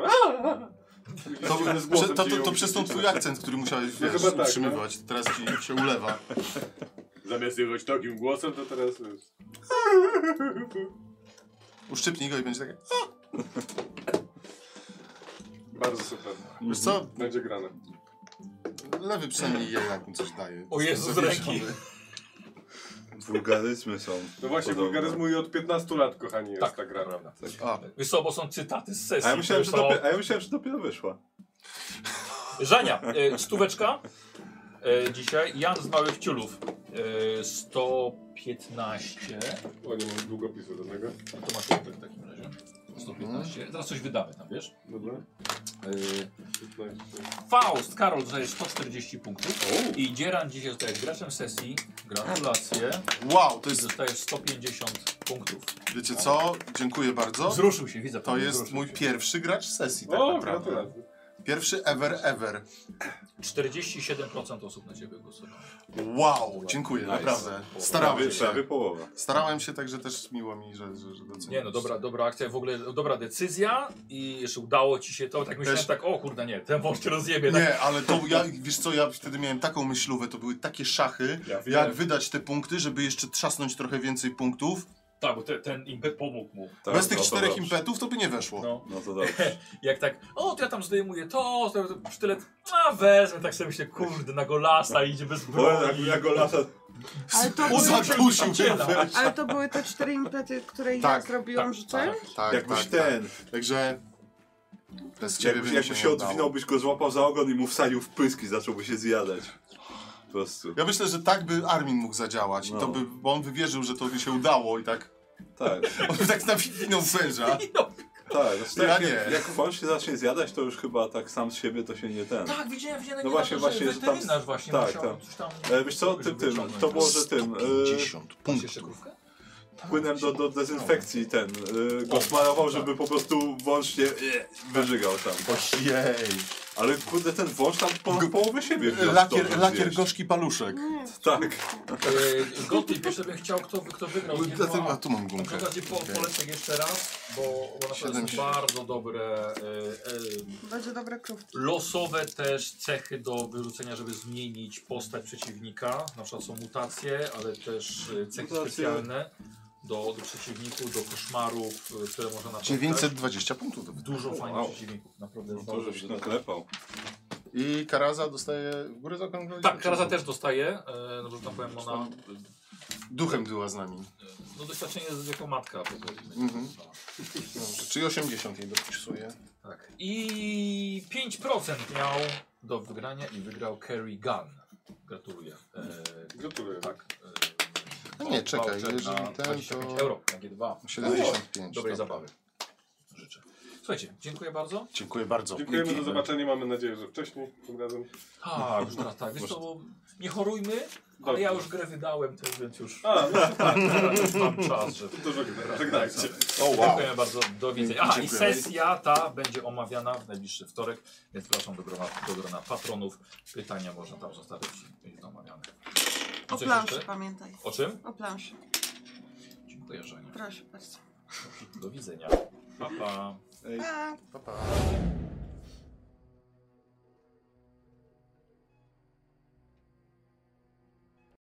S2: To, prze, to, to, to przez ten twój akcent, który musiałeś
S4: No
S2: wiesz,
S4: chyba tak,
S2: utrzymywać. Teraz ci się ulewa.
S4: Zamiast jechać takim głosem, to teraz jest.
S2: Uszczypnij go i będzie tak takie.
S4: Bardzo super.
S2: Wiesz co?
S4: Będzie grane.
S2: Lewy przynajmniej jednak mi coś daje.
S7: O Jezu, z ręki.
S8: Wulgaryzmy są.
S4: No właśnie,
S8: podobne.
S4: wulgaryzmu i od 15 lat, kochani, jest
S7: Tak.
S4: ta gra. Prawda.
S2: A,
S7: Wysobo są cytaty z
S8: A
S7: sesji.
S8: ja, myślałem, że
S7: które są-
S8: dopiero, a ja myślałem, że dopiero wyszła.
S7: Żania, e, stóweczka e, dzisiaj. Jan z Małych Ciulów e, 115.
S4: O, nie mam długopisu żadnego.
S7: No to masz tutaj w takim razie. 115. Zaraz coś wydamy tam, wiesz?
S4: Dobra. Yy,
S7: Faust, Karol dostaje 140 punktów. I Dzieran dzisiaj zostaje graczem sesji. Gratulacje.
S2: wow, to
S7: I
S2: jest.
S7: dostajesz 150 punktów.
S2: Wiecie co? Dziękuję bardzo.
S7: Wzruszył się, widzę.
S2: To jest mój pierwszy gracz sesji, tak
S4: O,
S2: naprawdę.
S4: gratulacje.
S2: Pierwszy ever, ever.
S7: 47% osób na ciebie głosowało.
S2: Wow, dziękuję,
S8: Nice.
S2: naprawdę.
S8: Prawie,
S2: Starałem się.
S8: prawie połowa.
S2: Starałem się, także też miło mi, że, że, że doceniłeś.
S7: Nie no, dobra, dobra akcja, w ogóle dobra decyzja i jeszcze udało ci się to, tak myślałem,
S2: Też-
S7: tak o kurde nie, ten wąż się rozjebie. Tak?
S2: Nie, ale to ja, wiesz co, ja wtedy miałem taką myślówę, to były takie szachy,
S7: Ja wiem.
S2: jak wydać te punkty, żeby jeszcze trzasnąć trochę więcej punktów.
S7: Tak, bo te, ten impet pomógł mu.
S8: Tak,
S2: Bez tych
S8: no to
S2: czterech
S8: dobrze.
S2: impetów to by nie weszło.
S7: No.
S8: No to dobrze.
S7: Jak tak, o to ja tam zdejmuję to, to, to sztylet, a wezmę, tak sobie myślę, kurde, na golasa idzie bez
S8: Bo jak,
S7: broni.
S8: jak go lata
S6: Ale to,
S2: O,
S6: były,
S2: zakusił się.
S7: Dziela.
S6: ale to były te cztery impety, które ja
S2: Tak,
S6: zrobiłam, tak, rzucając?
S2: Tak,
S8: jakbyś
S2: tak,
S8: ten.
S2: Tak. Także bez ciebie
S8: Jakbyś,
S2: bym
S8: jakby się
S2: nie udało.
S8: odwinął, byś go złapał za ogon i mu wsadził w pysk i zacząłby się zjadać. Po prostu.
S2: Ja myślę, że tak by Armin mógł zadziałać. I
S8: No.
S2: to by, bo on wywierzył, że to by się udało i tak.
S8: Tak,
S2: On by tak nawinął węża.
S8: tak. Znaczy,
S2: Ja
S8: tak
S2: nie.
S8: jak, jak wąż się zacznie zjadać, to już chyba tak sam z siebie to się nie ten.
S7: Tak, widziałem, widziałem,
S8: No
S7: no
S8: właśnie,
S7: właśnie, to,
S8: właśnie,
S7: że
S8: że tam-
S7: weterynarz właśnie
S8: tak,
S7: musiał
S8: tak.
S7: coś tam...
S8: E, wiesz co, tym, tym, to było, że tym, e,
S2: 50
S7: Masz
S2: punktów.
S7: jeszcze krówkę?
S8: płynem do, do dezynfekcji ten, e, go smarował,
S2: tak.
S8: żeby po prostu wąż się e, wyżygał tam.
S2: Jej.
S8: Ale kurde, ten wąż tam ponad połowę siebie wniósł,
S2: Lakier,
S8: dobrze
S2: lakier
S8: zjeść.
S2: gorzki paluszek.
S7: No,
S8: Tak,
S7: E, Gottlieb jeszcze bym chciał, kto, kto wygrał. nie?
S2: A, ten,
S7: Dwa.
S2: a tu mam
S7: Na
S2: gumkę.
S7: przykład po, polecę jeszcze raz, bo bo naprawdę
S2: Siedem,
S7: są
S2: siedem.
S7: bardzo dobre y, y,
S6: Będzie dobre krówki.
S7: losowe też cechy do wyrzucenia, żeby zmienić postać przeciwnika. Na przykład są mutacje, ale też y, cechy
S8: Mutacje.
S7: specjalne do, do przeciwników, do koszmarów, y, które można napotkać.
S2: 920 punktów. do wydania.
S7: Dużo fajnych
S8: Wow.
S7: przeciwników, naprawdę
S8: to
S7: zdążył.
S8: żeś naklepał.
S2: I Karaza dostaje w górę za
S7: Tak, Karaza też dostaje, y, no że tam powiem, ona
S2: Duchem była z nami.
S7: no, doświadczenie z jako matka. powiedzmy.
S2: Mhm. Dobrze, czyli 80 jej dopisuję.
S7: Tak. I 5% miał do wygrania i wygrał Kerry Gunn. Gratuluję. E,
S4: Gratuluję.
S7: tak.
S2: No nie, czekaj,
S7: voucher
S2: jeżeli
S7: na
S2: ten, to-
S7: 25 euro na G2.
S2: 75.
S7: Dobrej
S2: dobra.
S7: zabawy. Życzę. Słuchajcie, dziękuję bardzo.
S2: Dziękuję bardzo.
S4: No, Dziękujemy za
S2: Dzięki.
S4: zobaczenie, mamy nadzieję, że wcześniej tym razem.
S7: A, już teraz tak. Wiesz co, bo nie chorujmy, ale
S4: Dobrze.
S7: ja już grę wydałem, to więc już
S4: A, no
S7: tak, teraz mam czas, żeby...
S4: dużo gra. Żegnajcie.
S2: O, wow.
S7: Dziękuję bardzo, do widzenia. A, i
S2: Dziękuję.
S7: sesja ta będzie omawiana w najbliższy wtorek, więc zapraszam do grona, do grona patronów. Pytania można tam zostawić, jest omawiane.
S6: O
S7: Coś
S6: planszy
S7: jeszcze?
S6: pamiętaj.
S7: O czym?
S6: O planszy.
S7: Dziękuję, Żania.
S6: Proszę bardzo.
S7: Do widzenia. Pa, pa.
S2: Pa,
S6: Pa.
S2: pa.